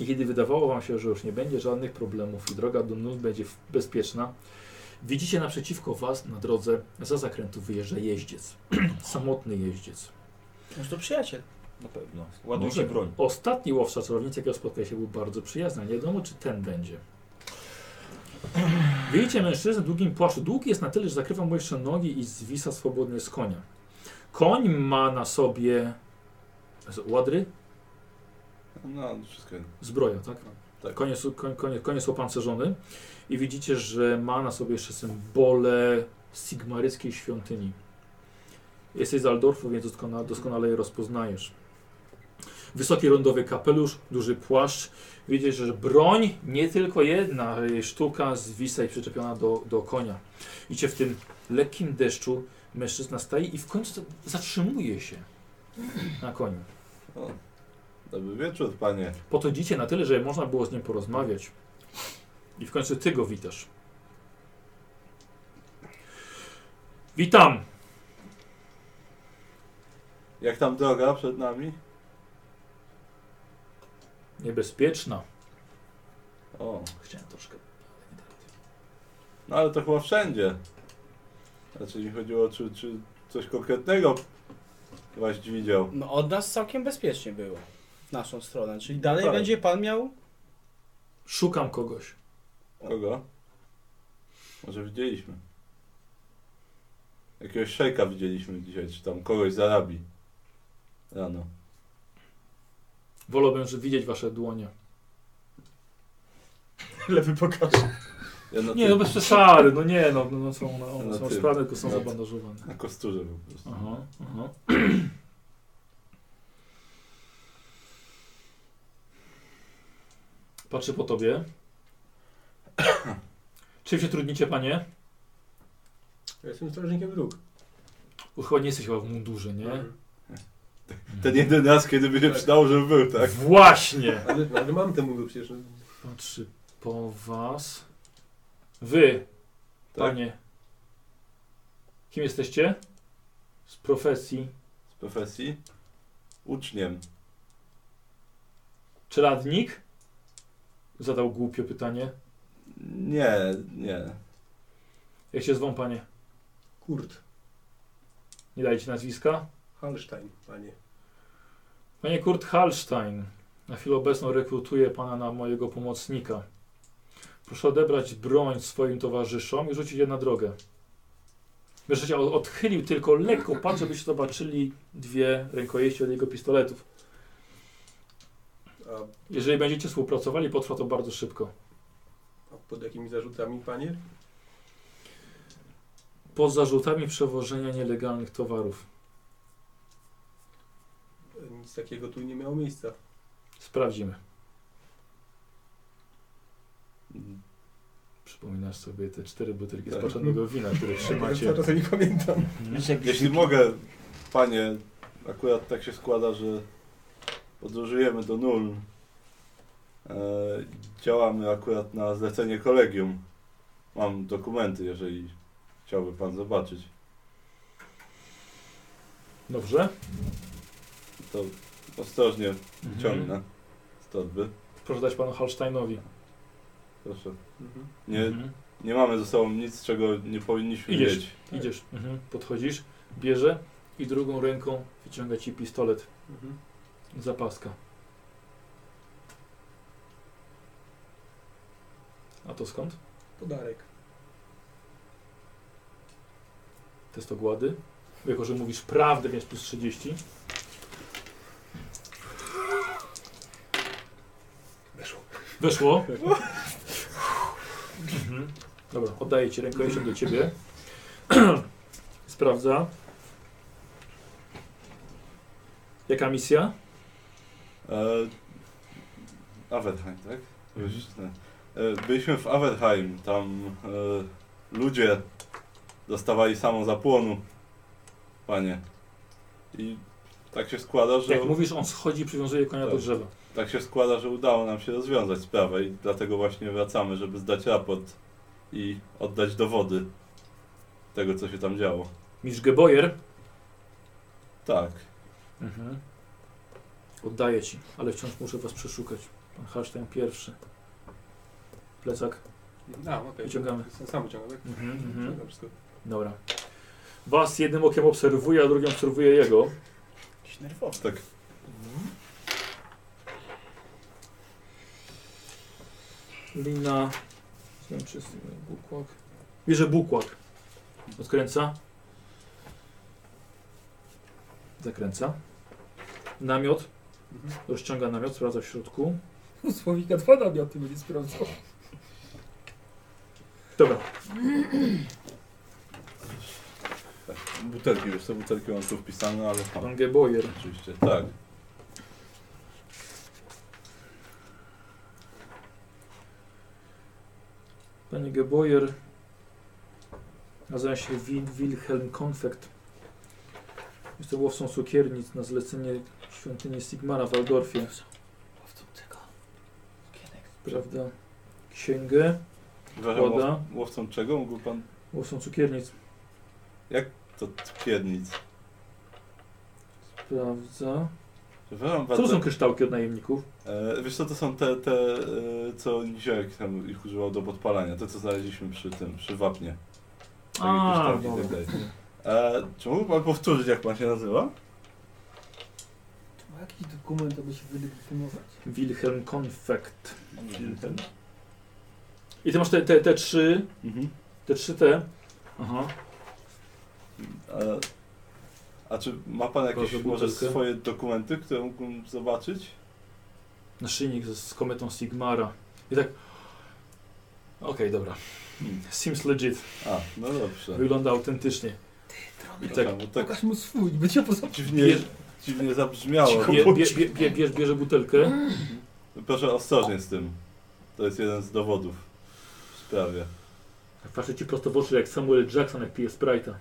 I kiedy wydawało wam się, że już nie będzie żadnych problemów i droga do Nus będzie w- bezpieczna, widzicie naprzeciwko was na drodze za zakrętu wyjeżdża jeździec. Samotny jeździec. Może to przyjaciel. Na pewno. Ładuj się Może. broń. No tak. Ostatni łowca czarownic, jakiego spotkał się, był bardzo przyjazny. Nie wiadomo, czy ten będzie. Widzicie mężczyznę w długim płaszczu. Długi jest na tyle, że zakrywa mu jeszcze nogi i zwisa swobodnie z konia. Koń ma na sobie z- ładry, No, wszystko jedno. zbroja, tak? Tak. Koń, jest, koń, koń, koń jest opancerzony i widzicie, że ma na sobie jeszcze symbole sigmaryckiej świątyni. Jesteś z Aldorfu, więc doskonale, doskonale je rozpoznajesz. Wysoki rondowy kapelusz, duży płaszcz. Widzisz, że broń nie tylko jedna jej sztuka zwisa i przyczepiona do, do konia. I cię w tym lekkim deszczu mężczyzna staje i w końcu zatrzymuje się na koniu. Dobry wieczór, panie. Podchodzicie na tyle, że można było z nim porozmawiać. I w końcu ty go witasz. Witam! Jak tam droga przed nami? Niebezpieczna. O, Chciałem troszkę. ale nie tak. no ale to chyba wszędzie. Znaczy mi chodziło, czy, czy coś konkretnego właśnie widział. No od nas całkiem bezpiecznie było. W naszą stronę. Czyli dalej Tak. będzie pan miał... Szukam kogoś. Kogo? Może widzieliśmy. Jakiegoś szejka widzieliśmy dzisiaj, czy tam kogoś z Arabii. Rano. Wolałbym, że widzieć wasze dłonie. Lewy pokaż. Ja na, Nie, tym- no bez przesady, no nie, no, no, no są, no, one Na są tym. sprawne, tylko są Na tym. zabandażowane. na kosturze po prostu. Aha, aha. Patrzę po tobie. Czym się trudnicie, panie? Ja jestem strażnikiem dróg. Bo chyba nie jesteś chyba w mundurze, nie? Mhm. Ten jeden raz, kiedy by się Tak. przydało, żeby był, tak? Właśnie! Ale, ale mam tę mówię przecież. no. Patrzy po was. Wy, Tak. panie. Kim jesteście? Z profesji Z profesji? Uczniem. czeladnik? Zadał głupio pytanie. Nie, nie. Jak się zwą, panie? Kurt, Nie dajcie nazwiska? Hallstein, panie. Panie Kurt Hallstein, na chwilę obecną rekrutuję pana na mojego pomocnika. Proszę odebrać broń swoim towarzyszom i rzucić je na drogę. Mężczyzna o- odchylił tylko lekko, patrz, żebyście zobaczyli dwie rękojeści od jego pistoletów. A, Jeżeli będziecie współpracowali, potrwa to bardzo szybko. a pod jakimi zarzutami, panie? Pod zarzutami przewożenia nielegalnych towarów. Nic takiego tu nie miało miejsca. Sprawdzimy. Przypominasz sobie te cztery butelki Tak. spaczonego wina, które Ja trzymacie. teraz nie pamiętam. Mhm. Wiesz, jak Jeśli mogę, panie, akurat tak się składa, że podróżujemy do Nul. E, działamy akurat na zlecenie kolegium. Mam dokumenty, jeżeli chciałby pan zobaczyć. Dobrze? To ostrożnie Mhm. ciągnę z torby. Proszę dać panu Hallsteinowi. Proszę. Mhm. Nie, Mhm. nie mamy ze sobą nic, czego nie powinniśmy Idziesz. mieć. Idziesz, mhm. podchodzisz, bierze i drugą ręką wyciąga ci pistolet Mhm. z zapaska. A to skąd? Podarek. To jest to głady. Jako, że mówisz prawdę, więc plus 30. Weszło. Weszło? mhm. Dobra, oddaję ci rękojeścią do ciebie. Sprawdza. Jaka misja? E, Averheim, tak? E, byliśmy w Averheim, tam e, ludzie dostawali samo zapłonu, panie. I tak się składa, że Jak mówisz, on schodzi i przywiązuje konia do Tak. drzewa. tak się składa, że udało nam się rozwiązać sprawę i dlatego właśnie wracamy, żeby zdać raport i oddać dowody tego, co się tam działo. Mistrz Geboyer Tak. Mhm. Oddaję ci, ale wciąż muszę was przeszukać. Pan Hasztań pierwszy. Plecak. A, okej. Wyciągamy. Sam wyciągam, tak? Mhm, mhm. Dobra, wszystko. Dobra. Was jednym okiem obserwuje, a drugim obserwuje jego. Jakiś nerwowy. Tak. Lina. Zmęczysty bukłak. Bierze bukłak. Odkręca. Zakręca. Namiot. Mhm. Rozciąga namiot, sprawdza w środku. U Słowika dwa namioty będzie sprawdzał. Dobra. Butelki, wiesz co, butelki mam tu wpisane, ale tam, Pan Geboyer. oczywiście, tak. Panie Geboyer. Nazywa się Wil- Wilhelm Konfekt. Jest to łowcą cukiernic na zlecenie świątyni Sigmara w Waldorfie. Prawda? Księgę. Przepraszam, Woda. łow- łowcą czego mógł pan... Łowcą cukiernic. To piernic. Sprawdza. Przepraszam Co to bardzo. są kryształki od najemników? E, wiesz co, to są te, te e, co Niziołek tam ich używał do podpalania, te co znaleźliśmy przy tym, przy wapnie. Takie A, kryształki i dobra. tak dalej. E, czy mógł pan powtórzyć jak pan się nazywa? Ma jakiś dokument, aby się wylegitymować? Wilhelm Konfekt. Wilhelm. I ty masz te, te, te trzy, Mhm. te trzy te. Aha. E, a czy ma pan jakieś Proszę, może butelkę. swoje dokumenty, które mógłbym zobaczyć? Naszyjnik z, z kometą Sigmara. I tak... Okej, dobra. Hmm. Seems legit. A, no dobrze. Wygląda autentycznie. I tak Przepraszam, bo tak Pokaż mu swój, będzie poza... dziwnie, Bierz- dziwnie zabrzmiało. Tak. bie, bie, bie, bie, bierz, bierze butelkę. Proszę ostrożnie z tym. To jest jeden z dowodów w sprawie. Patrzę ci prosto w oczy jak Samuel Jackson jak pije Sprite'a.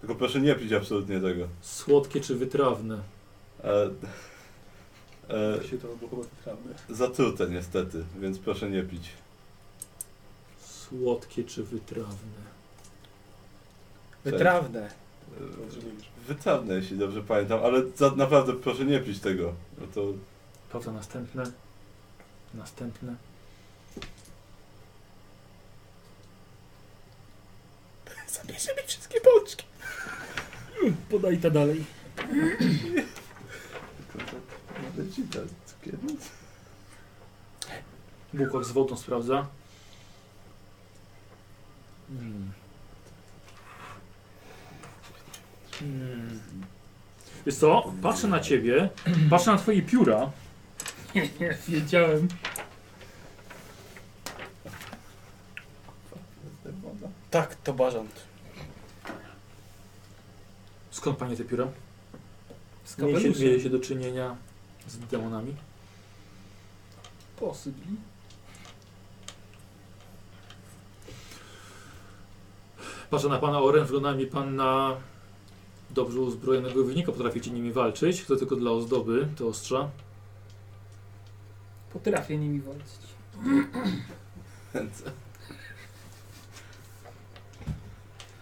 Tylko proszę nie pić absolutnie tego. Słodkie czy wytrawne? E, e, Się to było chyba trawne. zatrute niestety, więc proszę nie pić. Słodkie czy wytrawne? Wytrawne. E, wytrawne, jeśli dobrze pamiętam, ale za, naprawdę proszę nie pić tego. Bo to Prawda, następne. Następne. Zabierzemy wszystkie bączki. Podaj ta dalej. Ale ci da cukier. Bukłak z wodą sprawdza. Hmm. Hmm. Wiesz co, patrzę na ciebie, patrzę na twoje pióra. Wiedziałem. Tak, to barząd. Skąd panie te pióra? Z Mieli się, mieli kapeluszem. się do czynienia z demonami? Posypli. Patrzę na pana Oren, wygląda mi pan na dobrze uzbrojonego wynika. Potraficie nimi walczyć, to tylko dla ozdoby, te ostrza. Potrafię nimi walczyć.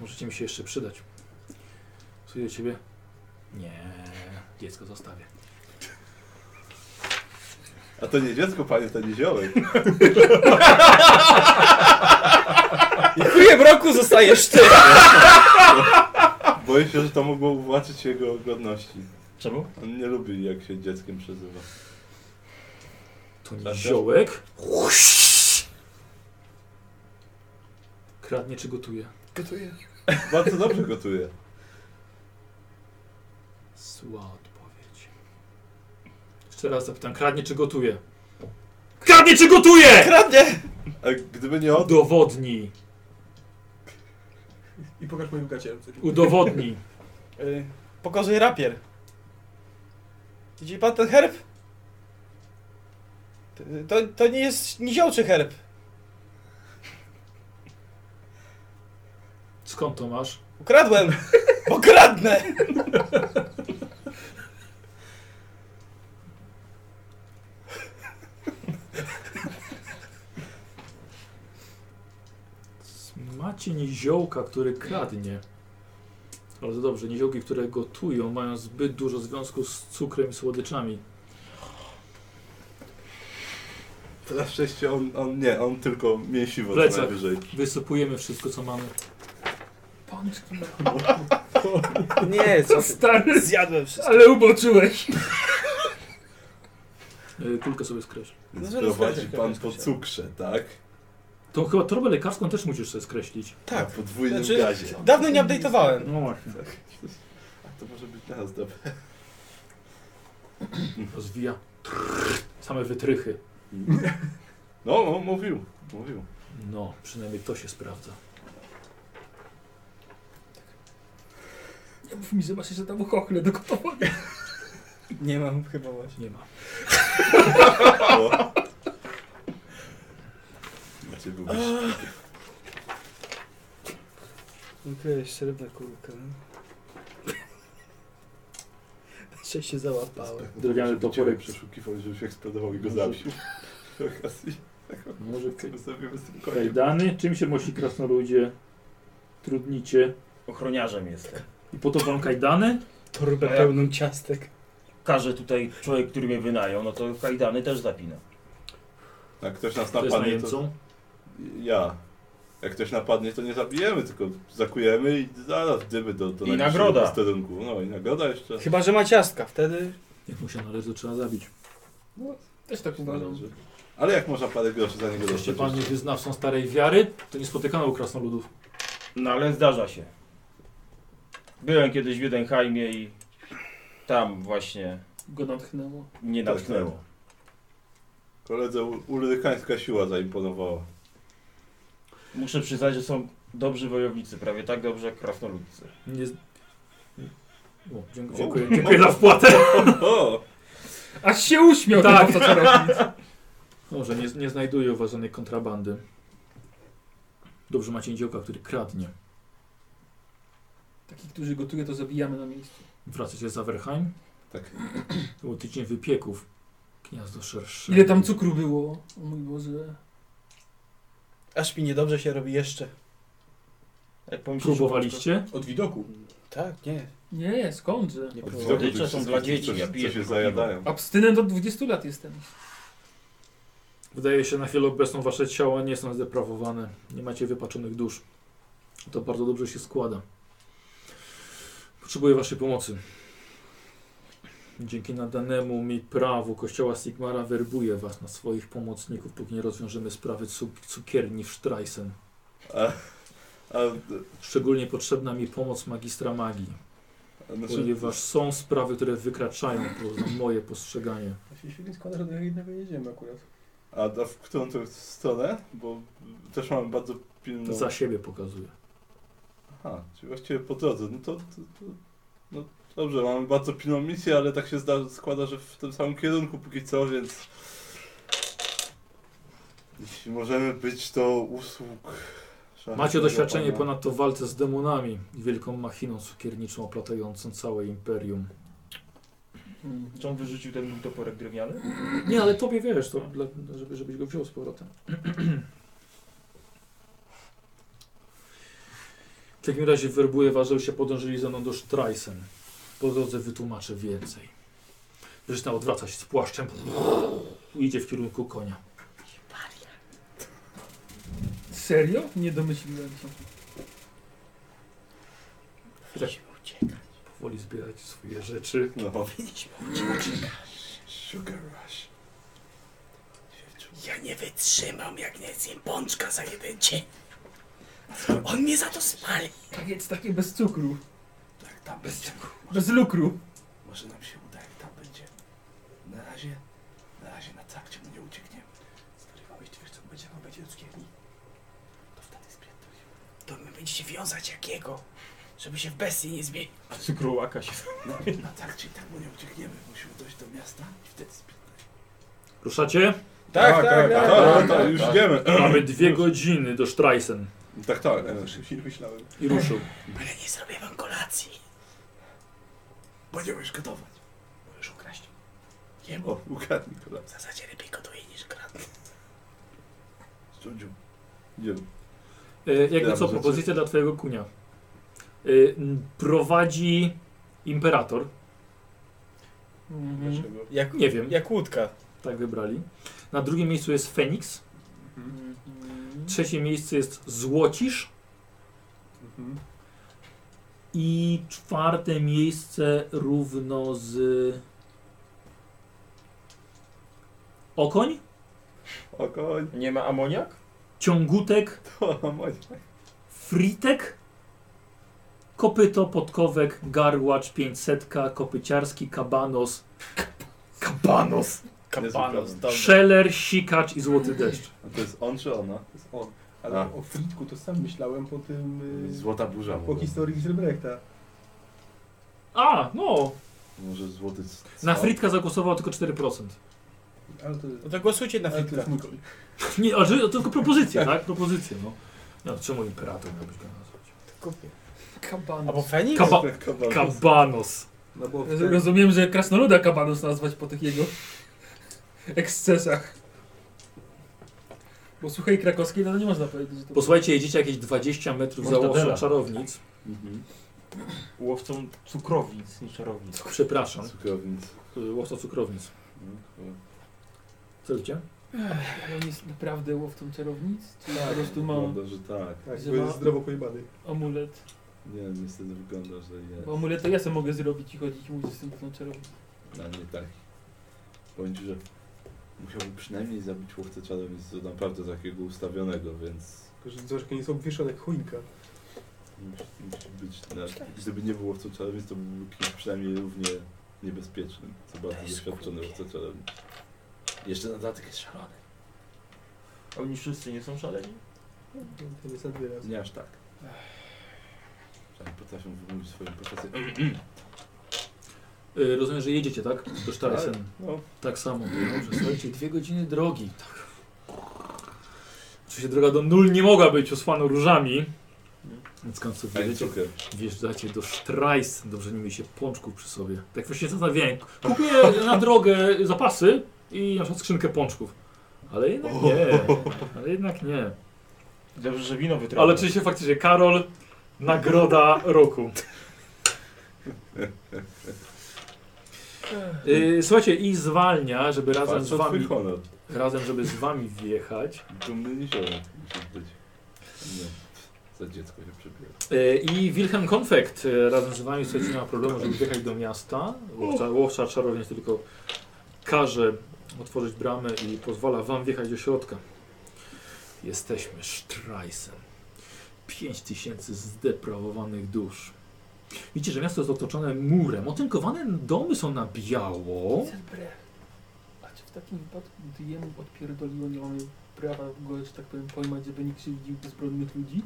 Możecie mi się jeszcze przydać. Słuchaj do ciebie. Nie, dziecko zostawię. A to nie dziecko, panie, to nie ziołek. I chujem roku zostajesz ty! Boję się, że to mogło uwłaczyć jego godności. Czemu? On nie lubi, jak się dzieckiem przezywa. To nie Tak, tak. ziołek. Kradnie czy gotuje? Gotuję. Bardzo dobrze gotuje. Zła odpowiedź. Jeszcze raz zapytam, kradnie czy gotuje? Kradnie czy gotuje! Kradnie! A gdyby nie on, Udowodnij, I pokaż moim gacielce. udowodnij. Y, pokazuję rapier. Widzi pan ten herb? T- To, to nie jest niziołczy herb. Skąd to masz? Ukradłem! Bo kradnę! Macie niziołka, który kradnie. Bardzo dobrze. Niziołki, które gotują, mają zbyt dużo związku z cukrem i słodyczami. To na szczęście on, on nie, on tylko mięsiwo co Plecak. najwyżej. Wysypujemy wszystko, co mamy. Pączki. Nie, co ty? Stary, Zjadłem wszystko. ale uboczyłeś. Yy, kulkę sobie skreśl. Więc No, prowadzi zgadza się, pan zgadza po się. cukrze, tak? To chyba torbę lekarską też musisz sobie skreślić. Tak. Na podwójnym Znaczy- gazie. Dawno nie update'owałem. No właśnie. To może być na zdrowie. Rozwija. Trrr. Same wytrychy. No, no, mówił, mówił. No, przynajmniej to się sprawdza. Nie mów mi, że masz jeszcze tam chochle do gotowania. Nie mam chyba właśnie. Nie ma. O. Macie byłbyś... Okej, srebrna kulka. Jeszcze się załapałem. Drewniany toporek. przeszukiwał, żebyś eksplodował i go zabił. Przy okazji, Może co zrobimy z tym koniem? kajdany. Czym się mości krasnoludzie? Trudnicie. Ochroniarzem jestem. I po to wam kajdany? Torbę A ja- pełną ciastek. Każe tutaj człowiek, który mnie wynajął, no to kajdany też zapina. Jak ktoś nas To jest napadnie, to... najemcą. Ja. Jak ktoś napadnie, to nie zabijemy, tylko zakujemy i zaraz dymy do, do I najbliższego nagroda. posterunku. No i nagroda jeszcze. Chyba, że ma ciastka, wtedy... Jak mu się należy, to trzeba zabić. Też tak uważam. Należy. Ale jak można parę groszy za niego Jeśli dostać? pan nie wyznawcą starej wiary, to nie spotykano u krasnoludów. No ale zdarza się. Byłem kiedyś w Jedenheimie i tam właśnie Go natchnęło. mnie Tak, natknęło. tak. Koledze u- urykańska siła zaimponowała. Muszę przyznać, że są dobrzy wojownicy, prawie tak dobrzy jak krasnoludcy. Nie... z- O, dziękuję, dziękuję, dziękuję za wpłatę. O! Aż się uśmiał Tak. tak. ten co robi. Może nie, nie znajduję u was żadnej kontrabandy. Dobrze macie dziełka, który kradnie. Takich, którzy gotuje, to zabijamy na miejscu. Wracacie za Werheim? Tak. To był tydzień wypieków. Gniazdo szersze. Ile tam cukru było? O mój Boże. Aż mi niedobrze się robi jeszcze. Jak pomyślisz, Próbowaliście? Od widoku. Tak, nie. Nie, skądże? Nie Od próbuję. widoku tych Licze są wszystkich, dla dzieci, co się- ja Co piję się tylko zajadają. Abstynent od 20 lat jestem. Wydaje się na chwilę obecną wasze ciała nie są zdeprawowane. Nie macie wypaczonych dusz. To bardzo dobrze się składa. Potrzebuję waszej pomocy. Dzięki nadanemu mi prawu kościoła Sigmara werbuję was na swoich pomocników, póki nie rozwiążemy sprawy cuk- cukierni w Streisen. A, a, Szczególnie potrzebna mi pomoc magistra magii, a znaczy, ponieważ są sprawy, które wykraczają poza moje postrzeganie. Ja się świetnie składa, że do jednego jedziemy akurat. a, a w którą to stronę? Bo też mam bardzo pilną... To za siebie pokazuję. Aha, czyli właściwie po drodze. No to, to, to no dobrze, mamy bardzo pilną misję, ale tak się zda, składa, że w tym samym kierunku póki co, więc jeśli możemy być, to usług. Macie szlachetnego doświadczenie pana. ponadto w walce z demonami i wielką machiną cukierniczą oplatającą całe imperium. Hmm. Czy on wyrzucił ten mój toporek drewniany? Nie, ale tobie wiesz, to dla, żeby, żebyś go wziął z powrotem. W takim razie werbuję was, żebyście podążyli ze mną do Streisen. Po drodze wytłumaczę więcej. Zresztą odwraca się z płaszczem. Idzie w kierunku konia. Serio? Nie domyśliłem się. Woli zbierać swoje rzeczy. No. Ja nie wytrzymam, jak nie zjem pączka za jeden dzień. On mnie za to spali. Tak jest takie bez cukru. Tak, tam bez cukru. Bez lukru. Może nam się uda, jak tam będzie. Na razie, na razie na trakcie mu nie uciekniemy. Zwarywałeś, ty wiesz co będzie, jak on będzie do cukierni. To wtedy spierdolił. To my będziecie wiązać jakiego, żeby się w bestii nie zmienił. A cukrołaka się. Na, na trakcie i tak mu nie uciekniemy. Musimy dojść do miasta i wtedy spierdolił. Ruszacie? Tak, tak, tak. tak, tak, tak, już idziemy. Mamy dwie godziny do Streisen. Tak, tak. Szybciej myślałem. I ruszył. Ale nie zrobię wam kolacji. Bo nie umiesz gotować. Możesz ukraść. Jemu O, ukradnij kolację. w zasadzie lepiej gotuje niż kradnie. Studziu. Idziemy. E, jakby Ja co, może Y, propozycja dla twojego kunia. y, m, prowadzi imperator. Mhm. Dlaczego? Jak, Nie wiem, jak łódka. tak wybrali. Na drugim miejscu jest Feniks. Mhm. Trzecie miejsce jest Złocisz. Mhm. I czwarte miejsce równo z. Okoń, O koń, Nie ma amoniak? ciągutek, to moje. fritek, kopyto, podkowek, garłacz, pięćsetka, kopyciarski, kabanos, kabanos, Kapanos, problem. dobra. szeler, sikacz i złoty deszcz. A to jest on czy ona? To jest on. Ale A. o Fritku to sam myślałem po tym... y, Złota burza. po może. historii Gizelbrechta. A, no, Może złoty. c- na co? fritka zagłosowało tylko 4%. Ale to, No to głosujcie na ale to Fritka. jest mój koń. Nie, ale że- to tylko propozycje, tak? Propozycje, no. No, czemu imperator miałbyś go nazwać? Kaban. Albo Feniks? Kaba Kabanos. kabanos. No bo Roz- wtedy- Rozumiem, że krasnoluda kabanos nazwać po tych jego ekscesach. Bo słuchaj krakowskiej, no to nie można powiedzieć, że to Posłuchajcie, jedziecie jakieś 20 metrów za Mortadela. łowcą czarownic. Mhm. Łowcą cukrownic, nie czarownic. Przepraszam, Cukrownic. y, łowca cukrownic. Mhm, kurwa. Co robicie? Ale on jest naprawdę łowcą czarownic? Czy Tak. po prostu ma Wygląda, że tak. Tak, że bo ma- jest zdrowo pojebany. amulet? Nie, niestety wygląda, że nie. Bo amulet to ja sobie mogę zrobić i chodzić i mówić, że jestem tą czarownicą. Na nie tak. Bądź, że musiałbym przynajmniej zabić łowcę czarownic do naprawdę takiego ustawionego, więc Tylko, że Zorzka nie jest obwieszony jak choinka. musi, musi być. Na, gdyby nie był łowcą czarownic, to byłby kimś przynajmniej równie niebezpiecznym. Co bardzo doświadczony łowca czarownic. Jeszcze na dodatek jest szalony. A oni wszyscy nie są szaleni? To jest adwiera. Nie aż tak. Że potrafią wymówić swoją profesję. Y, Rozumiem, że jedziecie, tak? Do Sztaresen. No, Tak samo. Dobrze, słuchajcie, dwie godziny drogi. Tak. Oczywiście droga do Nul nie mogła być osłana różami. Więc końców jedziecie, tańcuchem. wjeżdżacie do Strajs. Dobrze, nie mieliście pączków przy sobie. Tak właśnie zastanawiałem. Kupię na drogę zapasy i na przykład skrzynkę pączków. Ale jednak nie. Ale jednak nie. Dobrze, że wino wytrafiło. Ale oczywiście faktycznie Karol, nagroda roku. Yy, słuchajcie, i zwalnia, żeby razem z Patrz, to twój wami, honor. razem żeby z wami wjechać. Dumny niziołek musisz być. Nie, za dziecko się przebiera. Yy, I Wilhelm Konfekt yy, razem z wami słuchajcie, nie ma problemu, żeby wjechać do miasta. Łowca, łowca czarownic tylko każe otworzyć bramę i pozwala wam wjechać do środka. Jesteśmy Strajsem. 5000 zdeprawowanych dusz. Widzicie, że miasto jest otoczone murem. Otynkowane domy są na biało. Zelbre. A czy w takim wypadku, gdy jemu odpierdoliło, nie mamy prawa go, że tak powiem, pojmać, żeby nie krzywdził bezbronnych ludzi?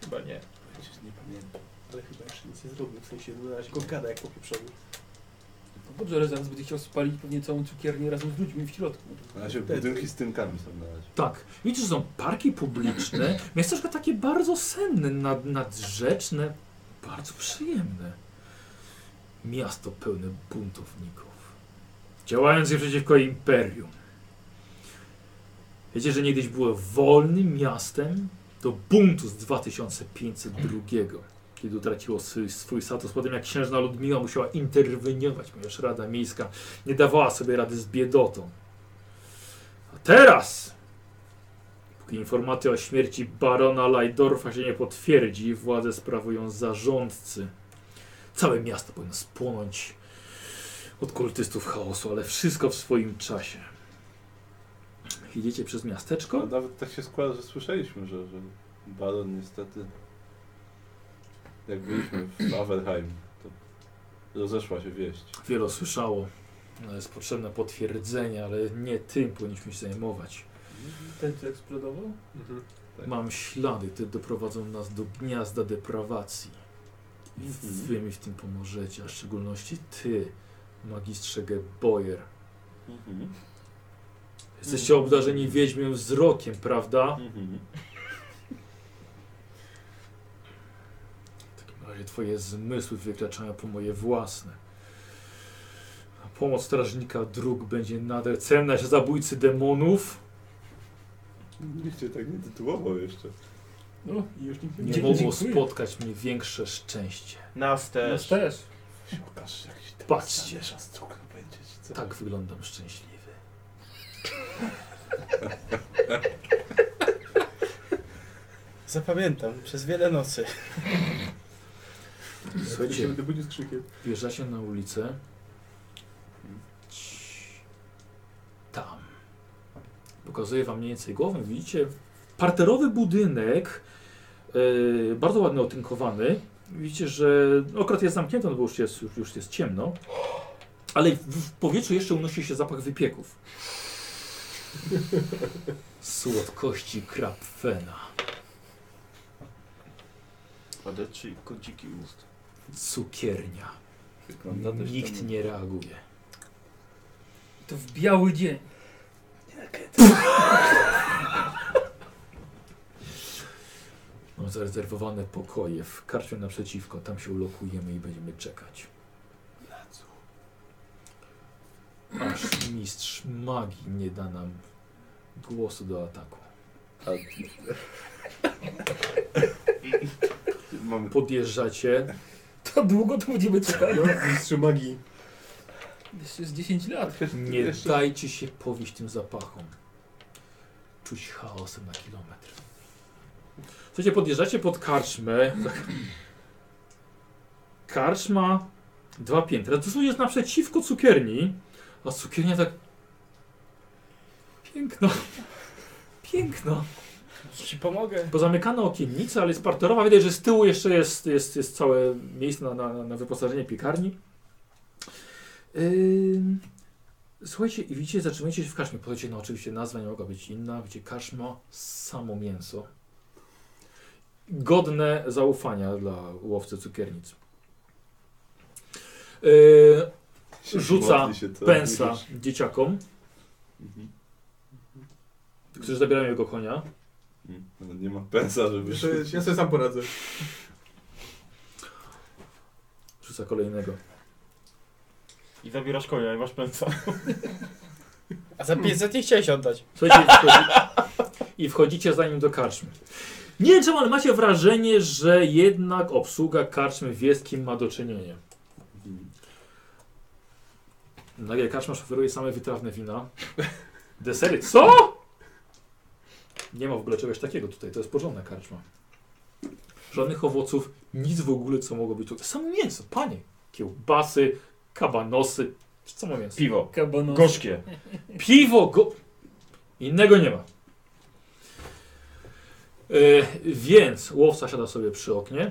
Chyba nie. Przecież nie pamiętam. Ale chyba jeszcze nic nie zrobił, w sensie no, na razie go gada jak popieprzony. No dobrze, ale zaraz będzie chciał spalić pewnie całą cukiernię razem z ludźmi w środku. Na razie budynki z tynkami są na razie. Tak. Widzicie, że są parki publiczne. Miasteczko takie bardzo senne, nad, nadrzeczne, bardzo przyjemne. Miasto pełne buntowników, działających przeciwko imperium. Wiecie, że niegdyś było wolnym miastem do buntu z 2502, kiedy utraciło swój, swój status. Potem jak księżna Ludmiła musiała interweniować, ponieważ Rada Miejska nie dawała sobie rady z biedotą. A teraz Póki informacja o śmierci barona Lajdorfa się nie potwierdzi, władzę sprawują zarządcy. Całe miasto powinno spłonąć od kultystów chaosu, ale wszystko w swoim czasie. Idziecie przez No, miasteczko? nawet tak się składa, że słyszeliśmy, że, że Baron niestety... Jak byliśmy w Averheim, to rozeszła się wieść. Wielu słyszało. No, Jest potrzebne potwierdzenie, ale nie tym powinniśmy się zajmować. Ten, co eksplodował? Mhm. Mam ślady, które doprowadzą nas do gniazda deprawacji. I Wy mi w tym pomożecie, a w szczególności ty, magistrze Geboyer. Mhm. Jesteście obdarzeni wiedźmiem wzrokiem, prawda? Mhm. W takim razie twoje zmysły wykraczają po moje własne. A pomoc strażnika dróg będzie nader cenna się zabójcy demonów. Niech cię tak nie tytułował jeszcze. No i już nikt Nie Dzie- mogło dziękuję. spotkać mnie większe szczęście. Nas Nas też. No też. Pokaż jakiś tam Patrzcie. miesza z cukru będzie ci co. Tak wyglądam szczęśliwy. Zapamiętam przez wiele nocy. Słuchajcie, Będę budził z krzykiem. wjeżdżacie na ulicę. Ci- Tam. Pokazuję wam mniej więcej głowę. Widzicie parterowy budynek, yy, bardzo ładnie otynkowany. Widzicie, że okrat jest zamknięty, no bo już jest, już, już jest ciemno. Ale w, w powietrzu jeszcze unosi się zapach wypieków. Słodkości krapfena. Padeczy, kąciki ust. Cukiernia. No, Wygląda dość Nikt tam- nie reaguje. To w biały dzień. Mam zarezerwowane pokoje w karczmie naprzeciwko. Tam się ulokujemy i będziemy czekać. Na co? Aż mistrz magii nie da nam głosu do ataku. A... Mamy Podjeżdżacie. To długo to będziemy czekać. No, mistrzu magii. Jeszcze z 10 lat. Nie dajcie się powieść tym zapachom. Czuć chaosem na kilometr. Słuchajcie, podjeżdżacie pod karczmę. Karczma, dwa piętra. To jest naprzeciwko cukierni, a cukiernia tak... Piękno. Piękno. Ci pomogę. Pozamykane okiennice, ale jest parterowa. Widać, że z tyłu jeszcze jest, jest, jest całe miejsce na, na, na wyposażenie piekarni. Ym, Słuchajcie, i widzicie, zatrzymujecie się w kaszmie. Podajcie, no oczywiście nazwa nie mogła być inna. Widzicie, kaszma, samo mięso. Godne zaufania dla łowcy cukiernic. Yy, rzuca Mocno się to- tak pensa dzieciakom, Mhm. którzy zabierają jego konia. Mhm. No, nie ma pensa, żeby Wiesz, Ja sobie sam poradzę. Rzuca kolejnego. I zabierasz konia i masz pęca. A za 500 nie chciałeś oddać. Słuchajcie, i, wchodzi... i wchodzicie za nim do karczmy. Nie wiem czemu, ale macie wrażenie, że jednak obsługa karczmy wie z kim ma do czynienia. Mhm. Nagle karczma szoferuje same wytrawne wina. Desery, co? Nie ma w ogóle czegoś takiego tutaj, to jest porządna karczma. Żadnych owoców, nic w ogóle co mogło być tutaj. Samo mięso, panie. Kiełbasy, kabanosy, samo mięso. Piwo. Kabanos. Gorzkie. Piwo, go... Innego nie ma. E, więc łowca siada sobie przy oknie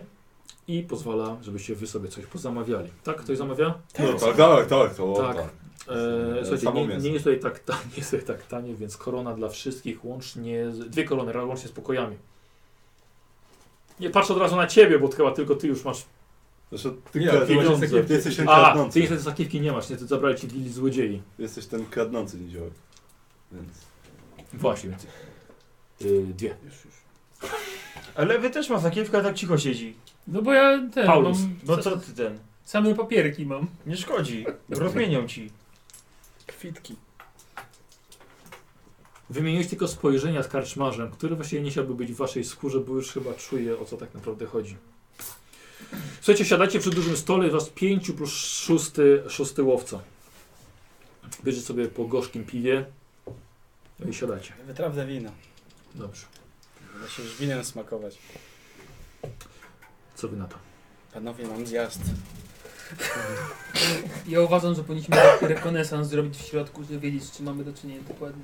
i pozwala, żebyście wy sobie coś pozamawiali. Tak? Ktoś zamawia? No tak, tak, tak, to Tak. tak. E, słuchajcie, Samo nie, mięso. nie jest tutaj tak tanie, jest tutaj tak tanie, więc korona dla wszystkich łącznie, z- dwie korony ra- łącznie z pokojami. Nie patrz od razu na ciebie, bo chyba tylko ty już masz. Zresztą ty, Nie, krad- ty pieniądze. masz takie- ty jesteś ten A, ty kradnący. niestety zakiewki nie masz, nie, to zabrali ci dwie złodziei. Jesteś ten kradnący niziołek. Więc Właśnie, więc. Y, dwie. Ale wy też ma zakiewka, tak cicho siedzi. No bo ja ten Paulus. mam... No co ty ten? Same papierki mam. Nie szkodzi. Rozmienią ci. Kwitki. Wymieniłeś tylko spojrzenia z karczmarzem, który właściwie nie chciałby być w waszej skórze, bo już chyba czuje o co tak naprawdę chodzi. Słuchajcie, siadacie przy dużym stole, was pięciu plus szósty, szósty łowca. Bierze sobie po gorzkim piwie no i siadacie. Wytrawne wino. Dobrze. Ja się już winem smakować. Co wy na to? Panowie, mam zjazd. Ja uważam, że powinniśmy taki rekonesans zrobić w środku, żeby wiedzieć, czy mamy do czynienia dokładnie.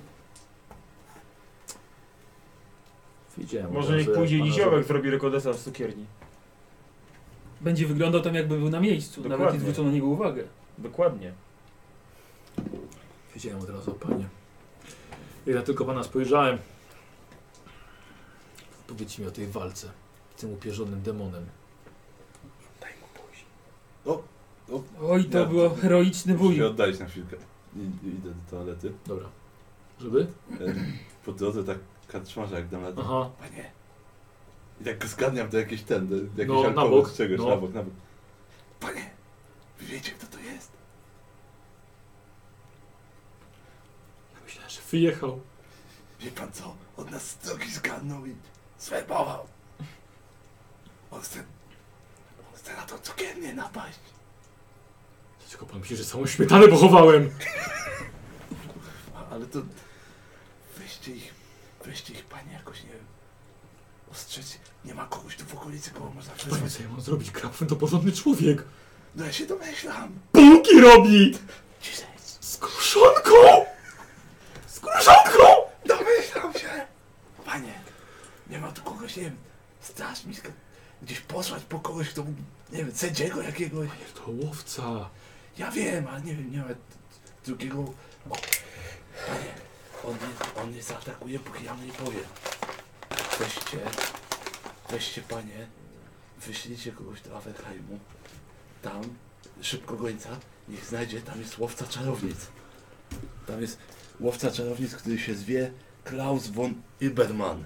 Widziałem. Może niech że pójdzie pana niziołek zrobi rekodesans w cukierni. Będzie wyglądał tam, jakby był na miejscu, nawet Dokładnie. nie zwrócono na niego uwagę. Dokładnie. za- Wiedziałem od razu o panie. Jak ja tylko pana spojrzałem, powiedzcie mi o tej walce z tym upierzonym demonem. Oj, to Nie, było to- heroiczny muszę bój. się oddalić na chwilkę. I, idę do toalety. Dobra. Żeby? E, Po drodze tak katrzmarza jak dam radę. Aha. Panie. I tak go zgadniam do jakiejś ten, do jakiejś No, na alkohol bok, czy czegoś, no. na bok, na bok. Panie, wy wiecie kto to jest? Myślałem, że wyjechał. Wie pan co? Od nas z drogi zgadnął i swebował. On chce... On chce na to codziennie napaść. Dlaczego pan myśli, że całą śmietanę pochowałem? A- Ale to... Weźcie ich... Weźcie ich, panie, jakoś, nie wiem... Ostrzeć. Nie ma kogoś tu w okolicy, kogo można Panie, wezwać. co ja mam zrobić? Krapfen to porządny człowiek. No ja się domyślam. Bułki robi! Z kruszonką! Z kruszonką! Domyślam się! Panie, nie ma tu kogoś, nie wiem, straż miska. Gdzieś posłać po kogoś, kto, mógł, nie wiem, sędziego jakiegoś. To łowca. Ja wiem, ale nie wiem, nie ma d- drugiego... O, Panie, on nie, on nie zaatakuje, póki ja mu nie powiem. Weźcie, weźcie panie, wyślijcie kogoś do Awekheimu. Tam, szybko gońca, niech znajdzie, tam jest łowca czarownic. Tam jest łowca czarownic, który się zwie Klaus von Iberman.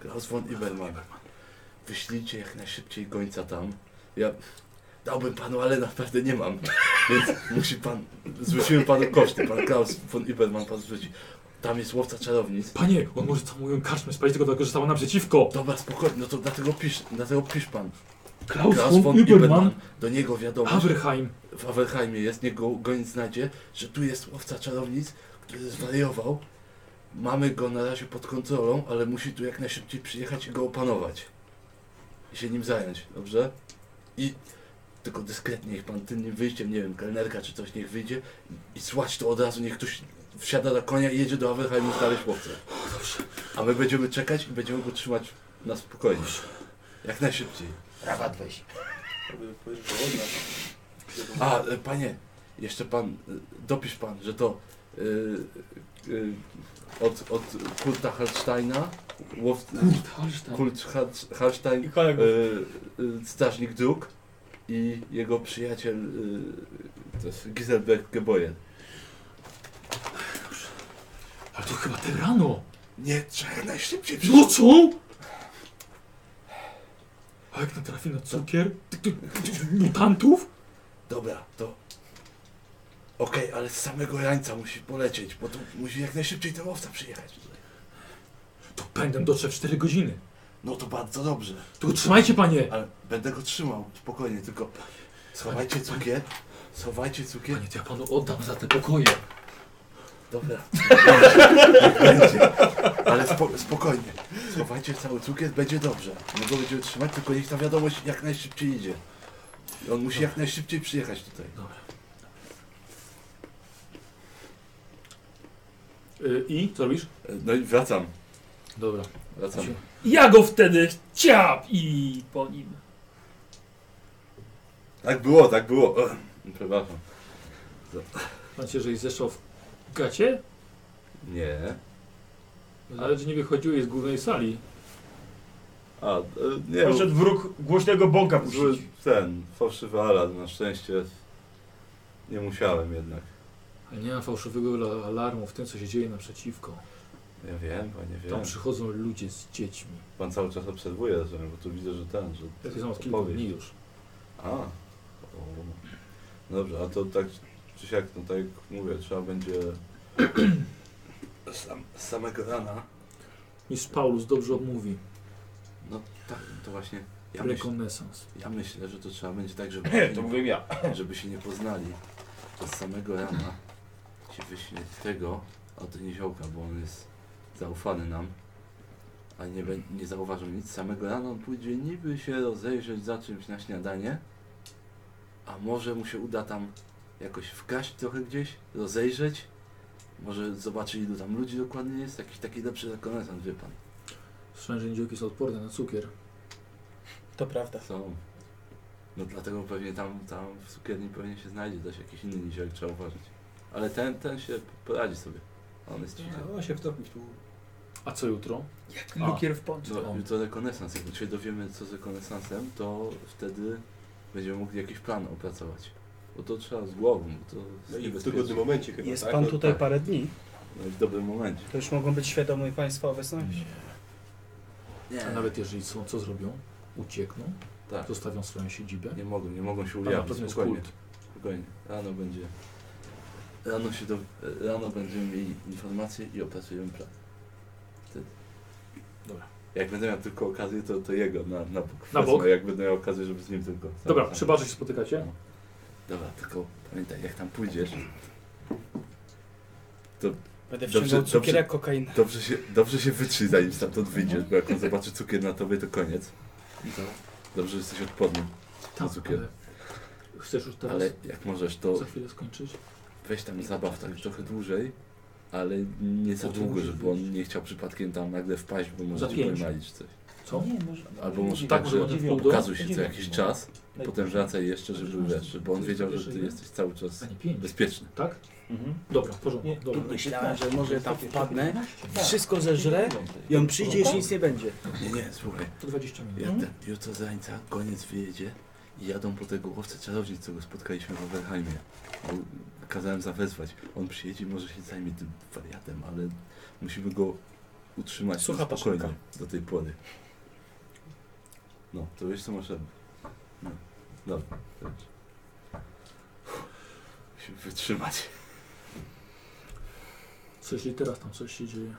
Klaus von Iberman. Wyślijcie jak najszybciej gońca tam. Ja dałbym panu, ale naprawdę nie mam. Więc musi pan. Zwrócimy panu koszty. Pan Klaus von Iberman pan zwróci. Tam jest łowca czarownic. Panie, on może całą moją karczmę spalić tylko dlatego, że stała naprzeciwko. Dobra, spokojnie, no to dlatego pisz, dlatego pisz pan. Klaus von Übermann. Do niego wiadomo, że Aberheim. w Averheimie jest, niech go, go nie znajdzie, że tu jest łowca czarownic, który zwariował. Mamy go na razie pod kontrolą, ale musi tu jak najszybciej przyjechać i go opanować. I się nim zająć, dobrze? I tylko dyskretnie, niech pan tylnym wyjściem, nie wiem, kelnerka czy coś, niech wyjdzie i słać to od razu, niech ktoś wsiada na konia i jedzie do Averheimu znaleźć łowcę. A my będziemy czekać i będziemy go trzymać na spokojnie. Jak najszybciej. Rabat weź. A, e, panie, jeszcze pan, e, dopisz pan, że to e, e, od, od Kurta Hallsteina, łow, Kurt Hall- Hallstein, I kolegów. e, e, strażnik dróg i jego przyjaciel, e, to jest Giselberg Geboyen. Ale to chyba te rano. Nie, trzeba najszybciej Nocą? A jak natrafi na cukier? Ty- ty- ty- Mutantów? Dobra, to... Okej, ale z samego rańca musi polecieć, bo tu musi jak najszybciej ten łowca przyjechać tutaj. To pędem dotrze w 4 godziny. No to bardzo dobrze. To trzymajcie panie. Ale będę go trzymał, spokojnie, tylko schowajcie cukier, schowajcie cukier, Panie, to ja panu oddam za te pokoje. dobra. Niech będzie. Ale spo, spokojnie, schowajcie cały cukier, będzie dobrze. My go będziemy trzymać, tylko niech ta wiadomość jak najszybciej idzie. I on musi jak najszybciej przyjechać tutaj. Y, I? Co robisz? E, No i wracam, Dobra. wracam. Ja go wtedy chciał i po nim. Tak było, tak było. Ech, Przepraszam. Znacie, że jest jeszcze w gacie? Nie. Ale że nie wychodziłeś z głównej sali. A, e, nie. Poszedł wróg głośnego bąka tak Zły, puścić. ten, fałszywy alarm, na szczęście nie musiałem jednak. Ale nie ma fałszywego ala- alarmu w tym, co się dzieje naprzeciwko. Ja wiem, panie, wiem. Tam przychodzą ludzie z dziećmi. Pan cały czas obserwuje, rozumiem, bo tu widzę, że ten, że... Takie są od to kilku powie. dni już. A, o. Dobrze, a to tak czy siak, no tak jak mówię, trzeba będzie... Sam, z samego rana, Mistrz Paulus dobrze obmówi. no tak, to właśnie, ja, myśl, Rekonesans. ja myślę, że to trzeba będzie tak, żeby... He, To mówię ja. żeby się nie poznali. To z samego rana ci wyślę tego od niziołka, bo on jest zaufany nam. A nie, bę- nie zauważył nic. Samego rana on pójdzie niby się rozejrzeć za czymś na śniadanie. A może mu się uda tam jakoś wkraść trochę gdzieś, rozejrzeć. Może zobaczy ilu tam ludzi dokładnie jest. Jakiś taki lepszy rekonesans, wie pan. Słyszałem, że niziołki są odporne na cukier. To prawda. Są. No dlatego pewnie tam, tam w cukierni pewnie się znajdzie też jakiś inny niziołek, trzeba uważać. Ale ten, ten się poradzi sobie. On jest cichy. No, on się wtopił tu. A co jutro? A. Lukier w pączku. No jutro rekonesans. Jak się dowiemy co z rekonesansem, to wtedy będziemy mogli jakiś plan opracować. Bo to trzeba z głową, bo to No jest i w niebezpieczne. tygodnym momencie chyba, Jest tak? pan No, tutaj tak. parę dni. No i w dobrym momencie. To już mogą być świadomi Państwa obecności. Nie, A nawet jeżeli są, co zrobią? Uciekną? Tak. Zostawią swoją siedzibę? nie mogą, nie mogą się Tam na ujawnić. pewno jest Spokojnie, kult. spokojnie. Rano będzie... Rano się do... Rano będziemy mieli informacje i opracujemy plan. Dobra. Jak będę miał tylko okazję, to, to jego na, na bok. Na bok? wezmę, Jak będę miał okazję, żeby z nim tylko. Dobra, Sam- przy barze się spotykacie. Dobra, tylko pamiętaj, jak tam pójdziesz, Będę Dobrze, wciągał dobrze. cukier jak kokainę. dobrze się, dobrze się wytrzyj, zanim stamtąd wyjdziesz, bo jak on zobaczy cukier na tobie, to koniec. Dobrze, że jesteś odporny. Tak, cukier. ale chcesz już teraz Ale jak możesz, to za chwilę skończyć? weź tam zabaw tak trochę dłużej, ale nie za O, to długo, musi żeby być. on nie chciał przypadkiem tam nagle wpaść, bo może Za ci pięć. pojmalić coś. Co? Albo może Tak, tak, może że będzie w pół do? no. pokazuj się co jakiś czas, potem wracaj jeszcze, żeby wiesz, żeby on wiedział, że ty jesteś cały czas A nie, pięć. bezpieczny. Tak? Mhm. Dobra, w porządku. Dobra. Myślałem, że może tam wpadnę, wszystko zeżrę i on przyjdzie, jeśli nic nie będzie. Nie, nie, słuchaj, To 20 minut. ja ten, jutro zańca, koniec wyjedzie i jadą po tego łowcę czarodziej, co go spotkaliśmy w Overheimie. Bo Kazałem zawezwać. On przyjedzie i może się zajmie tym wariatem, ale musimy go utrzymać na Sucha spokojnie do tej pory. No, to wiesz co masz robić. No, dobra. dobrze. Uff, Musimy wytrzymać. Co jeśli teraz tam coś się dzieje?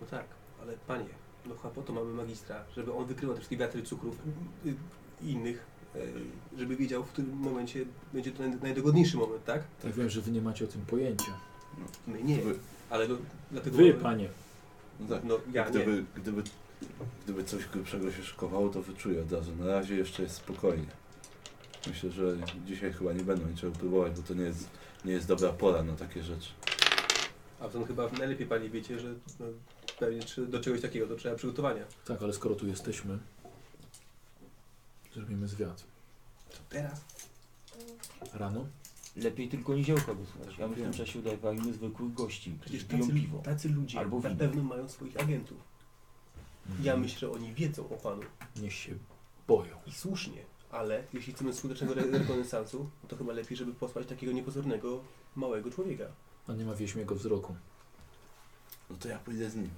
No tak, ale panie, no chyba po to mamy magistra, żeby on wykrywał te wszystkie wiatry cukrów y, i innych, y, żeby wiedział w którym momencie będzie to naj- najdogodniejszy moment, tak? Ja wiem, że wy nie macie o tym pojęcia. My nie, Wy- ale no, dlatego... Wy, panie. No tak. No ja nie. Gdyby, gdyby, gdyby coś grubszego się szykowało, to wyczuję od razu. Na razie jeszcze jest spokojnie. Myślę, że dzisiaj chyba nie będą niczego próbować, bo to nie jest, nie jest dobra pora na takie rzeczy. A to chyba najlepiej pani wiecie, że no, pewnie czy do czegoś takiego to trzeba przygotowania. Tak, ale skoro tu jesteśmy, zrobimy zwiat. To teraz? Rano? Lepiej tylko niziołka wysłać. Ja my w Wiem. tym czasie udawajmy zwykłych gości, Przecież którzy piją tacy, piwo. tacy ludzie Albo na wino. pewno mają swoich agentów. Ja myślę, że oni wiedzą o panu Niech się boją. i słusznie, ale jeśli chcemy skutecznego re- rekonesansu, to chyba lepiej, żeby posłać takiego niepozornego, małego człowieka. A nie ma wieśmiego wzroku. No to ja pójdę z nim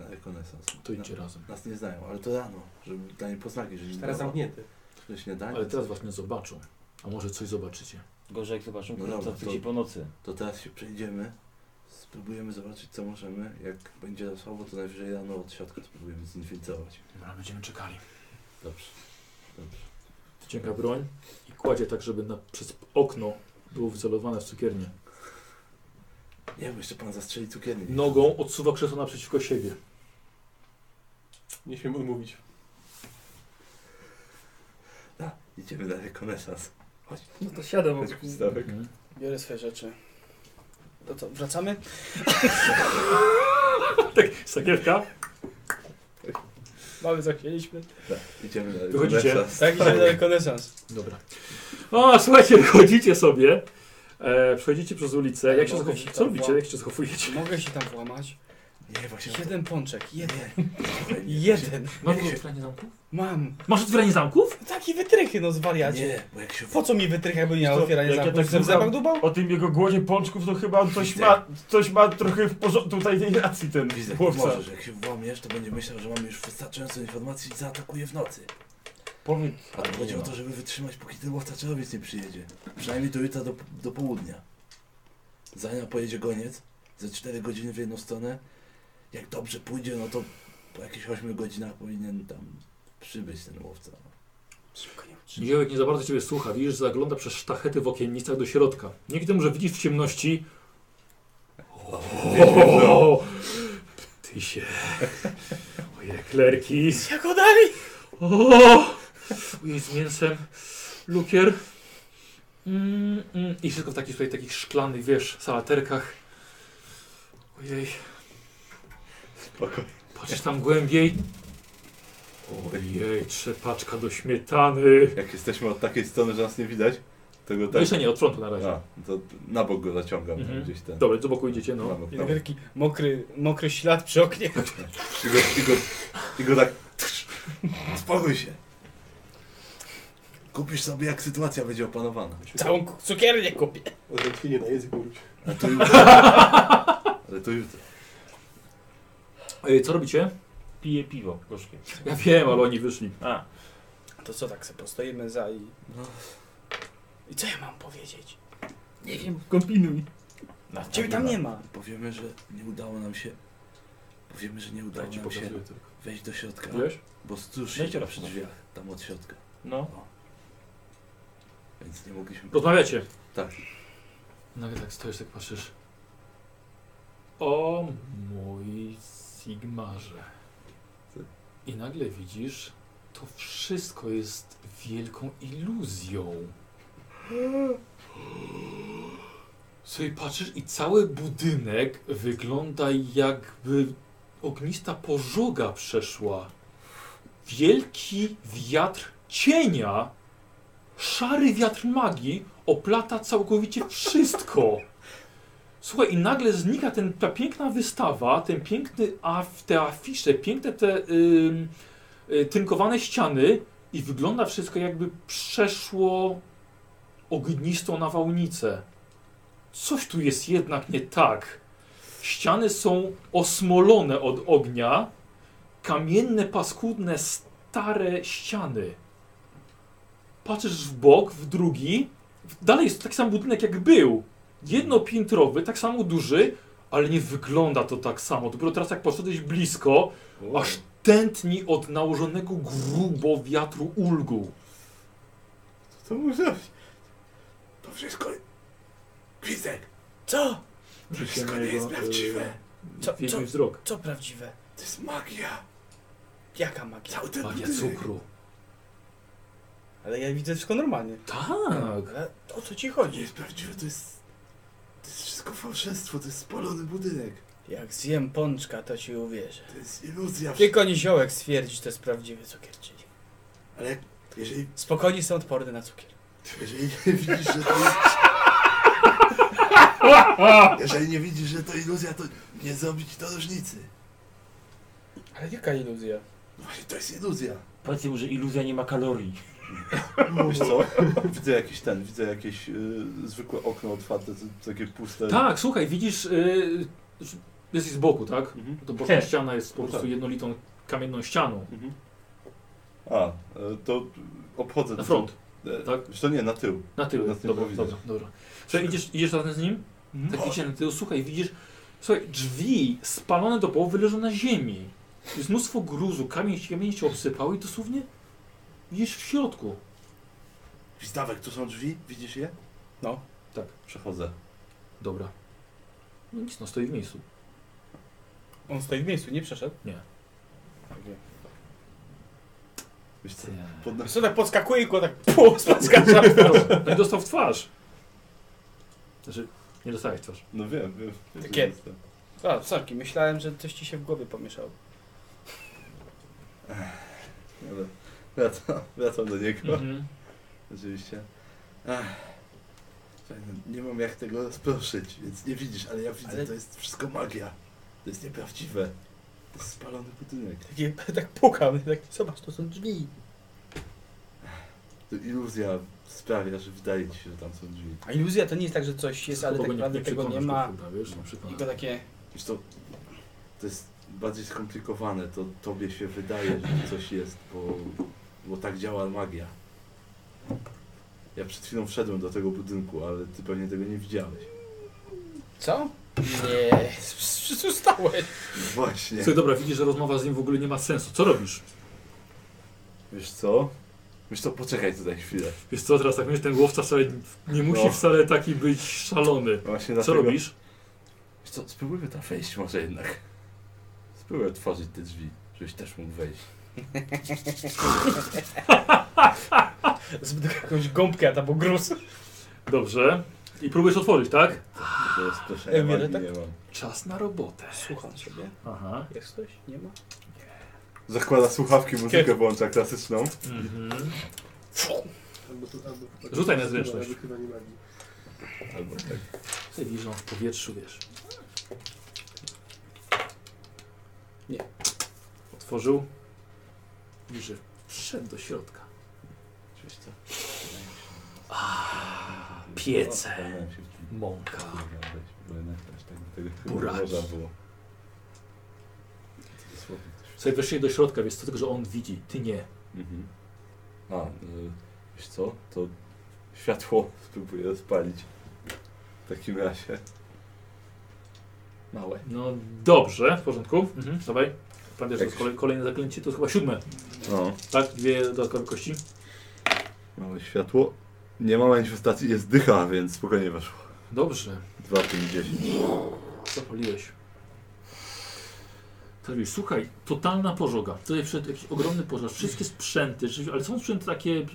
na rekonesans. To idźcie razem. Na, nas nie znają, ale to rano, żeby dla niej poznaki, że nie Teraz zamknięty. że śniadanie. Ale teraz was nie zobaczą. A może coś zobaczycie. Gorzej jak zobaczą No no dobra, tacy to- ci po nocy. To teraz się przejdziemy, spróbujemy zobaczyć co możemy. Jak będzie słabo, to najwyżej rano od środka spróbujemy zinfiltrować. Dobra, No, będziemy czekali. Dobrze, dobrze. Wyciąga broń i kładzie tak, żeby na, przez okno było wycelowane w cukiernię. Nie, bo jeszcze pan zastrzeli cukiernik. Nogą odsuwa krzesło naprzeciwko siebie. Nie śmiem odmówić. Da, idziemy na rekonesans. No to siadam. Chodź, Krzysztofek. Mhm. Biorę swoje rzeczy. To co, wracamy? Tak, Sakierka? Mamy co chcieliśmy. Da, Tak, idziemy na Wychodzicie? rekonesans. Tak, idziemy na rekonesans. Dobra. O, słuchajcie, wychodzicie sobie. E, przechodzicie przez ulicę. Jak się Mogę zachowujecie? się tak Co tam robicie? Jak się zachowujecie? Czy mogę się tam włamać? Nie, właśnie. Jeden pączek, jeden, Jeden. jeden. Masz otwieranie zamków? Mam. Masz otwieranie zamków? Taki wytrychy, no zwariacie. Nie, bo jak się Po co mi wytrycha, jakby nie miał Co, otwierania jak ja zamków? tak Jestem słucham- zębach dubał? O tym jego głodzie pączków to chyba on coś Widzę. ma, coś ma trochę w porządku tutaj tej racji ten Widzę, chłopca. możesz, jak się włamiesz, to będzie myślał, że mamy już wystarczająco informacji i zaatakuje w nocy. Powiedz, A to chodzi o to, żeby wytrzymać, póki ten łowca czarowiec nie przyjedzie. Przynajmniej do jutra do, do południa. Zanim pojedzie goniec, ze 4 godziny w jedną stronę, jak dobrze pójdzie, no to po jakichś 8 godzinach powinien tam przybyć ten łowca. Niziołek nie za bardzo ciebie słucha. Widzisz, że zagląda przez sztachety w okiennicach do środka. Dzięki temu, że widzisz w ciemności... O, no. ty się... Ojej, klerki. Jak odali? O! Ujej, z mięsem. Lukier. Mm, mm. I wszystko w takich, tutaj, takich szklanych, wiesz, salaterkach. Ojej. Spokojnie. Patrz tam głębiej. Ojej, trzepaczka do śmietany. Jak jesteśmy od takiej strony, że nas nie widać, tego No jeszcze nie, od frontu na razie. Tak. A, to na bok go zaciągam Mhm. gdzieś ten. Dobra, do boku idziecie, no. Mamy, Jeden mamy. wielki, mokry, mokry ślad przy oknie. I go, i go, i go tak. Spokój się. Kupisz sobie, jak sytuacja będzie opanowana. Całą ku- cukiernię kupię. Odrętwienie na język wróć. Ale to jutro. Ale to jutro. Ej, E, co robicie? pije piwo gorzkie. Ja wiem, ale oni wyszli. A, To co, tak sobie postoimy za i... No. I co ja mam powiedzieć? nie wiem, kombinuj. Ciebie tam nie ma. Powiemy, że nie udało nam się Powiemy, że nie Ja Tak udało ci nam się pokazuję tylko. wejść do środka, Wiesz? bo stróż Wejdź się teraz przy do drzwiach, tam od środka, No. więc nie mogliśmy... Rozmawiacie. Tak. Nagle tak stoisz, tak patrzysz. O mój Sigmarze. I nagle widzisz, to wszystko jest wielką iluzją. Sobie patrzysz i cały budynek wygląda jakby ognista pożoga przeszła. Wielki wiatr cienia, szary wiatr magii oplata całkowicie wszystko. Słuchaj, i nagle znika ten, ta piękna wystawa, ten piękny af, te afisze, piękne te ym, y, tynkowane ściany i wygląda wszystko jakby przeszło ognistą nawałnicę. Coś tu jest jednak nie tak. Ściany są osmolone od ognia, kamienne, paskudne, stare ściany. Patrzysz w bok, w drugi, dalej jest taki sam budynek jak był. Jednopiętrowy, tak samo duży, ale nie wygląda to tak samo. Dopiero teraz jak poszedłeś blisko, aż tętni od nałożonego grubo wiatru ulgu. To mógł zrobić. To wszystko... Gwizdek! Co? To wszystko nie jest prawdziwe. Co, co, Wiedźmy wzrok. Co prawdziwe? to jest magia. Jaka magia? Cały ten Magia budynek. cukru. Ale ja widzę wszystko normalnie. Tak. Ale o co ci To nie chodzi? jest prawdziwe, to jest... To jest wszystko fałszerstwo, to jest spalony budynek. Jak zjem pączka, to ci uwierzę. To jest iluzja. Tylko niziołek stwierdzi, to jest prawdziwy cukier, czyli... Ale jak- jeżeli, Spokojnie są odporne na cukier. jeżeli nie widzisz, że to jest... Jeżeli nie widzisz, że to iluzja, to nie zrobi ci to różnicy. Ale jaka iluzja? No właśnie, to jest iluzja. Powiedzcie mu, że iluzja nie ma kalorii. Wiesz co? Widzę jakiś ten, widzę jakieś y, zwykłe okno otwarte, t- takie puste. Tak, słuchaj, widzisz, yy, jesteś z boku, tak? Mhm. To boczna Nie. ściana jest po No prostu tak. jednolitą kamienną ścianą. Mhm. A, y, to obchodzę. Na front, E, tak? Wiesz co, nie, na tył. na tył. Na tył Dobra, widzę. dobra, dobra. Słuchaj, idziesz, idziesz razem z nim? Mhm. Tak idzie na tył, słuchaj, widzisz, słuchaj, drzwi spalone do połowy leżą na ziemi. Jest mnóstwo gruzu, kamień, kamień się obsypał i dosłownie widzisz w środku. Wizdawek, tu są drzwi, widzisz je? No, tak, Przechodzę. Dobra. No nic, no stoi w miejscu. On stoi w miejscu, nie przeszedł. Wiesz co, pod Co tak podskakuje i go tak pół podskacza. No i dostał w twarz. Znaczy, nie dostałeś w twarz. No wiem, wiem. wiem że Takie- jestem. Tak A, sorki, myślałem, że coś ci się w głowie pomieszało. Ale wracam, wracam do niego. Mhm. Oczywiście. Słuchaj, no, Nie mam jak tego rozproszyć, więc nie widzisz, ale ja widzę, Ale- to jest wszystko magia. To jest nieprawdziwe. To jest spalony budynek. Takie, tak pukam, tak, zobacz, to są drzwi. To iluzja sprawia, że wydaje ci się, że tam są drzwi. A iluzja to nie jest tak, że coś jest, ale Kogo tak naprawdę tego nie przekonasz, ma. Chyba, wiesz, no, na przykład. I go takie... Wiesz to, to jest bardziej skomplikowane, to tobie się wydaje, że coś jest, bo, bo tak działa magia. Ja przed chwilą wszedłem do tego budynku, ale ty pewnie tego nie widziałeś. Co? Nie, zostałeś. No właśnie. Słuchaj, dobra, widzisz, że rozmowa z nim w ogóle nie ma sensu. Co robisz? Wiesz co? Wiesz co, poczekaj tutaj chwilę. Wiesz co, teraz tak myślisz, ten głowca wcale nie musi No. wcale taki być szalony. Właśnie Co dlatego- robisz? Wiesz co, spróbujmy tam wejść może jednak. Spróbuj otworzyć te drzwi, żebyś też mógł wejść. Zbyt jakąś gąbkę, a tam był gruz. Dobrze. I próbujesz otworzyć, tak? To jest proszenia Emile, magii tak? nie mam. Czas na robotę. Słucham sobie. Aha. Jest coś? Nie ma? Zakłada słuchawki, muzykę włącza klasyczną. Mhm. Albo to, albo, Rzucaj na zręczność. Albo chyba nie magii. Albo tak. Ty widzisz, on w powietrzu, wiesz. Nie. Otworzył. Widzisz, że wszedł do środka. Wiesz co? Piece. No. Zastanawiam się w tym. Mąka. Kurwa, weź, bo jednak aż tak do tego chyba Buraki. nie można było. To dosłownie coś- Sobie weszli do środka, więc to tylko, że on widzi, ty nie. Mhm. A, y, wiesz co? To światło spróbuję rozpalić. W takim razie. Małe. No dobrze, w porządku. Mhm, Tak. dawaj. Pamiętasz, że to jest kolej, kolejne zaklęcie to chyba siódme, No, tak? Dwie dodatkowe kości. mamy światło. Nie ma manifestacji, jest dycha, więc spokojnie weszło. Dobrze, 2, 5, 10. zapaliłeś. To wiesz, słuchaj, totalna pożoga. Tutaj wszedł jakiś ogromny pożar. Wszystkie sprzęty, rzeczywiście- ale są sprzęty takie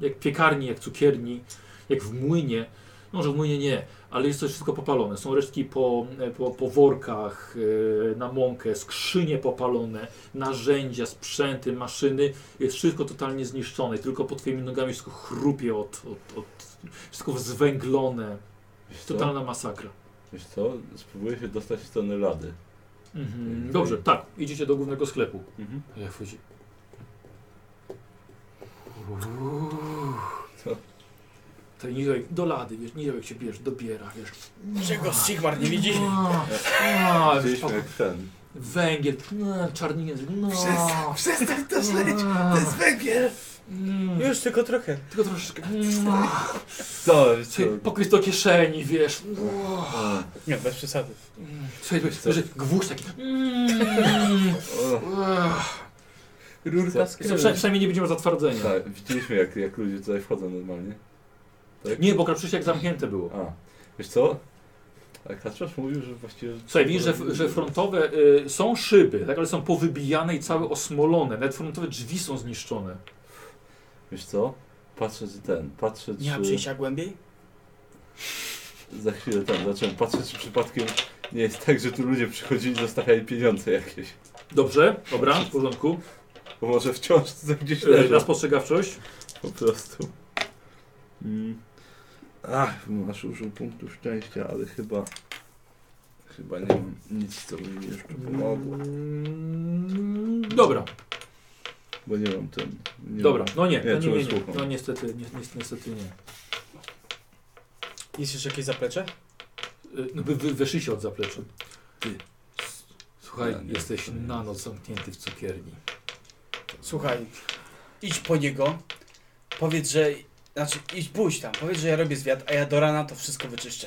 jak piekarni, jak cukierni, jak w młynie. No, Może w młynie nie, ale jest to wszystko popalone. Są resztki po, po, po workach e, na mąkę, skrzynie popalone, narzędzia, sprzęty, maszyny. Jest wszystko totalnie zniszczone. Tylko pod twoimi nogami wszystko chrupie od... od, od wszystko zwęglone. Wiesz co? Totalna masakra. Wiesz co? Spróbuję się dostać w stronę lady. Mhm. Dobrze, tak. Idziecie do głównego sklepu. Mhm. A Jak wchodzi? Co? To Tak niżej, do lady, wiesz, niżej jak się bierz, dobiera, wiesz. No. Czego Sigmar nie widzi? A, a, Widzieliśmy jak ten. no, Węgiel, no, czarny język, no. Przestań, przestań to śledzić! A, To jest węgiel! mm, Już tylko trochę. No. Tylko troszeczkę. mm, Co? Słuchaj, pokryć do kieszeni, wiesz. Nie, bez przesady. Mm, Słuchaj, wiesz, że gwóźdź taki. mm, ach. Rurka z Przynajmniej przynajmniej nie będziemy zatwardzenia. Yy. Tak, widzieliśmy jak, jak ludzie tutaj wchodzą normalnie. Tak? Nie, bo przecież jak zamknięte było. A, wiesz co? A Kaczmarz mówił, że właściwie... Słuchaj, widzisz, że, że frontowe y, są szyby, tak, ale są powybijane i całe osmolone. Nawet frontowe drzwi są zniszczone. Wiesz co? Patrzę czy ten, patrzę Nie ma czy... przejścia głębiej? Za chwilę ten, zacząłem patrzeć czy przypadkiem nie jest tak, że tu ludzie przychodzili i zostawiali pieniądze jakieś. Dobrze, dobra, w porządku. Bo może wciąż to tak gdzieś Y, na leżą. spostrzegawczość. Po prostu. Mm. Ach, masz użył punktu szczęścia, ale chyba... Chyba nie mam nic, co by mi jeszcze pomogło. Mm, Dobra, Bo nie mam ten... Nie dobra, no nie, Nie, no, nie, nie, czułem nie. słucham. no niestety, ni, ni, niestety nie. Jest jeszcze jakieś zaplecze? Y, No wy, wy weszliście od zaplecza. Ty, s- słuchaj, Ja nie, jesteś to nie na jest. noc zamknięty w cukierni. Słuchaj, idź po niego, powiedz, że... Znaczy, idź, pójdź tam, powiedz, że ja robię zwiat, a ja do rana to wszystko wyczyszczę.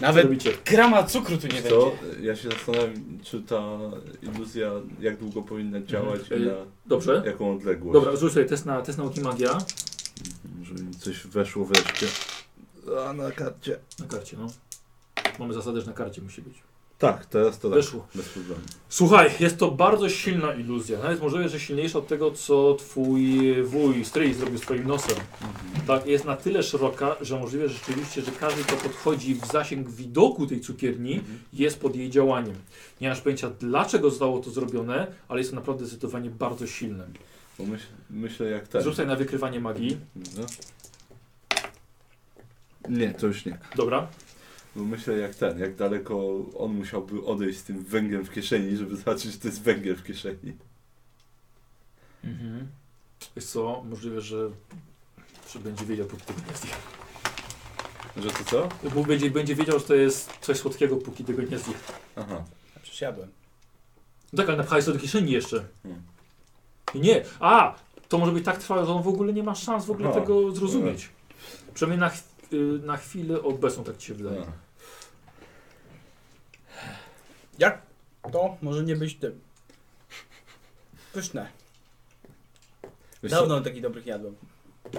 Nawet Robicie. grama cukru tu Wiesz nie będzie. co? Ja się zastanawiam, czy ta iluzja, jak długo powinna działać i Mhm. na Dobrze, jaką odległość. dobra, rzuć sobie test na, test nauki magia Żeby mi coś weszło wreszcie. A na karcie. na karcie, no. Mamy zasadę, że na karcie musi być. Tak, teraz to tak. Weszło. Bez problemu. Słuchaj, jest to bardzo silna iluzja. Nawet możliwe, że silniejsza od tego, co twój wuj, stryj zrobił swoim nosem. Tak, jest na tyle szeroka, że możliwe że rzeczywiście, że każdy, kto podchodzi w zasięg widoku tej cukierni, Mhm. jest pod jej działaniem. Nie masz pojęcia, dlaczego zostało to zrobione, ale jest to naprawdę zdecydowanie bardzo silne. Bo myśl, myślę jak ten. Zrzucaj na wykrywanie magii. Dobra. Nie, to już nie. Dobra. Bo myślę jak ten, jak daleko on musiałby odejść z tym węglem w kieszeni, żeby zobaczyć, że to jest węgiel w kieszeni. Mhm. Jest co? Możliwe, że, że będzie wiedział, póki tego nie zje. Że to co? Bo będzie, będzie wiedział, że to jest coś słodkiego, póki tego nie zje. Aha. A Przecież jadłem. No Tak, ale napchałeś to do kieszeni jeszcze. Hmm. Nie, a to może być tak trwałe, że on w ogóle nie ma szans w ogóle Aha. tego zrozumieć. Przynajmniej na, ch- y, na chwilę obecną tak ci się wydaje. A. To może nie być tym. Pyszne. Wiesz co? Dawno takich dobrych jadłem.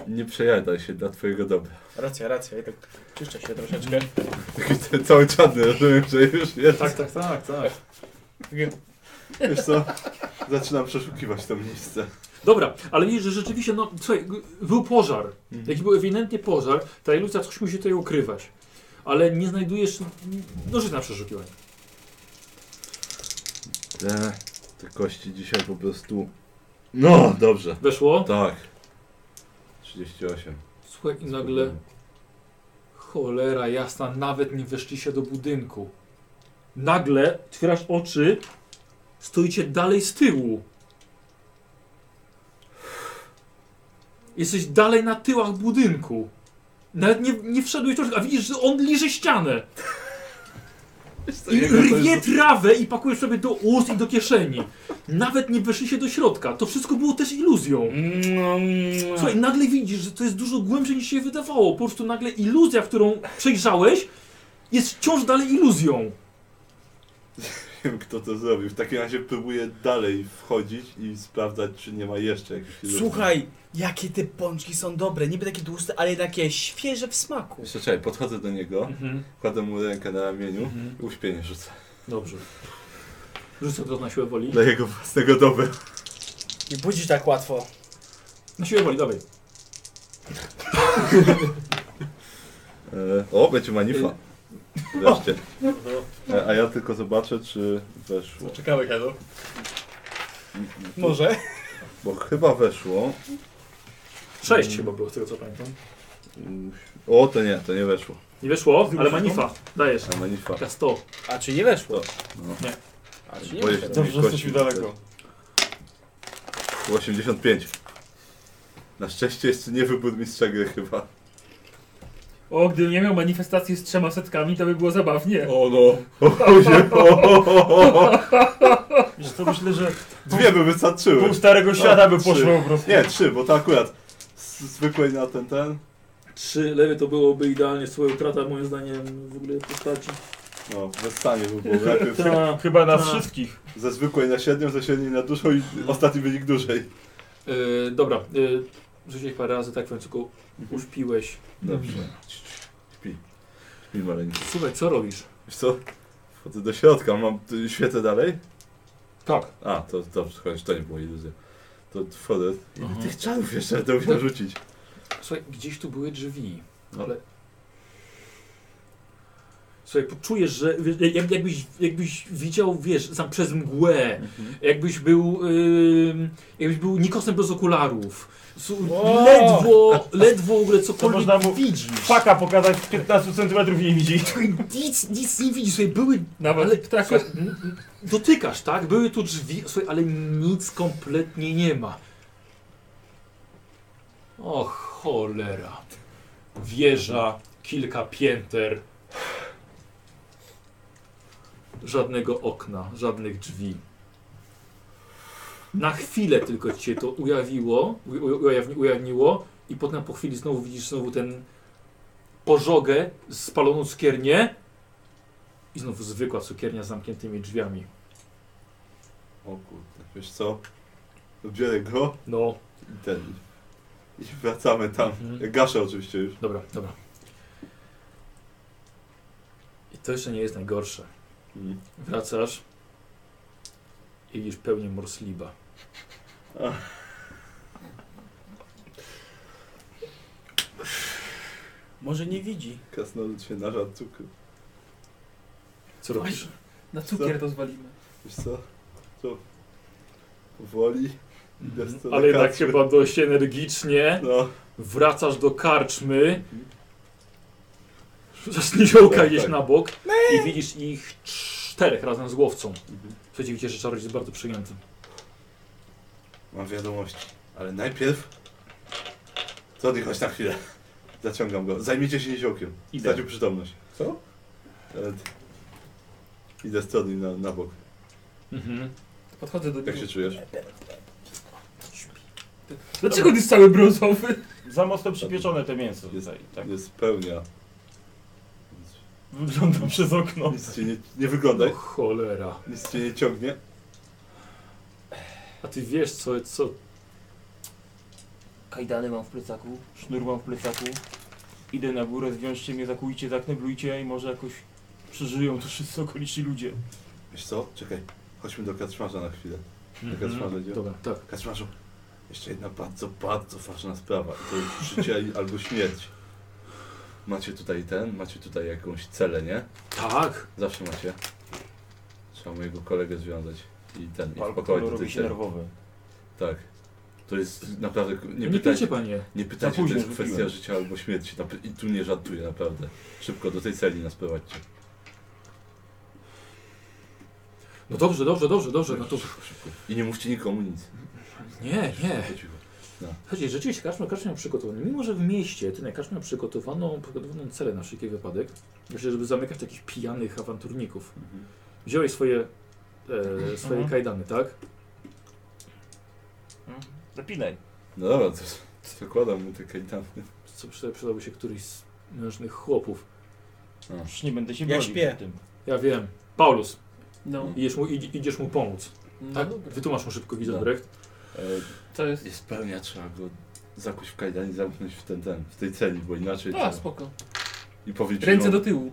Nie przejadaj się dla twojego dobra. Racja, racja, i tak czyszczę się troszeczkę. Taki Cały czarny, rozumiem, że już jest. Tak, tak, tak, tak. Wiesz co? Zaczynam przeszukiwać to miejsce. Dobra, ale widzisz, że rzeczywiście, no słuchaj, g- był pożar. Mhm. Jaki był ewidentnie pożar, ta iluzja coś musi tutaj ukrywać. Ale nie znajdujesz. No, że na przeszukiwanie. Te, Eee, te kości dzisiaj po prostu... No, dobrze. Weszło. Tak. 38. Słuchaj, i nagle. Cholera jasna, nawet nie weszliście do budynku. Nagle otwierasz oczy, stoicie dalej z tyłu. Jesteś dalej na tyłach budynku. Nawet nie, nie wszedłeś troszkę, a widzisz, że on liże ścianę. I rwie trawę i pakujesz sobie do ust i do kieszeni. Nawet nie weszliście do środka. To wszystko było też iluzją. Słuchaj, nagle widzisz, że to jest dużo głębsze niż się wydawało. Po prostu nagle iluzja, którą przejrzałeś, jest wciąż dalej iluzją. Nie wiem, kto to zrobił. W takim razie próbuję dalej wchodzić i sprawdzać, czy nie ma jeszcze jakichś iluzji. Słuchaj, jakie te pączki są dobre. Niby takie tłuste, ale takie świeże w smaku. Jeszcze czekaj, podchodzę do niego, Mhm. kładę mu rękę na ramieniu Mhm. i uśpienie rzucę. Dobrze. Rzucę to na siłę woli. Dla jego własnego dobra. Nie budzisz tak łatwo. Na siłę woli, dawaj. E, o, będzie manifa. Wreszcie. E, a ja tylko zobaczę, czy weszło. Mhm. Czekamy, Helo. Może. Bo chyba weszło. Sześć chyba było z tego co pamiętam. Mm, O, to nie, to nie weszło. Nie wyszło, no. ale manifa. Dajesz. A manifa. Taka 100. A czy nie weszło? A czy nie Boję się weszło? tej Dobrze, że jesteśmy kości. daleko. 85. Na szczęście jeszcze nie wybór mistrza gry chyba. O, gdybym nie miał manifestacji z trzema setkami, to by było zabawnie. O no. O, się, o, o, o, o. Wiesz co, myślę, że Dwie by wystarczyły. pół starego świata by trzy. poszło po prostu. Nie, trzy, bo to akurat z- zwykłej na ten, ten. Trzy lewy to byłoby idealnie swoją utrata moim zdaniem w ogóle postaci. No, wystanie by było najpierw Ta, chyba nas Ta. wszystkich. ze zwykłej na siedmiu, ze siedmiu na dużą i ostatni wynik dłużej. Yy, dobra, yy, rzuciłeś parę razy, tak w końcu go uśpiłeś. Dobrze. Śpi. Śpi maleńko. Słuchaj, co robisz? Wiesz co? Wchodzę do środka, mam tu świecę dalej? Tak. A, to dobrze, chociaż to nie było iluzja. To wchodzę. Ile Aha. tych czarów jeszcze to mi narzucić? Słuchaj, gdzieś tu były drzwi, No. ale... Słuchaj, czujesz, że jak- jakbyś, jakbyś widział, wiesz, tam przez mgłę, jakbyś był, ym, jakbyś był Nikosem bez okularów. Su- O! Ledwo, ledwo w ogóle cokolwiek można mu- widzisz. Faka pokazać z 15 cm nie widzi. Nic, nic nie widzisz, słuchaj, były Nawet Ale- ptaków. Słuchaj, n- n- dotykasz, tak? Były tu drzwi, słuchaj, ale nic kompletnie nie ma. O cholera. Wieża, kilka pięter. Żadnego okna, żadnych drzwi. Na chwilę tylko ci się to ujawiło, u- u- ujawni, ujawniło i potem po chwili znowu widzisz znowu ten pożogę, spaloną skiernię. I znów zwykła cukiernia z zamkniętymi drzwiami. O kurde, wiesz co? Biorę go No, i ten. I wracamy tam. Mhm. Ja Gaszę oczywiście już. dobra, dobra. I to jeszcze nie jest najgorsze. Mhm. Wracasz i widzisz pełnię morsliba. Może nie widzi. Krasnolud się nażar cukru. Co robisz? Na cukier to zwalimy. Wiesz co? To powoli. Idę w stronę Ale jednak karczmy. chyba dość energicznie. No, Wracasz do karczmy. Rzucasz niziołka Tak, gdzieś tak. na bok i widzisz ich czterech razem z łowcą. Mhm. Słuchajcie, widzicie, że czarodziej jest bardzo przyjęty. mam wiadomości. Ale najpierw... Co ty, chodź na chwilę. Zaciągam go. Zajmijcie się niziołkiem. Idę. Stracił przytomność. Co? E, Idę stronny na, na bok. Mhm. Podchodzę do Jak niego. się czujesz? Dlaczego ty jest cały brązowy? Za mocno przypieczone te mięso tutaj. Tak. Jest pełnia. Wygląda przez okno. Nic ci nie, nie O wyglądaj. cholera. Nic cię nie ciągnie. A ty wiesz co, co Kajdany mam w plecaku, sznur mam w plecaku. Idę na górę, zwiążcie mnie, zakujcie, zakneblujcie i może jakoś przeżyją to wszyscy okoliczni ludzie. Wiesz co? Czekaj. Chodźmy do kaczmarza na chwilę. Mhm. trzeba idzie. Dobra, tak. Kaczmarzu, jeszcze jedna bardzo, bardzo ważna sprawa. I to jest życie i- albo śmierć. Macie tutaj ten, macie tutaj jakąś celę, nie? Tak. Zawsze macie. Trzeba mojego kolegę związać i ten, i Alkohol wpakować do robi tej się celi. nerwowy. Tak. To jest naprawdę, k- nie No Nie, pijcie pytajcie, panie. nie pytajcie, to Za późno jest kwestia wypiłem. życia albo śmierci. Nap- I tu nie żartuję, naprawdę. Szybko do tej celi nas prowadźcie. No dobrze, dobrze, dobrze, dobrze. No to Szybko, szybko. I nie mówcie nikomu nic. nie, nie. Szybko, cicho. Słuchajcie, rzeczywiście kaczmy, kaczmy miał przygotowany. Mimo, że w mieście ten kaczmy miał przygotowaną, przygotowaną celę na wszelki wypadek. Myślę, żeby zamykać takich pijanych awanturników. Mhm. Wziąłeś swoje, e, swoje Mhm. kajdany, tak? Hmm? Zapinaj. No dobra, to zakładam mu te kajdany. Co przyda- przydałby się któryś z mężnych chłopów. Już nie będę się Ja bronił śpię. przy tym. Ja wiem. Paulus. No, Idziesz mu, id- idziesz mu pomóc. no Tak? dobra. Wytłumacz mu szybko Gizelbrecht. E, To jest... Jest pełnia, trzeba go zakuć w kajdan i zamknąć w ten, ten, w tej celi, bo inaczej A, to, spoko. i powiedzieć, No Ręce że, do tyłu.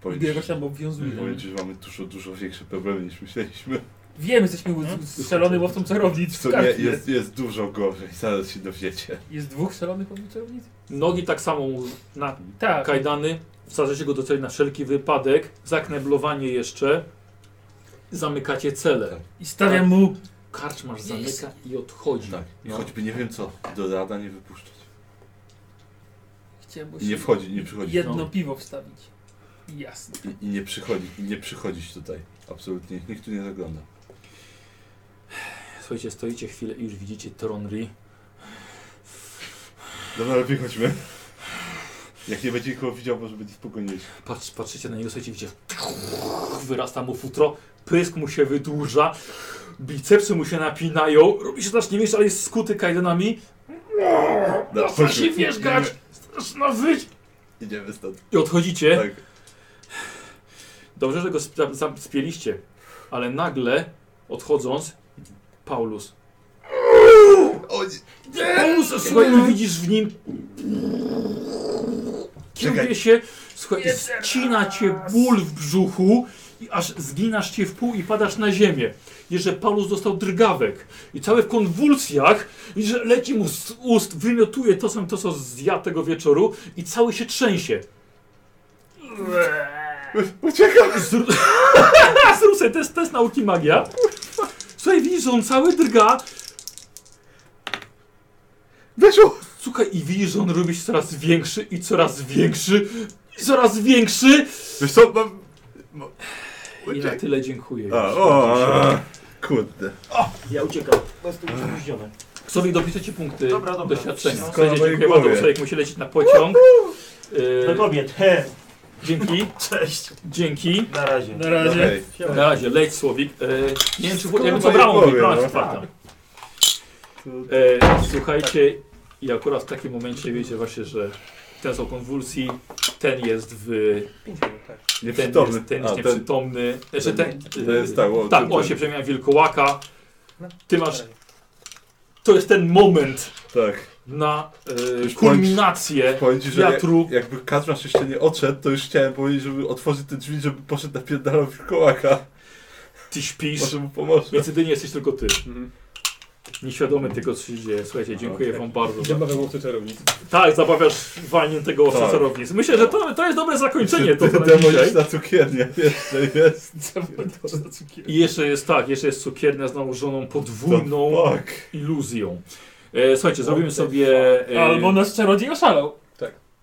powiedzieć, Jakoś tam obwiązuje. powiedzieć, że mamy dużo, dużo większe problemy niż myśleliśmy. Wiem, jesteśmy z- szalonym łowcą czarownic w To nie, karcie. jest, jest dużo gorzej, zaraz się dowiecie. Jest dwóch szalonych łowców czarownic? Nogi tak samo mu na Tak. kajdany. Wsadzacie go do celi na wszelki wypadek. Zakneblowanie jeszcze. Zamykacie cele. I stawiam mu... Karczmarz zamyka i odchodzi. Tak, i No. choćby nie wiem co, do rada nie wypuszczać. Chciałem mu I nie się wchodzi, nie przychodzi. Jedno no. piwo wstawić. Jasne. I, i nie przychodzi, i nie przychodzić tutaj. Absolutnie, nikt tu nie zagląda. Słuchajcie, stoicie chwilę i już widzicie Tronri. Dobra, lepiej chodźmy. Jak nie będzie nikogo widział, może będzie spokojniejszy. Patrz, patrzycie na niego, słuchajcie, widzicie, wyrasta mu futro, pysk mu się wydłuża, bicepsy mu się napinają, robi się znacznie mniejszy, ale jest skuty kajdanami. No, Strasznie wierzgać, straszna wyć. Idziemy stąd. I odchodzicie. Tak. Dobrze, że go sp- sam spieliście, ale nagle, odchodząc, Paulus. O, Paulus, słuchaj, i widzisz w nim... Kieruje Czekaj. się, słuchaj, ścina cię ból w brzuchu i aż zginasz cię w pół i padasz na ziemię. Jeszcze Paulus dostał drgawek i cały w konwulsjach i że leci mu z ust, wymiotuje to, co, to, co zjadł tego wieczoru i cały się trzęsie. Uciekam! Zru... Zrób sobie test, test nauki magia. Słuchaj, widzisz, że on cały drga. Weszło! Słuchaj, i widzisz, że on robi się coraz większy i coraz większy i coraz większy. Wiesz co, mam... mo- I na Uciek. tyle dziękuję. A, o, a, kurde. Ja uciekam. Bo jestem już opóźniony. Sobie dopiszecie punkty Dobra, dobra. doświadczenia. Wszystko Słuchajcie, na mojej dziękuję bardzo. głowie. No Człowiek musi lecieć na pociąg. Do Yy, kobiet. He. dzięki, Cześć. dzięki. Na razie. Na razie. Okej. Na razie, leć Słowik. Yy, nie wiem, czy ja wiem, co mojej brałam, głowie, brałam no. czwarta. To- E, słuchajcie, i akurat w takim momencie wiecie właśnie, że ten są konwulsji, ten jest w... Pięć minut, tak. Ten Nieprzytomny. jest, ten A, jest nieprzytomny. Znaczy ten, to jest tak, o, tak, ten- on ten. się przemienia w wilkołaka. No, Ty masz... To jest ten moment Tak. na e, Już kulminację Powiem ci, że jak, wiatru. jakby Katrasz jeszcze nie odszedł, to już chciałem powiedzieć, żeby otworzyć te drzwi, żeby poszedł na pierdalą wilkołaka. Ty śpisz, Może mu pomoże. więc jedynie jesteś tylko ty. Mhm. Nieświadomy tego, co się dzieje. Słuchajcie, dziękuję Okej. wam bardzo. za- Zabawa łowcy czarownic. Tak, zabawiasz walniętego owca Tak. czarownic. Myślę, że to, to jest dobre zakończenie. To, Czy to na dzisiaj. Demoniczna cukiernia jeszcze jest. I jeszcze jest tak, jeszcze jest cukiernia nałożoną podwójną To fuck. iluzją. E, słuchajcie, zrobimy sobie. E, Albo nasz czarodziej oszalał.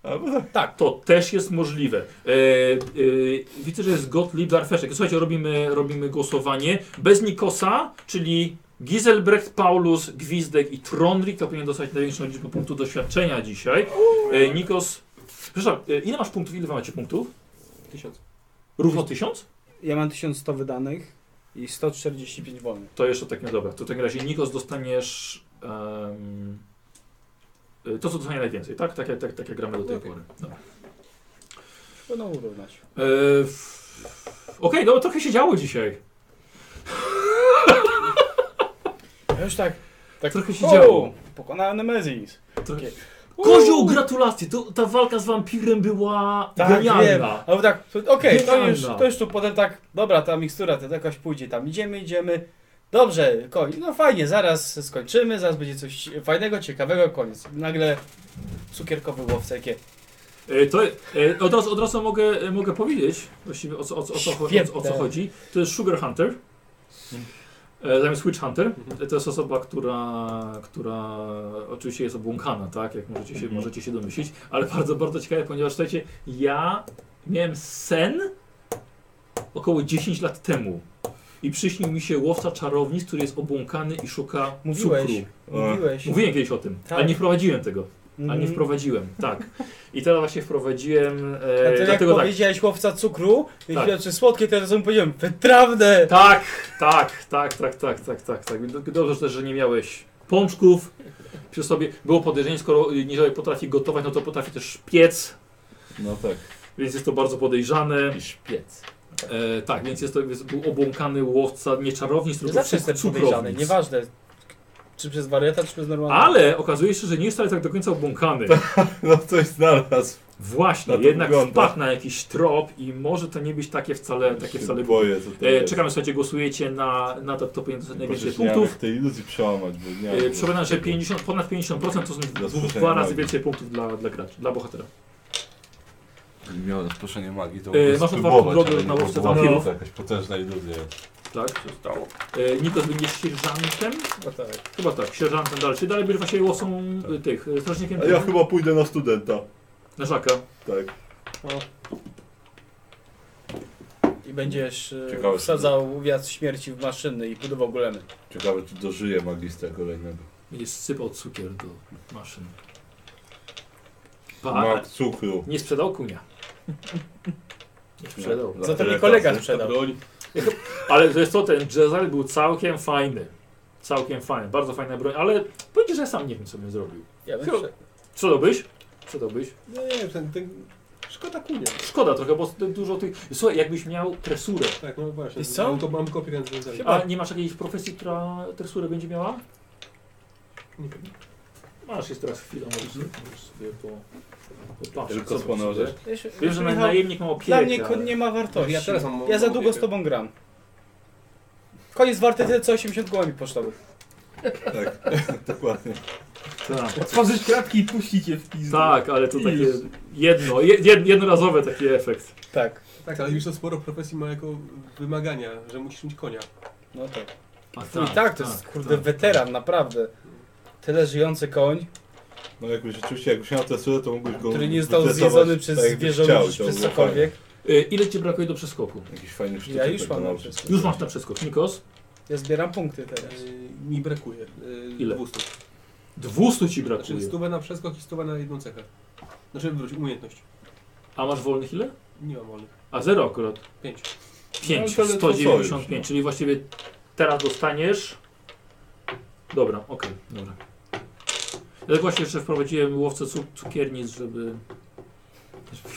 A, No. bo tak. To też jest możliwe. E, e, widzę, że jest Gottlieb Darfeszek. Słuchajcie, robimy, robimy głosowanie. Bez Nikosa, czyli Giselbrecht, Paulus, Gwizdek i Tronrik, to powinien dostać największą liczbę punktów doświadczenia dzisiaj. E, Nikos. Przepraszam, e, ile masz punktów? Ile wy macie punktów? Tysiąc. Równo 1000? Ja mam 1100 wydanych i 145 wolnych. To jeszcze tak nie dobra. To w takim razie Nikos dostaniesz. em, y, to, co dostanie najwięcej, tak? Tak, jak- tak, tak jak gramy do tej Okej. pory. Dobra. Będą urównać. E, f- Okej, no trochę się działo dzisiaj. Ja już tak. Tak Trochę się działo. Pokonałem Nemezis. Trochę... Takie- Kozioł, gratulacje! To, ta walka z wampirem była Tak, wiem. genialna. Ale tak, to- okej, to, Genialna. już, to już tu potem tak, dobra, ta mikstura to jakoś pójdzie tam, idziemy, idziemy. Dobrze, koniec. No fajnie, zaraz skończymy, zaraz będzie coś fajnego, ciekawego, koniec. Nagle cukierkowy łowca, jakie E, To, e, od, razu, od razu mogę, e, mogę powiedzieć właściwie o co, o, co, o, co, chodzi- o, co- o co Świetne. chodzi. To jest Sugar Hunter. E, Zamiast Witch Hunter. E, To jest osoba, która, która oczywiście jest obłąkana, tak? Jak możecie się, możecie się domyślić. Ale bardzo, bardzo ciekawe, ponieważ słuchajcie, ja miałem sen około 10 lat temu. I przyśnił mi się łowca czarownic, który jest obłąkany i szuka Mówiłeś. cukru. mówiłeś. Mówiłem kiedyś o tym, Tak. ale nie wprowadziłem tego. A nie Mhm. wprowadziłem, tak. I teraz właśnie wprowadziłem, A e, ty jak dlatego tak. powiedziałeś łowca cukru, Tak. tak. czy słodkie, to ja sobie powiedziałem, wytrawne! Tak, tak, tak, tak, tak, tak, tak, tak. Do- Dobrze też, że nie miałeś pączków przy sobie. Było podejrzenie, skoro Niżej potrafi gotować, no to potrafi też piec, No tak. więc jest to bardzo podejrzane. I szpiec. E, tak, więc jest to jest, był obłąkany łowca, nie czarownic, Ja tylko zawsze cuk- jestem podejrzany, cukrownic. nieważne czy przez wariata, czy przez normalnego. Ale okazuje się, że nie jest ale tak do końca obłąkany. No coś znalazł. Właśnie, Na to jednak wygląda. wpadł na jakiś trop i może to nie być takie wcale, takie wcale boję. Co to E, jest. czekamy, słuchajcie, głosujecie na, na to, kto powinien dostać Proszę najwięcej się nie punktów. w tej iluzji przełamać, bo nie E, Przypominam, że 50, ponad 50% to są dwu- słyszenia dwa razy magii. więcej punktów dla, dla gracza, dla bohatera. Miałem rozproszenie magii, to E, mógłbym masz otwartą spróbować, drogę ale na nie łowcę próbowałem. wampirów. To jakaś potężna iluzja. Tak? E, Nikos będzie sierżantem? No tak. Chyba tak, sierżantem dalej. Czyli dalej będziesz właśnie łosą e, tych, e, strażnikiem Tak. A ja chyba pójdę na studenta. na żaka. Tak. I będziesz e, Ciekawe, czy- wsadzał wiatr śmierci w maszyny i budował golemy. Ciekawe, czy dożyję magistra kolejnego. Jest sypał cukier do maszyn. Pa, Mak cukru. nie sprzedał kunia. Nie sprzedał. Dla Za to mi tyle kolega kasy. sprzedał. Ale to jest to, ten Jezal był całkiem fajny. Całkiem fajny, bardzo fajna broń, ale powiedzieć, że sam nie wiem, co bym zrobił. Ja bym Chyba- prze- Co robisz? Co robisz? No nie wiem, ten, ten... Szkoda kunia. Szkoda trochę, bo ty- dużo tych... Słuchaj, jakbyś miał tresurę. Tak, no właśnie. Wiesz co? Mam, ko- mam kopię, więc więc- A nie masz jakiejś profesji, która tresurę będzie miała? Nie wiem. Masz jest teraz chwilę, możesz, możesz sobie po... popatrzeć, Tylko zobacz sobie. sponożesz. Ja się- Wiem, że Michał, najemnik ma Dla opiekę, mnie kon nie ma wartości. Ja teraz mam- Ja za mam długo z tobą gram. Koniec warty tyle co 80 gołami pocztowych. Dokładnie. Tak, Otworzyć kratki i puścić je w pizdu. tak, ale to I takie już. jedno, jed, jednorazowy taki efekt. Tak. Tak, ale już to sporo profesji ma jako wymagania, że musisz mieć konia. No tak. A I tak, to jest kurde tak. weteran, naprawdę. Tyle żyjący koń, No jakbyś rzeczywiście, jakbyś miał tresurę, to mógłbyś go który nie został wytresować zjedzony przez tak, jakbyś zwierzę chciał i lub to przez było cokolwiek. Y, Ile ci brakuje do przeskoku? fajne. Jakiś fajny sztuczek. Ja już tego mam na nauczyć. wszystko. Już masz na przeskok. Nikos? Ja zbieram punkty teraz. Yy, mi brakuje. Yy, Ile? 200. 200 ci Znaczy brakuje. stówę na przeskok i stówę na jedną cechę. Znaczy wróć, umiejętność. A masz wolnych ile? Nie mam wolnych. A zero akurat. Pięć. Pięć. No, ale to sojusz, 195, no. czyli właściwie teraz dostaniesz. Dobra, okej, dobra. Ja tak właśnie jeszcze wprowadziłem łowcę cuk- cukiernic, żeby. żeby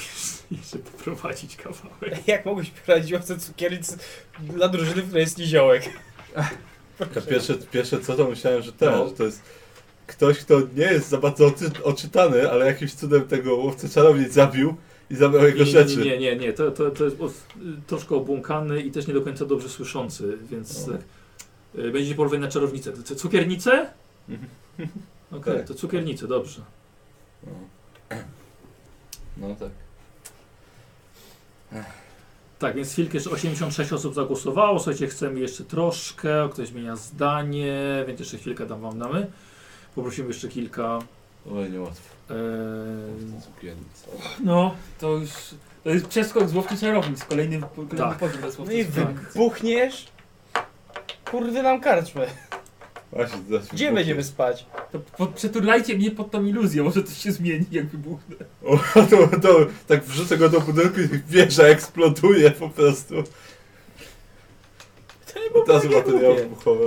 jeszcze poprowadzić kawałek. Jak mogłeś prowadzić łowcę cukiernic dla drużyny, w której jest niziołek? Ja pierwsze, pierwsze co to myślałem, że ten, No. że to jest ktoś, kto nie jest za bardzo oczy, oczytany, ale jakimś cudem tego łowcy czarownic zabił i zabrał jego rzeczy. Nie, nie, nie, to, to, to jest os- troszkę obłąkany i też nie do końca dobrze słyszący, więc e, e, będziecie porwani na czarownicę. To co, Cukiernicę? Okej, Tak. to cukiernicę, dobrze. No tak. Tak, więc chwilkę jeszcze 86 osób zagłosowało. Słuchajcie, chcemy jeszcze troszkę, ktoś zmienia zdanie, więc jeszcze chwilkę dam wam damy. Poprosimy jeszcze kilka. Oj, niełatwo. e, Mm. Cukiernica. no, To już... To jest przeskok z łowczy czarownic, kolejny, kolejny Tak. poziom dla No łowcy i czarownic. wybuchniesz? Kurde nam karczmy. Właśnie, zaraz Gdzie wybuchnie. będziemy spać? To po, przeturlajcie mnie pod tą iluzją, może coś się zmieni jak wybuchnę. O, to, to, tak wrzucę go do budynku i wieża eksploduje po prostu. To nie było Od razu takie materiały głupie. wybuchowe.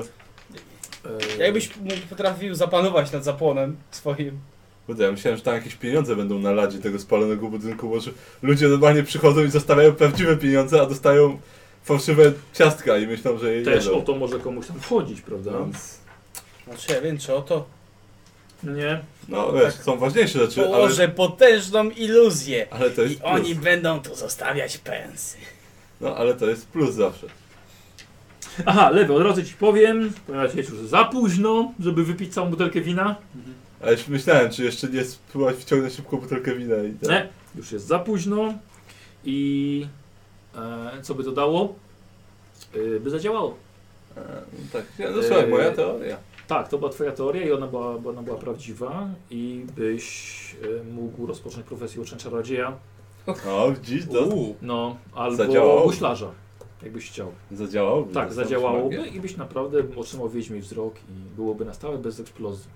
e, Jakbyś mógł- potrafił zapanować nad zapłonem swoim. Kurde, ja myślałem, że tam jakieś pieniądze będą na ladzie tego spalonego budynku, bo że ludzie normalnie przychodzą i zostawiają prawdziwe pieniądze, a dostają fałszywe ciastka i myślą, że je też jedzą. o to no. może komuś tam wchodzić, prawda? Więc, Znaczy ja wiem czy o to Nie. no wiesz, są ważniejsze rzeczy, ale, położę potężną iluzję. ale to jest I plus. oni będą tu zostawiać pensy. No ale to jest plus zawsze. Aha, lewy, od razu ci powiem, ponieważ jest już za późno, żeby wypić całą butelkę wina. A już myślałem, czy jeszcze nie spróbować wciągnąć szybko butelkę wina i tak. Nie, już jest za późno. I e, co by to dało? E, by zadziałało. A, no tak, ja, no E, słuchaj, Yy, moja teoria. Tak, to była twoja teoria i ona była, bo ona była prawdziwa i byś e, mógł rozpocząć profesję ucznia czarodzieja, O, widzisz, to Uuu. no albo Zadziałało. guślarza, jakbyś chciał. zadziałałoby. Tak, Zastanawiam się, zadziałałoby magia. i byś naprawdę otrzymał wiedźmi wzrok i byłoby na stałe bez eksplozji.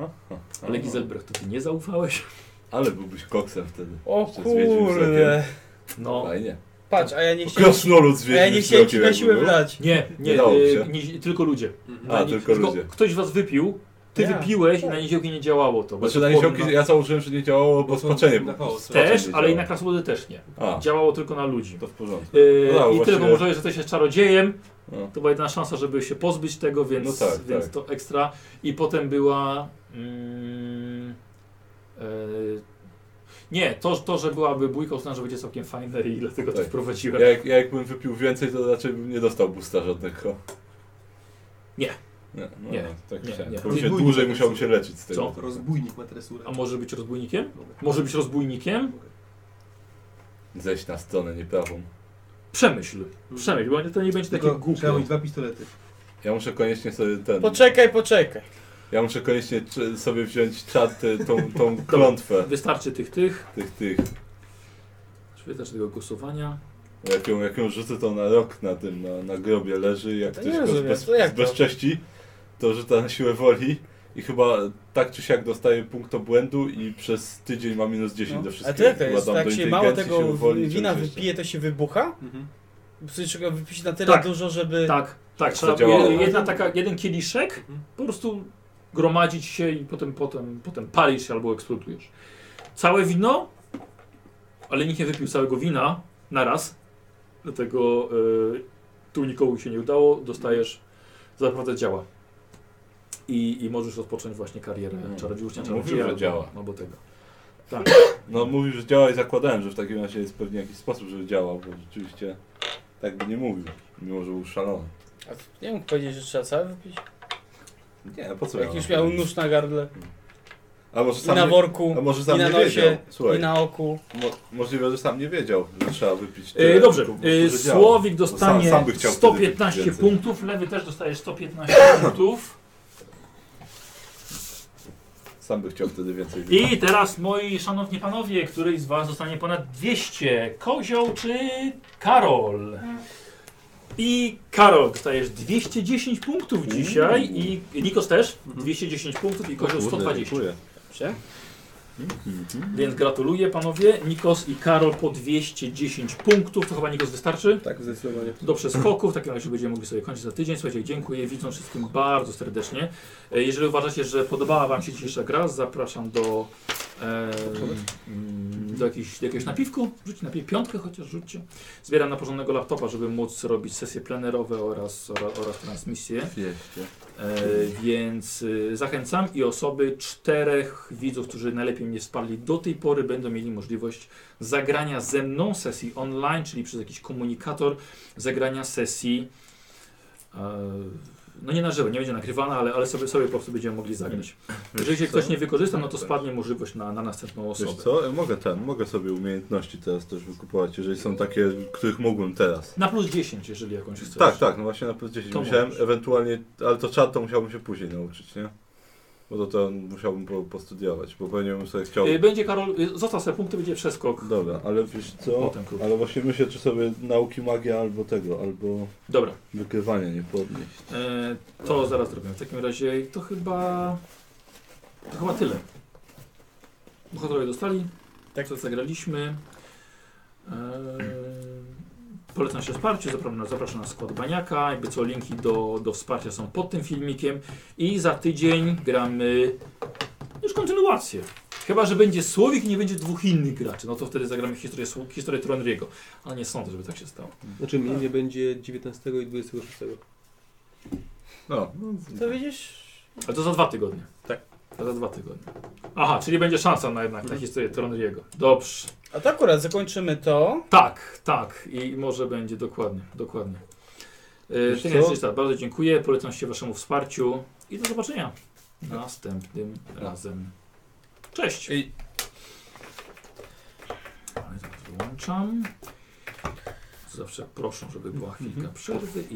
No, Ale Gizelbrecht, to ty nie zaufałeś? Ale byłbyś koksem wtedy. O Jeszcze z Wiedźmin kurde. No. Fajnie. Patrz, a ja nie chciałem, Krasnolud z a E, ja nie Wiedźmin chciałem ci Wzrokiem, na jakby siłę był. wlać. Nie, nie, Nie dałoby e, się. Mhm. nie tylko ludzie. A, Nie, tylko ludzie. Ktoś was wypił Ty Ja. wypiłeś i na niziołki nie działało to. bo Znaczy to na powiem niziołki, ja założyłem, że nie działało, bo są spaczenie na było. chaos. Spaczenie Też, nie ale i na działało. krasnoludy też nie. A, Działało tylko na ludzi. to w porządku. Yy, I No, tyle, właściwie- bo może, że jesteś czarodziejem, No. to była jedyna szansa, żeby się pozbyć tego, więc, No tak, więc tak. to ekstra. I potem była... Mm, yy, nie, to, to, że byłaby bójka, uznałem, że będzie całkiem fajne i dlatego to Tak. wprowadziłem. Ja, jak, ja jakbym wypił więcej, to raczej bym nie dostał busta żadnego. Nie. Nie, no, Nie. nie. tak Nie, nie, chciałem. nie. Bo mi się Zbójnik dłużej to jest- musiałbym się leczyć z Co? tego. Rozbójnik ma tresurę. Mhm. A może być rozbójnikiem? Może być rozbójnikiem? Zejść na stronę nieprawą. Przemyśl. Przemyśl, bo to nie będzie takie Tylko głupie. Trzeba mieć dwa pistolety. Ja muszę koniecznie sobie ten... Poczekaj, poczekaj. Ja muszę koniecznie czy- sobie wziąć czat, y, tą, tą klątwę Wystarczy tych, tych. tych, tych. Wystarczy tego głosowania. Jak ją, jak ją rzucę, to na rok na tym, na, na grobie leży. Jak To ktoś nie go rozumiem, bez, to jak to? bezcześci, to rzuca na siłę woli. I chyba tak czy siak dostaje punkt obłędu i przez tydzień ma minus 10 do No. A wszystkiego. to jak to Chyba jest? tam Tak do się mało inteligencji, tego siły woli, czy wina coś jeszcze. wypije, to się wybucha? Mhm. Przecież trzeba wypić na tyle Tak. dużo, żeby... Tak, tak. To Trzeba działało. je- jedna taka, jeden kieliszek, Mhm. po prostu gromadzić się i potem, potem, potem palisz się albo eksplodujesz. Całe wino, ale nikt nie wypił całego wina naraz, dlatego y, tu nikomu się nie udało, dostajesz, zaprawdę działa. I, I możesz rozpocząć właśnie karierę Mhm. czarodziejów, Mówił, czarodzieja, że albo- działa. albo tego. Tak. No mówił, że działa i zakładałem, że w takim razie jest pewnie jakiś sposób, żeby działał, bo rzeczywiście tak by nie mówił, mimo że był szalony. A to nie mógł powiedzieć, że trzeba całe wypić? Nie, no po co Jak ja już mam miał powiedzieć? nóż na gardle, A może i sam na nie, worku, a może i sam na nie wiedział. nosie, i Słuchaj, na oku. mo, możliwe, że sam nie wiedział, że trzeba wypić tyle, E, dobrze, tylko po e, prostu, że działa. Słowik Bo sam- dostanie sam by chciał wtedy wypić 115 więcej. punktów, Lewy też dostaje 115 punktów. Sam by chciał wtedy więcej wypić. I teraz, moi szanowni panowie, któryś z was zostanie ponad 200? Kozioł czy Karol? I Karol, dostajesz 210 punktów dzisiaj i Nikos też 210 punktów i Kozioł 120. Mhm. dziękuję. Dobrze? Więc gratuluję panowie, Nikos i Karol po 210 punktów, to chyba Nikos wystarczy? Tak, zdecydowanie. do przeskoku. W takim razie będziemy mogli sobie kończyć za tydzień. Słuchajcie, dziękuję widzom wszystkim bardzo serdecznie. E, Jeżeli uważacie, że podobała Wam się dzisiejsza gra, zapraszam do, e, mm, do, jakiejś, do jakiegoś napiwku. Rzućcie napiw, piątkę chociaż rzućcie. Zbieram na porządnego laptopa, żeby móc robić sesje plenerowe oraz, oraz, oraz transmisje. Wieście. E, więc e, zachęcam i osoby czterech widzów, którzy najlepiej mnie wsparli do tej pory, będą mieli możliwość zagrania ze mną sesji online, czyli przez jakiś komunikator, zagrania sesji. e, No nie na żywo, nie będzie nagrywana, ale, ale sobie, sobie po prostu będziemy mogli zagrać. Jeżeli się ktoś nie wykorzysta, no to spadnie możliwość na, na następną Wiesz osobę. co, e, mogę ten, mogę sobie umiejętności teraz też wykupować, jeżeli są takie, których mógłbym teraz. Na plus 10, jeżeli jakąś chcesz. Tak, tak, no właśnie na plus 10 To musiałem, możesz. ewentualnie, ale to czat to musiałbym się później nauczyć, nie? Bo to, to musiałbym po, postudiować, bo pewnie bym sobie chciał... E, Będzie Karol, e, zostaw sobie punkty, będzie przeskok. Dobra, ale wiesz co, Potem krótko. ale właśnie myślę, czy sobie nauki magia albo tego, albo Dobra. wykrywania nie podnieść. E, to zaraz zrobię. W takim razie to chyba. To chyba tyle. Bohaterowie dostali. Tak. Co zagraliśmy. E, polecam się wsparcie. Zapraszam na, zapraszam na skład baniaka. Jakby co linki do, do wsparcia są pod tym filmikiem. I za tydzień gramy już kontynuację. Chyba, że będzie Słowik i nie będzie dwóch innych graczy. No to wtedy zagramy historię, Sł- historię Tronriego. Ale nie sądzę, żeby tak się stało. Znaczy mnie nie będzie 19 i 26. No, To widzisz? Ale to za dwa tygodnie. Tak. To za dwa tygodnie. Aha, czyli będzie szansa na jednak Mhm. na historię Tronriego. Dobrze. A to akurat zakończymy to. Tak, tak. I może będzie dokładnie, dokładnie. Yy, Wiesz tak, co? więc tak, bardzo dziękuję. Polecam się waszemu wsparciu i do zobaczenia następnym razem. Cześć. No. I- Mhm. Ale zaraz wyłączam. Zawsze proszę, żeby była chwilka przerwy. i-